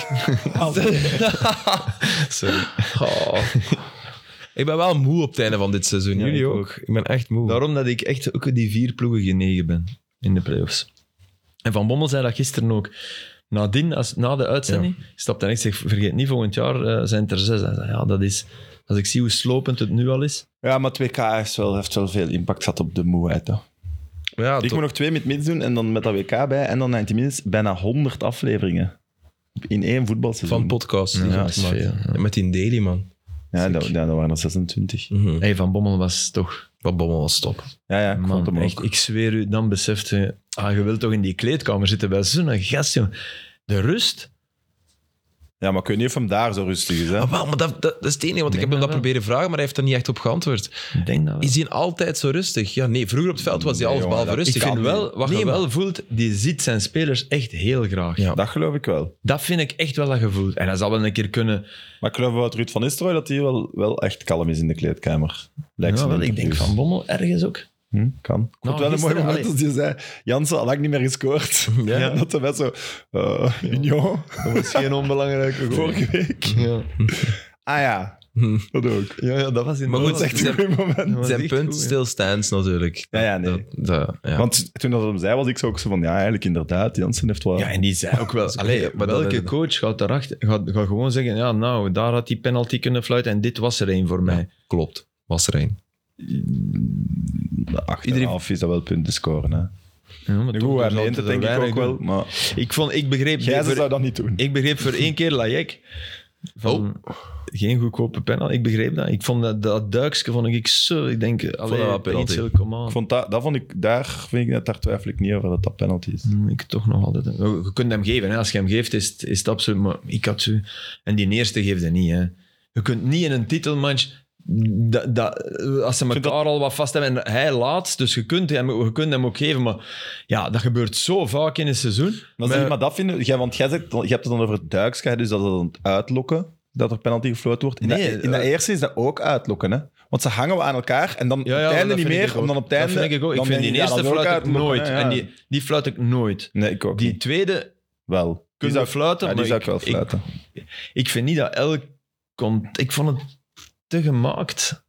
[SPEAKER 2] [LAUGHS]
[SPEAKER 3] Sorry.
[SPEAKER 1] [LAUGHS] Oh. Ik ben wel moe op het einde van dit seizoen.
[SPEAKER 2] Ja,
[SPEAKER 1] Jullie
[SPEAKER 2] ik
[SPEAKER 1] ook.
[SPEAKER 2] ook.
[SPEAKER 1] Ik ben echt moe.
[SPEAKER 3] Daarom dat ik echt ook die vier ploegen genegen ben in de playoffs. En Van Bommel zei dat gisteren ook. Nadien, als, na de uitzending, stapte hij en ik zeg, vergeet niet, volgend jaar eh, zijn het er zes. Hij zei, ja, dat is... Als ik zie hoe slopend het nu al is...
[SPEAKER 2] Ja, maar 2K heeft wel, heeft wel veel impact gehad op de moeheid. Hè.
[SPEAKER 1] Ja,
[SPEAKER 2] Ik
[SPEAKER 1] toch.
[SPEAKER 2] moet nog twee met mids doen en dan met dat WK bij. En dan 90 minutes bijna 100 afleveringen. In één voetbalseizoen.
[SPEAKER 1] Van podcast. die
[SPEAKER 3] Ja,
[SPEAKER 1] zijn
[SPEAKER 3] dat is
[SPEAKER 1] gemaakt.
[SPEAKER 3] veel, ja.
[SPEAKER 1] Met die daily, man.
[SPEAKER 2] ja, dat, ja, dat waren er 26.
[SPEAKER 1] Mhm.
[SPEAKER 3] Hey, Van Bommel was toch
[SPEAKER 1] Wat bommel was top.
[SPEAKER 2] Ja, ja, ik vond
[SPEAKER 3] Man,
[SPEAKER 2] hem
[SPEAKER 3] ik,
[SPEAKER 2] ook.
[SPEAKER 3] ik zweer u, dan beseft je... Ah, je wilt toch in die kleedkamer zitten bij zo'n gast, jong. De rust?
[SPEAKER 2] Ja, maar ik weet niet of hem daar zo rustig is. Hè?
[SPEAKER 1] Ah, wel, maar dat, dat, dat is het enige, want ik heb
[SPEAKER 3] Denk
[SPEAKER 1] hem dat
[SPEAKER 3] dat wel.
[SPEAKER 1] proberen vragen, maar hij heeft er niet echt op geantwoord.
[SPEAKER 3] Ik denk dat wel.
[SPEAKER 1] Is hij altijd zo rustig? Ja, nee, vroeger op het veld was hij
[SPEAKER 2] Nee,
[SPEAKER 1] alles
[SPEAKER 2] jongen,
[SPEAKER 1] behalve
[SPEAKER 2] dat-
[SPEAKER 1] rustig. Ah,
[SPEAKER 3] Ik vind wel, wat
[SPEAKER 1] Nee,
[SPEAKER 3] je
[SPEAKER 1] maar-
[SPEAKER 3] wel voelt, die ziet zijn spelers echt heel graag.
[SPEAKER 1] Ja.
[SPEAKER 2] Dat geloof ik wel.
[SPEAKER 3] Dat vind ik echt wel dat gevoel. En dat zal wel een keer kunnen.
[SPEAKER 2] Maar ik geloof wel dat Ruud van Nistelrooy dat hij wel, wel echt kalm is in de kleedkamer. Lijkt
[SPEAKER 3] Ja,
[SPEAKER 2] zijn
[SPEAKER 3] wel, ik denk
[SPEAKER 2] interviews.
[SPEAKER 3] Van Bommel ergens ook.
[SPEAKER 2] Hm, kan. Ik vond
[SPEAKER 3] Nou,
[SPEAKER 2] het wel een mooi
[SPEAKER 3] gisteren,
[SPEAKER 2] moment als je zei... Jansen had lang niet meer [LAUGHS] gescoord.
[SPEAKER 1] Ja.
[SPEAKER 2] En dat de best zo... eh Union,
[SPEAKER 3] Dat was geen onbelangrijke goal.
[SPEAKER 2] [LAUGHS] vorige week.
[SPEAKER 3] Ja.
[SPEAKER 2] Ah ja,
[SPEAKER 1] Hm.
[SPEAKER 2] dat ook.
[SPEAKER 3] Ja, ja, dat was in
[SPEAKER 1] Maar goed,
[SPEAKER 2] Dat is echt een goed moment.
[SPEAKER 1] Zijn
[SPEAKER 3] echt
[SPEAKER 1] punt
[SPEAKER 3] goed, hè.
[SPEAKER 1] stilstaans natuurlijk.
[SPEAKER 2] Ja, ja, nee.
[SPEAKER 1] Dat- dat- ja.
[SPEAKER 2] Want toen dat hem zei, was ik zo ook zo van... Ja, eigenlijk inderdaad, Jansen heeft wel...
[SPEAKER 3] Ja, en die zei ook [LAUGHS] wel...
[SPEAKER 1] is
[SPEAKER 3] allee,
[SPEAKER 1] oké, maar dat-
[SPEAKER 3] welke
[SPEAKER 1] dat-
[SPEAKER 3] coach gaat, erachter, gaat, gaat gewoon zeggen... Ja, nou, daar had die penalty kunnen fluiten en dit was er één voor mij.
[SPEAKER 1] Klopt. Was er één.
[SPEAKER 2] De acht en een
[SPEAKER 1] Iedereen-
[SPEAKER 2] half is dat wel punten scoren. Hè.
[SPEAKER 3] Ja, maar
[SPEAKER 2] Nu
[SPEAKER 3] toch,
[SPEAKER 2] goed,
[SPEAKER 3] er
[SPEAKER 2] aan de
[SPEAKER 3] zal
[SPEAKER 2] ene
[SPEAKER 3] er
[SPEAKER 2] denk ik
[SPEAKER 3] weinig
[SPEAKER 2] ook
[SPEAKER 3] doen.
[SPEAKER 2] wel. Maar
[SPEAKER 3] Ik, vond, ik, begreep
[SPEAKER 2] Gijzen
[SPEAKER 3] voor,
[SPEAKER 2] zou dat niet doen.
[SPEAKER 3] ik begreep voor één keer Lajek. Van, geen goedkope penalty. Ik begreep dat. Ik vond dat, dat duikske vond ik zo... Ik denk, allee,
[SPEAKER 1] dat wel
[SPEAKER 3] bij iets
[SPEAKER 1] penalty.
[SPEAKER 3] heel kom aan.
[SPEAKER 2] Ik vond dat, dat vond ik, daar, vind ik, dat- daar twijfel ik niet over dat dat penalty is.
[SPEAKER 3] Hm, Ik toch nog altijd. hè. Je kunt hem geven. Hè. Als je hem geeft, is het, is het absoluut... Maar ik had zo... En die eerste geefde niet. Hè. Je kunt niet in een titelmatch... Dat, dat, als ze elkaar
[SPEAKER 2] vind dat-
[SPEAKER 3] al wat vast hebben en hij laatst, dus je kunt, hem, je kunt hem ook geven, maar ja, dat gebeurt zo vaak in een seizoen.
[SPEAKER 2] Maar,
[SPEAKER 3] Maar-
[SPEAKER 2] zie, maar dat vinden, jij, want jij zegt, je hebt het dan over het duikske, dus dat is dan het uitlokken, dat er penalty gefloten wordt. In,
[SPEAKER 3] Nee,
[SPEAKER 2] dat, in dat
[SPEAKER 3] eh,
[SPEAKER 2] eerste is dat ook uitlokken, hè? Want ze hangen we aan elkaar en dan op
[SPEAKER 3] dat
[SPEAKER 2] het einde niet
[SPEAKER 3] vind ik
[SPEAKER 2] meer,
[SPEAKER 3] ook.
[SPEAKER 2] om dan op het einde...
[SPEAKER 3] Dat vind ik ook. Ik
[SPEAKER 2] dan
[SPEAKER 3] vind
[SPEAKER 2] denk
[SPEAKER 3] die
[SPEAKER 2] je, ja,
[SPEAKER 3] eerste
[SPEAKER 2] dat is ook
[SPEAKER 3] fluit ik
[SPEAKER 2] uitlokken,
[SPEAKER 3] nooit.
[SPEAKER 2] hè, ja.
[SPEAKER 3] En die, die fluit ik nooit.
[SPEAKER 2] Nee, ik ook
[SPEAKER 3] Die
[SPEAKER 2] niet.
[SPEAKER 3] tweede
[SPEAKER 2] Wel. Die
[SPEAKER 3] kunnen
[SPEAKER 2] zou-
[SPEAKER 3] we fluiten,
[SPEAKER 2] ja, die
[SPEAKER 3] maar
[SPEAKER 2] zou
[SPEAKER 3] ik,
[SPEAKER 2] ik wel fluiten.
[SPEAKER 3] Ik, ik vind niet dat elk... Komt, ik vond het te gemaakt.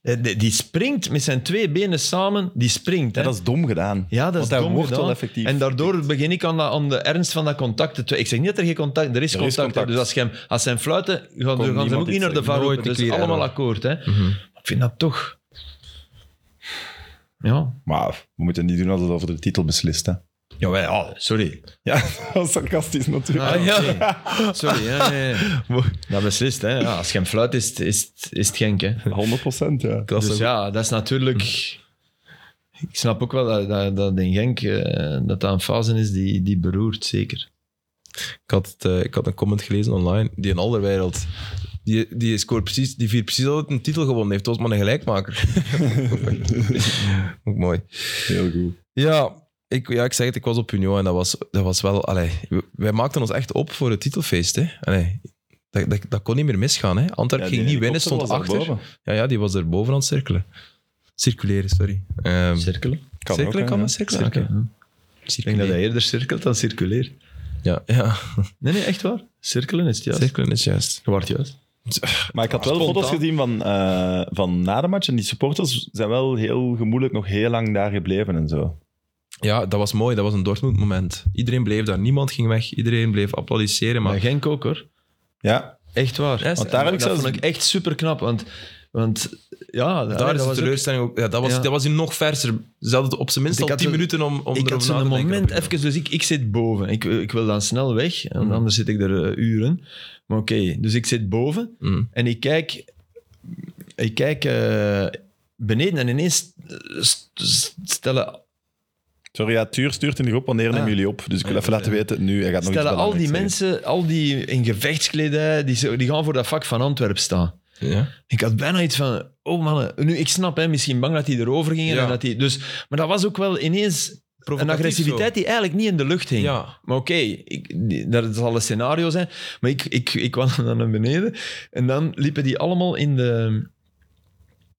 [SPEAKER 3] Eh, Die, die springt met zijn twee benen samen. Die springt.
[SPEAKER 2] Ja,
[SPEAKER 3] Hè?
[SPEAKER 2] dat is dom gedaan.
[SPEAKER 3] Ja, dat is
[SPEAKER 2] Want hij
[SPEAKER 3] dom
[SPEAKER 2] wordt
[SPEAKER 3] gedaan.
[SPEAKER 2] wel effectief.
[SPEAKER 3] En daardoor begin ik aan, dat- aan de ernst van dat contact te twi- Ik zeg niet dat er geen contact er is.
[SPEAKER 2] Er is
[SPEAKER 3] contact, hè.
[SPEAKER 2] contact.
[SPEAKER 3] Dus als ze hem, als ze hem fluiten, gaan, gaan ze
[SPEAKER 2] niemand
[SPEAKER 3] hem ook
[SPEAKER 2] iets
[SPEAKER 3] niet naar de
[SPEAKER 2] zeggen.
[SPEAKER 3] VAR
[SPEAKER 1] Nooit
[SPEAKER 3] roepen.
[SPEAKER 1] een
[SPEAKER 3] Dat is
[SPEAKER 1] clear
[SPEAKER 3] allemaal
[SPEAKER 1] error.
[SPEAKER 3] akkoord. Hè?
[SPEAKER 1] Mhm.
[SPEAKER 3] Ik vind dat toch... Ja.
[SPEAKER 2] Maar we moeten niet doen alsof het over de titel beslist, hè. [LAUGHS]
[SPEAKER 3] Ja, wij- oh, sorry.
[SPEAKER 2] Ja, dat is sarcastisch natuurlijk.
[SPEAKER 3] Ah,
[SPEAKER 2] [LAUGHS]
[SPEAKER 3] ja. Sorry, hè, nee. Dat beslist, hè. Ja, als je hem fluit, is het, is het, is het genk, hè.
[SPEAKER 2] 100% ja.
[SPEAKER 1] Dat is
[SPEAKER 3] Dus
[SPEAKER 1] ook-
[SPEAKER 3] ja, dat is natuurlijk... Ik snap ook wel dat, dat, dat in Genk eh, dat dat een fase is die, die beroert, zeker.
[SPEAKER 1] ik, had het, eh, ik had een comment gelezen online. Die in Alderwereld. Die, die, scoort precies, die viert precies altijd een titel gewonnen. Heeft Osman een gelijkmaker. [LAUGHS] ook mooi.
[SPEAKER 2] Heel goed.
[SPEAKER 1] Ja, ik, ja, ik zeg het, ik was op Union en dat was, dat was wel... Allee, we- wij maakten ons echt op voor het titelfeest. Hè. Allee, dat, dat, dat kon niet meer misgaan. Hè. Antwerpen ging niet winnen, stond achter. Ja, ja, die was er boven aan het cirkelen. Circuleren, sorry. Ehm
[SPEAKER 3] Cirkelen?
[SPEAKER 2] Kan
[SPEAKER 1] cirkelen
[SPEAKER 2] ook,
[SPEAKER 1] kan
[SPEAKER 2] hè,
[SPEAKER 1] dat, cirkelen?
[SPEAKER 3] Oké. Ik denk dat hij
[SPEAKER 1] Circuleren.
[SPEAKER 3] eerder cirkelt dan circuleert.
[SPEAKER 1] Ja, ja,
[SPEAKER 3] Nee, nee, echt waar. Cirkelen is het juist.
[SPEAKER 1] cirkelen is juist.
[SPEAKER 3] Je wordt juist.
[SPEAKER 2] Maar ik had wel
[SPEAKER 1] Spontaan.
[SPEAKER 2] foto's gezien van, eh, van na de match. En die supporters zijn wel heel gemoedelijk nog heel lang daar gebleven en zo.
[SPEAKER 1] Ja, dat was mooi. Dat was een Dortmund-moment. Iedereen bleef daar. Niemand ging weg. Iedereen bleef applaudisseren.
[SPEAKER 3] Maar
[SPEAKER 1] Maar...
[SPEAKER 3] Genk ook, hoor.
[SPEAKER 2] Ja,
[SPEAKER 3] Echt waar.
[SPEAKER 1] Ja,
[SPEAKER 2] Want daar heb ik
[SPEAKER 3] dat
[SPEAKER 2] zelfs-
[SPEAKER 3] vond ik echt super knap, want... Want ja,
[SPEAKER 1] Daar
[SPEAKER 3] allee,
[SPEAKER 1] is
[SPEAKER 3] dat
[SPEAKER 1] de
[SPEAKER 3] was ook-
[SPEAKER 1] teleurstelling ook... Ja, dat was,
[SPEAKER 3] Ja.
[SPEAKER 1] dat was hier nog verser. Ze hadden op zijn minst
[SPEAKER 3] Ik
[SPEAKER 1] al
[SPEAKER 3] had
[SPEAKER 1] 10
[SPEAKER 3] een-
[SPEAKER 1] minuten om, om
[SPEAKER 3] ik
[SPEAKER 1] erover
[SPEAKER 3] had
[SPEAKER 1] na te
[SPEAKER 3] zo'n
[SPEAKER 1] denken.
[SPEAKER 3] moment even, dus ik, ik zit boven. Ik, ik wil dan snel weg,
[SPEAKER 1] Mhm.
[SPEAKER 3] en anders zit ik er eh, uren. Maar oké, dus ik zit boven
[SPEAKER 1] Mm.
[SPEAKER 3] en ik kijk, ik kijk eh, beneden en ineens eh, st- st- stellen,
[SPEAKER 2] Sorry, ja, Tuur stuurt in de groep wanneer nemen
[SPEAKER 3] Ah.
[SPEAKER 2] jullie op. Dus ik wil even laten weten, nu, hij gaat nog iets
[SPEAKER 3] stellen al die
[SPEAKER 2] belangrijks
[SPEAKER 3] mensen, al die in gevechtskledij, die, zo- die gaan voor dat vak van Antwerpen staan.
[SPEAKER 1] Ja.
[SPEAKER 3] Ik had bijna iets van, oh man, nu ik snap, hè, misschien bang dat die erover gingen.
[SPEAKER 1] Ja.
[SPEAKER 3] En dat die, dus, maar dat was ook wel ineens een
[SPEAKER 1] Provocatief
[SPEAKER 3] agressiviteit die eigenlijk niet in de lucht
[SPEAKER 1] zo.
[SPEAKER 3] hing.
[SPEAKER 1] Ja.
[SPEAKER 3] Maar oké, ik- die- dat zal een scenario zijn. Maar ik, ik, ik kwam dan naar beneden en dan liepen die allemaal in, de,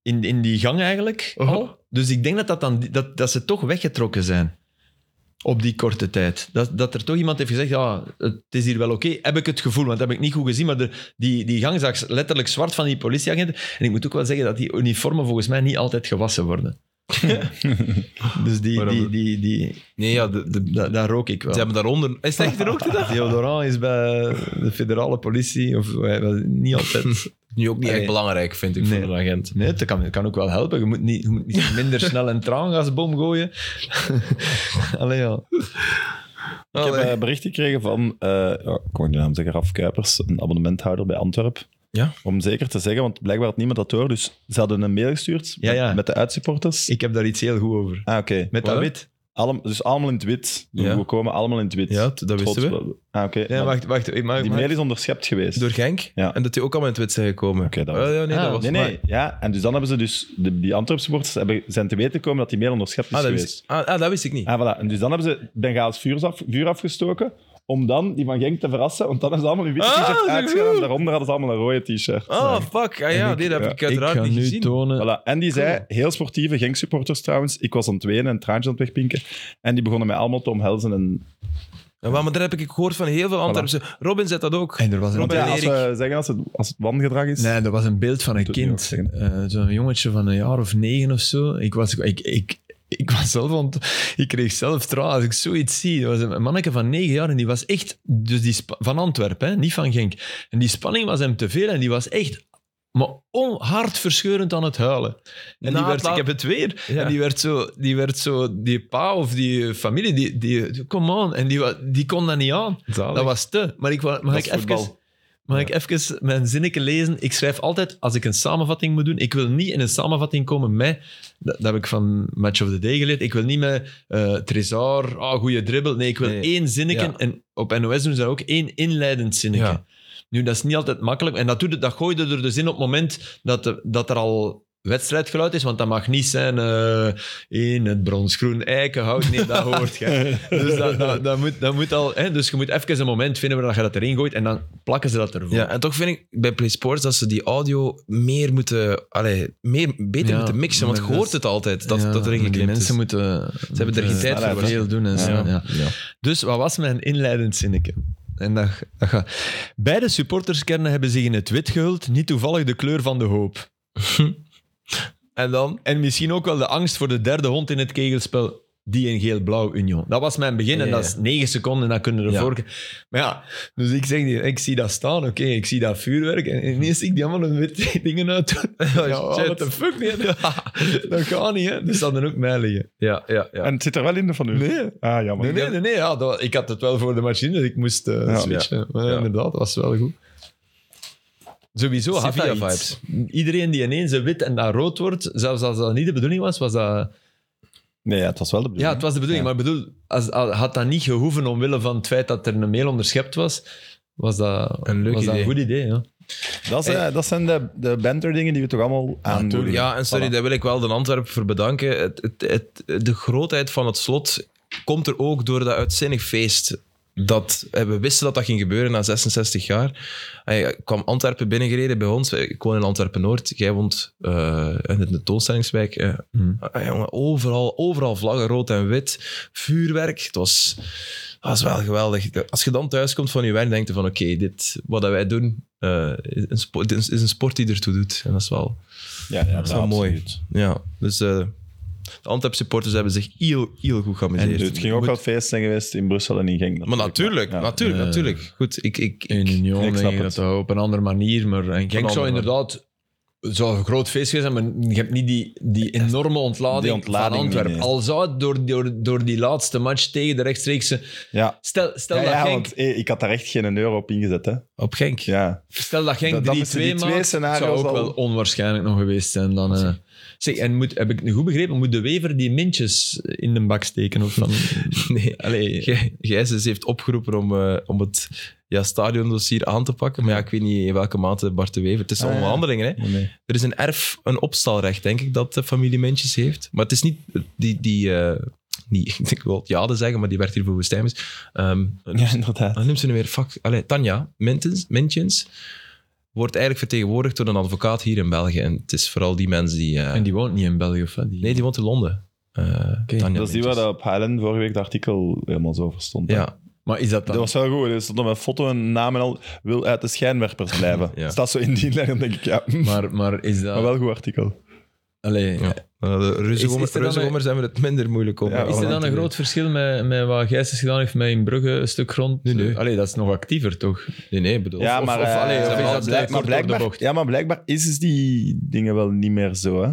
[SPEAKER 3] in, in die gang eigenlijk. Al. Dus ik denk dat, dat, dan, dat, dat ze toch weggetrokken zijn op die korte tijd. Dat, dat er toch iemand heeft gezegd, ja, het is hier wel oké. Heb ik het gevoel, want dat heb ik niet goed gezien. Maar er- die, die gang zag letterlijk zwart van die politieagenten. En ik moet ook wel zeggen dat die uniformen volgens mij niet altijd gewassen
[SPEAKER 1] [LAUGHS]
[SPEAKER 3] worden. dus die,
[SPEAKER 1] Waarom?
[SPEAKER 3] die, die, die,
[SPEAKER 1] Nee, ja, de, de,
[SPEAKER 3] da- daar rook ik wel.
[SPEAKER 1] ze hebben daaronder... Is het echt er ook te dag?
[SPEAKER 3] Deodorant is bij de federale politie of eh, wel, niet
[SPEAKER 1] [LAUGHS]
[SPEAKER 3] altijd.
[SPEAKER 1] Nu ook niet echt
[SPEAKER 3] Nee.
[SPEAKER 1] belangrijk, vind ik,
[SPEAKER 3] Nee.
[SPEAKER 1] voor een agent.
[SPEAKER 3] Nee, dat kan, dat kan ook wel helpen. Je moet niet, je moet
[SPEAKER 1] [LAUGHS]
[SPEAKER 3] niet minder snel een traangasbom gooien. [LAUGHS] Allee, ja.
[SPEAKER 2] zeggen.
[SPEAKER 3] Oh,
[SPEAKER 2] Ik heb eh, bericht gekregen van, eh, ja, ik kon de naam zeggen, Raf Kuipers, een abonnementhouder bij Antwerp.
[SPEAKER 1] Ja.
[SPEAKER 2] Om zeker te zeggen, want blijkbaar had niemand dat door. Dus ze hadden een mail gestuurd
[SPEAKER 3] Ja,
[SPEAKER 2] met-
[SPEAKER 3] ja.
[SPEAKER 2] met de uitsupporters.
[SPEAKER 3] Ik heb daar iets heel goed over.
[SPEAKER 2] Ah, oké.
[SPEAKER 3] Met dat
[SPEAKER 1] Wat?
[SPEAKER 3] wit.
[SPEAKER 2] Allem- dus allemaal in het wit. We-
[SPEAKER 1] Ja.
[SPEAKER 2] We komen allemaal in het wit.
[SPEAKER 1] Ja, dat
[SPEAKER 2] Trots
[SPEAKER 1] wisten we.
[SPEAKER 2] wel. Ah, oké.
[SPEAKER 3] Nee,
[SPEAKER 2] Maar
[SPEAKER 3] wacht, wacht. Ik mag,
[SPEAKER 2] Die
[SPEAKER 3] mag-
[SPEAKER 2] mail is onderschept geweest.
[SPEAKER 1] Door Genk.
[SPEAKER 2] Ja.
[SPEAKER 1] En dat die ook allemaal in het wit zijn gekomen.
[SPEAKER 2] Oké, dat was-
[SPEAKER 1] Oh, ja, nee,
[SPEAKER 3] Ah,
[SPEAKER 1] dat was...
[SPEAKER 2] Nee, nee. Ja, en dus dan hebben ze dus... De, die Antwerp supporters hebben, zijn te weten gekomen dat die mail onderschept is
[SPEAKER 1] Ah, dat
[SPEAKER 2] geweest.
[SPEAKER 1] wist, ah, ah, dat wist ik niet.
[SPEAKER 2] Ah, voilà. En dus dan hebben ze Bengaals vuur, af, vuur afgestoken om dan die van Genk te verrassen. Want dan hebben ze allemaal een witte
[SPEAKER 1] Ah,
[SPEAKER 2] t-shirt
[SPEAKER 1] dat is
[SPEAKER 2] uitgedaan.
[SPEAKER 1] goed.
[SPEAKER 2] En daaronder hadden ze allemaal een rode t-shirt.
[SPEAKER 1] Oh, fuck. Ah, ja, nee, dat heb ik
[SPEAKER 3] ik
[SPEAKER 1] uiteraard
[SPEAKER 3] ga
[SPEAKER 1] niet
[SPEAKER 3] nu
[SPEAKER 1] gezien.
[SPEAKER 3] tonen.
[SPEAKER 2] Voilà. En die zei, heel sportieve Genk-supporters trouwens, ik was aan het wenen en traantjes aan het wegpinken. En die begonnen mij allemaal te omhelzen. En,
[SPEAKER 1] Ja, maar daar heb ik gehoord van heel veel Antwerpse... Robin zet dat ook.
[SPEAKER 3] En er was een,
[SPEAKER 1] Robin
[SPEAKER 2] ja,
[SPEAKER 1] en
[SPEAKER 2] als
[SPEAKER 1] Erik.
[SPEAKER 2] we zeggen, als het, als het wangedrag is...
[SPEAKER 3] nee, er was een beeld van een
[SPEAKER 2] Doet niet
[SPEAKER 3] kind.
[SPEAKER 2] ook
[SPEAKER 3] Eh, Zo'n jongetje van een jaar of negen of zo. Ik was, ik, ik, ik was zelf... ont- Ik kreeg zelf tranen als ik zoiets zie. Dat was een manneke van negen jaar en die was echt... Dus die spa- van Antwerpen, hè, niet van Genk. En die spanning was hem te veel en die was echt... Maar on- hartverscheurend aan het huilen. En die
[SPEAKER 1] Na
[SPEAKER 3] werd,
[SPEAKER 1] het
[SPEAKER 3] ik heb het weer.
[SPEAKER 1] Ja.
[SPEAKER 3] En die werd, zo, die werd zo, die pa of die eh, familie, die, die, come on. En die, wa- die kon dat niet aan.
[SPEAKER 1] Zalig.
[SPEAKER 3] Dat was te. Maar ik, wa- mag
[SPEAKER 2] Dat is
[SPEAKER 3] ik even.
[SPEAKER 2] voetbal.
[SPEAKER 3] Mag ik even mijn zinnetje lezen? Ik schrijf altijd, als ik een samenvatting moet doen, ik wil niet in een samenvatting komen met, dat, dat heb ik van Match of the Day geleerd, ik wil niet met eh Trezor, ah goede dribbel. Nee, ik wil
[SPEAKER 1] Nee.
[SPEAKER 3] één zinnetje.
[SPEAKER 1] Ja.
[SPEAKER 3] En op NOS doen ze dat ook één inleidend zinnetje.
[SPEAKER 1] Ja.
[SPEAKER 3] Nu, dat is niet altijd makkelijk. En dat, doet, het- dat gooi je er dus in op het moment dat, de- dat er al wedstrijdgeluid is, want dat mag niet zijn eh, in het bronsgroen eikenhout. Nee, dat hoort je. Dus, dat, dat, dat moet, dat moet al, hè? dus je moet even een moment vinden waar je dat erin gooit en dan plakken ze dat ervoor.
[SPEAKER 1] Ja, en toch vind ik bij Play Sports dat ze die audio meer moeten, allee, meer, beter
[SPEAKER 3] Ja,
[SPEAKER 1] moeten mixen. Want je
[SPEAKER 3] maar
[SPEAKER 1] hoort
[SPEAKER 3] dat-
[SPEAKER 1] het altijd dat,
[SPEAKER 3] Ja,
[SPEAKER 1] dat erin
[SPEAKER 3] maar die
[SPEAKER 1] geknipt
[SPEAKER 3] mensen
[SPEAKER 1] is.
[SPEAKER 3] moeten... Ze
[SPEAKER 1] hebben er geen tijd voor,
[SPEAKER 3] Veel doen en zo,
[SPEAKER 2] Ja.
[SPEAKER 3] ja. Dus wat was mijn inleidend zinnetje? En dat, dat gaat. Beide supporterskernen hebben zich in het wit gehuld, niet toevallig de kleur van de hoop.
[SPEAKER 1] [LAUGHS] En dan?
[SPEAKER 3] En misschien ook wel de angst voor de derde hond in het kegelspel, die in geel-blauw Union. Dat was mijn begin en
[SPEAKER 1] Ja,
[SPEAKER 3] dat
[SPEAKER 1] ja.
[SPEAKER 3] is negen seconden en dan kunnen we
[SPEAKER 1] Ja.
[SPEAKER 3] ervoor... Maar ja, dus ik zeg, die- ik zie dat staan, oké, ik zie dat vuurwerk en ineens zie ik die allemaal hun witte [LAUGHS] dingen uit doen. Ja,
[SPEAKER 1] shit.
[SPEAKER 3] what the fuck, nee, dat, dat gaat niet, hè. Dus dat dan ook mij liggen.
[SPEAKER 1] Ja, ja, ja.
[SPEAKER 2] En het zit er wel in de van u?
[SPEAKER 3] Nee.
[SPEAKER 2] Ah, jammer.
[SPEAKER 3] Nee, nee, nee. nee, ja, dat- ik had het wel voor de machine, dus ik moest eh,
[SPEAKER 2] Ja.
[SPEAKER 3] switchen. Maar ja,
[SPEAKER 1] Ja.
[SPEAKER 3] inderdaad, dat was wel goed. Sowieso had
[SPEAKER 1] Sevilla
[SPEAKER 3] dat iets. Iedereen die ineens een wit en dan rood wordt, zelfs als dat niet de bedoeling was, was dat...
[SPEAKER 2] Nee, ja, het was wel de
[SPEAKER 3] Ja,
[SPEAKER 2] bedoeling.
[SPEAKER 3] het was de bedoeling, maar ik bedoel, als, al- had dat niet gehoeven omwille van het feit dat er een mail onderschept was, was dat
[SPEAKER 1] Een leuk
[SPEAKER 3] was dat
[SPEAKER 1] idee.
[SPEAKER 3] een goed idee, ja.
[SPEAKER 2] Dat, is, eh, dat zijn de, de banter-dingen die we toch allemaal aandoen.
[SPEAKER 1] Ja, en sorry, daar wil ik wel de Antwerpen voor bedanken. Het, het, het- de grootheid van het slot komt er ook door dat uitzinnig feest. Dat, eh, we wisten dat dat ging gebeuren na 66 jaar. Hij eh, kwam Antwerpen binnengereden bij ons. Ik woon in Antwerpen-Noord. Jij woont eh, in de tentoonstellingswijk. eh. Ah, jongen, overal, overal vlaggen, rood en wit. Vuurwerk. Het was, het was wel geweldig. Als je dan thuiskomt van je werk, denk je van oké, dit wat dat wij doen, eh, is, een sport, is is een sport die ertoe doet. En dat is wel...
[SPEAKER 2] Ja, ja,
[SPEAKER 1] Dat is wel mooi. Ja, dus eh, de Antwerp-supporters hebben zich heel, heel goed
[SPEAKER 2] En
[SPEAKER 1] geamuseerd.
[SPEAKER 2] het ging ook
[SPEAKER 1] Moet-
[SPEAKER 2] wel feest zijn geweest in Brussel en in Genk.
[SPEAKER 1] Maar natuurlijk,
[SPEAKER 2] Ja.
[SPEAKER 1] natuurlijk,
[SPEAKER 3] Ja.
[SPEAKER 1] natuurlijk. Goed, ik... ik, ik-
[SPEAKER 3] Union,
[SPEAKER 2] ik snap
[SPEAKER 3] denk ik
[SPEAKER 2] het.
[SPEAKER 3] dat dat op een andere manier, maar en Genk zou
[SPEAKER 1] andere
[SPEAKER 3] inderdaad... Het zou een groot feest geweest zijn, maar je hebt niet die, die enorme ontlading,
[SPEAKER 2] Die ontlading
[SPEAKER 3] van
[SPEAKER 2] niet,
[SPEAKER 3] Antwerpen.
[SPEAKER 2] nee.
[SPEAKER 3] Al zou het door, door, door die laatste match tegen de rechtstreekse...
[SPEAKER 2] Ja.
[SPEAKER 3] Stel, stel
[SPEAKER 2] Ja, ja,
[SPEAKER 3] dat Genk,
[SPEAKER 2] want eh, ik had daar echt geen euro op ingezet. Hè.
[SPEAKER 1] op Genk.
[SPEAKER 2] Ja.
[SPEAKER 3] stel dat Genk 3-2
[SPEAKER 2] Dat- dan moesten die twee
[SPEAKER 3] maakt,
[SPEAKER 2] scenario's
[SPEAKER 3] zou ook
[SPEAKER 2] al-
[SPEAKER 3] wel onwaarschijnlijk nog geweest zijn. Dan, eh. Zeg, en moet, heb ik het goed begrepen, moet de Wever die mintjes in de bak steken? Of
[SPEAKER 2] [LAUGHS]
[SPEAKER 3] van,
[SPEAKER 1] [LAUGHS] Nee.
[SPEAKER 3] allee,
[SPEAKER 1] Gij- Gijsens heeft opgeroepen om, eh, om het ja, stadiondossier aan te pakken. Maar ja, ik weet niet in welke mate Bart de Wever... Het is
[SPEAKER 2] Ah, ja.
[SPEAKER 1] onderhandelingen, hè.
[SPEAKER 2] Nee.
[SPEAKER 1] Er is een erf, een opstalrecht, denk ik, dat de familie Mintjes heeft. Maar het is niet die... die eh, die, [LAUGHS] ik wil het jade zeggen, maar die werkt hier voor Woestijnvis. Ehm
[SPEAKER 2] [LAUGHS] Ja, inderdaad.
[SPEAKER 1] Dan noemt ze nu weer, fuck, allee, Tanja Mintens, Mintjens, wordt eigenlijk vertegenwoordigd door een advocaat hier in België. En het is vooral die mensen die... eh,
[SPEAKER 3] en die woont niet in België, of wat? Die-
[SPEAKER 1] Nee, die woont in Londen. Eh, Tanja
[SPEAKER 2] dat is die waar
[SPEAKER 1] Mintjes.
[SPEAKER 2] dat op Highland vorige week de artikel helemaal zo over stond. hè.
[SPEAKER 1] Ja,
[SPEAKER 3] Maar is dat
[SPEAKER 2] Dat
[SPEAKER 3] dan...
[SPEAKER 2] was wel goed. Er stond op mijn foto en naam en al. Wil uit de schijnwerpers
[SPEAKER 1] [LAUGHS]
[SPEAKER 2] blijven.
[SPEAKER 1] Ja.
[SPEAKER 2] Staat zo in die lijn, dan denk ik. Ja, maar,
[SPEAKER 3] Maar, maar is dat...
[SPEAKER 2] wel een goed artikel.
[SPEAKER 3] allee,
[SPEAKER 1] ja. Eh, de
[SPEAKER 3] Is- is er dan
[SPEAKER 1] Reuzegommers hebben het minder moeilijk om.
[SPEAKER 2] Ja,
[SPEAKER 1] eh,
[SPEAKER 3] Is er
[SPEAKER 1] om
[SPEAKER 3] dan
[SPEAKER 1] te
[SPEAKER 3] een
[SPEAKER 1] doen.
[SPEAKER 3] groot verschil met, met wat Gijsens gedaan heeft met in Brugge een stuk grond? Eh,
[SPEAKER 1] Nee, nee.
[SPEAKER 3] Allee, dat is nog actiever, toch?
[SPEAKER 1] Nee, nee, bedoel...
[SPEAKER 2] ja,
[SPEAKER 1] of-
[SPEAKER 2] maar,
[SPEAKER 1] of- allee,
[SPEAKER 2] eh,
[SPEAKER 3] of
[SPEAKER 2] maar
[SPEAKER 1] ze hebben
[SPEAKER 3] is
[SPEAKER 1] al-
[SPEAKER 3] dat
[SPEAKER 2] blijk- maar
[SPEAKER 3] kort door de
[SPEAKER 2] blijkbaar,
[SPEAKER 3] bocht?
[SPEAKER 2] ja, maar blijkbaar is dus die dingen wel niet meer zo. Hè?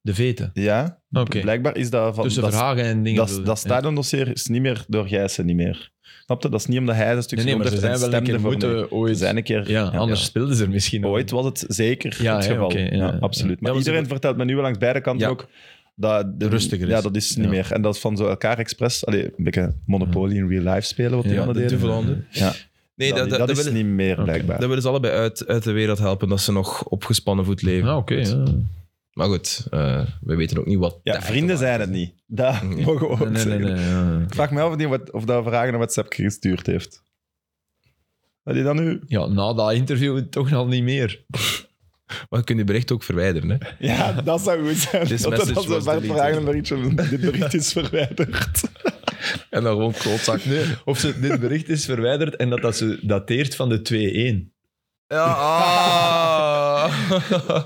[SPEAKER 3] De veten.
[SPEAKER 2] Ja,
[SPEAKER 3] Oké.
[SPEAKER 2] blijkbaar is dat van.
[SPEAKER 3] Tussen
[SPEAKER 2] dat,
[SPEAKER 3] Verhagen en dingen.
[SPEAKER 2] dat,
[SPEAKER 3] bedoel
[SPEAKER 2] dat,
[SPEAKER 3] je? Ja.
[SPEAKER 2] stadiondossier is niet meer door Gijssen, niet meer. Snap je? Dat is niet omdat hij een stuk
[SPEAKER 3] Nee, nee, maar ze
[SPEAKER 2] grond
[SPEAKER 3] zijn
[SPEAKER 2] heeft
[SPEAKER 3] wel
[SPEAKER 2] en
[SPEAKER 3] een keer
[SPEAKER 2] stemde voor
[SPEAKER 3] moeten
[SPEAKER 2] nee.
[SPEAKER 3] ooit...
[SPEAKER 2] Ze zijn een keer.
[SPEAKER 3] Ja, anders
[SPEAKER 2] ja.
[SPEAKER 3] speelden ze er misschien
[SPEAKER 2] Ooit was het zeker
[SPEAKER 3] Ja,
[SPEAKER 2] het
[SPEAKER 3] hè,
[SPEAKER 2] geval.
[SPEAKER 3] oké, ja,
[SPEAKER 2] ja,
[SPEAKER 3] ja.
[SPEAKER 2] absoluut. Maar
[SPEAKER 1] maar ze-
[SPEAKER 2] iedereen vertelt me nu wel langs beide kanten
[SPEAKER 1] Ja.
[SPEAKER 2] ook dat de,
[SPEAKER 3] Rustiger is.
[SPEAKER 2] Ja, dat is niet
[SPEAKER 3] Ja.
[SPEAKER 2] meer. En dat is van zo elkaar expres. Allee, een beetje Monopoly in real life spelen, wat die
[SPEAKER 3] Ja,
[SPEAKER 2] anderen
[SPEAKER 1] de
[SPEAKER 2] deden.
[SPEAKER 1] Duvelanden.
[SPEAKER 2] Ja.
[SPEAKER 1] Nee, dat, dat, dat
[SPEAKER 2] is
[SPEAKER 1] willen,
[SPEAKER 2] niet meer blijkbaar.
[SPEAKER 1] dat willen ze allebei uit, uit de wereld helpen, dat ze nog op gespannen voet leven.
[SPEAKER 3] Ah, oké.
[SPEAKER 1] Goed.
[SPEAKER 3] ja.
[SPEAKER 1] Maar goed, eh, we weten ook niet wat...
[SPEAKER 2] Ja,
[SPEAKER 1] de echte
[SPEAKER 2] vrienden
[SPEAKER 1] waarde
[SPEAKER 2] zijn het
[SPEAKER 1] is.
[SPEAKER 2] niet. Dat
[SPEAKER 1] Nee.
[SPEAKER 2] mogen we ook
[SPEAKER 3] Nee, nee, nee.
[SPEAKER 2] zeggen.
[SPEAKER 3] nee, ja.
[SPEAKER 2] Ik vraag me af of, die wat, of dat vragen naar WhatsApp gestuurd heeft. Wat hij dan nu?
[SPEAKER 3] Ja, na dat interview toch al niet meer.
[SPEAKER 1] Maar je kunt je bericht ook verwijderen, hè.
[SPEAKER 2] Ja, dat zou goed zijn.
[SPEAKER 1] This
[SPEAKER 2] dat
[SPEAKER 1] message
[SPEAKER 2] dat zo
[SPEAKER 1] was
[SPEAKER 2] Bart
[SPEAKER 1] deleted.
[SPEAKER 2] vragen naar iets [LAUGHS] van dit bericht is verwijderd.
[SPEAKER 1] En dan gewoon klootzak.
[SPEAKER 3] Of ze, dit bericht is verwijderd en dat dat ze dateert van de 2-1.
[SPEAKER 1] [LAUGHS] Ja, ah.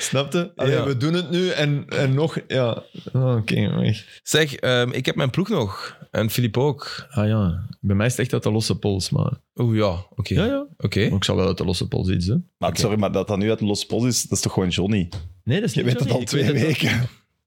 [SPEAKER 3] Snapte?
[SPEAKER 1] Ja.
[SPEAKER 3] We doen het nu en, en nog... Ja. Ah, Oké, maar-
[SPEAKER 1] Zeg, ehm, ik heb mijn ploeg nog. En Filip ook.
[SPEAKER 3] Ah ja, bij mij is het echt uit de losse pols, maar...
[SPEAKER 1] Oeh, ja. Oké.
[SPEAKER 3] Ja, ja.
[SPEAKER 1] Oké.
[SPEAKER 3] Maar Ik zou wel uit de losse pols iets doen.
[SPEAKER 2] Maar sorry, maar dat dat nu uit Los Pos is, dat is toch gewoon Johnny?
[SPEAKER 3] Nee, dat is
[SPEAKER 2] Je weet dat al twee weken.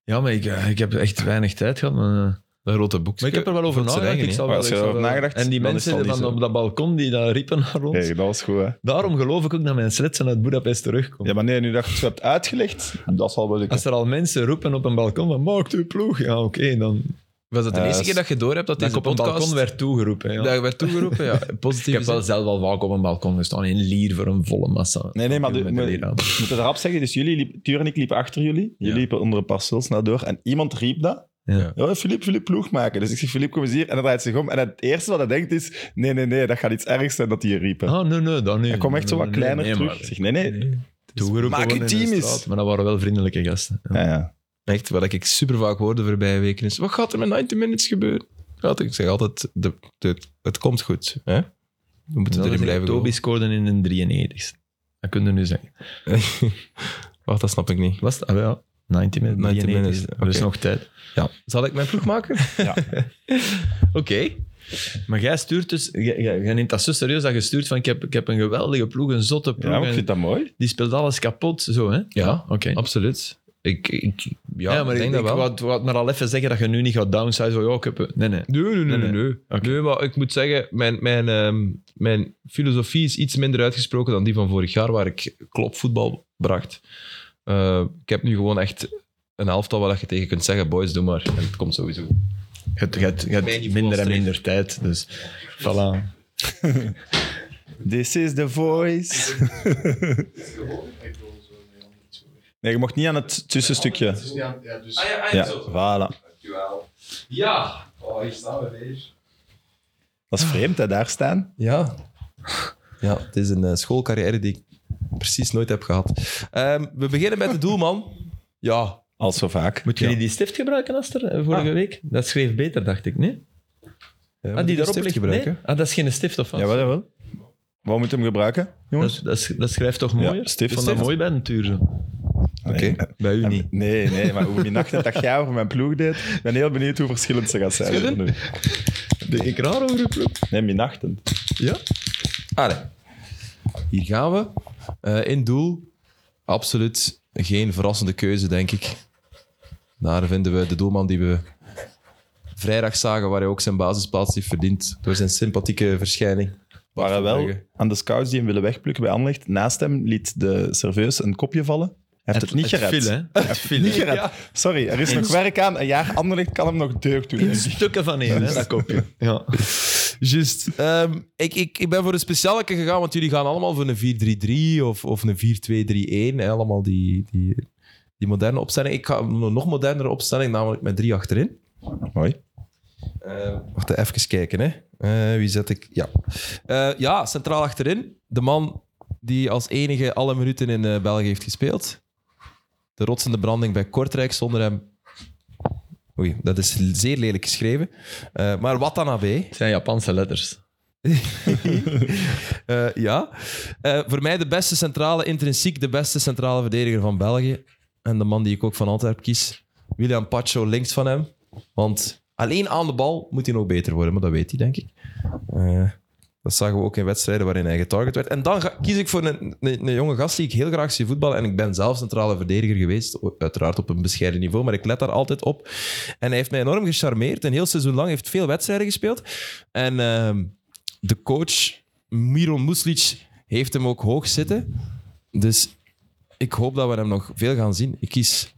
[SPEAKER 3] Ja, maar ik, eh, ik heb echt weinig tijd gehad. Maar, eh,
[SPEAKER 1] Dat grote boek.
[SPEAKER 3] Maar ik heb er wel over
[SPEAKER 1] Voor zijn eigen,
[SPEAKER 3] nagedacht. Ik
[SPEAKER 1] hè.
[SPEAKER 3] zal
[SPEAKER 2] Maar
[SPEAKER 3] wel,
[SPEAKER 2] als
[SPEAKER 3] eh, ik
[SPEAKER 2] je
[SPEAKER 3] zal
[SPEAKER 2] erover
[SPEAKER 3] wel-
[SPEAKER 2] nagedacht,
[SPEAKER 3] En die
[SPEAKER 2] dan is
[SPEAKER 3] mensen
[SPEAKER 2] het al
[SPEAKER 3] die
[SPEAKER 2] niet
[SPEAKER 3] van
[SPEAKER 2] zo.
[SPEAKER 3] op dat balkon die daar riepen naar ons.
[SPEAKER 2] Hey, dat was goed, hè.
[SPEAKER 3] Daarom geloof ik ook dat mijn sletsen uit Budapest terugkomt.
[SPEAKER 2] Ja, maar nee, nu dat je het zo hebt uitgelegd, dat zal wel lukken.
[SPEAKER 3] Als er al mensen roepen op een balkon van maakt uw ploeg. Ja, oké, dan...
[SPEAKER 1] Was dat de
[SPEAKER 2] Eh,
[SPEAKER 1] eerste keer dat je door hebt dat
[SPEAKER 3] Dat ik
[SPEAKER 1] deze
[SPEAKER 3] op een
[SPEAKER 1] podcast...
[SPEAKER 3] balkon werd toegeroepen. Ja.
[SPEAKER 1] Dat werd toegeroepen,
[SPEAKER 3] [LAUGHS]
[SPEAKER 1] ja. Positief.
[SPEAKER 3] Ik heb wel zelf al vaak op een balkon gestaan in Lier voor een volle massa.
[SPEAKER 2] Nee, nee, maar de-
[SPEAKER 3] Met
[SPEAKER 2] maar-
[SPEAKER 3] Lier aan.
[SPEAKER 2] Ik moet het erop zeggen, dus jullie, liep, Tuur en ik liepen achter jullie. Jullie
[SPEAKER 3] Ja.
[SPEAKER 2] liepen onder een paar stils naar door en iemand riep dat.
[SPEAKER 3] Ja.
[SPEAKER 2] Ja, Filip, Filip, ploeg maken. Dus ik zeg, Filip, kom eens hier. En hij draait zich om. En het eerste wat hij denkt is, nee, nee, nee, dat gaat iets ergs zijn dat die hier riepen.
[SPEAKER 3] Ah, nee, nee, dan nu.
[SPEAKER 2] hij kwam echt zo wat kleiner terug. Ik
[SPEAKER 3] Maar,
[SPEAKER 2] zeg, nee, nee.
[SPEAKER 3] toegeroepen
[SPEAKER 2] Maak
[SPEAKER 3] gewoon
[SPEAKER 2] uw
[SPEAKER 3] in de
[SPEAKER 2] team eens.
[SPEAKER 3] straat, Maar dat waren wel vriendelijke gasten. Ja.
[SPEAKER 2] Ja, ja.
[SPEAKER 1] Echt, wat ik super vaak hoorde de voorbije weken is: wat gaat er met 90 minutes gebeuren? Gaat er- ik zeg altijd: de, de, het komt goed. Hè? We moeten
[SPEAKER 3] Dat
[SPEAKER 1] erin
[SPEAKER 3] is-
[SPEAKER 1] blijven
[SPEAKER 3] Toby scoorde in een 93ste. Dat kun je nu zeggen.
[SPEAKER 1] geloven. [LAUGHS] Wacht, dat snap ik niet.
[SPEAKER 3] Was het? Ah, ja. 90 minuten.
[SPEAKER 1] 90
[SPEAKER 3] 93ste.
[SPEAKER 1] minuten,
[SPEAKER 3] Er is
[SPEAKER 1] oké.
[SPEAKER 3] Dus nog tijd.
[SPEAKER 1] Ja. Zal ik mijn ploeg maken?
[SPEAKER 3] Oké. Maar jij stuurt dus... Jij, jij, jij neemt dat zo serieus dat je stuurt van ik heb, ik heb een geweldige ploeg, een zotte ploeg.
[SPEAKER 2] ja maar
[SPEAKER 3] en
[SPEAKER 2] ik vind dat mooi.
[SPEAKER 3] Die speelt alles kapot, zo hè?
[SPEAKER 1] Ja.
[SPEAKER 3] Oké.
[SPEAKER 1] Absoluut. Ik, ik, ja,
[SPEAKER 3] Ja, maar
[SPEAKER 1] ik denk dat wel.
[SPEAKER 3] wou, wou het maar al even zeggen dat je nu niet gaat downsize. van, Ja, ik heb... een- Nee, nee.
[SPEAKER 1] Nee, nee, nee.
[SPEAKER 3] Nee,
[SPEAKER 1] nee,
[SPEAKER 3] nee.
[SPEAKER 1] nee.
[SPEAKER 3] Oké.
[SPEAKER 1] Nee, maar ik moet zeggen, mijn, mijn, ehm, mijn filosofie is iets minder uitgesproken dan die van vorig jaar, waar ik klopvoetbal bracht. Eh, ik heb nu gewoon echt een elftal waar je tegen kunt zeggen, boys, doe maar. En het komt sowieso.
[SPEAKER 3] Je hebt, je hebt- je hebt
[SPEAKER 1] Mijn niveau
[SPEAKER 3] minder en
[SPEAKER 1] streef.
[SPEAKER 3] minder tijd, dus voilà.
[SPEAKER 1] Dus-
[SPEAKER 2] This is the voice. [LAUGHS]
[SPEAKER 4] Het is gewoon echt wel zo. nee, dan niet zo.
[SPEAKER 2] Nee, je mocht niet aan het
[SPEAKER 4] Het is
[SPEAKER 2] tussenstukje.
[SPEAKER 4] niet aan- Ja, dus.
[SPEAKER 2] Ja, voilà.
[SPEAKER 4] Dankjewel. Ja. Oh, hier staan we weer.
[SPEAKER 2] Dat is vreemd, hè, daar staan.
[SPEAKER 1] Ja. ja, het is een eh, schoolcarrière die ik precies nooit heb gehad. Ehm, we beginnen met de doelman. Ja,
[SPEAKER 2] Al zo vaak.
[SPEAKER 3] Moeten jullie die stift gebruiken, Aster, eh, vorige week? Dat schreef beter, dacht ik, nee?
[SPEAKER 1] ja
[SPEAKER 3] Ah, die daarop
[SPEAKER 1] stift
[SPEAKER 3] ligt?
[SPEAKER 1] gebruiken.
[SPEAKER 3] Nee? Ah, dat is geen stift of wat?
[SPEAKER 2] Ja, wel, jawel. Waar moet je hem gebruiken,
[SPEAKER 3] dat,
[SPEAKER 2] jongens?
[SPEAKER 3] is- dat, is- dat schrijft toch mooier?
[SPEAKER 2] Ja, stift.
[SPEAKER 3] Ik vond dat
[SPEAKER 2] Stift.
[SPEAKER 3] mooi bij een tuur.
[SPEAKER 2] Nee.
[SPEAKER 1] Oké.
[SPEAKER 3] Bij u niet.
[SPEAKER 2] Nee, nee, maar hoe die nacht dat dat jij over mijn ploeg deed, ik ben heel benieuwd hoe verschillend ze gaat zijn.
[SPEAKER 1] Schudden?
[SPEAKER 3] Ben ik raar over uw ploeg?
[SPEAKER 2] Nee, mijn nachten.
[SPEAKER 3] Ja?
[SPEAKER 1] Allee. Hier gaan we. Eh, in doel. Absoluut geen verrassende keuze, denk ik. Daar vinden we de doelman die we vrijdag zagen, waar hij ook zijn basisplaats heeft verdiend. Door zijn sympathieke verschijning.
[SPEAKER 2] Waren wel aan de scouts die hem willen wegplukken bij Anderlecht. Naast hem liet de serveus een kopje vallen. Hij heeft het, niet gered.
[SPEAKER 3] viel, hè? Het viel.
[SPEAKER 2] Niet gered. Sorry, er is nog werk aan. Een jaar Anderlecht kan hem nog deugd doen.
[SPEAKER 3] In stukken van één, hè, dat kopje. Ja.
[SPEAKER 1] Juist. Ehm, ik, ik, ik ben voor een specialeke gegaan, want jullie gaan allemaal voor een 4-3-3 of, of een 4-2-3-1. hè, Allemaal die, die, die moderne opstelling. Ik ga een nog modernere opstelling, namelijk met drie achterin.
[SPEAKER 2] Mooi.
[SPEAKER 1] Eh, wacht even kijken, hè. Eh, wie zet ik? Ja. Eh, ja, centraal achterin. De man die als enige alle minuten in eh, België heeft gespeeld. De rotsende branding bij Kortrijk zonder hem. Oei, dat is zeer lelijk geschreven. Eh, maar Watanabe,
[SPEAKER 3] Het zijn Japanse letters.
[SPEAKER 1] eh, ja. Eh, voor mij de beste centrale, intrinsiek de beste centrale verdediger van België. En de man die ik ook van Antwerp kies. William Pacho links van hem. Want alleen aan de bal moet hij nog beter worden, maar dat weet hij, denk ik. Eh, dat zagen we ook in wedstrijden waarin hij getarget werd. En dan ga- kies ik voor een, een, een jonge gast die ik heel graag zie voetballen. En ik ben zelf centrale verdediger geweest. o- Uiteraard op een bescheiden niveau, maar ik let daar altijd op. En hij heeft mij enorm gecharmeerd. Een heel seizoen lang heeft veel wedstrijden gespeeld. En ehm, de coach Miron Muslic heeft hem ook hoog zitten. Dus ik hoop dat we hem nog veel gaan zien. Ik kies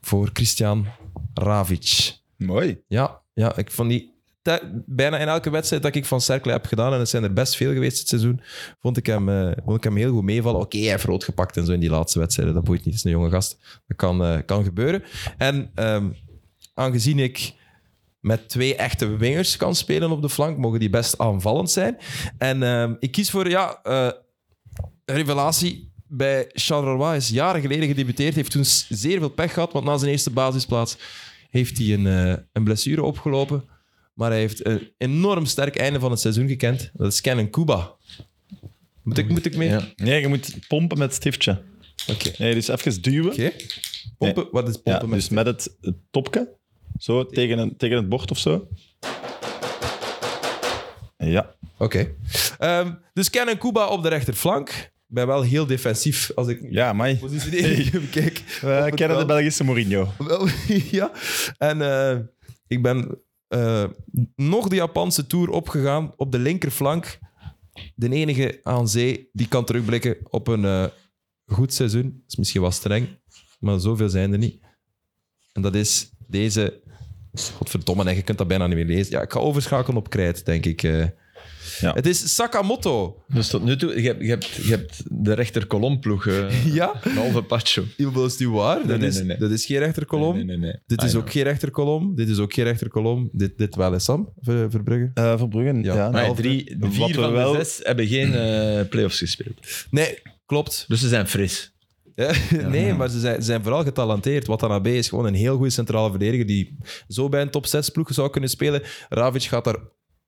[SPEAKER 1] voor Christian Ravic.
[SPEAKER 2] Mooi.
[SPEAKER 1] Ja, ja ik vond die... te- bijna in elke wedstrijd dat ik van Cercle heb gedaan, en het zijn er best veel geweest dit seizoen, vond ik hem, eh, vond ik hem heel goed meevallen. Oké, hij heeft rood gepakt en zo in die laatste wedstrijden. Dat boeit niet, het is een jonge gast. Dat kan, eh, kan gebeuren. En ehm, aangezien ik met twee echte wingers kan spelen op de flank, mogen die best aanvallend zijn. En ehm, ik kies voor, ja, eh, revelatie bij Charleroi is jaren geleden gedebuteerd. Heeft toen s- zeer veel pech gehad, want na zijn eerste basisplaats heeft hij een, eh, een blessure opgelopen. Maar hij heeft een enorm sterk einde van het seizoen gekend. Dat is Kennen Cuba. Moet ik, moet ik mee?
[SPEAKER 3] Ja.
[SPEAKER 1] Oké.
[SPEAKER 2] Nee, je moet pompen met het stiftje. Nee, dus even duwen.
[SPEAKER 1] Pompen, wat is
[SPEAKER 2] Ja,
[SPEAKER 1] pompen met
[SPEAKER 2] dus met het, het topje. Zo tegen, een, tegen het bord of zo. Ja.
[SPEAKER 1] Oké. Ehm, dus Kennen Cuba op de rechterflank. Ik ben wel heel defensief als ik
[SPEAKER 2] Ja, Eh, mij.
[SPEAKER 1] [LAUGHS] positie kijk. [LAUGHS]
[SPEAKER 2] We kennen de Belgische Mourinho.
[SPEAKER 1] Wel, ja. En eh, ik ben eh, nog de Japanse Tour opgegaan op de linkerflank. De enige aan zee die kan terugblikken op een eh, goed seizoen. Dat is misschien wat streng, maar zoveel zijn er niet. En dat is deze... Godverdomme, nee, je kunt dat bijna niet meer lezen. Ja, ik ga overschakelen op krijt, denk ik. eh.
[SPEAKER 2] Ja.
[SPEAKER 1] Het is Sakamoto.
[SPEAKER 3] Dus tot nu toe, je hebt, je hebt, je hebt de rechterkolomploeg,
[SPEAKER 1] [LAUGHS]
[SPEAKER 3] eh
[SPEAKER 1] Ja?
[SPEAKER 3] halve Pacho.
[SPEAKER 1] Dat is niet waar. dat,
[SPEAKER 3] nee,
[SPEAKER 1] is,
[SPEAKER 3] nee, nee.
[SPEAKER 1] dat is geen rechterkolom.
[SPEAKER 3] Nee, nee, nee.
[SPEAKER 1] Dit
[SPEAKER 3] Ah,
[SPEAKER 1] is
[SPEAKER 3] ja.
[SPEAKER 1] ook geen rechterkolom. Dit is ook geen rechterkolom. Dit, dit wel is Sam, Ver- Verbrugge.
[SPEAKER 2] Eh, Verbruggen,
[SPEAKER 1] Ja.
[SPEAKER 2] ja.
[SPEAKER 3] Maar ja,
[SPEAKER 2] halve-
[SPEAKER 3] drie,
[SPEAKER 2] Wat
[SPEAKER 3] vier
[SPEAKER 2] we
[SPEAKER 3] van
[SPEAKER 2] wel-
[SPEAKER 3] de zes hebben geen eh play-offs gespeeld.
[SPEAKER 1] Nee, klopt.
[SPEAKER 3] Dus ze zijn fris.
[SPEAKER 1] Ja, [LAUGHS] nee, maar ze zijn, ze zijn vooral getalenteerd. Watanabe is gewoon een heel goede centrale verdediger die zo bij een top 6 ploeg zou kunnen spelen. Ravic gaat daar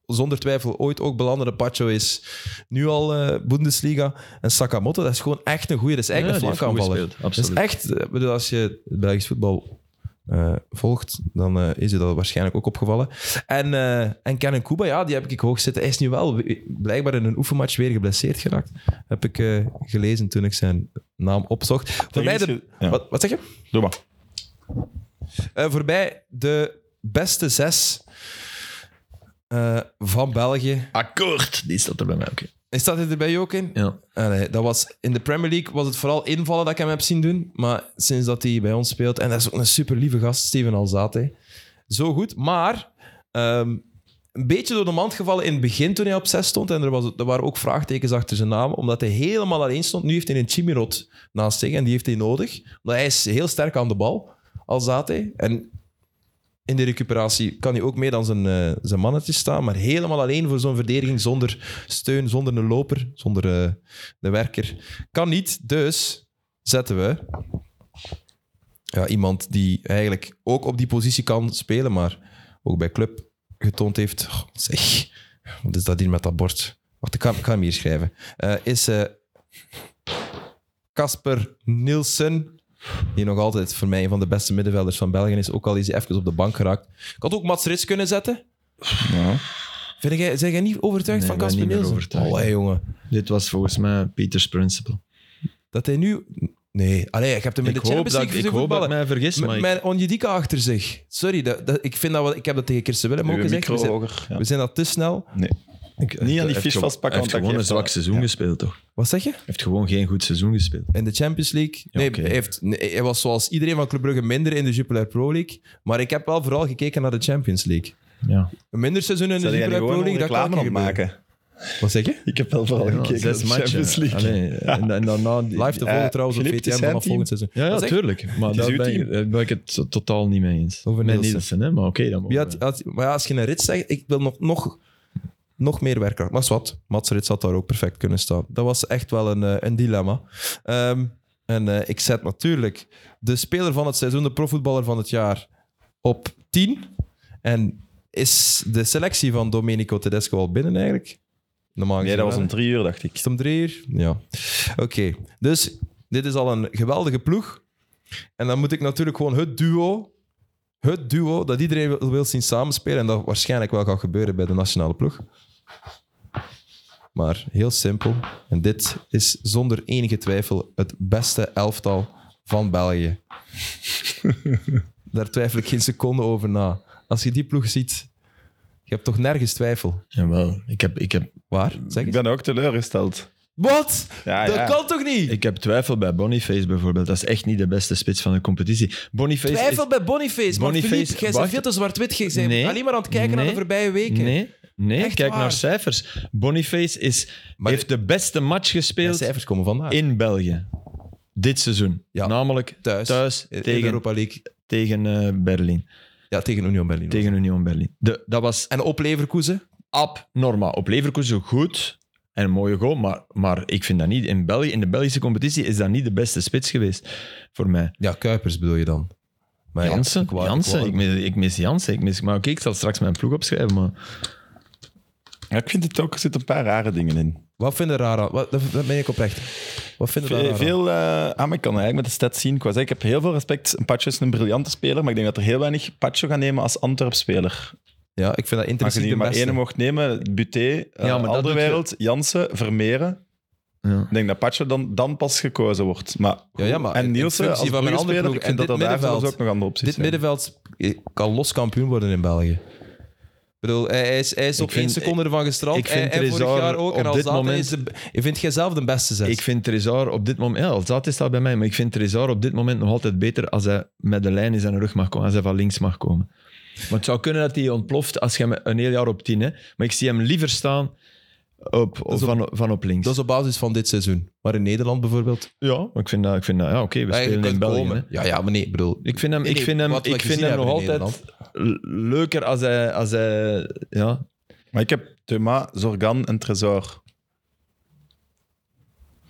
[SPEAKER 1] zonder twijfel ooit ook belanden. Pacho is nu al eh, Bundesliga. En Sakamoto, dat is gewoon echt een goede. Dat is eigenlijk
[SPEAKER 3] Ja,
[SPEAKER 1] een
[SPEAKER 3] die heeft goed
[SPEAKER 1] flankaanvaller.
[SPEAKER 3] gespeeld,
[SPEAKER 1] Dat is
[SPEAKER 3] Absoluut.
[SPEAKER 1] echt... eh, bedoel, als je het Belgisch voetbal eh, volgt, dan eh, is je dat waarschijnlijk ook opgevallen. En, eh en Kennen Kuba, ja, die heb ik hoog zitten. Hij is nu wel we- blijkbaar in een oefenmatch weer geblesseerd geraakt. Heb ik eh, gelezen toen ik zijn naam opzocht. Voor mij
[SPEAKER 2] is
[SPEAKER 1] de,
[SPEAKER 2] ge- ja.
[SPEAKER 1] wat, wat zeg je?
[SPEAKER 2] Doe maar.
[SPEAKER 1] Eh, voor mij de beste zes eh, van België.
[SPEAKER 3] Akkoord, die staat er bij mij ook in.
[SPEAKER 1] En staat hij er bij jou ook in?
[SPEAKER 3] Ja.
[SPEAKER 1] Allee, dat was, in de Premier League was het vooral invallen dat ik hem heb zien doen. Maar sinds dat hij bij ons speelt... En dat is ook een super lieve gast, Steven Alzate. Zo goed, maar... ehm, een beetje door de mand gevallen in het begin toen hij op 6 stond. En er, was, er waren ook vraagtekens achter zijn naam, omdat hij helemaal alleen stond. Nu heeft hij een Chimirot naast zich en die heeft hij nodig. Omdat hij is heel sterk aan de bal, Alzate. En in de recuperatie kan hij ook mee dan zijn, eh, zijn mannetjes staan. Maar helemaal alleen voor zo'n verdediging, zonder steun, zonder een loper, zonder eh, de werker. Kan niet, dus zetten we ja, iemand die eigenlijk ook op die positie kan spelen, maar ook bij club getoond heeft. Goh, zeg, wat is dat hier met dat bord? Wacht, ik kan, ik kan hem hier schrijven. Eh, is eh, Casper Nielsen, die nog altijd voor mij een van de beste middenvelders van België is, ook al is hij even op de bank geraakt. Ik had ook Mats Rits kunnen zetten.
[SPEAKER 2] Ja.
[SPEAKER 1] Vind jij, zijn jij niet overtuigd van
[SPEAKER 3] Nee, ik ben
[SPEAKER 1] Casper
[SPEAKER 3] niet meer
[SPEAKER 1] Nielsen?
[SPEAKER 3] overtuigd.
[SPEAKER 1] Allee, jongen.
[SPEAKER 3] Dit was volgens mij Peters Principle.
[SPEAKER 1] Dat hij nu... Nee, allee, ik heb hem in
[SPEAKER 3] Ik
[SPEAKER 1] de
[SPEAKER 3] hoop
[SPEAKER 1] Champions
[SPEAKER 3] dat ik,
[SPEAKER 1] League
[SPEAKER 3] ik,
[SPEAKER 1] gezien
[SPEAKER 3] hoop dat ik
[SPEAKER 1] voetballen.
[SPEAKER 3] mij vergis,
[SPEAKER 1] M-
[SPEAKER 3] maar ik-
[SPEAKER 1] Mijn Onjedika achter zich. Sorry, dat, dat- ik, vind dat wel, ik heb dat tegen Kirsten Willem ook
[SPEAKER 2] Uw
[SPEAKER 1] gezegd.
[SPEAKER 2] micro
[SPEAKER 1] We zijn,
[SPEAKER 2] hoger. Ja.
[SPEAKER 1] we zijn dat te snel.
[SPEAKER 2] Nee.
[SPEAKER 3] ik-
[SPEAKER 2] Niet aan die
[SPEAKER 3] hij
[SPEAKER 2] vis
[SPEAKER 3] heeft
[SPEAKER 2] vastpakken,
[SPEAKER 3] Hij heeft
[SPEAKER 2] want dat
[SPEAKER 3] gewoon een
[SPEAKER 2] geeft
[SPEAKER 3] zwak
[SPEAKER 2] wel-
[SPEAKER 3] seizoen
[SPEAKER 2] ja.
[SPEAKER 3] gespeeld, toch? Hij
[SPEAKER 1] Wat zeg je?
[SPEAKER 3] heeft gewoon geen goed seizoen gespeeld.
[SPEAKER 1] In de Champions League?
[SPEAKER 3] Ja,
[SPEAKER 1] Nee,
[SPEAKER 3] oké.
[SPEAKER 1] hij, heeft, nee, hij was zoals iedereen van Club Brugge minder in de Jupiler Pro League. Maar ik heb wel vooral gekeken naar de Champions League.
[SPEAKER 3] Ja.
[SPEAKER 1] Een minder seizoen in de
[SPEAKER 2] Zal jij nu
[SPEAKER 1] Jupiler Pro
[SPEAKER 2] gewoon een
[SPEAKER 1] League, dat kan
[SPEAKER 2] reclame
[SPEAKER 1] niet
[SPEAKER 2] op maken?
[SPEAKER 1] gebeuren. Wat zeg je?
[SPEAKER 2] Ik heb wel vooral gekeken naar
[SPEAKER 3] zes
[SPEAKER 2] de
[SPEAKER 3] matchen.
[SPEAKER 2] Champions League.
[SPEAKER 3] Allee, en, en daarna... die-
[SPEAKER 1] Live te volgen
[SPEAKER 2] Eh,
[SPEAKER 1] trouwens op
[SPEAKER 2] Filip,
[SPEAKER 1] VTM
[SPEAKER 2] het is zijn
[SPEAKER 1] vanaf
[SPEAKER 2] team.
[SPEAKER 1] volgend seizoen.
[SPEAKER 3] Ja, ja
[SPEAKER 1] Wat zeg je?
[SPEAKER 3] tuurlijk. Maar
[SPEAKER 2] Het is
[SPEAKER 3] daar
[SPEAKER 2] uw
[SPEAKER 3] ben, ik,
[SPEAKER 2] team.
[SPEAKER 3] daar ben ik het zo- totaal niet mee eens.
[SPEAKER 1] Over
[SPEAKER 3] Met
[SPEAKER 1] Nielsen.
[SPEAKER 3] Nielsen, hè? maar oké, dan mogen
[SPEAKER 1] Wie
[SPEAKER 3] we-
[SPEAKER 1] had- had- maar ja, als je een rit zegt, ik wil nog, nog, nog meer werken. Maar is wat, Mats Rits had daar ook perfect kunnen staan. Dat was echt wel een, eh, een dilemma. Ehm, en eh, ik zet natuurlijk de speler van het seizoen, de profvoetballer van het jaar, op 10. En is de selectie van Domenico Tedesco al binnen eigenlijk? Normaal
[SPEAKER 2] Nee,
[SPEAKER 1] gezien
[SPEAKER 2] dat was
[SPEAKER 1] wel,
[SPEAKER 2] om
[SPEAKER 1] hè?
[SPEAKER 2] drie uur, dacht ik.
[SPEAKER 1] Is het om drie uur? Ja. Oké, dus dit is al een geweldige ploeg. En dan moet ik natuurlijk gewoon het duo, het duo dat iedereen wil, wil zien samenspelen en dat waarschijnlijk wel gaat gebeuren bij de nationale ploeg. Maar heel simpel. En dit is zonder enige twijfel het beste elftal van België. Daar twijfel ik geen seconde over na. Als je die ploeg ziet, je hebt toch nergens twijfel.
[SPEAKER 3] Jawel, ik heb, ik, heb,
[SPEAKER 1] Waar? Zeg
[SPEAKER 2] Ik
[SPEAKER 1] eens.
[SPEAKER 2] ben ook teleurgesteld.
[SPEAKER 1] Wat?
[SPEAKER 2] Ja,
[SPEAKER 1] dat
[SPEAKER 2] ja.
[SPEAKER 1] kan toch niet?
[SPEAKER 3] ik heb twijfel bij Boniface bijvoorbeeld. Dat is echt niet de beste spits van de competitie. Boniface is-
[SPEAKER 1] Twijfel bij Boniface. Maar
[SPEAKER 3] Boniface-
[SPEAKER 1] Philippe, jij bent
[SPEAKER 3] wacht.
[SPEAKER 1] veel te zwart-wit. Jij bent
[SPEAKER 3] Nee.
[SPEAKER 1] alleen maar aan het kijken naar de
[SPEAKER 3] Nee.
[SPEAKER 1] voorbije weken.
[SPEAKER 3] Nee, nee
[SPEAKER 1] Echt
[SPEAKER 3] kijk
[SPEAKER 1] waar.
[SPEAKER 3] naar cijfers. Boniface is,
[SPEAKER 1] Maar-
[SPEAKER 3] heeft de beste match
[SPEAKER 1] De
[SPEAKER 3] gespeeld
[SPEAKER 1] cijfers komen vandaag.
[SPEAKER 3] in België. Dit seizoen.
[SPEAKER 1] Ja.
[SPEAKER 3] Namelijk
[SPEAKER 1] Thuis.
[SPEAKER 3] thuis,
[SPEAKER 1] In de
[SPEAKER 3] tegen,
[SPEAKER 1] Europa League.
[SPEAKER 3] tegen eh, Berlin.
[SPEAKER 1] Ja, tegen Union Berlin.
[SPEAKER 3] Tegen Union Berlin. De, dat was
[SPEAKER 1] En op Leverkusen.
[SPEAKER 3] abnormaal. Op Leverkusen goed en een mooie goal, maar, maar ik vind dat niet. In, België, in de Belgische competitie is dat niet de beste spits geweest voor mij.
[SPEAKER 1] Ja, Kuipers bedoel je dan. Maar ja,
[SPEAKER 3] Jansen,
[SPEAKER 1] ik wou- ik
[SPEAKER 3] Jansen.
[SPEAKER 1] wou-
[SPEAKER 3] Ik, mis, ik mis Jansen. Ik mis, maar oké, ik zal straks mijn ploeg opschrijven. Maar
[SPEAKER 2] Ja, ik vind het ook, er zitten een paar rare dingen in.
[SPEAKER 1] Wat vinden raar aan? Wat, dat, dat ben ik oprecht. Wat vinden daar
[SPEAKER 2] Veel,
[SPEAKER 1] raar aan?
[SPEAKER 2] veel eh, ah, maar ik kan eigenlijk met de stats zien. Ik, was, ik heb heel veel respect. Pacho is een briljante speler, maar ik denk dat er heel weinig Pacho gaan nemen als Antwerp-speler.
[SPEAKER 1] Ja, ik vind dat
[SPEAKER 2] Als je
[SPEAKER 1] intrinsiek
[SPEAKER 2] er
[SPEAKER 1] de
[SPEAKER 2] maar
[SPEAKER 1] beste.
[SPEAKER 2] één mocht nemen, Buté, eh,
[SPEAKER 3] Ja, maar dat
[SPEAKER 2] Alderweireld, Jansen, Vermeeren.
[SPEAKER 3] Ja.
[SPEAKER 2] Ik denk dat Pacho dan, dan pas gekozen wordt. Maar,
[SPEAKER 1] Ja, ja, maar
[SPEAKER 2] en
[SPEAKER 1] in
[SPEAKER 2] Nielsen
[SPEAKER 1] functie
[SPEAKER 2] als
[SPEAKER 1] van mijn andere
[SPEAKER 2] ploegspeler,
[SPEAKER 1] ploeg
[SPEAKER 2] ik
[SPEAKER 1] en
[SPEAKER 2] vind dat
[SPEAKER 1] dit
[SPEAKER 2] er daar zelfs
[SPEAKER 1] middenveld.
[SPEAKER 2] ook nog andere opties
[SPEAKER 1] Dit
[SPEAKER 2] zijn.
[SPEAKER 1] middenveld kan los kampioen worden in België. bedoel, hij, hij is, hij is
[SPEAKER 3] Ik
[SPEAKER 1] op één
[SPEAKER 3] vind-
[SPEAKER 1] seconde ervan gestrand.
[SPEAKER 3] ik
[SPEAKER 1] Hij-
[SPEAKER 3] vind
[SPEAKER 1] hij vorig
[SPEAKER 3] Trezor
[SPEAKER 1] jaar ook. En
[SPEAKER 3] op
[SPEAKER 1] al
[SPEAKER 3] dit
[SPEAKER 1] zaten
[SPEAKER 3] moment-
[SPEAKER 1] is de, vind jij zelf de beste zes?
[SPEAKER 3] Ik vind Trezor op dit moment... Ja, Alzate staat bij mij, maar ik vind Trezor op dit moment nog altijd beter als hij met de lijn in zijn rug mag komen, als hij van links mag komen. Maar het zou kunnen dat hij ontploft als je hem een heel jaar op tien... Hè. Maar ik zie hem liever staan op,
[SPEAKER 1] is op-
[SPEAKER 3] van, van op links.
[SPEAKER 1] Dat is op basis van dit seizoen. Maar in Nederland bijvoorbeeld.
[SPEAKER 3] Ja, maar ik vind dat... Ik vind dat ja, oké, we
[SPEAKER 1] Eigenlijk
[SPEAKER 3] spelen in
[SPEAKER 1] kunt
[SPEAKER 3] België.
[SPEAKER 1] komen.
[SPEAKER 3] hè.
[SPEAKER 1] Ja, ja, maar nee, ik bedoel.
[SPEAKER 3] Ik vind hem,
[SPEAKER 1] Nee,
[SPEAKER 3] ik
[SPEAKER 1] nee,
[SPEAKER 3] vind hem,
[SPEAKER 1] wat we
[SPEAKER 3] ik vind
[SPEAKER 1] gezien
[SPEAKER 3] hem nog
[SPEAKER 1] hebben in
[SPEAKER 3] altijd l- leuker als hij, als hij... Ja,
[SPEAKER 2] Maar ik heb Thema, Zorgan en Trezor.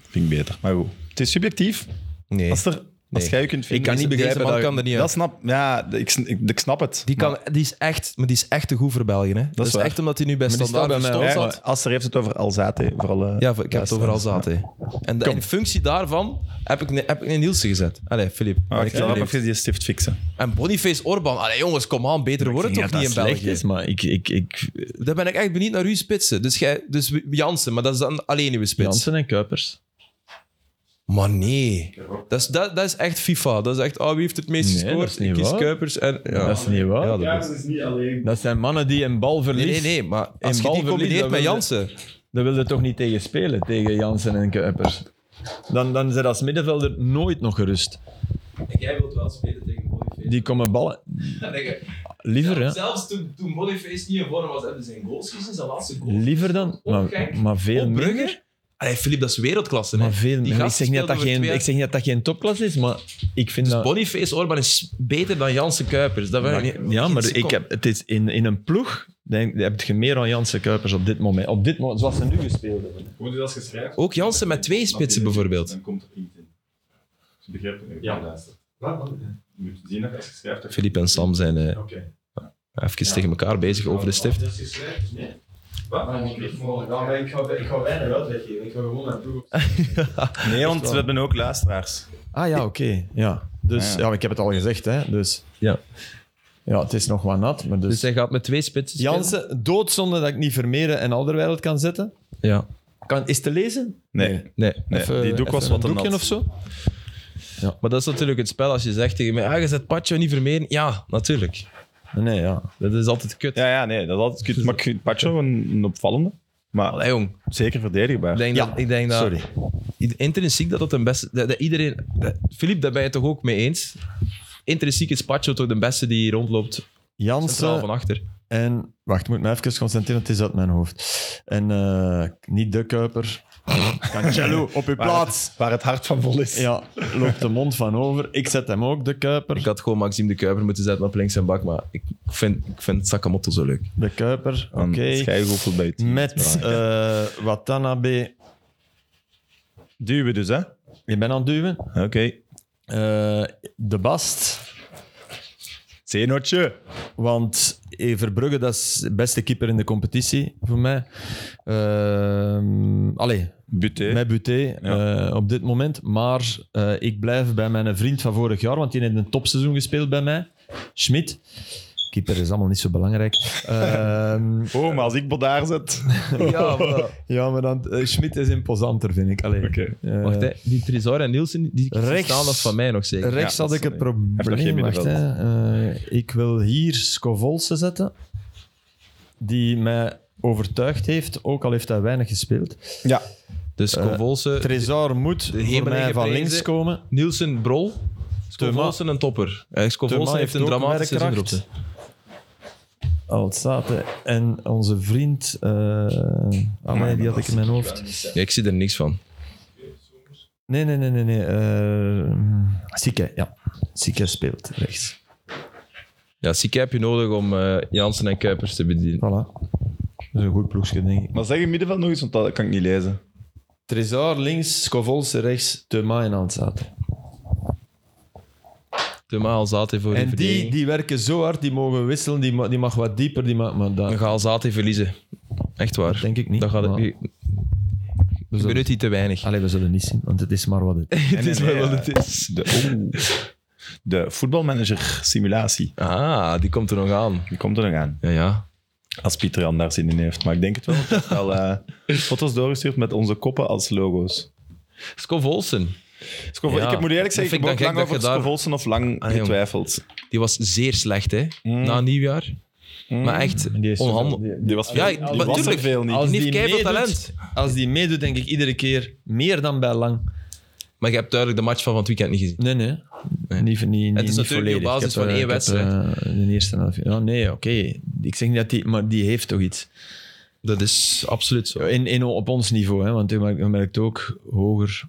[SPEAKER 2] Vind ik beter. Maar goed, het is subjectief.
[SPEAKER 1] Nee.
[SPEAKER 2] Als, er, als
[SPEAKER 1] Nee.
[SPEAKER 2] jij je kunt
[SPEAKER 1] Ik
[SPEAKER 2] vinden...
[SPEAKER 1] kan niet
[SPEAKER 2] is-
[SPEAKER 1] begrijpen.
[SPEAKER 3] man
[SPEAKER 1] dat,
[SPEAKER 3] kan
[SPEAKER 1] kan er niet
[SPEAKER 2] Dat snap, ja, ik, sn- ik, ik snap het.
[SPEAKER 1] Die, kan, die, is echt, maar die is echt te goed voor België. Hè? Dat, is
[SPEAKER 2] waar.
[SPEAKER 1] echt omdat hij nu bij
[SPEAKER 3] Maar die
[SPEAKER 1] standaard
[SPEAKER 3] staat bij mij
[SPEAKER 1] verstoord
[SPEAKER 3] ook,
[SPEAKER 1] zat.
[SPEAKER 2] als Aster heeft het over Alzate. Vooral, eh,
[SPEAKER 1] Ja, ik heb het overal
[SPEAKER 2] luisteraars.
[SPEAKER 1] zaten. En de- in functie daarvan heb ik, ne- heb ik een Nielsen gezet. Allee, Filip.
[SPEAKER 3] Ah,
[SPEAKER 2] Maar ik
[SPEAKER 1] ben
[SPEAKER 2] zal
[SPEAKER 1] benieuwd.
[SPEAKER 2] even die stift fixen.
[SPEAKER 1] En Boniface Orban. Allee, jongens, kom aan. Beter wordt het
[SPEAKER 3] Ja,
[SPEAKER 1] toch
[SPEAKER 3] dat
[SPEAKER 1] niet in
[SPEAKER 3] slecht
[SPEAKER 1] België?
[SPEAKER 3] is, maar ik... ik, ik
[SPEAKER 1] Daar ben ik echt benieuwd naar uw spitsen. Dus, jij, dus Jansen, maar dat is dan alleen uw spits.
[SPEAKER 3] Jansen en Kuipers.
[SPEAKER 1] Maar nee. Dat is, dat, dat is echt FIFA. Dat is echt, oh, wie heeft het meest
[SPEAKER 3] Nee, dat
[SPEAKER 1] gescoord?
[SPEAKER 3] is niet
[SPEAKER 1] Ik kies
[SPEAKER 3] waar.
[SPEAKER 1] Kuipers en... Ja.
[SPEAKER 3] Dat is niet waar.
[SPEAKER 1] Ja,
[SPEAKER 4] Ja, dat is niet alleen.
[SPEAKER 3] Dat zijn mannen die een bal
[SPEAKER 1] Nee,
[SPEAKER 3] verliezen.
[SPEAKER 1] nee, nee, maar als je die
[SPEAKER 3] balverlies,
[SPEAKER 1] combineert
[SPEAKER 3] dat
[SPEAKER 1] met
[SPEAKER 3] wil-
[SPEAKER 1] Jansen...
[SPEAKER 3] Daar wil je toch niet tegen spelen, tegen Jansen en Kuipers. Dan, dan zijn als middenvelder nooit nog gerust.
[SPEAKER 1] Jij wilt wel spelen tegen Boniface.
[SPEAKER 3] Die komen ballen... Liever, hè?
[SPEAKER 1] Zelfs toen, toen Boniface niet in vorm was, hebben ze zijn goals gezien, zijn laatste goal.
[SPEAKER 3] Liever dan... Maar, maar veel
[SPEAKER 1] Op Brugge?
[SPEAKER 3] minder.
[SPEAKER 1] Allee, Filip, dat is wereldklasse. hè.
[SPEAKER 3] Maar veel
[SPEAKER 1] Die
[SPEAKER 3] minder. Ik
[SPEAKER 1] gast
[SPEAKER 3] zeg niet dat dat
[SPEAKER 1] speelde
[SPEAKER 3] geen,
[SPEAKER 1] voor
[SPEAKER 3] ik zeg niet dat dat geen topklasse is, maar ik vind dat...
[SPEAKER 1] Dus Boniface Orban is beter dan Jansen Kuipers. Dat wil ik niet-
[SPEAKER 3] Ja,
[SPEAKER 1] geen
[SPEAKER 3] maar
[SPEAKER 1] seconde.
[SPEAKER 3] ik heb, het is in, in een ploeg denk, heb je meer aan Jansen Kuipers op dit moment. Op dit moment, zoals ze nu gespeeld hebben.
[SPEAKER 4] Gewoon dus als je schrijft.
[SPEAKER 1] Ook Jansen met twee spitsen bijvoorbeeld.
[SPEAKER 4] Dan komt er niet in. Dus je begrijpt het niet. Ja, luister. Je moet zien dat als je schrijft. dat je-
[SPEAKER 1] Filip en Sam zijn eh,
[SPEAKER 4] Oké.
[SPEAKER 1] even tegen elkaar bezig over de stift.
[SPEAKER 4] Dat is geschreven, nee. Wat? ik, ga, ik ga weinig uitleggen. Ik ga gewoon naar ploeg.
[SPEAKER 2] Nee, want we hebben ook luisteraars.
[SPEAKER 3] Ah ja, oké. Ja. Dus
[SPEAKER 2] Ah,
[SPEAKER 3] ja. ik heb het al gezegd, hè. Dus ja. Ja, het is nog wat nat, maar dus...
[SPEAKER 1] Dus hij gaat met twee spitsen spelen?
[SPEAKER 3] Jansen, doodzonde dat ik niet Vermeeren en Alderweireld kan zetten.
[SPEAKER 1] Ja.
[SPEAKER 3] Kan, is te lezen?
[SPEAKER 2] Nee,
[SPEAKER 1] Nee.
[SPEAKER 2] nee.
[SPEAKER 3] Even-
[SPEAKER 2] die doek
[SPEAKER 3] even
[SPEAKER 2] was
[SPEAKER 3] een
[SPEAKER 2] wat een
[SPEAKER 3] doekje
[SPEAKER 2] nat.
[SPEAKER 3] of zo?
[SPEAKER 1] Maar dat is natuurlijk het spel als je zegt tegen mij, ah, je zet Pacho niet vermeen. Ja, natuurlijk.
[SPEAKER 3] Nee, ja.
[SPEAKER 1] Dat is altijd kut.
[SPEAKER 2] Ja, ja, nee, dat is altijd kut. Maar ik vind Pacho een, een opvallende. Maar
[SPEAKER 1] Allee, jong.
[SPEAKER 2] zeker
[SPEAKER 1] Ik
[SPEAKER 2] verdedigbaar.
[SPEAKER 1] denk
[SPEAKER 3] Ja,
[SPEAKER 1] dat, ik denk dat
[SPEAKER 3] sorry.
[SPEAKER 1] intrinsiek dat dat een beste... Dat, dat iedereen... dat- Filip, daar ben je toch ook mee eens? Intrinsiek is Pacho toch de beste die rondloopt centraal van
[SPEAKER 3] Jansen
[SPEAKER 1] achter.
[SPEAKER 3] en... Wacht, ik moet me even concentreren, want het is uit mijn hoofd. En eh, niet de Kuiper. [LAUGHS] Cancelo, op uw plaats.
[SPEAKER 2] Waar het hart van vol is.
[SPEAKER 3] Ja, loopt de mond van over. Ik zet hem ook, de Kuiper.
[SPEAKER 1] Ik had gewoon Maxime de Kuiper moeten zetten op links en bak, maar ik vind, ik vind Sakamoto zo leuk.
[SPEAKER 3] De Kuiper, oké.
[SPEAKER 2] Dan schijf je goed bij je team.
[SPEAKER 3] Met eh Watanabe.
[SPEAKER 2] Duwen dus, hè?
[SPEAKER 3] Je bent aan het duwen.
[SPEAKER 2] Oké.
[SPEAKER 3] Eh, de Bast.
[SPEAKER 2] Zenotje.
[SPEAKER 3] Want Everbrugge, dat is de beste keeper in de competitie voor mij. Ehm allee,
[SPEAKER 2] Buté.
[SPEAKER 3] met Buté eh, op dit moment. Maar eh, ik blijf bij mijn vriend van vorig jaar, want die heeft een topseizoen gespeeld bij mij. Schmid. Keeper is allemaal niet zo belangrijk. [LAUGHS] Ehm,
[SPEAKER 2] Oh, maar als ik Bod daar zet.
[SPEAKER 1] [LAUGHS] Ja,
[SPEAKER 3] ja, maar dan, eh, Schmid is imposanter, vind ik. Allee,
[SPEAKER 2] Oké.
[SPEAKER 1] [LAUGHS]
[SPEAKER 3] eh,
[SPEAKER 1] Wacht, hè. die Tresor en Nielsen, die
[SPEAKER 3] Rechts.
[SPEAKER 1] staan nog van mij nog zeker.
[SPEAKER 3] Rechts
[SPEAKER 2] Ja,
[SPEAKER 3] had
[SPEAKER 2] dat
[SPEAKER 3] ik
[SPEAKER 2] is-
[SPEAKER 3] het
[SPEAKER 2] Hij heeft nog
[SPEAKER 3] probleem.
[SPEAKER 2] geen
[SPEAKER 3] Wacht, hè. Eh, ik wil hier Scovolse zetten, die mij overtuigd heeft, ook al heeft hij weinig gespeeld.
[SPEAKER 2] Ja.
[SPEAKER 1] Dus
[SPEAKER 3] Eh,
[SPEAKER 1] Convolse,
[SPEAKER 3] Trezor moet voor
[SPEAKER 1] hemel
[SPEAKER 3] mij van
[SPEAKER 1] ingeprezen.
[SPEAKER 3] links komen.
[SPEAKER 1] Nielsen, Brol. Scovolsen een topper. Eh, Scovolsen
[SPEAKER 3] Thomas
[SPEAKER 1] heeft een
[SPEAKER 3] heeft ook
[SPEAKER 1] dramatische
[SPEAKER 3] werkkracht.
[SPEAKER 1] groep.
[SPEAKER 3] Altsate en onze vriend, eh ah, nee, die had ik in mijn hoofd.
[SPEAKER 1] Ja, ik zie er niks van.
[SPEAKER 3] Nee, nee, nee, nee. nee. eh, Sikke, ja. Sikke speelt rechts.
[SPEAKER 1] Ja, Sikke heb je nodig om eh, Jansen en Kuipers te bedienen.
[SPEAKER 3] Voilà. Dat is een goed ploegje, denk ik.
[SPEAKER 2] Maar zeg in middenveld nog iets, want dat kan ik niet lezen.
[SPEAKER 3] Trezor links, Scovolse rechts, Thema en Altsate.
[SPEAKER 1] Tuma Alzate voor
[SPEAKER 3] En
[SPEAKER 1] de
[SPEAKER 3] die,
[SPEAKER 1] verdediging.
[SPEAKER 3] die werken zo hard, die mogen wisselen, die, ma- die mag wat dieper, die mag, maar dat
[SPEAKER 1] Dan gaat Alzate verliezen. Echt waar.
[SPEAKER 3] denk ik niet.
[SPEAKER 1] Dan gaat het,
[SPEAKER 3] maar Dus Ah,
[SPEAKER 1] ik
[SPEAKER 3] we, zullen,
[SPEAKER 1] benut hij te weinig.
[SPEAKER 3] Allee, we zullen niet zien, want het is maar wat het
[SPEAKER 1] [LAUGHS]
[SPEAKER 3] is.
[SPEAKER 1] Het
[SPEAKER 2] Nee,
[SPEAKER 1] is
[SPEAKER 2] nee,
[SPEAKER 1] wel wat
[SPEAKER 2] ja.
[SPEAKER 1] het is.
[SPEAKER 2] De, oeh. de voetbalmanager simulatie.
[SPEAKER 1] Ah, die komt er nog aan.
[SPEAKER 2] Die komt er nog aan.
[SPEAKER 1] Ja, ja.
[SPEAKER 2] Als Pieter Jan daar zin in heeft. Maar ik denk het wel. Ik heb wel eh, foto's doorgestuurd met onze koppen als logo's.
[SPEAKER 1] Scov Olsen,
[SPEAKER 2] Scov-
[SPEAKER 1] Ja.
[SPEAKER 2] Ik heb, moet eerlijk zeggen, ik
[SPEAKER 1] Dat
[SPEAKER 2] heb
[SPEAKER 1] vind
[SPEAKER 2] ook
[SPEAKER 1] ik dan
[SPEAKER 2] lang
[SPEAKER 1] gek
[SPEAKER 2] over
[SPEAKER 1] dat je daar-
[SPEAKER 2] Scovolsen of lang
[SPEAKER 1] Ah, jong.
[SPEAKER 2] getwijfeld.
[SPEAKER 3] Mm.
[SPEAKER 1] die was zeer slecht hè, na nieuwjaar. Maar echt
[SPEAKER 5] Die is
[SPEAKER 1] onhandig.
[SPEAKER 5] zoveel- die-
[SPEAKER 2] Die was veel,
[SPEAKER 1] Ja, ik-
[SPEAKER 2] die
[SPEAKER 1] maar
[SPEAKER 2] was
[SPEAKER 1] tuurlijk.
[SPEAKER 2] er veel niet.
[SPEAKER 3] Als
[SPEAKER 1] Niet
[SPEAKER 3] die
[SPEAKER 1] keiveel
[SPEAKER 3] meedoet-
[SPEAKER 1] talent.
[SPEAKER 3] Als die meedoet, denk ik iedere keer meer dan bij lang.
[SPEAKER 1] Maar je hebt duidelijk de match van van het weekend niet gezien.
[SPEAKER 3] Nee, nee.
[SPEAKER 1] Nee.
[SPEAKER 3] Niet, niet, niet,
[SPEAKER 1] is natuurlijk niet
[SPEAKER 3] niet
[SPEAKER 1] op
[SPEAKER 3] volledig.
[SPEAKER 1] basis
[SPEAKER 3] Ik
[SPEAKER 1] van
[SPEAKER 3] heb, eh,
[SPEAKER 1] één
[SPEAKER 3] ik heb,
[SPEAKER 1] wedstrijd.
[SPEAKER 3] eh, de eerste half Ja, nee, oké. Ik zeg niet dat die... Maar die heeft toch iets.
[SPEAKER 1] Dat is absoluut zo.
[SPEAKER 3] In, in, op ons niveau, hè, want je merkt- je merkt ook hoger.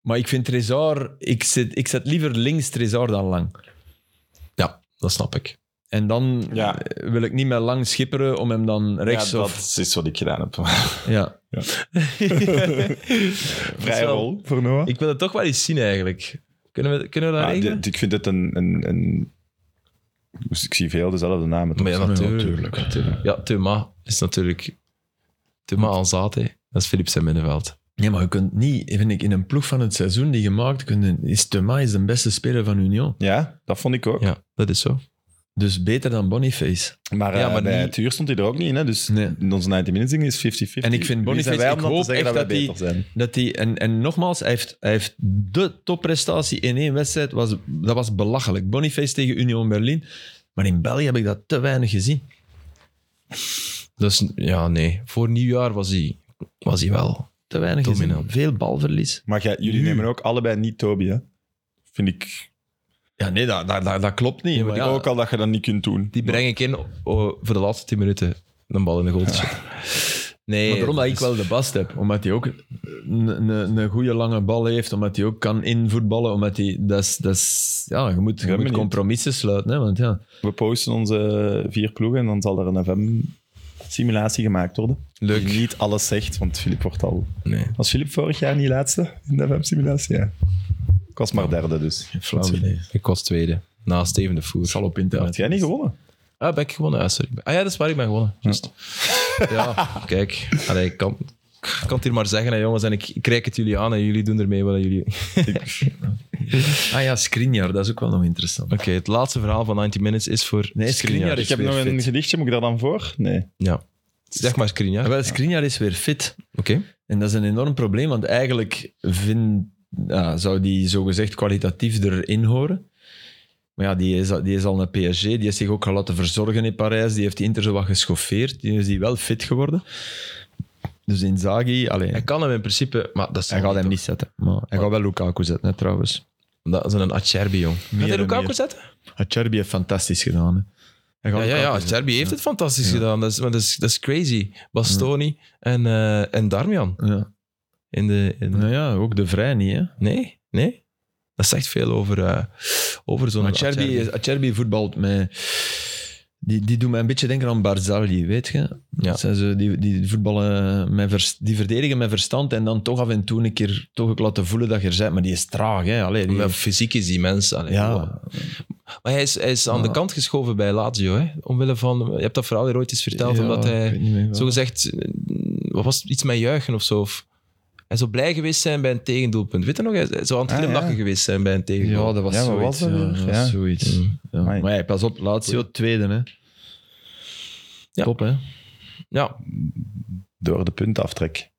[SPEAKER 3] Maar ik vind Trezor... Ik zet, ik zet liever links Trezor dan lang.
[SPEAKER 1] Ja, dat snap ik.
[SPEAKER 3] En dan
[SPEAKER 2] Ja.
[SPEAKER 3] eh, wil ik niet meer lang schipperen om hem dan rechts
[SPEAKER 2] Ja,
[SPEAKER 3] of...
[SPEAKER 2] dat is wat ik gedaan heb.
[SPEAKER 3] Ja. [LAUGHS]
[SPEAKER 2] Vrij rol voor Noah.
[SPEAKER 1] Ik wil het toch wel eens zien eigenlijk. Kunnen we, kunnen we dat
[SPEAKER 2] Ja,
[SPEAKER 1] regelen?
[SPEAKER 2] dit- ik vind dit een, een, een... dus Ik zie veel dezelfde namen.
[SPEAKER 1] Maar ja,
[SPEAKER 2] toch?
[SPEAKER 1] natuurlijk. Ja, Thuma is natuurlijk... Thuma Alzate, dat is Philips en Middenveld.
[SPEAKER 3] Nee, maar je kunt niet... Vind ik, in een ploeg van het seizoen die gemaakt kunt, is Thomas is de beste speler van Union.
[SPEAKER 2] Ja, dat vond ik ook.
[SPEAKER 1] Ja, dat is zo.
[SPEAKER 3] Dus beter dan Boniface.
[SPEAKER 2] Maar,
[SPEAKER 1] Ja,
[SPEAKER 2] eh,
[SPEAKER 1] maar
[SPEAKER 2] bij
[SPEAKER 1] niet-
[SPEAKER 2] het uur stond hij er ook niet in. Hè? Dus
[SPEAKER 3] Nee.
[SPEAKER 2] in onze 90 minutes ding is 50-50.
[SPEAKER 3] En ik vind
[SPEAKER 2] Wie
[SPEAKER 3] Boniface-
[SPEAKER 2] zijn wij om
[SPEAKER 3] ik
[SPEAKER 2] dan te
[SPEAKER 3] hoop
[SPEAKER 2] zeggen
[SPEAKER 3] echt
[SPEAKER 2] dat wij
[SPEAKER 3] dat
[SPEAKER 2] beter zijn.
[SPEAKER 3] Dat die, en, en nogmaals, hij heeft, hij heeft de topprestatie in één wedstrijd. Was, dat was belachelijk. Boniface tegen Union Berlin. Maar in België heb ik dat te weinig gezien.
[SPEAKER 1] Dus ja, nee. Voor nieuwjaar was hij, was hij wel.
[SPEAKER 3] Te weinig
[SPEAKER 1] Dominant.
[SPEAKER 3] gezien. Veel balverlies.
[SPEAKER 2] Maar jij- jullie
[SPEAKER 1] Nu.
[SPEAKER 2] nemen ook allebei niet Toby, hè? Vind ik
[SPEAKER 3] Ja, nee, dat, dat, dat, dat klopt niet. maar
[SPEAKER 2] vind ik
[SPEAKER 3] ja,
[SPEAKER 2] ook al dat je dat niet kunt doen.
[SPEAKER 1] Die breng ik in oh, voor de laatste 10 minuten. Een bal in de goal. te [LAUGHS] schieten. Nee.
[SPEAKER 3] maar daarom dat ik
[SPEAKER 1] is-
[SPEAKER 3] wel de bast heb. Omdat hij ook een- een een goede lange bal heeft. Omdat hij ook kan invoetballen. Omdat hij... Dat is, dat is, ja, je moet,
[SPEAKER 2] ben
[SPEAKER 3] je moet
[SPEAKER 2] benieuwd.
[SPEAKER 3] compromissen sluiten. Hè, want ja...
[SPEAKER 2] We posten onze vier ploegen en dan zal er een FM-simulatie gemaakt worden.
[SPEAKER 1] Leuk.
[SPEAKER 2] Die niet alles zegt, want Filip wordt al...
[SPEAKER 1] Nee.
[SPEAKER 2] Was Filip vorig jaar niet laatste in de FM-simulatie? Ja. Ik was maar derde, dus.
[SPEAKER 3] Flauw idee.
[SPEAKER 1] Ik was tweede. Na Steven de Voer.
[SPEAKER 3] zal op
[SPEAKER 2] Had
[SPEAKER 3] internet.
[SPEAKER 2] jij niet gewonnen?
[SPEAKER 1] Ah, ben ik gewonnen? Ah, sorry. Ah ja, dat is waar, ik ben gewonnen. Juist. Ja, kijk. Allee, ik kan, ik kan het hier maar zeggen, hè, jongens. En ik, ik reik het jullie aan en jullie doen ermee wat jullie... Oké,
[SPEAKER 3] Ah ja, Skriniar, dat is ook wel nog interessant.
[SPEAKER 1] het laatste verhaal van 90 Minutes is voor...
[SPEAKER 3] Nee, Skriniar
[SPEAKER 1] dus
[SPEAKER 2] Ik
[SPEAKER 3] is
[SPEAKER 2] heb
[SPEAKER 3] weer
[SPEAKER 2] nog
[SPEAKER 3] fit.
[SPEAKER 2] een gedichtje, moet ik daar dan voor? Nee.
[SPEAKER 1] Ja. Zeg maar Skriniar.
[SPEAKER 3] Ah,
[SPEAKER 1] Oké.
[SPEAKER 3] Wel, Skriniar is weer fit. En dat is een enorm probleem, want eigenlijk vind, ja, zou die zogezegd kwalitatief erin horen. Maar ja, die is, al- die is al naar PSG. Die heeft zich ook gaan laten verzorgen in Parijs. Die heeft Inter zo wat geschoffeerd. Die is die wel fit geworden. Dus Inzaghi, alleen,
[SPEAKER 1] Hij
[SPEAKER 3] hij,
[SPEAKER 1] kan hem in principe... Maar dat is
[SPEAKER 3] gaat hem niet zetten. Maar hij gaat wel Lukaku zetten, hè, trouwens.
[SPEAKER 1] Dat is een Acerbi, jong. Gaat hij
[SPEAKER 3] en
[SPEAKER 1] Lukaku
[SPEAKER 3] meer.
[SPEAKER 1] zetten?
[SPEAKER 3] Acerbi Ah, heeft fantastisch gedaan. Hè. Hij
[SPEAKER 1] Ja,
[SPEAKER 3] gaat
[SPEAKER 1] ja,
[SPEAKER 3] Lukaku
[SPEAKER 1] ja.
[SPEAKER 3] zetten.
[SPEAKER 1] Acerbi heeft het fantastisch gedaan. Dat is, want dat, is, dat is crazy. Bastoni en, eh, en Darmian.
[SPEAKER 3] Ja.
[SPEAKER 1] In de, in de-
[SPEAKER 3] Nou ja, ook de Vrij niet, hè.
[SPEAKER 1] Nee, nee. Dat zegt veel over, eh, over zo'n
[SPEAKER 3] Acerbi, is- Acerbi voetbalt met... Die, die doet mij een beetje denken aan Barzagli, weet je?
[SPEAKER 1] Ja.
[SPEAKER 3] Dat Zijn ze, die, die voetballen met vers- die verdedigen met verstand en dan toch af en toe een keer toch ook laten voelen dat je er bent. Maar die is traag, hè? Allee, die-
[SPEAKER 1] Maar fysiek is die mens. allee, wow.
[SPEAKER 3] ja,
[SPEAKER 1] Maar hij is, hij is aan de
[SPEAKER 3] Ja.
[SPEAKER 1] kant geschoven bij Lazio. Hè? Omwille van, je hebt dat verhaal hier ooit eens verteld.
[SPEAKER 3] Ja,
[SPEAKER 1] omdat
[SPEAKER 3] ik
[SPEAKER 1] hij
[SPEAKER 3] weet niet meer wel.
[SPEAKER 1] zogezegd, eh, wat was het, iets met juichen of zo. Of, hij zou blij geweest zijn bij een tegendoelpunt. Weet je nog? Hij zou aan het
[SPEAKER 2] Ah,
[SPEAKER 1] glimlachen
[SPEAKER 2] ja.
[SPEAKER 1] geweest zijn bij een tegendoelpunt.
[SPEAKER 3] Ja, dat was
[SPEAKER 2] Ja, wat was
[SPEAKER 3] zoiets.
[SPEAKER 2] dat
[SPEAKER 3] ja,
[SPEAKER 2] weer?
[SPEAKER 3] dat was
[SPEAKER 2] Ja.
[SPEAKER 3] zoiets.
[SPEAKER 1] Mm.
[SPEAKER 3] Ja.
[SPEAKER 2] Amai.
[SPEAKER 3] Maar ja, pas op, Lazio, tweede, hè?
[SPEAKER 1] Ja.
[SPEAKER 3] Top, hè?
[SPEAKER 1] Ja,
[SPEAKER 2] Door de puntaftrek.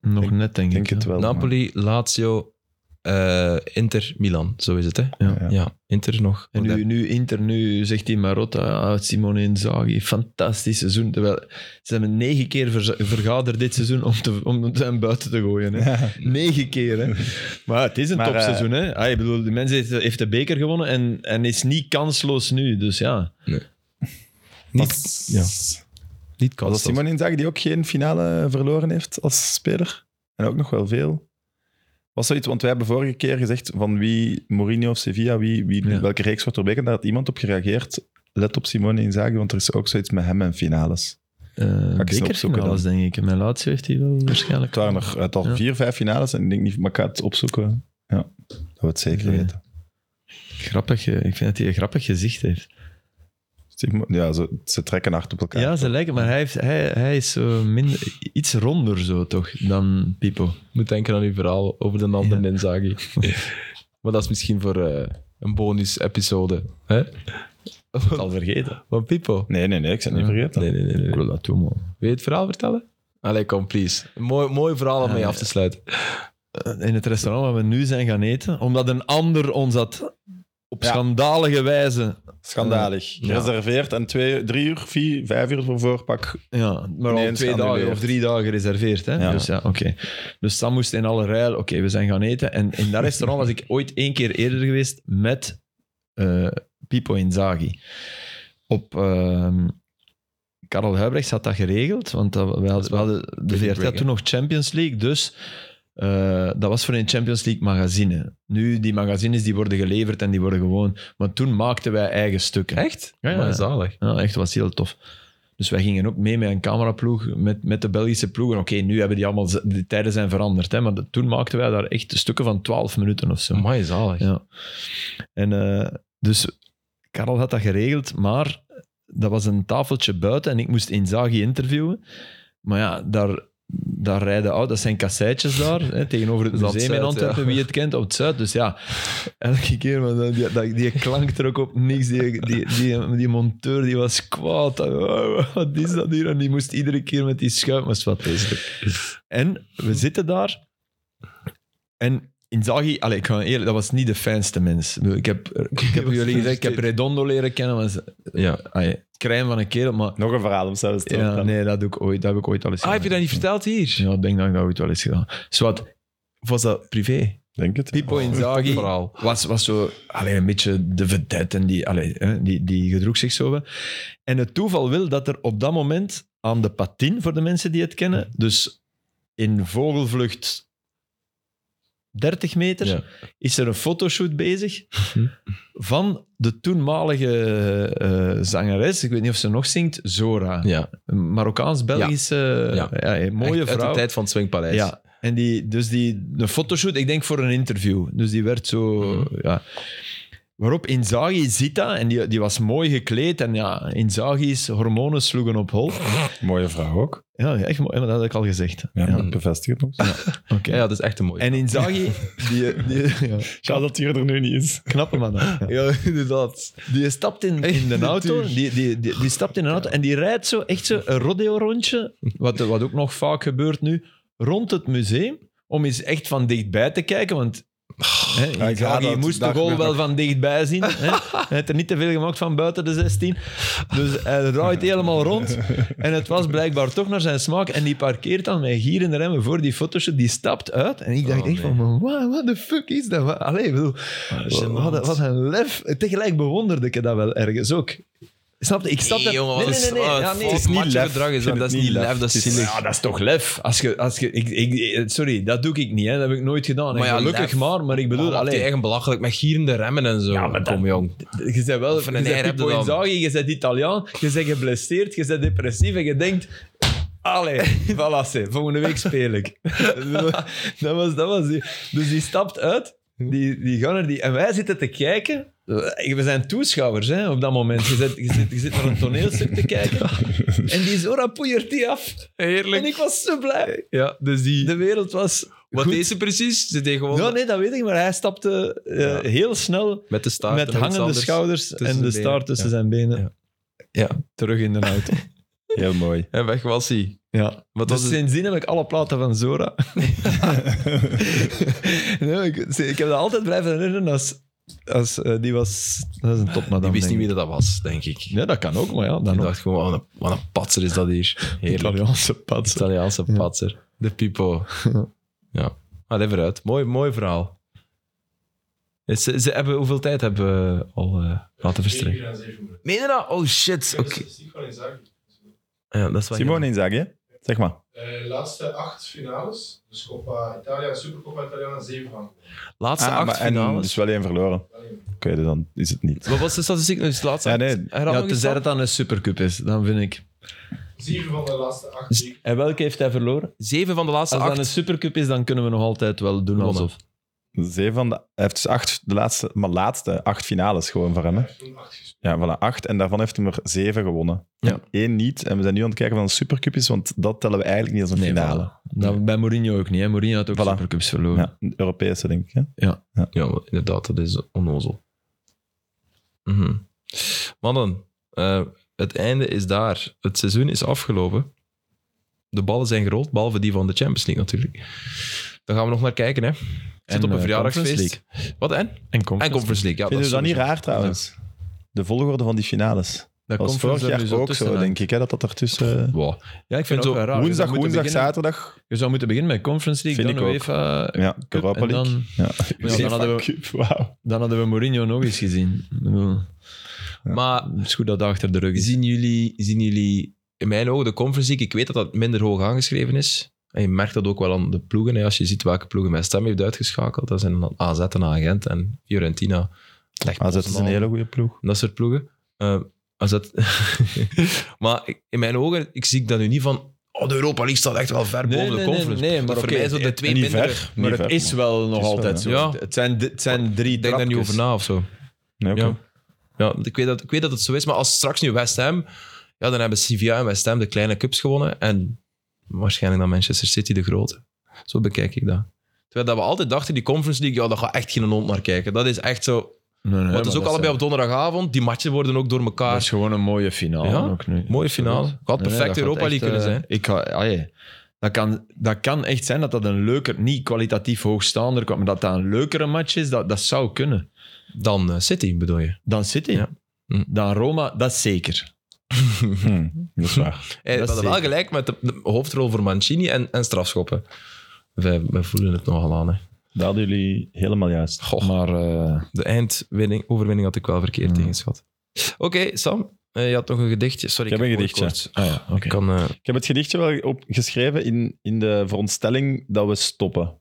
[SPEAKER 3] Nog
[SPEAKER 2] Ik
[SPEAKER 3] net, denk,
[SPEAKER 2] Ik denk
[SPEAKER 3] ik.
[SPEAKER 2] het
[SPEAKER 3] hè.
[SPEAKER 2] wel.
[SPEAKER 1] Napoli, Lazio, eh, Inter, Milan. Zo is het, hè?
[SPEAKER 3] Ja.
[SPEAKER 2] Ja.
[SPEAKER 1] Ja, Inter nog.
[SPEAKER 3] En nu, nu Inter, nu zegt die Marotta, ah, Simone Inzaghi, fantastisch seizoen. Terwijl ze hebben negen keer verza- vergaderd dit seizoen om, te, om hem buiten te gooien. Hè.
[SPEAKER 2] Ja.
[SPEAKER 3] Negen keer, hè. Maar het is een
[SPEAKER 2] Maar,
[SPEAKER 1] eh,
[SPEAKER 3] topseizoen, hè. Ah, ik bedoel, de mens heeft, heeft de beker gewonnen en, en is niet kansloos nu. Dus ja,
[SPEAKER 1] Niet, ja, niet
[SPEAKER 2] Was dat
[SPEAKER 1] kansloos.
[SPEAKER 2] Simon Inzaghi die ook geen finale verloren heeft als speler? En ook nog wel veel. Was zoiets, want wij hebben vorige keer gezegd van wie Mourinho of Sevilla, wie, wie,
[SPEAKER 3] Ja.
[SPEAKER 2] welke reeks wordt er bekend. Daar had iemand op gereageerd. Let op Simone Inzaghi, want er is ook zoiets met hem en finales.
[SPEAKER 3] eh
[SPEAKER 2] eens
[SPEAKER 3] bekerfinales, denk ik. En Mijn laatste heeft hij wel waarschijnlijk.
[SPEAKER 2] Het waren er het al
[SPEAKER 3] Ja.
[SPEAKER 2] vier, vijf finales en ik denk niet, maar ik ga het opzoeken. Ja, dat we het zeker
[SPEAKER 3] Ja.
[SPEAKER 2] weten.
[SPEAKER 3] Grappig, eh, ik vind dat hij een grappig gezicht heeft.
[SPEAKER 2] Simon- Ja, ze, ze trekken hard op elkaar.
[SPEAKER 3] Ja, ze lijken, maar hij, heeft, hij, hij is zo minder, iets ronder zo, toch, dan Pipo.
[SPEAKER 1] moet denken aan uw verhaal over de andere Inzaghi. maar dat is misschien voor eh, een bonus-episode. hè?
[SPEAKER 3] al vergeten.
[SPEAKER 1] Van Pipo.
[SPEAKER 2] Nee, nee, nee, ik zit niet vergeten.
[SPEAKER 1] Nee, nee, nee. nee.
[SPEAKER 3] Ik
[SPEAKER 1] Wil
[SPEAKER 3] wil dat doen, man.
[SPEAKER 1] je het verhaal vertellen? Allee, kom, please. Een Mooi, mooi verhaal om mee af te sluiten.
[SPEAKER 3] eh, in het restaurant waar we nu zijn gaan eten, omdat een ander ons had op schandalige wijze
[SPEAKER 2] Schandalig.
[SPEAKER 1] Ja.
[SPEAKER 2] Gereserveerd en twee, drie uur, vier, vijf uur voor voorpak.
[SPEAKER 3] Ja, maar al
[SPEAKER 2] Ineens
[SPEAKER 3] twee dagen
[SPEAKER 2] geannuleerd.
[SPEAKER 3] of drie dagen gereserveerd. Hè?
[SPEAKER 2] Ja.
[SPEAKER 3] Dus ja, oké. Dus Sam moest in alle rijl... Oké, we zijn gaan eten. En in dat restaurant was ik ooit één keer eerder geweest met eh Pipo Inzaghi. Op... ehm Karel Huibrechts had dat geregeld, want dat, we hadden, we hadden de
[SPEAKER 1] big
[SPEAKER 3] VRT had
[SPEAKER 1] break,
[SPEAKER 3] toen nog Champions League, dus eh, dat was voor een Champions League magazine. Nu, die magazines die worden geleverd en die worden gewoon... Maar toen maakten wij eigen stukken.
[SPEAKER 1] Echt?
[SPEAKER 3] Ja, ja.
[SPEAKER 1] Maar zalig.
[SPEAKER 3] Ja, echt, was heel tof. Dus wij gingen ook mee met een cameraploeg, met, met de Belgische ploegen. Oké, nu hebben die allemaal, z- die tijden zijn veranderd, hè, maar de- toen maakten wij daar echt stukken van 12 minuten of zo.
[SPEAKER 1] Amai, zalig.
[SPEAKER 3] Ja. En eh, dus Karel had dat geregeld, maar dat was een tafeltje buiten en ik moest Inzaghi interviewen. Maar ja, daar, daar rijden oud, dat zijn kasseitjes daar, hè, tegenover het
[SPEAKER 1] Dat
[SPEAKER 3] museum in
[SPEAKER 1] Zuid,
[SPEAKER 3] Antwerpen,
[SPEAKER 1] ja.
[SPEAKER 3] wie het kent, op het Zuid. Dus ja, elke keer, maar dat- die, dat- die klank er ook op niks. Die, die, die, die monteur die was kwaad. Dat, "Oh, Wat is dat hier? En die moest iedere keer met die schuim, maar het is wat
[SPEAKER 2] Dus
[SPEAKER 3] En we zitten daar en Inzaghi, allee, ik ga eerlijk, dat was niet de fijnste mens. Ik bedoel, Ik heb, ik heb jullie gezegd, ik heb Redondo leren kennen, maar ze-
[SPEAKER 1] Ja.
[SPEAKER 3] allee, crème van een kerel, maar
[SPEAKER 2] Nog een verhaal om zelfs te
[SPEAKER 3] ja,
[SPEAKER 2] vertellen.
[SPEAKER 3] nee, dat, doe ik ooit, dat heb ik ooit al eens
[SPEAKER 1] Ah, heb je dat niet verteld hier?
[SPEAKER 3] Ja, ik denk dat ik dat ooit wel eens gedaan. Zwat,
[SPEAKER 1] Of was dat privé?
[SPEAKER 2] Denk het.
[SPEAKER 3] Pippo Inzaghi
[SPEAKER 1] Oh, Vooral.
[SPEAKER 3] was, was zo allee, een beetje de vedette en die, allee, hè, die, die gedroeg zich zo. wel. En het toeval wil dat er op dat moment aan de patin, voor de mensen die het kennen, dus in vogelvlucht 30 meter,
[SPEAKER 1] Ja. Hm.
[SPEAKER 3] is er een fotoshoot bezig van de toenmalige eh, zangeres, ik weet niet of ze nog zingt, Zora.
[SPEAKER 1] Ja.
[SPEAKER 3] Een Marokkaans-Belgische, eh,
[SPEAKER 1] Ja.
[SPEAKER 3] ja. een mooie
[SPEAKER 1] Echt Uit
[SPEAKER 3] vrouw.
[SPEAKER 1] de tijd van het Swingpaleis.
[SPEAKER 3] Ja, en die, dus die, de fotoshoot, ik denk voor een interview. Dus die werd zo, ja. Waarop Inzaghi ziet dat, en die, die was mooi gekleed. En ja, Inzaghi's hormonen sloegen op hol.
[SPEAKER 2] Mooie vrouw ook.
[SPEAKER 3] Ja, echt mooi, maar dat had ik al gezegd.
[SPEAKER 2] Ja,
[SPEAKER 3] Ja,
[SPEAKER 2] maar bevestig het nog.
[SPEAKER 3] oké.
[SPEAKER 1] Ja, ja, dat is echt een mooie.
[SPEAKER 3] En Inzaghi, die, die, ja,
[SPEAKER 2] Ja, dat hier er nu niet is.
[SPEAKER 3] knappe man. hè. Ja. [LAUGHS]
[SPEAKER 1] inderdaad.
[SPEAKER 3] Die stapt in, in de auto, die, die, die, die stapt in een auto en die rijdt zo echt zo een rodeo-rondje, wat, wat ook nog vaak gebeurt nu, rond het museum, om eens echt van dichtbij te kijken, want hè,
[SPEAKER 2] ik
[SPEAKER 3] Inzaghi
[SPEAKER 2] haat dat.
[SPEAKER 3] moest de
[SPEAKER 2] Dat
[SPEAKER 3] goal
[SPEAKER 2] gebeurt
[SPEAKER 3] wel van
[SPEAKER 1] [LAUGHS]
[SPEAKER 3] dichtbij zien. Hè. Hij heeft er niet te veel gemaakt van buiten de 16. Dus hij draait helemaal rond en het was blijkbaar toch naar zijn smaak en die parkeert dan met gierende remmen voor die fotoshoot, die stapt uit en ik dacht
[SPEAKER 1] Oh,
[SPEAKER 3] echt van,
[SPEAKER 1] nee. Ah,
[SPEAKER 3] man, wat, wat de fuck is dat? Wat- Allee, ik bedoel... Wat, een- wat een lef. Tegelijk bewonderde ik dat wel ergens ook. Snap je? Ik snap dat.
[SPEAKER 1] jongen,
[SPEAKER 3] nee,
[SPEAKER 1] wat
[SPEAKER 3] nee, nee. nee.
[SPEAKER 1] een-
[SPEAKER 3] Ja, nee.
[SPEAKER 1] Het is niet
[SPEAKER 2] Matje
[SPEAKER 1] lef.
[SPEAKER 2] gedrag is
[SPEAKER 1] Ik
[SPEAKER 2] dat-
[SPEAKER 1] vind
[SPEAKER 2] dat is
[SPEAKER 1] het
[SPEAKER 2] niet lef,
[SPEAKER 1] dat is
[SPEAKER 2] het is-
[SPEAKER 1] zinnig.
[SPEAKER 3] Ja, dat is toch lef. Als je, als je, ik, ik, sorry, dat doe ik niet. Hè. Dat heb ik nooit gedaan. En
[SPEAKER 1] Maar ja,
[SPEAKER 3] gelukkig
[SPEAKER 1] lef.
[SPEAKER 3] maar. Maar ik bedoel,
[SPEAKER 1] Maak
[SPEAKER 3] alleen,
[SPEAKER 1] je eigen belachelijk met gierende remmen en zo.
[SPEAKER 3] Ja, maar dat-
[SPEAKER 1] Kom jong.
[SPEAKER 3] je bent wel
[SPEAKER 1] Of een
[SPEAKER 3] je bent
[SPEAKER 1] ei heb je
[SPEAKER 3] Pippo
[SPEAKER 1] dan.
[SPEAKER 3] Inzaghi, je bent Italiaan, je bent geblesseerd, je bent depressief en je denkt...
[SPEAKER 1] [LAUGHS]
[SPEAKER 3] Allee, voilà, ze, volgende week speel ik. dat was, dat was die. Dus die stapt uit, die, die gunner, die, en wij zitten te kijken. Eh, We zijn toeschouwers hè, op dat moment. Je zit, je, zit, je zit naar een toneelstuk te
[SPEAKER 1] [LAUGHS]
[SPEAKER 3] kijken. En die Zora poeiert die af. En
[SPEAKER 1] Heerlijk.
[SPEAKER 3] ik was zo blij.
[SPEAKER 1] Ja, dus die...
[SPEAKER 3] De wereld was...
[SPEAKER 1] wat
[SPEAKER 3] goed.
[SPEAKER 1] deed ze precies? Ze deed gewoon
[SPEAKER 3] Ja, nee, dat weet ik, maar hij stapte eh,
[SPEAKER 1] Ja.
[SPEAKER 3] heel snel
[SPEAKER 1] met de staart.
[SPEAKER 3] met
[SPEAKER 1] en iets
[SPEAKER 3] hangende
[SPEAKER 1] anders.
[SPEAKER 3] schouders en
[SPEAKER 1] tussen
[SPEAKER 3] de
[SPEAKER 1] de benen.
[SPEAKER 3] staart tussen
[SPEAKER 1] Ja.
[SPEAKER 3] zijn benen.
[SPEAKER 1] Ja. Ja.
[SPEAKER 3] Terug in de auto.
[SPEAKER 2] Heel mooi.
[SPEAKER 1] En weg was hij.
[SPEAKER 3] [LAUGHS] ja.
[SPEAKER 1] Wat
[SPEAKER 3] Dus
[SPEAKER 1] was het?
[SPEAKER 3] sindsdien heb ik alle platen van Zora. [LAUGHS] nee, ik, ik heb dat altijd blijven herinneren als... als eh, die was... Dat is een topmadam,
[SPEAKER 1] Die wist niet wie
[SPEAKER 3] denk ik.
[SPEAKER 1] dat was, denk ik.
[SPEAKER 3] Ja, dat kan ook, maar ja,
[SPEAKER 1] Ik
[SPEAKER 3] dan ook.
[SPEAKER 1] dacht gewoon, wat een, wat een patser is dat hier. Heerlijk.
[SPEAKER 3] Italiaanse patsen.
[SPEAKER 1] Italiaanse
[SPEAKER 3] Ja.
[SPEAKER 1] patser. De Pipo. Ja. Allee, vooruit. Mooi, mooi verhaal. Is- Ze, ze hebben, hoeveel tijd hebben we al eh, laten verstrekken? Meen je dat? Oh shit. Oké. Ja, dat is wel
[SPEAKER 2] Simone Inzaghi, hè? zeg maar.
[SPEAKER 4] De Eh, laatste acht finales, dus Coppa Italia en Supercoppa Italiana, zeven van.
[SPEAKER 1] jammer. Laatste
[SPEAKER 2] Ah,
[SPEAKER 1] acht
[SPEAKER 2] maar en
[SPEAKER 1] finales.
[SPEAKER 2] dus wel één verloren. Oké, dus dan is het niet.
[SPEAKER 1] Wat was de statistiek? Dus de laatste
[SPEAKER 2] Ja,
[SPEAKER 1] acht.
[SPEAKER 2] nee.
[SPEAKER 1] Herhaal nog
[SPEAKER 3] Ja,
[SPEAKER 1] eens
[SPEAKER 3] tenzij
[SPEAKER 1] dan.
[SPEAKER 3] dat dan een supercup is, dan vind ik.
[SPEAKER 4] Zeven van de laatste acht.
[SPEAKER 2] Dus-
[SPEAKER 4] zeker.
[SPEAKER 3] En welke heeft hij verloren?
[SPEAKER 1] Zeven van de laatste
[SPEAKER 3] Als dat
[SPEAKER 1] acht.
[SPEAKER 3] een supercup is, dan kunnen we nog altijd wel doen
[SPEAKER 1] Gewonnen.
[SPEAKER 3] alsof.
[SPEAKER 2] Zeven van de, hij heeft dus acht, de laatste, maar laatste acht finales gewoon van hem.
[SPEAKER 4] Hij
[SPEAKER 2] hè?
[SPEAKER 4] heeft toen acht gespeeld.
[SPEAKER 2] Ja, voilà, acht. En daarvan heeft hij er zeven gewonnen.
[SPEAKER 1] Ja.
[SPEAKER 2] En één niet. En we zijn nu aan het kijken van een supercup is, want dat tellen we eigenlijk niet als een finale.
[SPEAKER 3] voilà. Dat, bij Mourinho ook niet. Hè. Mourinho had ook
[SPEAKER 2] Voilà.
[SPEAKER 3] supercups verloren.
[SPEAKER 2] Ja, een Europese, denk ik. Hè?
[SPEAKER 1] Ja, maar inderdaad, dat is onnozel. Mhm. Mannen, eh, het einde is daar. Het seizoen is afgelopen. De ballen zijn gerold, behalve die van de Champions League natuurlijk. Daar gaan we nog naar kijken, hè. Het zit
[SPEAKER 3] En,
[SPEAKER 1] op een
[SPEAKER 3] eh,
[SPEAKER 1] verjaardagsfeest.
[SPEAKER 3] Conference
[SPEAKER 1] Wat en?
[SPEAKER 3] En
[SPEAKER 1] En Conference League, ja.
[SPEAKER 2] Vind je dat
[SPEAKER 1] is
[SPEAKER 2] niet
[SPEAKER 1] sowieso.
[SPEAKER 2] raar trouwens? de volgorde van die finales.
[SPEAKER 3] Dat
[SPEAKER 2] Dat was vorig jaar ook zo, denk ik, hè, dat dat ertussen...
[SPEAKER 1] Wow.
[SPEAKER 3] Ja, ik vind
[SPEAKER 1] Zo
[SPEAKER 3] het ook raar. Je zou
[SPEAKER 2] woensdag,
[SPEAKER 3] moeten
[SPEAKER 2] woensdag,
[SPEAKER 3] beginnen-
[SPEAKER 2] zaterdag.
[SPEAKER 3] Je zou moeten beginnen met Conference League,
[SPEAKER 2] Vind
[SPEAKER 3] dan
[SPEAKER 2] ik ook.
[SPEAKER 3] UEFA
[SPEAKER 2] Ja,
[SPEAKER 3] Cup
[SPEAKER 2] Europa
[SPEAKER 3] en
[SPEAKER 2] League.
[SPEAKER 3] dan,
[SPEAKER 2] Ja. [LAUGHS]
[SPEAKER 3] Ja, dan hadden we-
[SPEAKER 2] Cup, wauw.
[SPEAKER 3] dan hadden we Mourinho nog eens gezien. Ik bedoel,
[SPEAKER 1] Maar
[SPEAKER 3] Het is goed dat dat achter de rug is.
[SPEAKER 1] zien jullie, zien jullie in mijn ogen de Conference League? Ik weet dat dat minder hoog aangeschreven is. En je merkt dat ook wel aan de ploegen. hè. Als je ziet welke ploegen mijn stem heeft uitgeschakeld, dat zijn dan AZ en Agent en Fiorentina. Echt
[SPEAKER 2] AZ is een hele goede ploeg.
[SPEAKER 1] dat soort ploegen. Eh, als dat... [LAUGHS] maar ik- in mijn ogen, ik zie dat nu niet van... Oh, de Europa League staat echt wel ver boven de conference.
[SPEAKER 3] nee, maar
[SPEAKER 1] voor
[SPEAKER 3] oké,
[SPEAKER 1] mij zo de
[SPEAKER 3] eh,
[SPEAKER 1] twee
[SPEAKER 2] niet
[SPEAKER 1] mindere...
[SPEAKER 2] ver.
[SPEAKER 1] Ik
[SPEAKER 3] Maar
[SPEAKER 2] Niet
[SPEAKER 3] het
[SPEAKER 2] ver,
[SPEAKER 3] is wel nog
[SPEAKER 2] is wel,
[SPEAKER 3] altijd zo.
[SPEAKER 1] ja.
[SPEAKER 3] Het, zijn, het zijn drie
[SPEAKER 1] denk daar niet over
[SPEAKER 3] trapjes.
[SPEAKER 1] na of zo.
[SPEAKER 2] Nee, oké.
[SPEAKER 1] Ja. Ja, ik weet, dat, ik weet dat het zo is, maar als straks nu West Ham... Ja, dan hebben Sevilla en West Ham de kleine cups gewonnen en waarschijnlijk dan Manchester City de grote. Zo bekijk ik dat. Terwijl dat we altijd dachten, die Conference League, ja, daar gaat echt geen hond naar kijken. Dat is echt zo... Want
[SPEAKER 3] Nee, nee,
[SPEAKER 1] het is ook
[SPEAKER 3] dat
[SPEAKER 1] allebei op donderdagavond, die matchen worden ook door
[SPEAKER 3] dat
[SPEAKER 1] elkaar.
[SPEAKER 3] is gewoon een mooie finale
[SPEAKER 1] Ja,
[SPEAKER 3] ook nu.
[SPEAKER 1] Mooie finale.
[SPEAKER 3] Absoluut.
[SPEAKER 1] Had perfect
[SPEAKER 3] Nee, nee, dat gaat
[SPEAKER 1] Europa League
[SPEAKER 3] echt,
[SPEAKER 1] kunnen
[SPEAKER 3] eh,
[SPEAKER 1] zijn.
[SPEAKER 3] Ik ga, ah, ja. dat, kan, dat kan echt zijn dat dat een leuker, niet kwalitatief hoogstaander kwam, maar dat dat een leukere match is, dat, dat zou kunnen.
[SPEAKER 1] Dan eh, City, bedoel je?
[SPEAKER 3] Dan City,
[SPEAKER 1] Ja. Hm.
[SPEAKER 3] dan Roma, dat is zeker.
[SPEAKER 2] Hm, dat is waar.
[SPEAKER 1] Hey, we
[SPEAKER 3] Dat is
[SPEAKER 1] hadden wel
[SPEAKER 3] zeker.
[SPEAKER 1] gelijk met de, de hoofdrol voor Mancini en, en strafschoppen. Wij, wij voelen het nogal aan. Hè.
[SPEAKER 2] Dat hadden jullie helemaal juist.
[SPEAKER 3] Maar eh,
[SPEAKER 1] De eindwinning, overwinning had ik wel verkeerd
[SPEAKER 3] Hmm.
[SPEAKER 1] ingeschat. Oké, Sam, eh, je had nog een gedichtje. Sorry,
[SPEAKER 2] Ik heb een
[SPEAKER 1] het
[SPEAKER 2] gedichtje.
[SPEAKER 1] woord kort.
[SPEAKER 3] ah, ja, oké.
[SPEAKER 1] Ik kan, eh,
[SPEAKER 2] Ik heb het gedichtje wel op geschreven in, in de veronderstelling dat we stoppen.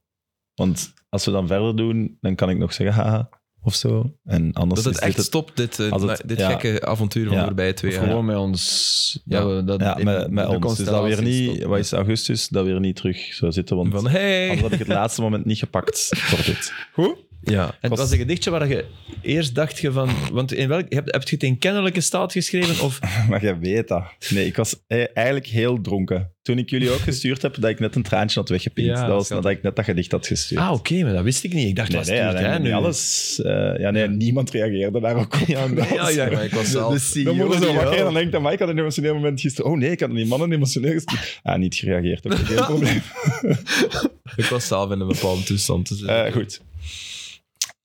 [SPEAKER 2] Want als we dan verder doen, dan kan ik nog zeggen haha of zo. En anders
[SPEAKER 1] dat het
[SPEAKER 2] is
[SPEAKER 1] echt
[SPEAKER 2] dit
[SPEAKER 1] stopt, dit, eh,
[SPEAKER 2] Als het-
[SPEAKER 1] na- dit
[SPEAKER 2] ja.
[SPEAKER 1] gekke avontuur van
[SPEAKER 2] Ja.
[SPEAKER 1] de voorbije twee
[SPEAKER 3] Of
[SPEAKER 1] jaar.
[SPEAKER 3] gewoon met ons.
[SPEAKER 1] Ja.
[SPEAKER 3] dat we, dat
[SPEAKER 2] Ja,
[SPEAKER 3] in
[SPEAKER 2] met, met
[SPEAKER 3] de
[SPEAKER 2] ons. Dus dat weer
[SPEAKER 3] constellatie
[SPEAKER 2] niet,
[SPEAKER 3] stopt.
[SPEAKER 2] wat is augustus, dat weer niet terug zou zitten. Want
[SPEAKER 1] Van, hey!
[SPEAKER 2] anders had ik het laatste moment niet gepakt voor dit.
[SPEAKER 3] Goed?
[SPEAKER 1] Ja.
[SPEAKER 3] En het
[SPEAKER 2] Was-
[SPEAKER 3] was een gedichtje waar je eerst dacht je van... Want in welk, heb, heb je het in kennelijke staat geschreven?
[SPEAKER 2] [LAUGHS]
[SPEAKER 3] Of,
[SPEAKER 2] Maar jij weet dat. Nee, ik was e- eigenlijk heel dronken. Toen ik jullie ook gestuurd heb, dat ik net een traantje had weggepinkt.
[SPEAKER 1] Ja,
[SPEAKER 2] dat was
[SPEAKER 1] schat.
[SPEAKER 2] nadat ik net dat gedicht had gestuurd.
[SPEAKER 3] ah, oké, maar dat wist ik niet. Ik dacht,
[SPEAKER 2] Nee,
[SPEAKER 3] wat
[SPEAKER 2] nee,
[SPEAKER 3] stuurt
[SPEAKER 2] ja,
[SPEAKER 3] hij
[SPEAKER 2] nee,
[SPEAKER 3] nu?
[SPEAKER 2] niet alles. eh, ja, nee, niemand reageerde daar ook op. Ja,
[SPEAKER 3] Ja, ja, ja,
[SPEAKER 2] [LAUGHS]
[SPEAKER 3] ik was zelf...
[SPEAKER 2] Dan moeten ze wakker en dan denk ik, amai, ik had een emotioneel moment gisteren. Oh nee, ik had die mannen emotioneel gestuurd. Ah, niet gereageerd. Oké,
[SPEAKER 3] [LAUGHS]
[SPEAKER 2] geen probleem.
[SPEAKER 1] Ik was zelf in een bepaalde toestand. Dus, eh,
[SPEAKER 2] Eh, goed.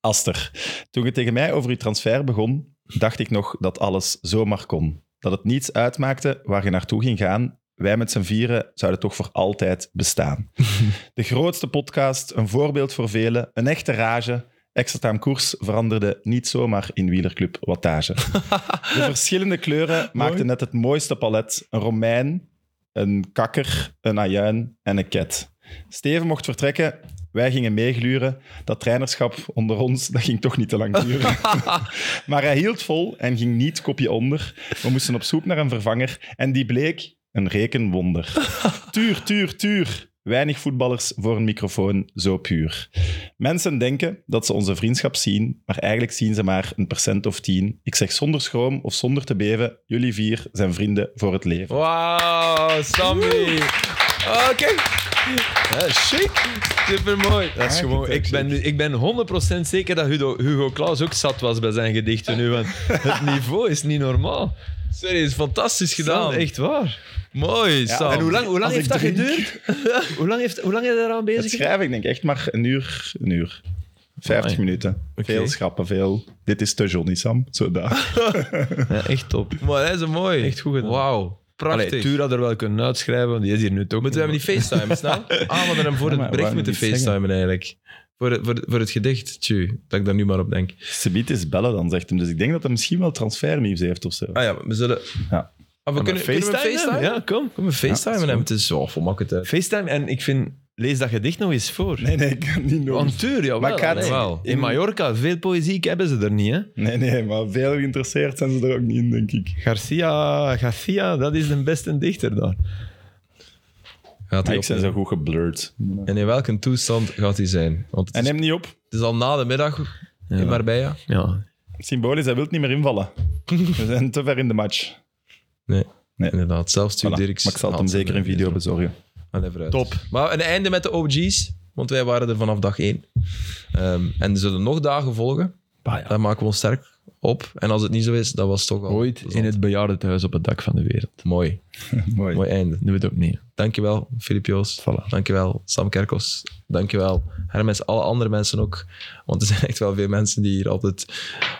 [SPEAKER 2] Aster, toen je tegen mij over je transfer begon, dacht ik nog dat alles zomaar kon. Dat het niets uitmaakte waar je naartoe ging gaan. Wij met z'n vieren zouden toch voor altijd bestaan.
[SPEAKER 1] [LAUGHS]
[SPEAKER 2] De grootste podcast, een voorbeeld voor velen, een echte rage. Extra Time Koers veranderde niet zomaar in wielerclub
[SPEAKER 1] [LAUGHS]
[SPEAKER 2] wattage. De verschillende kleuren maakten net het mooiste palet. Een Romein, een kakker, een ajuin en een ket. Steven mocht vertrekken, wij gingen meegluren. Dat trainerschap onder ons, dat ging toch niet te lang duren. maar hij hield vol en ging niet kopje onder. We moesten op zoek naar een vervanger en die bleek een rekenwonder. Tuur, tuur, tuur. Weinig voetballers voor een microfoon, zo puur. Mensen denken dat ze onze vriendschap zien, maar eigenlijk zien ze maar een percent of tien. Ik zeg zonder schroom of zonder te beven, jullie vier zijn vrienden voor het leven.
[SPEAKER 1] Wauw, Sammy! Oké. Ja, chic. Supermooi.
[SPEAKER 3] Dat is gewoon, ik, ben, ik ben 100% zeker dat Hugo, Hugo Klaus ook zat was bij zijn gedichten nu. Want het niveau is niet normaal.
[SPEAKER 1] Sorry, is fantastisch gedaan.
[SPEAKER 3] Sam, echt waar.
[SPEAKER 1] Mooi, Sam.
[SPEAKER 3] En hoe lang, hoe lang
[SPEAKER 2] Als
[SPEAKER 3] heeft
[SPEAKER 2] ik
[SPEAKER 3] dat
[SPEAKER 2] drink-
[SPEAKER 3] geduurd? hoe lang heeft hoe lang heb je daaraan
[SPEAKER 2] Het
[SPEAKER 3] bezig? gedaan?
[SPEAKER 2] schrijven, ik denk echt maar een uur. Een uur. 50
[SPEAKER 3] Amai.
[SPEAKER 2] minuten. Veel schrappen, veel. Dit is te Johnny Sam. Zo [LAUGHS] daar.
[SPEAKER 3] Ja, echt top.
[SPEAKER 1] Maar dat is een mooi.
[SPEAKER 3] Echt goed gedaan.
[SPEAKER 1] Wauw, prachtig.
[SPEAKER 3] Allee, Tuur had er wel kunnen uitschrijven, want die is hier nu toch.
[SPEAKER 1] Moeten we hem niet [LAUGHS] facetimen, snel? Ah, we hem voor
[SPEAKER 2] Ja,
[SPEAKER 1] het
[SPEAKER 2] maar
[SPEAKER 1] bericht
[SPEAKER 2] waarom
[SPEAKER 1] moeten
[SPEAKER 2] niet zeggen?
[SPEAKER 1] facetimen eigenlijk. Voor, het- voor, het- voor het gedicht, tju, dat ik daar nu maar op denk.
[SPEAKER 2] Sebiet is bellen dan, zegt hem. Dus ik denk dat hij misschien wel transfernieuws heeft of zo.
[SPEAKER 1] Ah ja, we zullen...
[SPEAKER 2] Ja.
[SPEAKER 1] Ah, we
[SPEAKER 3] Kunnen
[SPEAKER 1] kunnen,
[SPEAKER 3] we
[SPEAKER 1] kunnen we
[SPEAKER 3] facetimen?
[SPEAKER 1] facetimen?
[SPEAKER 3] Ja, kom.
[SPEAKER 1] Kunnen we facetimen
[SPEAKER 2] Ja,
[SPEAKER 1] hem? Het is zo, voor makkelijk uit.
[SPEAKER 3] FaceTime en ik vind, lees dat gedicht nog eens voor.
[SPEAKER 2] Nee, nee, ik kan niet nog.
[SPEAKER 3] Want tuur, jawel,
[SPEAKER 2] Maar ik ga het-
[SPEAKER 3] allee.
[SPEAKER 1] Jawel.
[SPEAKER 3] In Mallorca, veel poëziek hebben ze er niet. Hè?
[SPEAKER 2] Nee, nee, maar veel geïnteresseerd zijn ze er ook niet in, denk ik.
[SPEAKER 3] Garcia, Garcia, dat is de beste dichter daar.
[SPEAKER 1] Gaat
[SPEAKER 2] Maar
[SPEAKER 1] hij
[SPEAKER 2] Ah, ik
[SPEAKER 1] op,
[SPEAKER 2] zijn zo goed geblurred.
[SPEAKER 1] en in welke toestand gaat hij zijn? Want het
[SPEAKER 2] En
[SPEAKER 1] is,
[SPEAKER 2] hem niet op.
[SPEAKER 1] het is al na de middag in Marbella.
[SPEAKER 3] Ja.
[SPEAKER 2] Symbolisch, hij wil niet meer [LAUGHS] invallen. We zijn te ver in de match.
[SPEAKER 1] Inderdaad, zelfs
[SPEAKER 2] Voilà.
[SPEAKER 1] Tuur
[SPEAKER 2] Maar ik
[SPEAKER 1] Dirks.
[SPEAKER 2] zal het hem
[SPEAKER 1] had
[SPEAKER 2] zeker een video bezorgen.
[SPEAKER 1] Allee, vooruit.
[SPEAKER 3] Top.
[SPEAKER 1] Maar een einde met de OG's, want wij waren er vanaf dag één. Ehm, en er zullen nog dagen volgen.
[SPEAKER 3] Bah, ja.
[SPEAKER 1] Daar maken we ons sterk op. En als het niet zo is, dat was toch al...
[SPEAKER 3] Ooit in het bejaardentehuis op het dak van de wereld.
[SPEAKER 1] Mooi.
[SPEAKER 2] [LAUGHS] Mooi.
[SPEAKER 1] Mooi einde.
[SPEAKER 3] Doe het opnieuw.
[SPEAKER 1] Dankjewel, Filip Joos.
[SPEAKER 3] Voilà.
[SPEAKER 1] Dankjewel, Sam Kerkos. Dankjewel, Hermens. Alle andere mensen ook. Want er zijn echt wel veel mensen die hier altijd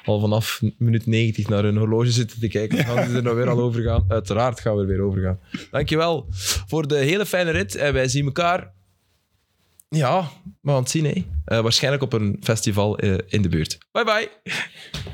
[SPEAKER 1] al vanaf minuut 90 naar hun horloge zitten te kijken. Gaan ze er nou weer al over gaan? Uiteraard gaan we er weer over gaan. Dankjewel voor de hele fijne rit. En wij zien elkaar... eh, Ja, we gaan het zien, hè. Eh, waarschijnlijk op een festival eh, in de buurt. Bye bye.